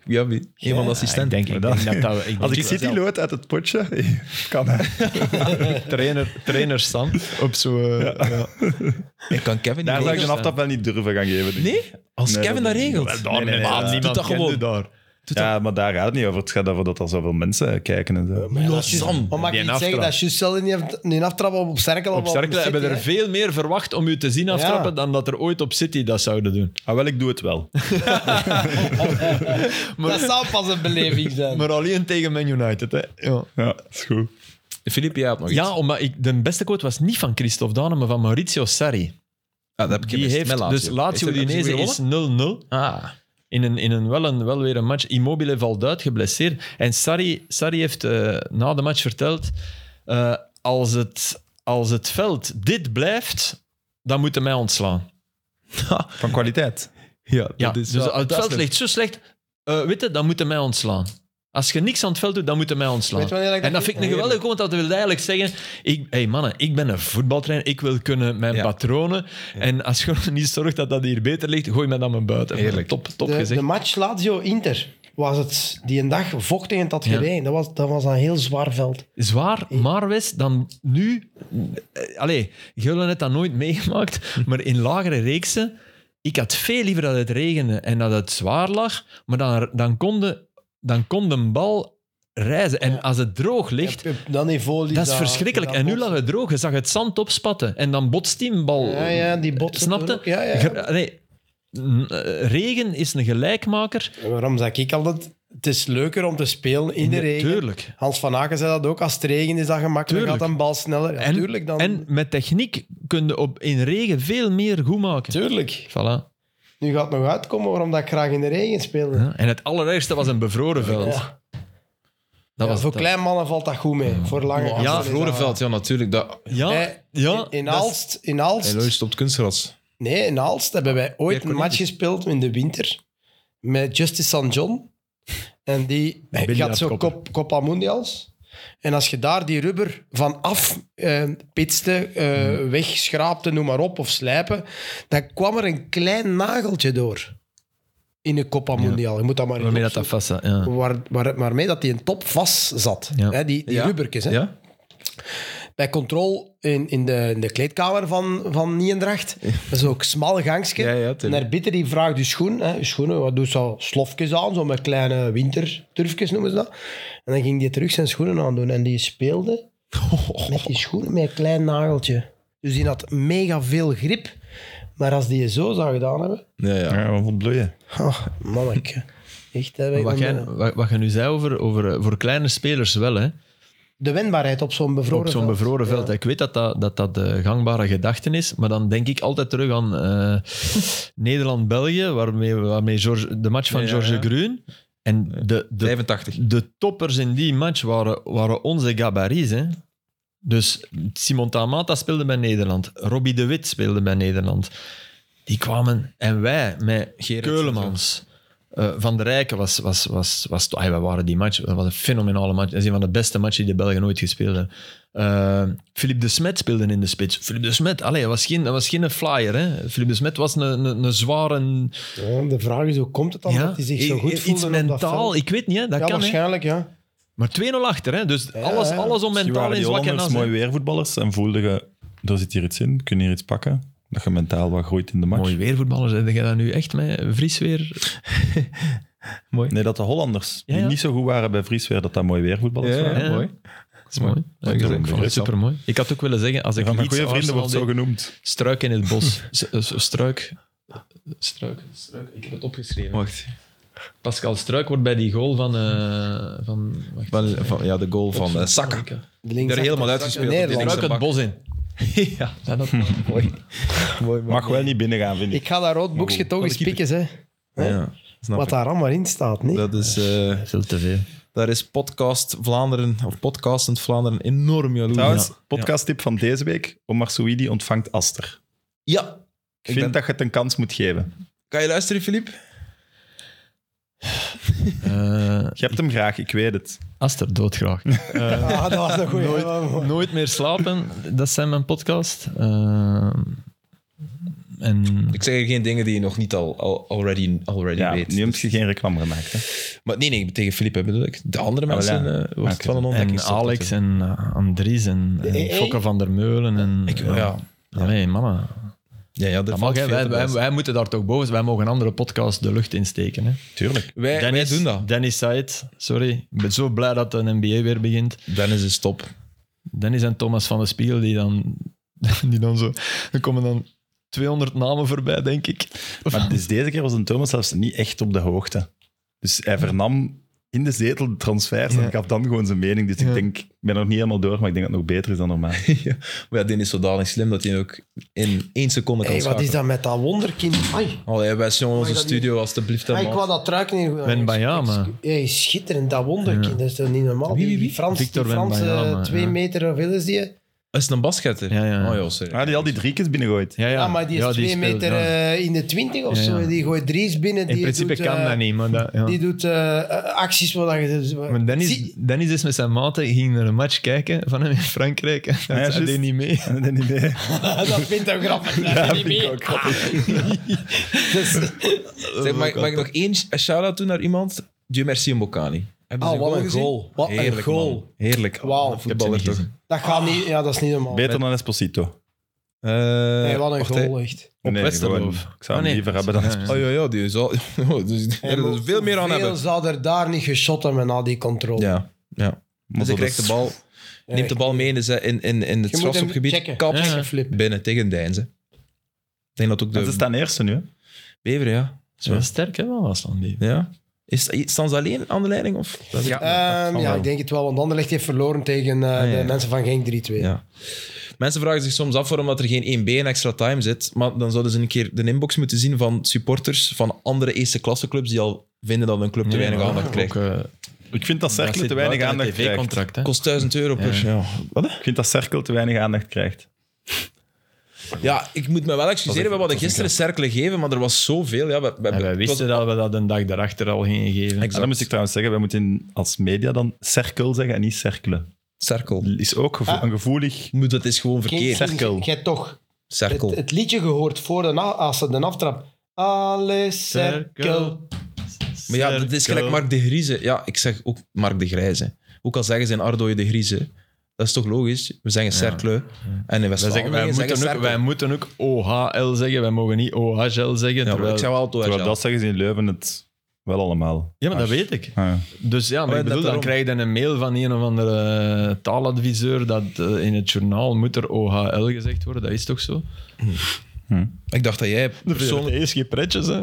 Speaker 1: Ja, wie? een van de assistenten.
Speaker 3: Ik denk, ik
Speaker 4: dat-
Speaker 3: denk dat, dat, ik
Speaker 4: Als ik
Speaker 3: denk dat
Speaker 4: City lood uit het potje, kan hij.
Speaker 3: trainer, trainer Sam op eh, zo'n...
Speaker 1: Ik kan Kevin niet
Speaker 4: Daar zou ik
Speaker 1: regelen.
Speaker 4: een aftap wel niet durven gaan geven. denk ik.
Speaker 1: Nee? Als
Speaker 4: Nee,
Speaker 1: Kevin
Speaker 4: dat
Speaker 1: dat
Speaker 4: niet.
Speaker 1: regelt.
Speaker 4: Wel, daar Nee, nee, nee,
Speaker 1: maar
Speaker 4: ja.
Speaker 1: doet dat gewoon.
Speaker 3: daar.
Speaker 4: Ja, maar daar gaat het niet over. Het gaat over dat er zoveel mensen kijken en zo.
Speaker 1: Ja,
Speaker 2: als je-
Speaker 1: Sam.
Speaker 2: Maar mag
Speaker 3: Die
Speaker 2: ik
Speaker 3: een
Speaker 2: niet zeggen
Speaker 3: aftrap.
Speaker 2: dat Justel niet heeft- niet aftrap op Cerkel?
Speaker 3: Op Cercle hebben er veel meer verwacht om u te zien aftrappen
Speaker 2: Ja.
Speaker 3: dan dat er ooit op City dat zouden doen.
Speaker 4: Ah, wel, ik doe het wel.
Speaker 2: Dat zou pas een beleving zijn.
Speaker 3: Maar alleen tegen Man United. Hè. Ja.
Speaker 4: Ja, is goed.
Speaker 1: Filip, jij had nog iets.
Speaker 3: Ja, omdat ik, de beste quote was niet van Christophe Dane, maar van Maurizio Sarri.
Speaker 1: Ah, dat heb ik
Speaker 3: Die
Speaker 1: gemist.
Speaker 3: heeft,
Speaker 1: Met
Speaker 3: dus Lazio
Speaker 1: Heeft hij- heeft
Speaker 3: Udinese
Speaker 1: hij
Speaker 3: is 0-0.
Speaker 1: Ah.
Speaker 3: In een, in een, wel, een, wel weer een match. Immobile valt uit, geblesseerd. En Sarri, Sarri heeft eh, na de match verteld... eh, als, het, als het veld dit blijft, dan moeten mij ontslaan.
Speaker 4: Van kwaliteit.
Speaker 1: Ja,
Speaker 3: Ja,
Speaker 1: dat is
Speaker 3: dus
Speaker 1: wel-
Speaker 3: het
Speaker 1: dat is
Speaker 3: veld
Speaker 1: een-
Speaker 3: ligt zo slecht. eh weet je, dan moeten mij ontslaan. Als je niks aan het veld doet, dan moeten mij ontslaan.
Speaker 2: Weet je wanneer ik dat
Speaker 3: en dat vind ik een geweldige comment. Dat wil eigenlijk zeggen... Ik, hey mannen, ik ben een voetbaltrainer. Ik wil kunnen mijn
Speaker 1: Ja.
Speaker 3: patronen. En als je niet zorgt dat dat hier beter ligt, gooi mij dan maar buiten.
Speaker 1: Heerlijk.
Speaker 3: Top, top
Speaker 2: de,
Speaker 3: gezegd.
Speaker 2: de match Lazio-Inter was het die een dag vochtig en het had
Speaker 3: Ja.
Speaker 2: gereden. Dat was, dat was een heel zwaar veld.
Speaker 3: Zwaar, maar Wes, dan nu... eh, Allee, jullie net dat nooit meegemaakt, maar in lagere reeksen... Ik had veel liever dat het regende en dat het zwaar lag, maar dan, dan, kon, de, dan kon de bal reizen. En als het droog ligt,
Speaker 2: Op- op dat niveau liep
Speaker 3: dat is verschrikkelijk.
Speaker 2: dat
Speaker 3: En nu
Speaker 2: botsen.
Speaker 3: lag het droog, je zag het zand opspatten en dan botst die bal.
Speaker 2: Ja, ja, die botsen.
Speaker 3: Snapte?
Speaker 2: Ja, ja.
Speaker 3: Ge- nee, n- eh, regen is een gelijkmaker.
Speaker 2: En Waarom zeg ik altijd... Het is leuker om te spelen in de regen.
Speaker 3: Tuurlijk.
Speaker 2: Hans van Aken zei dat ook. Als het regent is dat gemakkelijk. Dan
Speaker 3: Tuurlijk.
Speaker 2: gaat een bal sneller. Ja,
Speaker 3: En,
Speaker 2: tuurlijk dan.
Speaker 3: en met techniek kun je op, in regen veel meer goed maken.
Speaker 2: Tuurlijk.
Speaker 3: Voilà.
Speaker 2: Nu gaat het nog uitkomen waarom dat ik graag in de regen speelde.
Speaker 3: Ja, En het allerergste was een bevroren veld.
Speaker 2: Ja.
Speaker 3: Dat
Speaker 2: Ja,
Speaker 3: was
Speaker 2: voor
Speaker 3: dat.
Speaker 2: klein mannen valt dat goed mee. Voor lange gasten
Speaker 1: Ja,
Speaker 2: is dat-
Speaker 1: Vlorenveld, ja, natuurlijk. Dat...
Speaker 3: Ja,
Speaker 2: Hey,
Speaker 3: ja,
Speaker 2: in, in
Speaker 3: dat is-
Speaker 2: Aalst, in Aalst,
Speaker 1: Hey, stopt kunstgras.
Speaker 2: nee, in Aalst hebben wij ooit
Speaker 1: Weer
Speaker 2: een match gespeeld in de winter met Justice San John. En die
Speaker 3: Billy
Speaker 2: gaat zo
Speaker 3: Lapkoppen.
Speaker 2: kop, Copa Mundials. En als je daar die rubber van af eh, pitste, eh,
Speaker 3: Hmm.
Speaker 2: wegschraapte, noem maar op, of slijpen, dan kwam er een klein nageltje door in de Copa Mundial. Je moet dat maar eens
Speaker 3: waarmee dat, dat vast zat. Ja.
Speaker 2: opzoeken. waar, waar, waarmee dat die een top vast zat.
Speaker 3: Ja.
Speaker 2: Hè, die die
Speaker 1: Ja.
Speaker 2: rubbertjes. Hè?
Speaker 3: Ja?
Speaker 2: bij controle in, in, de, in de kleedkamer van, van Niendracht. Dat is ook smal gangstje.
Speaker 1: Ja, ja, tuurlijk.
Speaker 2: en daar bitter die vraagt je schoen. Hè, je schoenen, wat doet ze al? Slofjes aan, zo met kleine winterturfjes noemen ze dat. En dan ging die terug zijn schoenen aandoen. En die speelde met die schoenen met een klein nageltje. Dus die had mega veel grip. Maar als die je zo zou gedaan hebben...
Speaker 1: Ja, ja.
Speaker 4: Ja, wat wil bloeien.
Speaker 2: Oh, manneke. Echt, hè,
Speaker 3: Wat, jij,
Speaker 2: de,
Speaker 3: wat, wat je nu zei over, over eh, voor kleine spelers wel, hè?
Speaker 2: de wendbaarheid op zo'n bevroren
Speaker 3: op zo'n
Speaker 2: veld.
Speaker 3: bevroren
Speaker 2: Ja.
Speaker 3: veld. Ik weet dat dat, dat dat de gangbare gedachte is, maar dan denk ik altijd terug aan eh, Nederland-België, waarmee, waarmee George, de match van
Speaker 1: Ja, ja,
Speaker 3: George
Speaker 1: ja.
Speaker 3: Gruen. En de, de
Speaker 1: 85.
Speaker 3: De toppers in die match waren, waren onze gabarits. Hè? Dus Simon Tamata speelde bij Nederland. Robbie de Wit speelde bij Nederland. Die kwamen. En wij met
Speaker 1: Gerrit
Speaker 3: Keulemans, eh, Van der Rijken was... was, was, was, ah, wat waren die match? Dat was een fenomenale match. Dat is een van de beste matchen die de Belgen ooit gespeeld hebben. Eh, Philippe de Smet speelde in de spits. Philippe de Smet, allee, dat was geen, dat was geen flyer. Hè? Philippe de Smet was een, een, een zware... e-
Speaker 2: Ja, de vraag is, hoe komt het dan dat hij zich zo goed
Speaker 3: iets
Speaker 2: voelde? op dat
Speaker 3: mentaal,
Speaker 2: veld?
Speaker 3: ik weet niet, hè,
Speaker 2: ja,
Speaker 3: dat kan. Hè.
Speaker 2: waarschijnlijk, ja.
Speaker 3: Maar 2-0 achter, hè? dus
Speaker 2: Ja,
Speaker 3: alles,
Speaker 2: ja.
Speaker 3: alles om
Speaker 4: Misschien
Speaker 3: mentaal
Speaker 4: waren
Speaker 3: in
Speaker 4: die
Speaker 3: zwak en
Speaker 4: Hollanders
Speaker 3: as. hè.
Speaker 4: mooi weervoetballers en voelden je, er zit hier iets in, kun je hier iets pakken. Dat je mentaal wat groeit in de match.
Speaker 3: Mooi weervoetballers, heb jij dat nu echt met Vries weer?
Speaker 4: Nee, dat de Hollanders,
Speaker 3: Ja, ja.
Speaker 4: die niet zo goed waren bij Vriesweer, dat dat mooi weervoetballers
Speaker 3: Ja,
Speaker 4: waren.
Speaker 3: ja. mooi. Dat is mooi.
Speaker 4: Ja,
Speaker 3: ik
Speaker 4: ik
Speaker 3: vond het
Speaker 4: begrijp
Speaker 3: supermooi. Ik had ook willen zeggen, als ik
Speaker 4: Van mijn
Speaker 3: iets
Speaker 4: goede vrienden
Speaker 3: Arsenal
Speaker 4: wordt zo
Speaker 3: deed-
Speaker 4: genoemd.
Speaker 3: Struik in het bos. S- eh, s- struik. Struik. Struik. Ik heb het opgeschreven.
Speaker 5: Wacht.
Speaker 3: Pascal Struik wordt bij die goal van... eh, van, wacht.
Speaker 1: Van, van- ja, de goal van eh, Saka.
Speaker 3: Struik
Speaker 2: De links-
Speaker 1: Daar helemaal uitgespeeld.
Speaker 2: Nee,
Speaker 1: op die
Speaker 2: Struik
Speaker 1: linkse bak.
Speaker 3: het bos in. ja, dat ook.
Speaker 4: Mag wel niet binnengaan, vind ik.
Speaker 2: Ik ga dat rood boekje toch eens pikken, hè.
Speaker 1: Ja, snap
Speaker 2: Wat
Speaker 1: ik.
Speaker 2: daar allemaal in staat, niet?
Speaker 1: Dat is, eh,
Speaker 3: Veel te veel.
Speaker 1: daar is podcast Vlaanderen, of podcastend Vlaanderen, enorm jaloers.
Speaker 4: Trouwens,
Speaker 1: Ja.
Speaker 4: podcasttip van deze week. Omar Souidi ontvangt Aster.
Speaker 1: ja.
Speaker 4: Ik,
Speaker 1: Ik
Speaker 4: vind
Speaker 1: ben-
Speaker 4: dat je het een kans moet geven.
Speaker 1: Kan je luisteren, Filip?
Speaker 4: Je hebt hem graag, ik weet het.
Speaker 3: Aster, doodgraag.
Speaker 2: Ah, dat was een goeie.
Speaker 3: nooit,
Speaker 2: Ja, man.
Speaker 3: nooit meer slapen, dat zijn mijn podcast. Eh, en
Speaker 1: Ik zeg er geen dingen die je nog niet al, al already, already
Speaker 4: Ja,
Speaker 1: weet.
Speaker 4: nu heb je geen reclame gemaakt. Hè.
Speaker 1: Maar nee, nee, tegen Filip bedoel ik. De andere
Speaker 4: Ah, wel,
Speaker 1: mensen
Speaker 4: ja.
Speaker 1: eh, wordt het
Speaker 4: Oké.
Speaker 1: wel een ontdekking.
Speaker 3: En Alex en eh, Andries en, en
Speaker 2: eh, eh.
Speaker 3: Fokke van der Meulen. En, eh,
Speaker 1: Ik, ja.
Speaker 3: Allee, mama.
Speaker 1: Ja, ja,
Speaker 3: Dat
Speaker 1: dat
Speaker 3: mag, hè. wij, wij, wij moeten daar toch boven zijn. Wij mogen een andere podcast de lucht insteken.
Speaker 2: Eh,
Speaker 3: Hè.
Speaker 4: Tuurlijk.
Speaker 1: wij, wij doen dat.
Speaker 3: Dennis Said, sorry. Ik ben zo blij dat de NBA weer begint.
Speaker 1: Dennis is top.
Speaker 3: Dennis en Thomas van de Spiegel, die dan, die dan zo... Er komen dan 200 namen voorbij, denk ik.
Speaker 4: Maar dus deze keer was een Thomas zelfs niet echt op de hoogte. Dus hij vernam in de zetel de transfers
Speaker 3: Ja.
Speaker 4: en gaf dan gewoon zijn mening. Dus
Speaker 3: Ja.
Speaker 4: ik denk, ik ben nog niet helemaal door, maar ik denk dat het nog beter is dan normaal.
Speaker 1: Maar ja, Dennis is zodanig slim dat hij ook in één seconde kan
Speaker 2: Hey, wat is dat met dat wonderkind? Ai,
Speaker 1: Allee, wij zijn onze
Speaker 2: dat
Speaker 1: studio, alstublieft. hè,
Speaker 2: ai, ik
Speaker 1: man.
Speaker 2: wou dat truik niet goed
Speaker 3: Ben Bayama.
Speaker 2: Hey, schitterend, dat wonderkind. Dat is toch niet normaal?
Speaker 3: Wie, wie, wie?
Speaker 2: Die Frans,
Speaker 3: Victor
Speaker 2: die
Speaker 3: Ben
Speaker 2: Franse
Speaker 3: Bayama,
Speaker 2: twee
Speaker 3: ja.
Speaker 2: meter, hoeveel is die?
Speaker 1: Is het een basketter?
Speaker 3: Ja, ja, ja.
Speaker 1: Oh ja, sorry.
Speaker 4: Ah, die al die drie keer binnengooit.
Speaker 3: Ja, ja.
Speaker 2: ah, maar die is
Speaker 3: Ja,
Speaker 2: twee
Speaker 3: speelt,
Speaker 2: meter
Speaker 3: ja.
Speaker 2: eh, in de twintig of
Speaker 3: Ja, ja.
Speaker 2: zo. Die gooit drie's binnen.
Speaker 3: In
Speaker 2: die
Speaker 3: principe
Speaker 2: doet,
Speaker 3: kan
Speaker 2: eh,
Speaker 3: dat niet, maar dat... Ja.
Speaker 2: Die doet eh, eh, acties waar je...
Speaker 3: Maar Dennis,
Speaker 2: Zie-
Speaker 3: Dennis is met zijn maten, ging naar een match kijken van hem in Frankrijk. En
Speaker 4: ja,
Speaker 3: dat deed
Speaker 4: juist.
Speaker 3: niet mee.
Speaker 4: Dat is niet mee.
Speaker 2: dat vindt hem grappig. Dat vindt hij mee.
Speaker 1: Zeg, mag, mag ik nog één sh- shout-out doen naar iemand? Dieu merci Mbokani. Hebben
Speaker 2: Ah,
Speaker 1: ze die
Speaker 2: wat een
Speaker 1: Dus gezien?
Speaker 2: goal. Wat een
Speaker 1: Heerlijk,
Speaker 2: goal.
Speaker 1: man. Ah. Heerlijk.
Speaker 2: Wauw.
Speaker 1: Een voetballer
Speaker 3: Ik heb
Speaker 1: toch.
Speaker 3: ze niet
Speaker 2: Dat gaat niet... Ja, dat is niet normaal.
Speaker 4: Beter dan Esposito.
Speaker 1: Eh,
Speaker 2: Nee, wat een
Speaker 1: wacht, hè.
Speaker 2: goal, echt.
Speaker 4: Op
Speaker 3: Westerlo.
Speaker 4: Ik zou
Speaker 3: Oh,
Speaker 4: hem
Speaker 3: nee.
Speaker 4: liever hebben dan
Speaker 3: Ja, ja.
Speaker 1: Oh
Speaker 4: Esposito.
Speaker 1: ja, ja, die zal... dus, er is veel meer aan
Speaker 2: Hoeveel
Speaker 1: hebben.
Speaker 2: zou er daar niet geschot hebben na die controle.
Speaker 1: Ja, ja.
Speaker 4: Maar
Speaker 1: Dus ik
Speaker 4: dat
Speaker 1: krijg
Speaker 4: is-
Speaker 1: de bal, neemt de bal mee in, de- in, in, in het
Speaker 2: Je moet hem
Speaker 1: strafschopgebied,
Speaker 2: checken.
Speaker 1: kapt
Speaker 3: Ja, ja.
Speaker 2: Flip.
Speaker 1: binnen tegen Deinze. Ik denk dat ook
Speaker 4: Want Ze
Speaker 1: de
Speaker 4: staan eerste nu. hè.
Speaker 1: Bever, ja.
Speaker 3: Dat is wel sterk, hè, van Wasland. die.
Speaker 1: ja. Is, staan ze alleen aan de leiding? Of? Dat is-
Speaker 5: Ja.
Speaker 2: Ehm, ja,
Speaker 1: wel. Ah,
Speaker 2: ik denk het wel, want Anderlecht heeft verloren tegen eh,
Speaker 1: ja, ja.
Speaker 2: de mensen van Genk 3-2.
Speaker 1: Ja. Mensen vragen zich soms af waarom dat er geen 1B en extra time zit. Maar dan zouden ze een keer de inbox moeten zien van supporters van andere eerste klasse clubs die al vinden dat hun club te
Speaker 3: Nee,
Speaker 1: weinig
Speaker 3: maar
Speaker 1: aandacht
Speaker 3: ook,
Speaker 1: krijgt.
Speaker 3: eh,
Speaker 4: Ik vind dat
Speaker 3: dat
Speaker 4: Cercle
Speaker 3: zit
Speaker 4: te weinig
Speaker 3: buiten
Speaker 4: aandacht
Speaker 3: het
Speaker 4: krijgt.
Speaker 3: TV-contract, hè.
Speaker 1: Kost 1000 euro per.
Speaker 3: Ja.
Speaker 1: Ja. Wat?
Speaker 4: Ik vind dat Cercle te weinig aandacht krijgt.
Speaker 1: ja, ik moet me wel excuseren. We hadden gisteren cirkelen gegeven, maar er was zoveel. Ja, we, we-
Speaker 3: En wij
Speaker 1: het
Speaker 3: wisten
Speaker 1: was-
Speaker 3: dat we dat een dag daarachter al gingen geven.
Speaker 4: En dan moet ik trouwens zeggen, wij moeten in- als media dan cirkel zeggen en niet cirkelen.
Speaker 1: Cirkel.
Speaker 4: Is ook gevo-
Speaker 2: Ah.
Speaker 4: een gevoelig...
Speaker 1: Moet, dat is gewoon
Speaker 2: Genk,
Speaker 1: verkeerd.
Speaker 4: Cerkel.
Speaker 2: Jij toch het,
Speaker 1: Cirkel.
Speaker 2: het liedje gehoord voor de, na- als ze de aftrap. Alle cirkel.
Speaker 1: Maar ja, dat is gelijk Mark de Grieze. Ja, ik zeg ook Mark de Grijze. Ook al zeggen ze in Ardooi de Grieze. Dat is toch logisch? We zeggen cercle. En in
Speaker 3: Wij,
Speaker 1: West-Vlaanderen
Speaker 3: zeggen, wij,
Speaker 1: zeggen
Speaker 3: moeten ook,
Speaker 1: cirkel.
Speaker 3: wij moeten ook OHL zeggen, wij mogen niet OHL zeggen.
Speaker 1: Ja, maar
Speaker 3: terwijl-
Speaker 1: ik zou altijd...
Speaker 4: Terwijl dat zeggen ze in Leuven het wel allemaal.
Speaker 3: ja, maar dat weet ik.
Speaker 4: Ah, ja.
Speaker 3: Dus ja, maar
Speaker 1: Oh,
Speaker 3: ik
Speaker 1: dat
Speaker 3: bedoel,
Speaker 1: daarom.
Speaker 3: dan krijg je een mail van een of andere eh, taaladviseur dat eh, in het journaal moet er OHL gezegd worden. Dat is toch zo?
Speaker 1: Ik dacht dat jij persoonlijk...
Speaker 3: eerst geen pretjes, hè?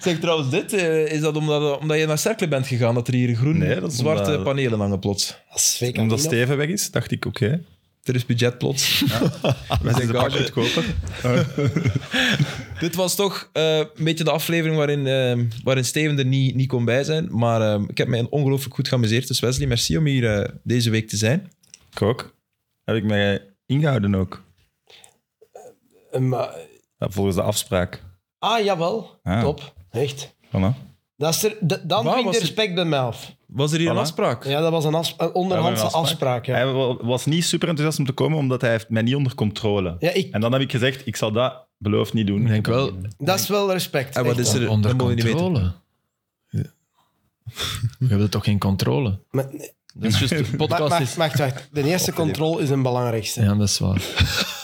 Speaker 1: Zeg trouwens dit, eh, is dat omdat, omdat je naar Cercle bent gegaan, dat er hier groen
Speaker 4: Nee, dat is
Speaker 1: zwarte
Speaker 4: omdat-
Speaker 1: panelen hangen plots?
Speaker 2: Dat is fake
Speaker 4: Omdat
Speaker 2: Amino.
Speaker 4: Steven weg is, dacht ik, oké.
Speaker 1: Er is budget plots.
Speaker 4: Wij zijn pak goedkoper.
Speaker 1: dit was toch eh, een beetje de aflevering waarin, eh, waarin Steven er niet, niet kon bij zijn. Maar eh, ik heb mij ongelooflijk goed geamuseerd. Dus Wesley, merci om hier eh, deze week te zijn.
Speaker 4: Ik ook. Heb ik mij ingehouden ook.
Speaker 2: Eh, maar,
Speaker 4: Ja, Volgens de afspraak.
Speaker 2: Ah, jawel.
Speaker 4: Ah.
Speaker 2: Top. Echt.
Speaker 4: Voilà.
Speaker 2: Dat is er, d- dan
Speaker 1: Waar
Speaker 2: ging
Speaker 1: was het?
Speaker 2: de respect bij mij af.
Speaker 1: Was er hier
Speaker 4: Voilà.
Speaker 1: een afspraak?
Speaker 2: Ja, dat was een, afs- een onderhandse
Speaker 4: Ja, een afspraak.
Speaker 2: afspraak. ja.
Speaker 4: Hij wa- was niet super enthousiast om te komen, omdat hij heeft mij niet onder controle.
Speaker 2: Ja, ik,
Speaker 4: En dan heb ik gezegd, ik zal dat beloofd niet doen.
Speaker 3: Ik denk wel
Speaker 2: dat is wel respect.
Speaker 1: En wat
Speaker 2: echt.
Speaker 1: is er?
Speaker 3: onder
Speaker 1: dat moeten we niet weten.
Speaker 3: controle. Ja. We hebben toch geen controle?
Speaker 2: Maar-
Speaker 3: Dat is juist, de
Speaker 2: Maar,
Speaker 3: podcast
Speaker 2: wacht,
Speaker 3: is...
Speaker 2: wacht, wacht. De eerste controle is een belangrijkste.
Speaker 3: Ja, dat is waar.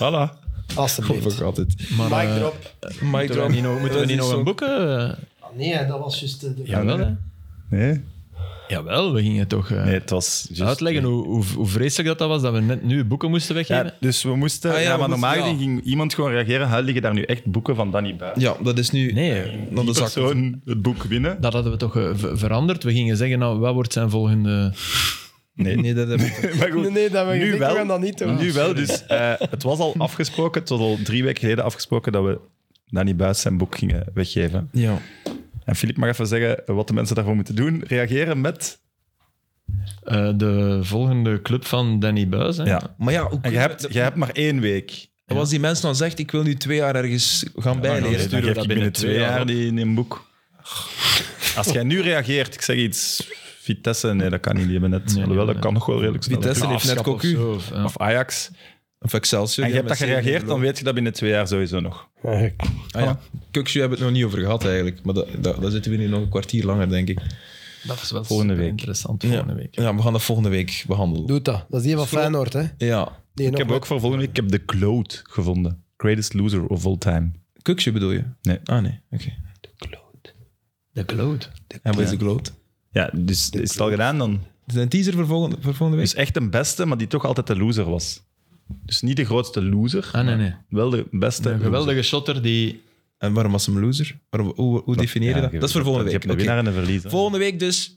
Speaker 4: Voilà.
Speaker 2: Alsjeblieft.
Speaker 1: altijd.
Speaker 3: Maar,
Speaker 2: Mic
Speaker 3: eh,
Speaker 2: drop. Ah,
Speaker 1: Mike
Speaker 3: Moeten we niet nog, moeten we
Speaker 1: Dat
Speaker 3: niet
Speaker 1: is
Speaker 3: nog
Speaker 1: zo-
Speaker 3: een boeken? eh?
Speaker 2: Nee, dat was juist de... de-
Speaker 3: Jawel, hè?
Speaker 4: Nee,
Speaker 3: Jawel, we gingen toch eh,
Speaker 4: nee het was... just-
Speaker 3: uitleggen hoe, hoe, hoe vreselijk dat, dat was dat we net nu boeken moesten weggeven.
Speaker 4: Ja, dus we moesten...
Speaker 1: Ah ja,
Speaker 4: ja,
Speaker 1: we
Speaker 4: maar
Speaker 1: moesten-
Speaker 4: normaal
Speaker 1: ja.
Speaker 4: gezien ging iemand gewoon reageren. Huil liggen daar nu echt boeken van Danny Buis.
Speaker 1: Ja, dat is nu
Speaker 3: Nee,
Speaker 1: dan de
Speaker 4: Die
Speaker 1: zak.
Speaker 4: persoon het boek winnen.
Speaker 3: dat hadden we toch eh, ver- veranderd. We gingen zeggen, nou, wat wordt zijn volgende...
Speaker 4: Nee.
Speaker 1: Nee, dat heb ik.
Speaker 4: Maar goed,
Speaker 2: Nee, nee, dat we,
Speaker 4: Nu
Speaker 2: nu
Speaker 4: wel.
Speaker 2: we gaan dat niet doen.
Speaker 4: nu wel. Dus eh, het was al afgesproken, het was al drie weken geleden afgesproken, dat we Danny Buis zijn boek gingen weggeven.
Speaker 1: Ja.
Speaker 4: En Filip mag even zeggen wat de mensen daarvoor moeten doen. Reageren met...
Speaker 3: eh, de volgende club van Danny Buis. Hè?
Speaker 4: Ja.
Speaker 1: Maar ja, hoe
Speaker 4: En je
Speaker 1: kunnen we-
Speaker 4: hebt, je hebt maar één week.
Speaker 1: En als die mensen dan zegt, ik wil nu twee jaar ergens gaan
Speaker 4: Nee,
Speaker 1: bijleren.
Speaker 4: dan geef
Speaker 3: dat
Speaker 4: ik binnen
Speaker 3: binnen
Speaker 4: twee
Speaker 3: twee jaar
Speaker 4: jaar
Speaker 3: op.
Speaker 4: die in een boek. Als jij nu reageert, ik zeg iets... Vitesse, nee, dat kan niet. Die hebben net...
Speaker 3: nee,
Speaker 4: Alhoewel, dat
Speaker 3: nee.
Speaker 4: kan nog wel redelijk snel.
Speaker 1: Vitesse heeft net
Speaker 3: Afschap of
Speaker 1: Cocu.
Speaker 3: zo, of, ja.
Speaker 4: Of Ajax.
Speaker 1: Of Excelsior.
Speaker 4: En je
Speaker 1: ja,
Speaker 4: hebt dat
Speaker 1: met
Speaker 4: gereageerd,
Speaker 1: zeven
Speaker 4: dan weet je dat binnen twee jaar sowieso nog.
Speaker 1: Ah, ja. Kukshu hebben we het nog niet over gehad eigenlijk. Maar dat, dat, daar zitten we nu nog een kwartier langer, denk ik.
Speaker 3: Dat is wel
Speaker 4: Volgende
Speaker 3: super
Speaker 4: week.
Speaker 3: interessant volgende week.
Speaker 1: Ja, we gaan dat volgende week behandelen.
Speaker 2: Doe dat. Dat is die van Feyenoord, hè.
Speaker 1: Ja.
Speaker 2: Die
Speaker 4: Ik
Speaker 2: nog
Speaker 4: heb ook voor volgende week ik heb de Cloud gevonden. Greatest loser of all time.
Speaker 1: Kukshu bedoel je?
Speaker 4: Nee.
Speaker 1: Ah, nee. Oké.
Speaker 3: De kloot.
Speaker 1: En wat is de gloot?
Speaker 4: Ja, dus is het al gedaan dan?
Speaker 1: Is dat een teaser voor volgende, voor volgende week?
Speaker 4: Dus echt een beste, maar die toch altijd de loser was. Dus niet de grootste loser,
Speaker 3: Ah, nee, nee.
Speaker 4: wel de beste.
Speaker 3: Een geweldige shotter die...
Speaker 1: En waarom was hem loser? Waarom, hoe hoe definieer je dat? Dat is voor volgende
Speaker 4: Je
Speaker 1: week.
Speaker 4: hebt een
Speaker 1: Oké.
Speaker 4: winnaar en een verliezer.
Speaker 1: Volgende week dus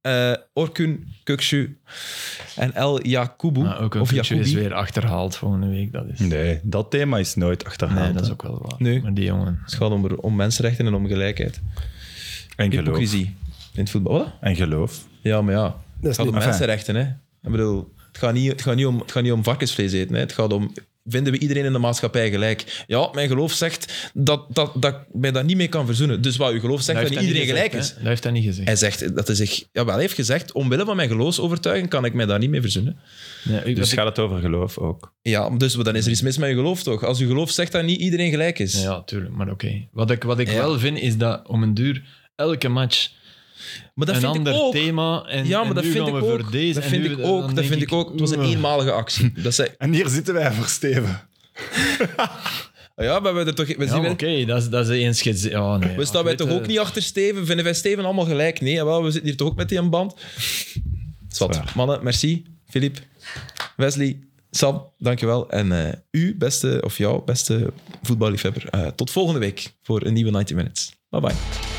Speaker 1: eh Orkun, Kukshu en El Yakubu.
Speaker 3: Ah, ook een
Speaker 1: of
Speaker 3: Kuchu is
Speaker 1: Yakubi.
Speaker 3: weer achterhaald volgende week. Dat is...
Speaker 4: Nee, dat thema is nooit achterhaald.
Speaker 3: Nee, dat is
Speaker 4: hè.
Speaker 3: ook wel waar.
Speaker 1: Nee.
Speaker 3: Maar die jongen...
Speaker 1: Het gaat om, om mensenrechten en om gelijkheid.
Speaker 4: En geloof.
Speaker 1: Hypocrisie in het voetbal. Wat?
Speaker 4: En geloof. Dus
Speaker 1: Ja, maar ja. Het gaat om
Speaker 4: niet-
Speaker 1: mensenrechten, hè. Ik bedoel, het gaat niet, het gaat niet, om, het gaat niet om varkensvlees eten, hè. Het gaat om... Vinden we iedereen in de maatschappij gelijk? Ja, mijn geloof zegt dat, dat, dat ik mij daar niet mee kan verzoenen. Dus wat uw geloof zegt, dat niet iedereen gelijk is.
Speaker 3: Dat heeft hij niet gezegd.
Speaker 1: Hij zegt dat hij zich ja, wel heeft gezegd, omwille van mijn geloofsovertuiging kan ik mij daar niet mee verzoenen. eh,
Speaker 3: Nee, ik-
Speaker 4: Dus
Speaker 3: dat ik-
Speaker 4: gaat het over geloof ook.
Speaker 1: Ja, dus dan is er iets mis met je geloof toch? Als je geloof zegt dat niet iedereen gelijk is.
Speaker 3: Ja, tuurlijk. Maar oké. Wat ik, wat ik wel vind, is dat om een duur elke match
Speaker 1: Maar dat
Speaker 3: een
Speaker 1: vind
Speaker 3: ander
Speaker 1: ik ook.
Speaker 3: thema... En,
Speaker 1: ja,
Speaker 3: en
Speaker 1: maar dat
Speaker 3: nu
Speaker 1: vind ik
Speaker 3: gaan we
Speaker 1: ook.
Speaker 3: voor deze
Speaker 1: Dat
Speaker 3: en
Speaker 1: vind
Speaker 3: nu-
Speaker 1: ik
Speaker 3: dan
Speaker 1: ook. Dat
Speaker 3: denk
Speaker 1: vind ik ook. Het was een
Speaker 3: oeh.
Speaker 1: eenmalige actie. Dat zei,
Speaker 4: En hier zitten wij voor Steven.
Speaker 1: ja, maar we, hebben er toch, we,
Speaker 3: Ja,
Speaker 1: zien-
Speaker 3: maar oké, dat, is- dat is eens gezien. Ja, nee,
Speaker 1: we staan wij
Speaker 3: Dit,
Speaker 1: toch ook
Speaker 3: eh,
Speaker 1: niet achter Steven? Vinden wij Steven allemaal gelijk? Nee, jawel, we zitten hier toch ook met die een band? Zwat.
Speaker 4: Zwaar.
Speaker 1: Mannen, merci. Filip, Wesley, Sam, dankjewel. En eh u, beste, of jouw beste voetballiefhebber. eh, tot volgende week voor een nieuwe 90 Minutes. Bye bye.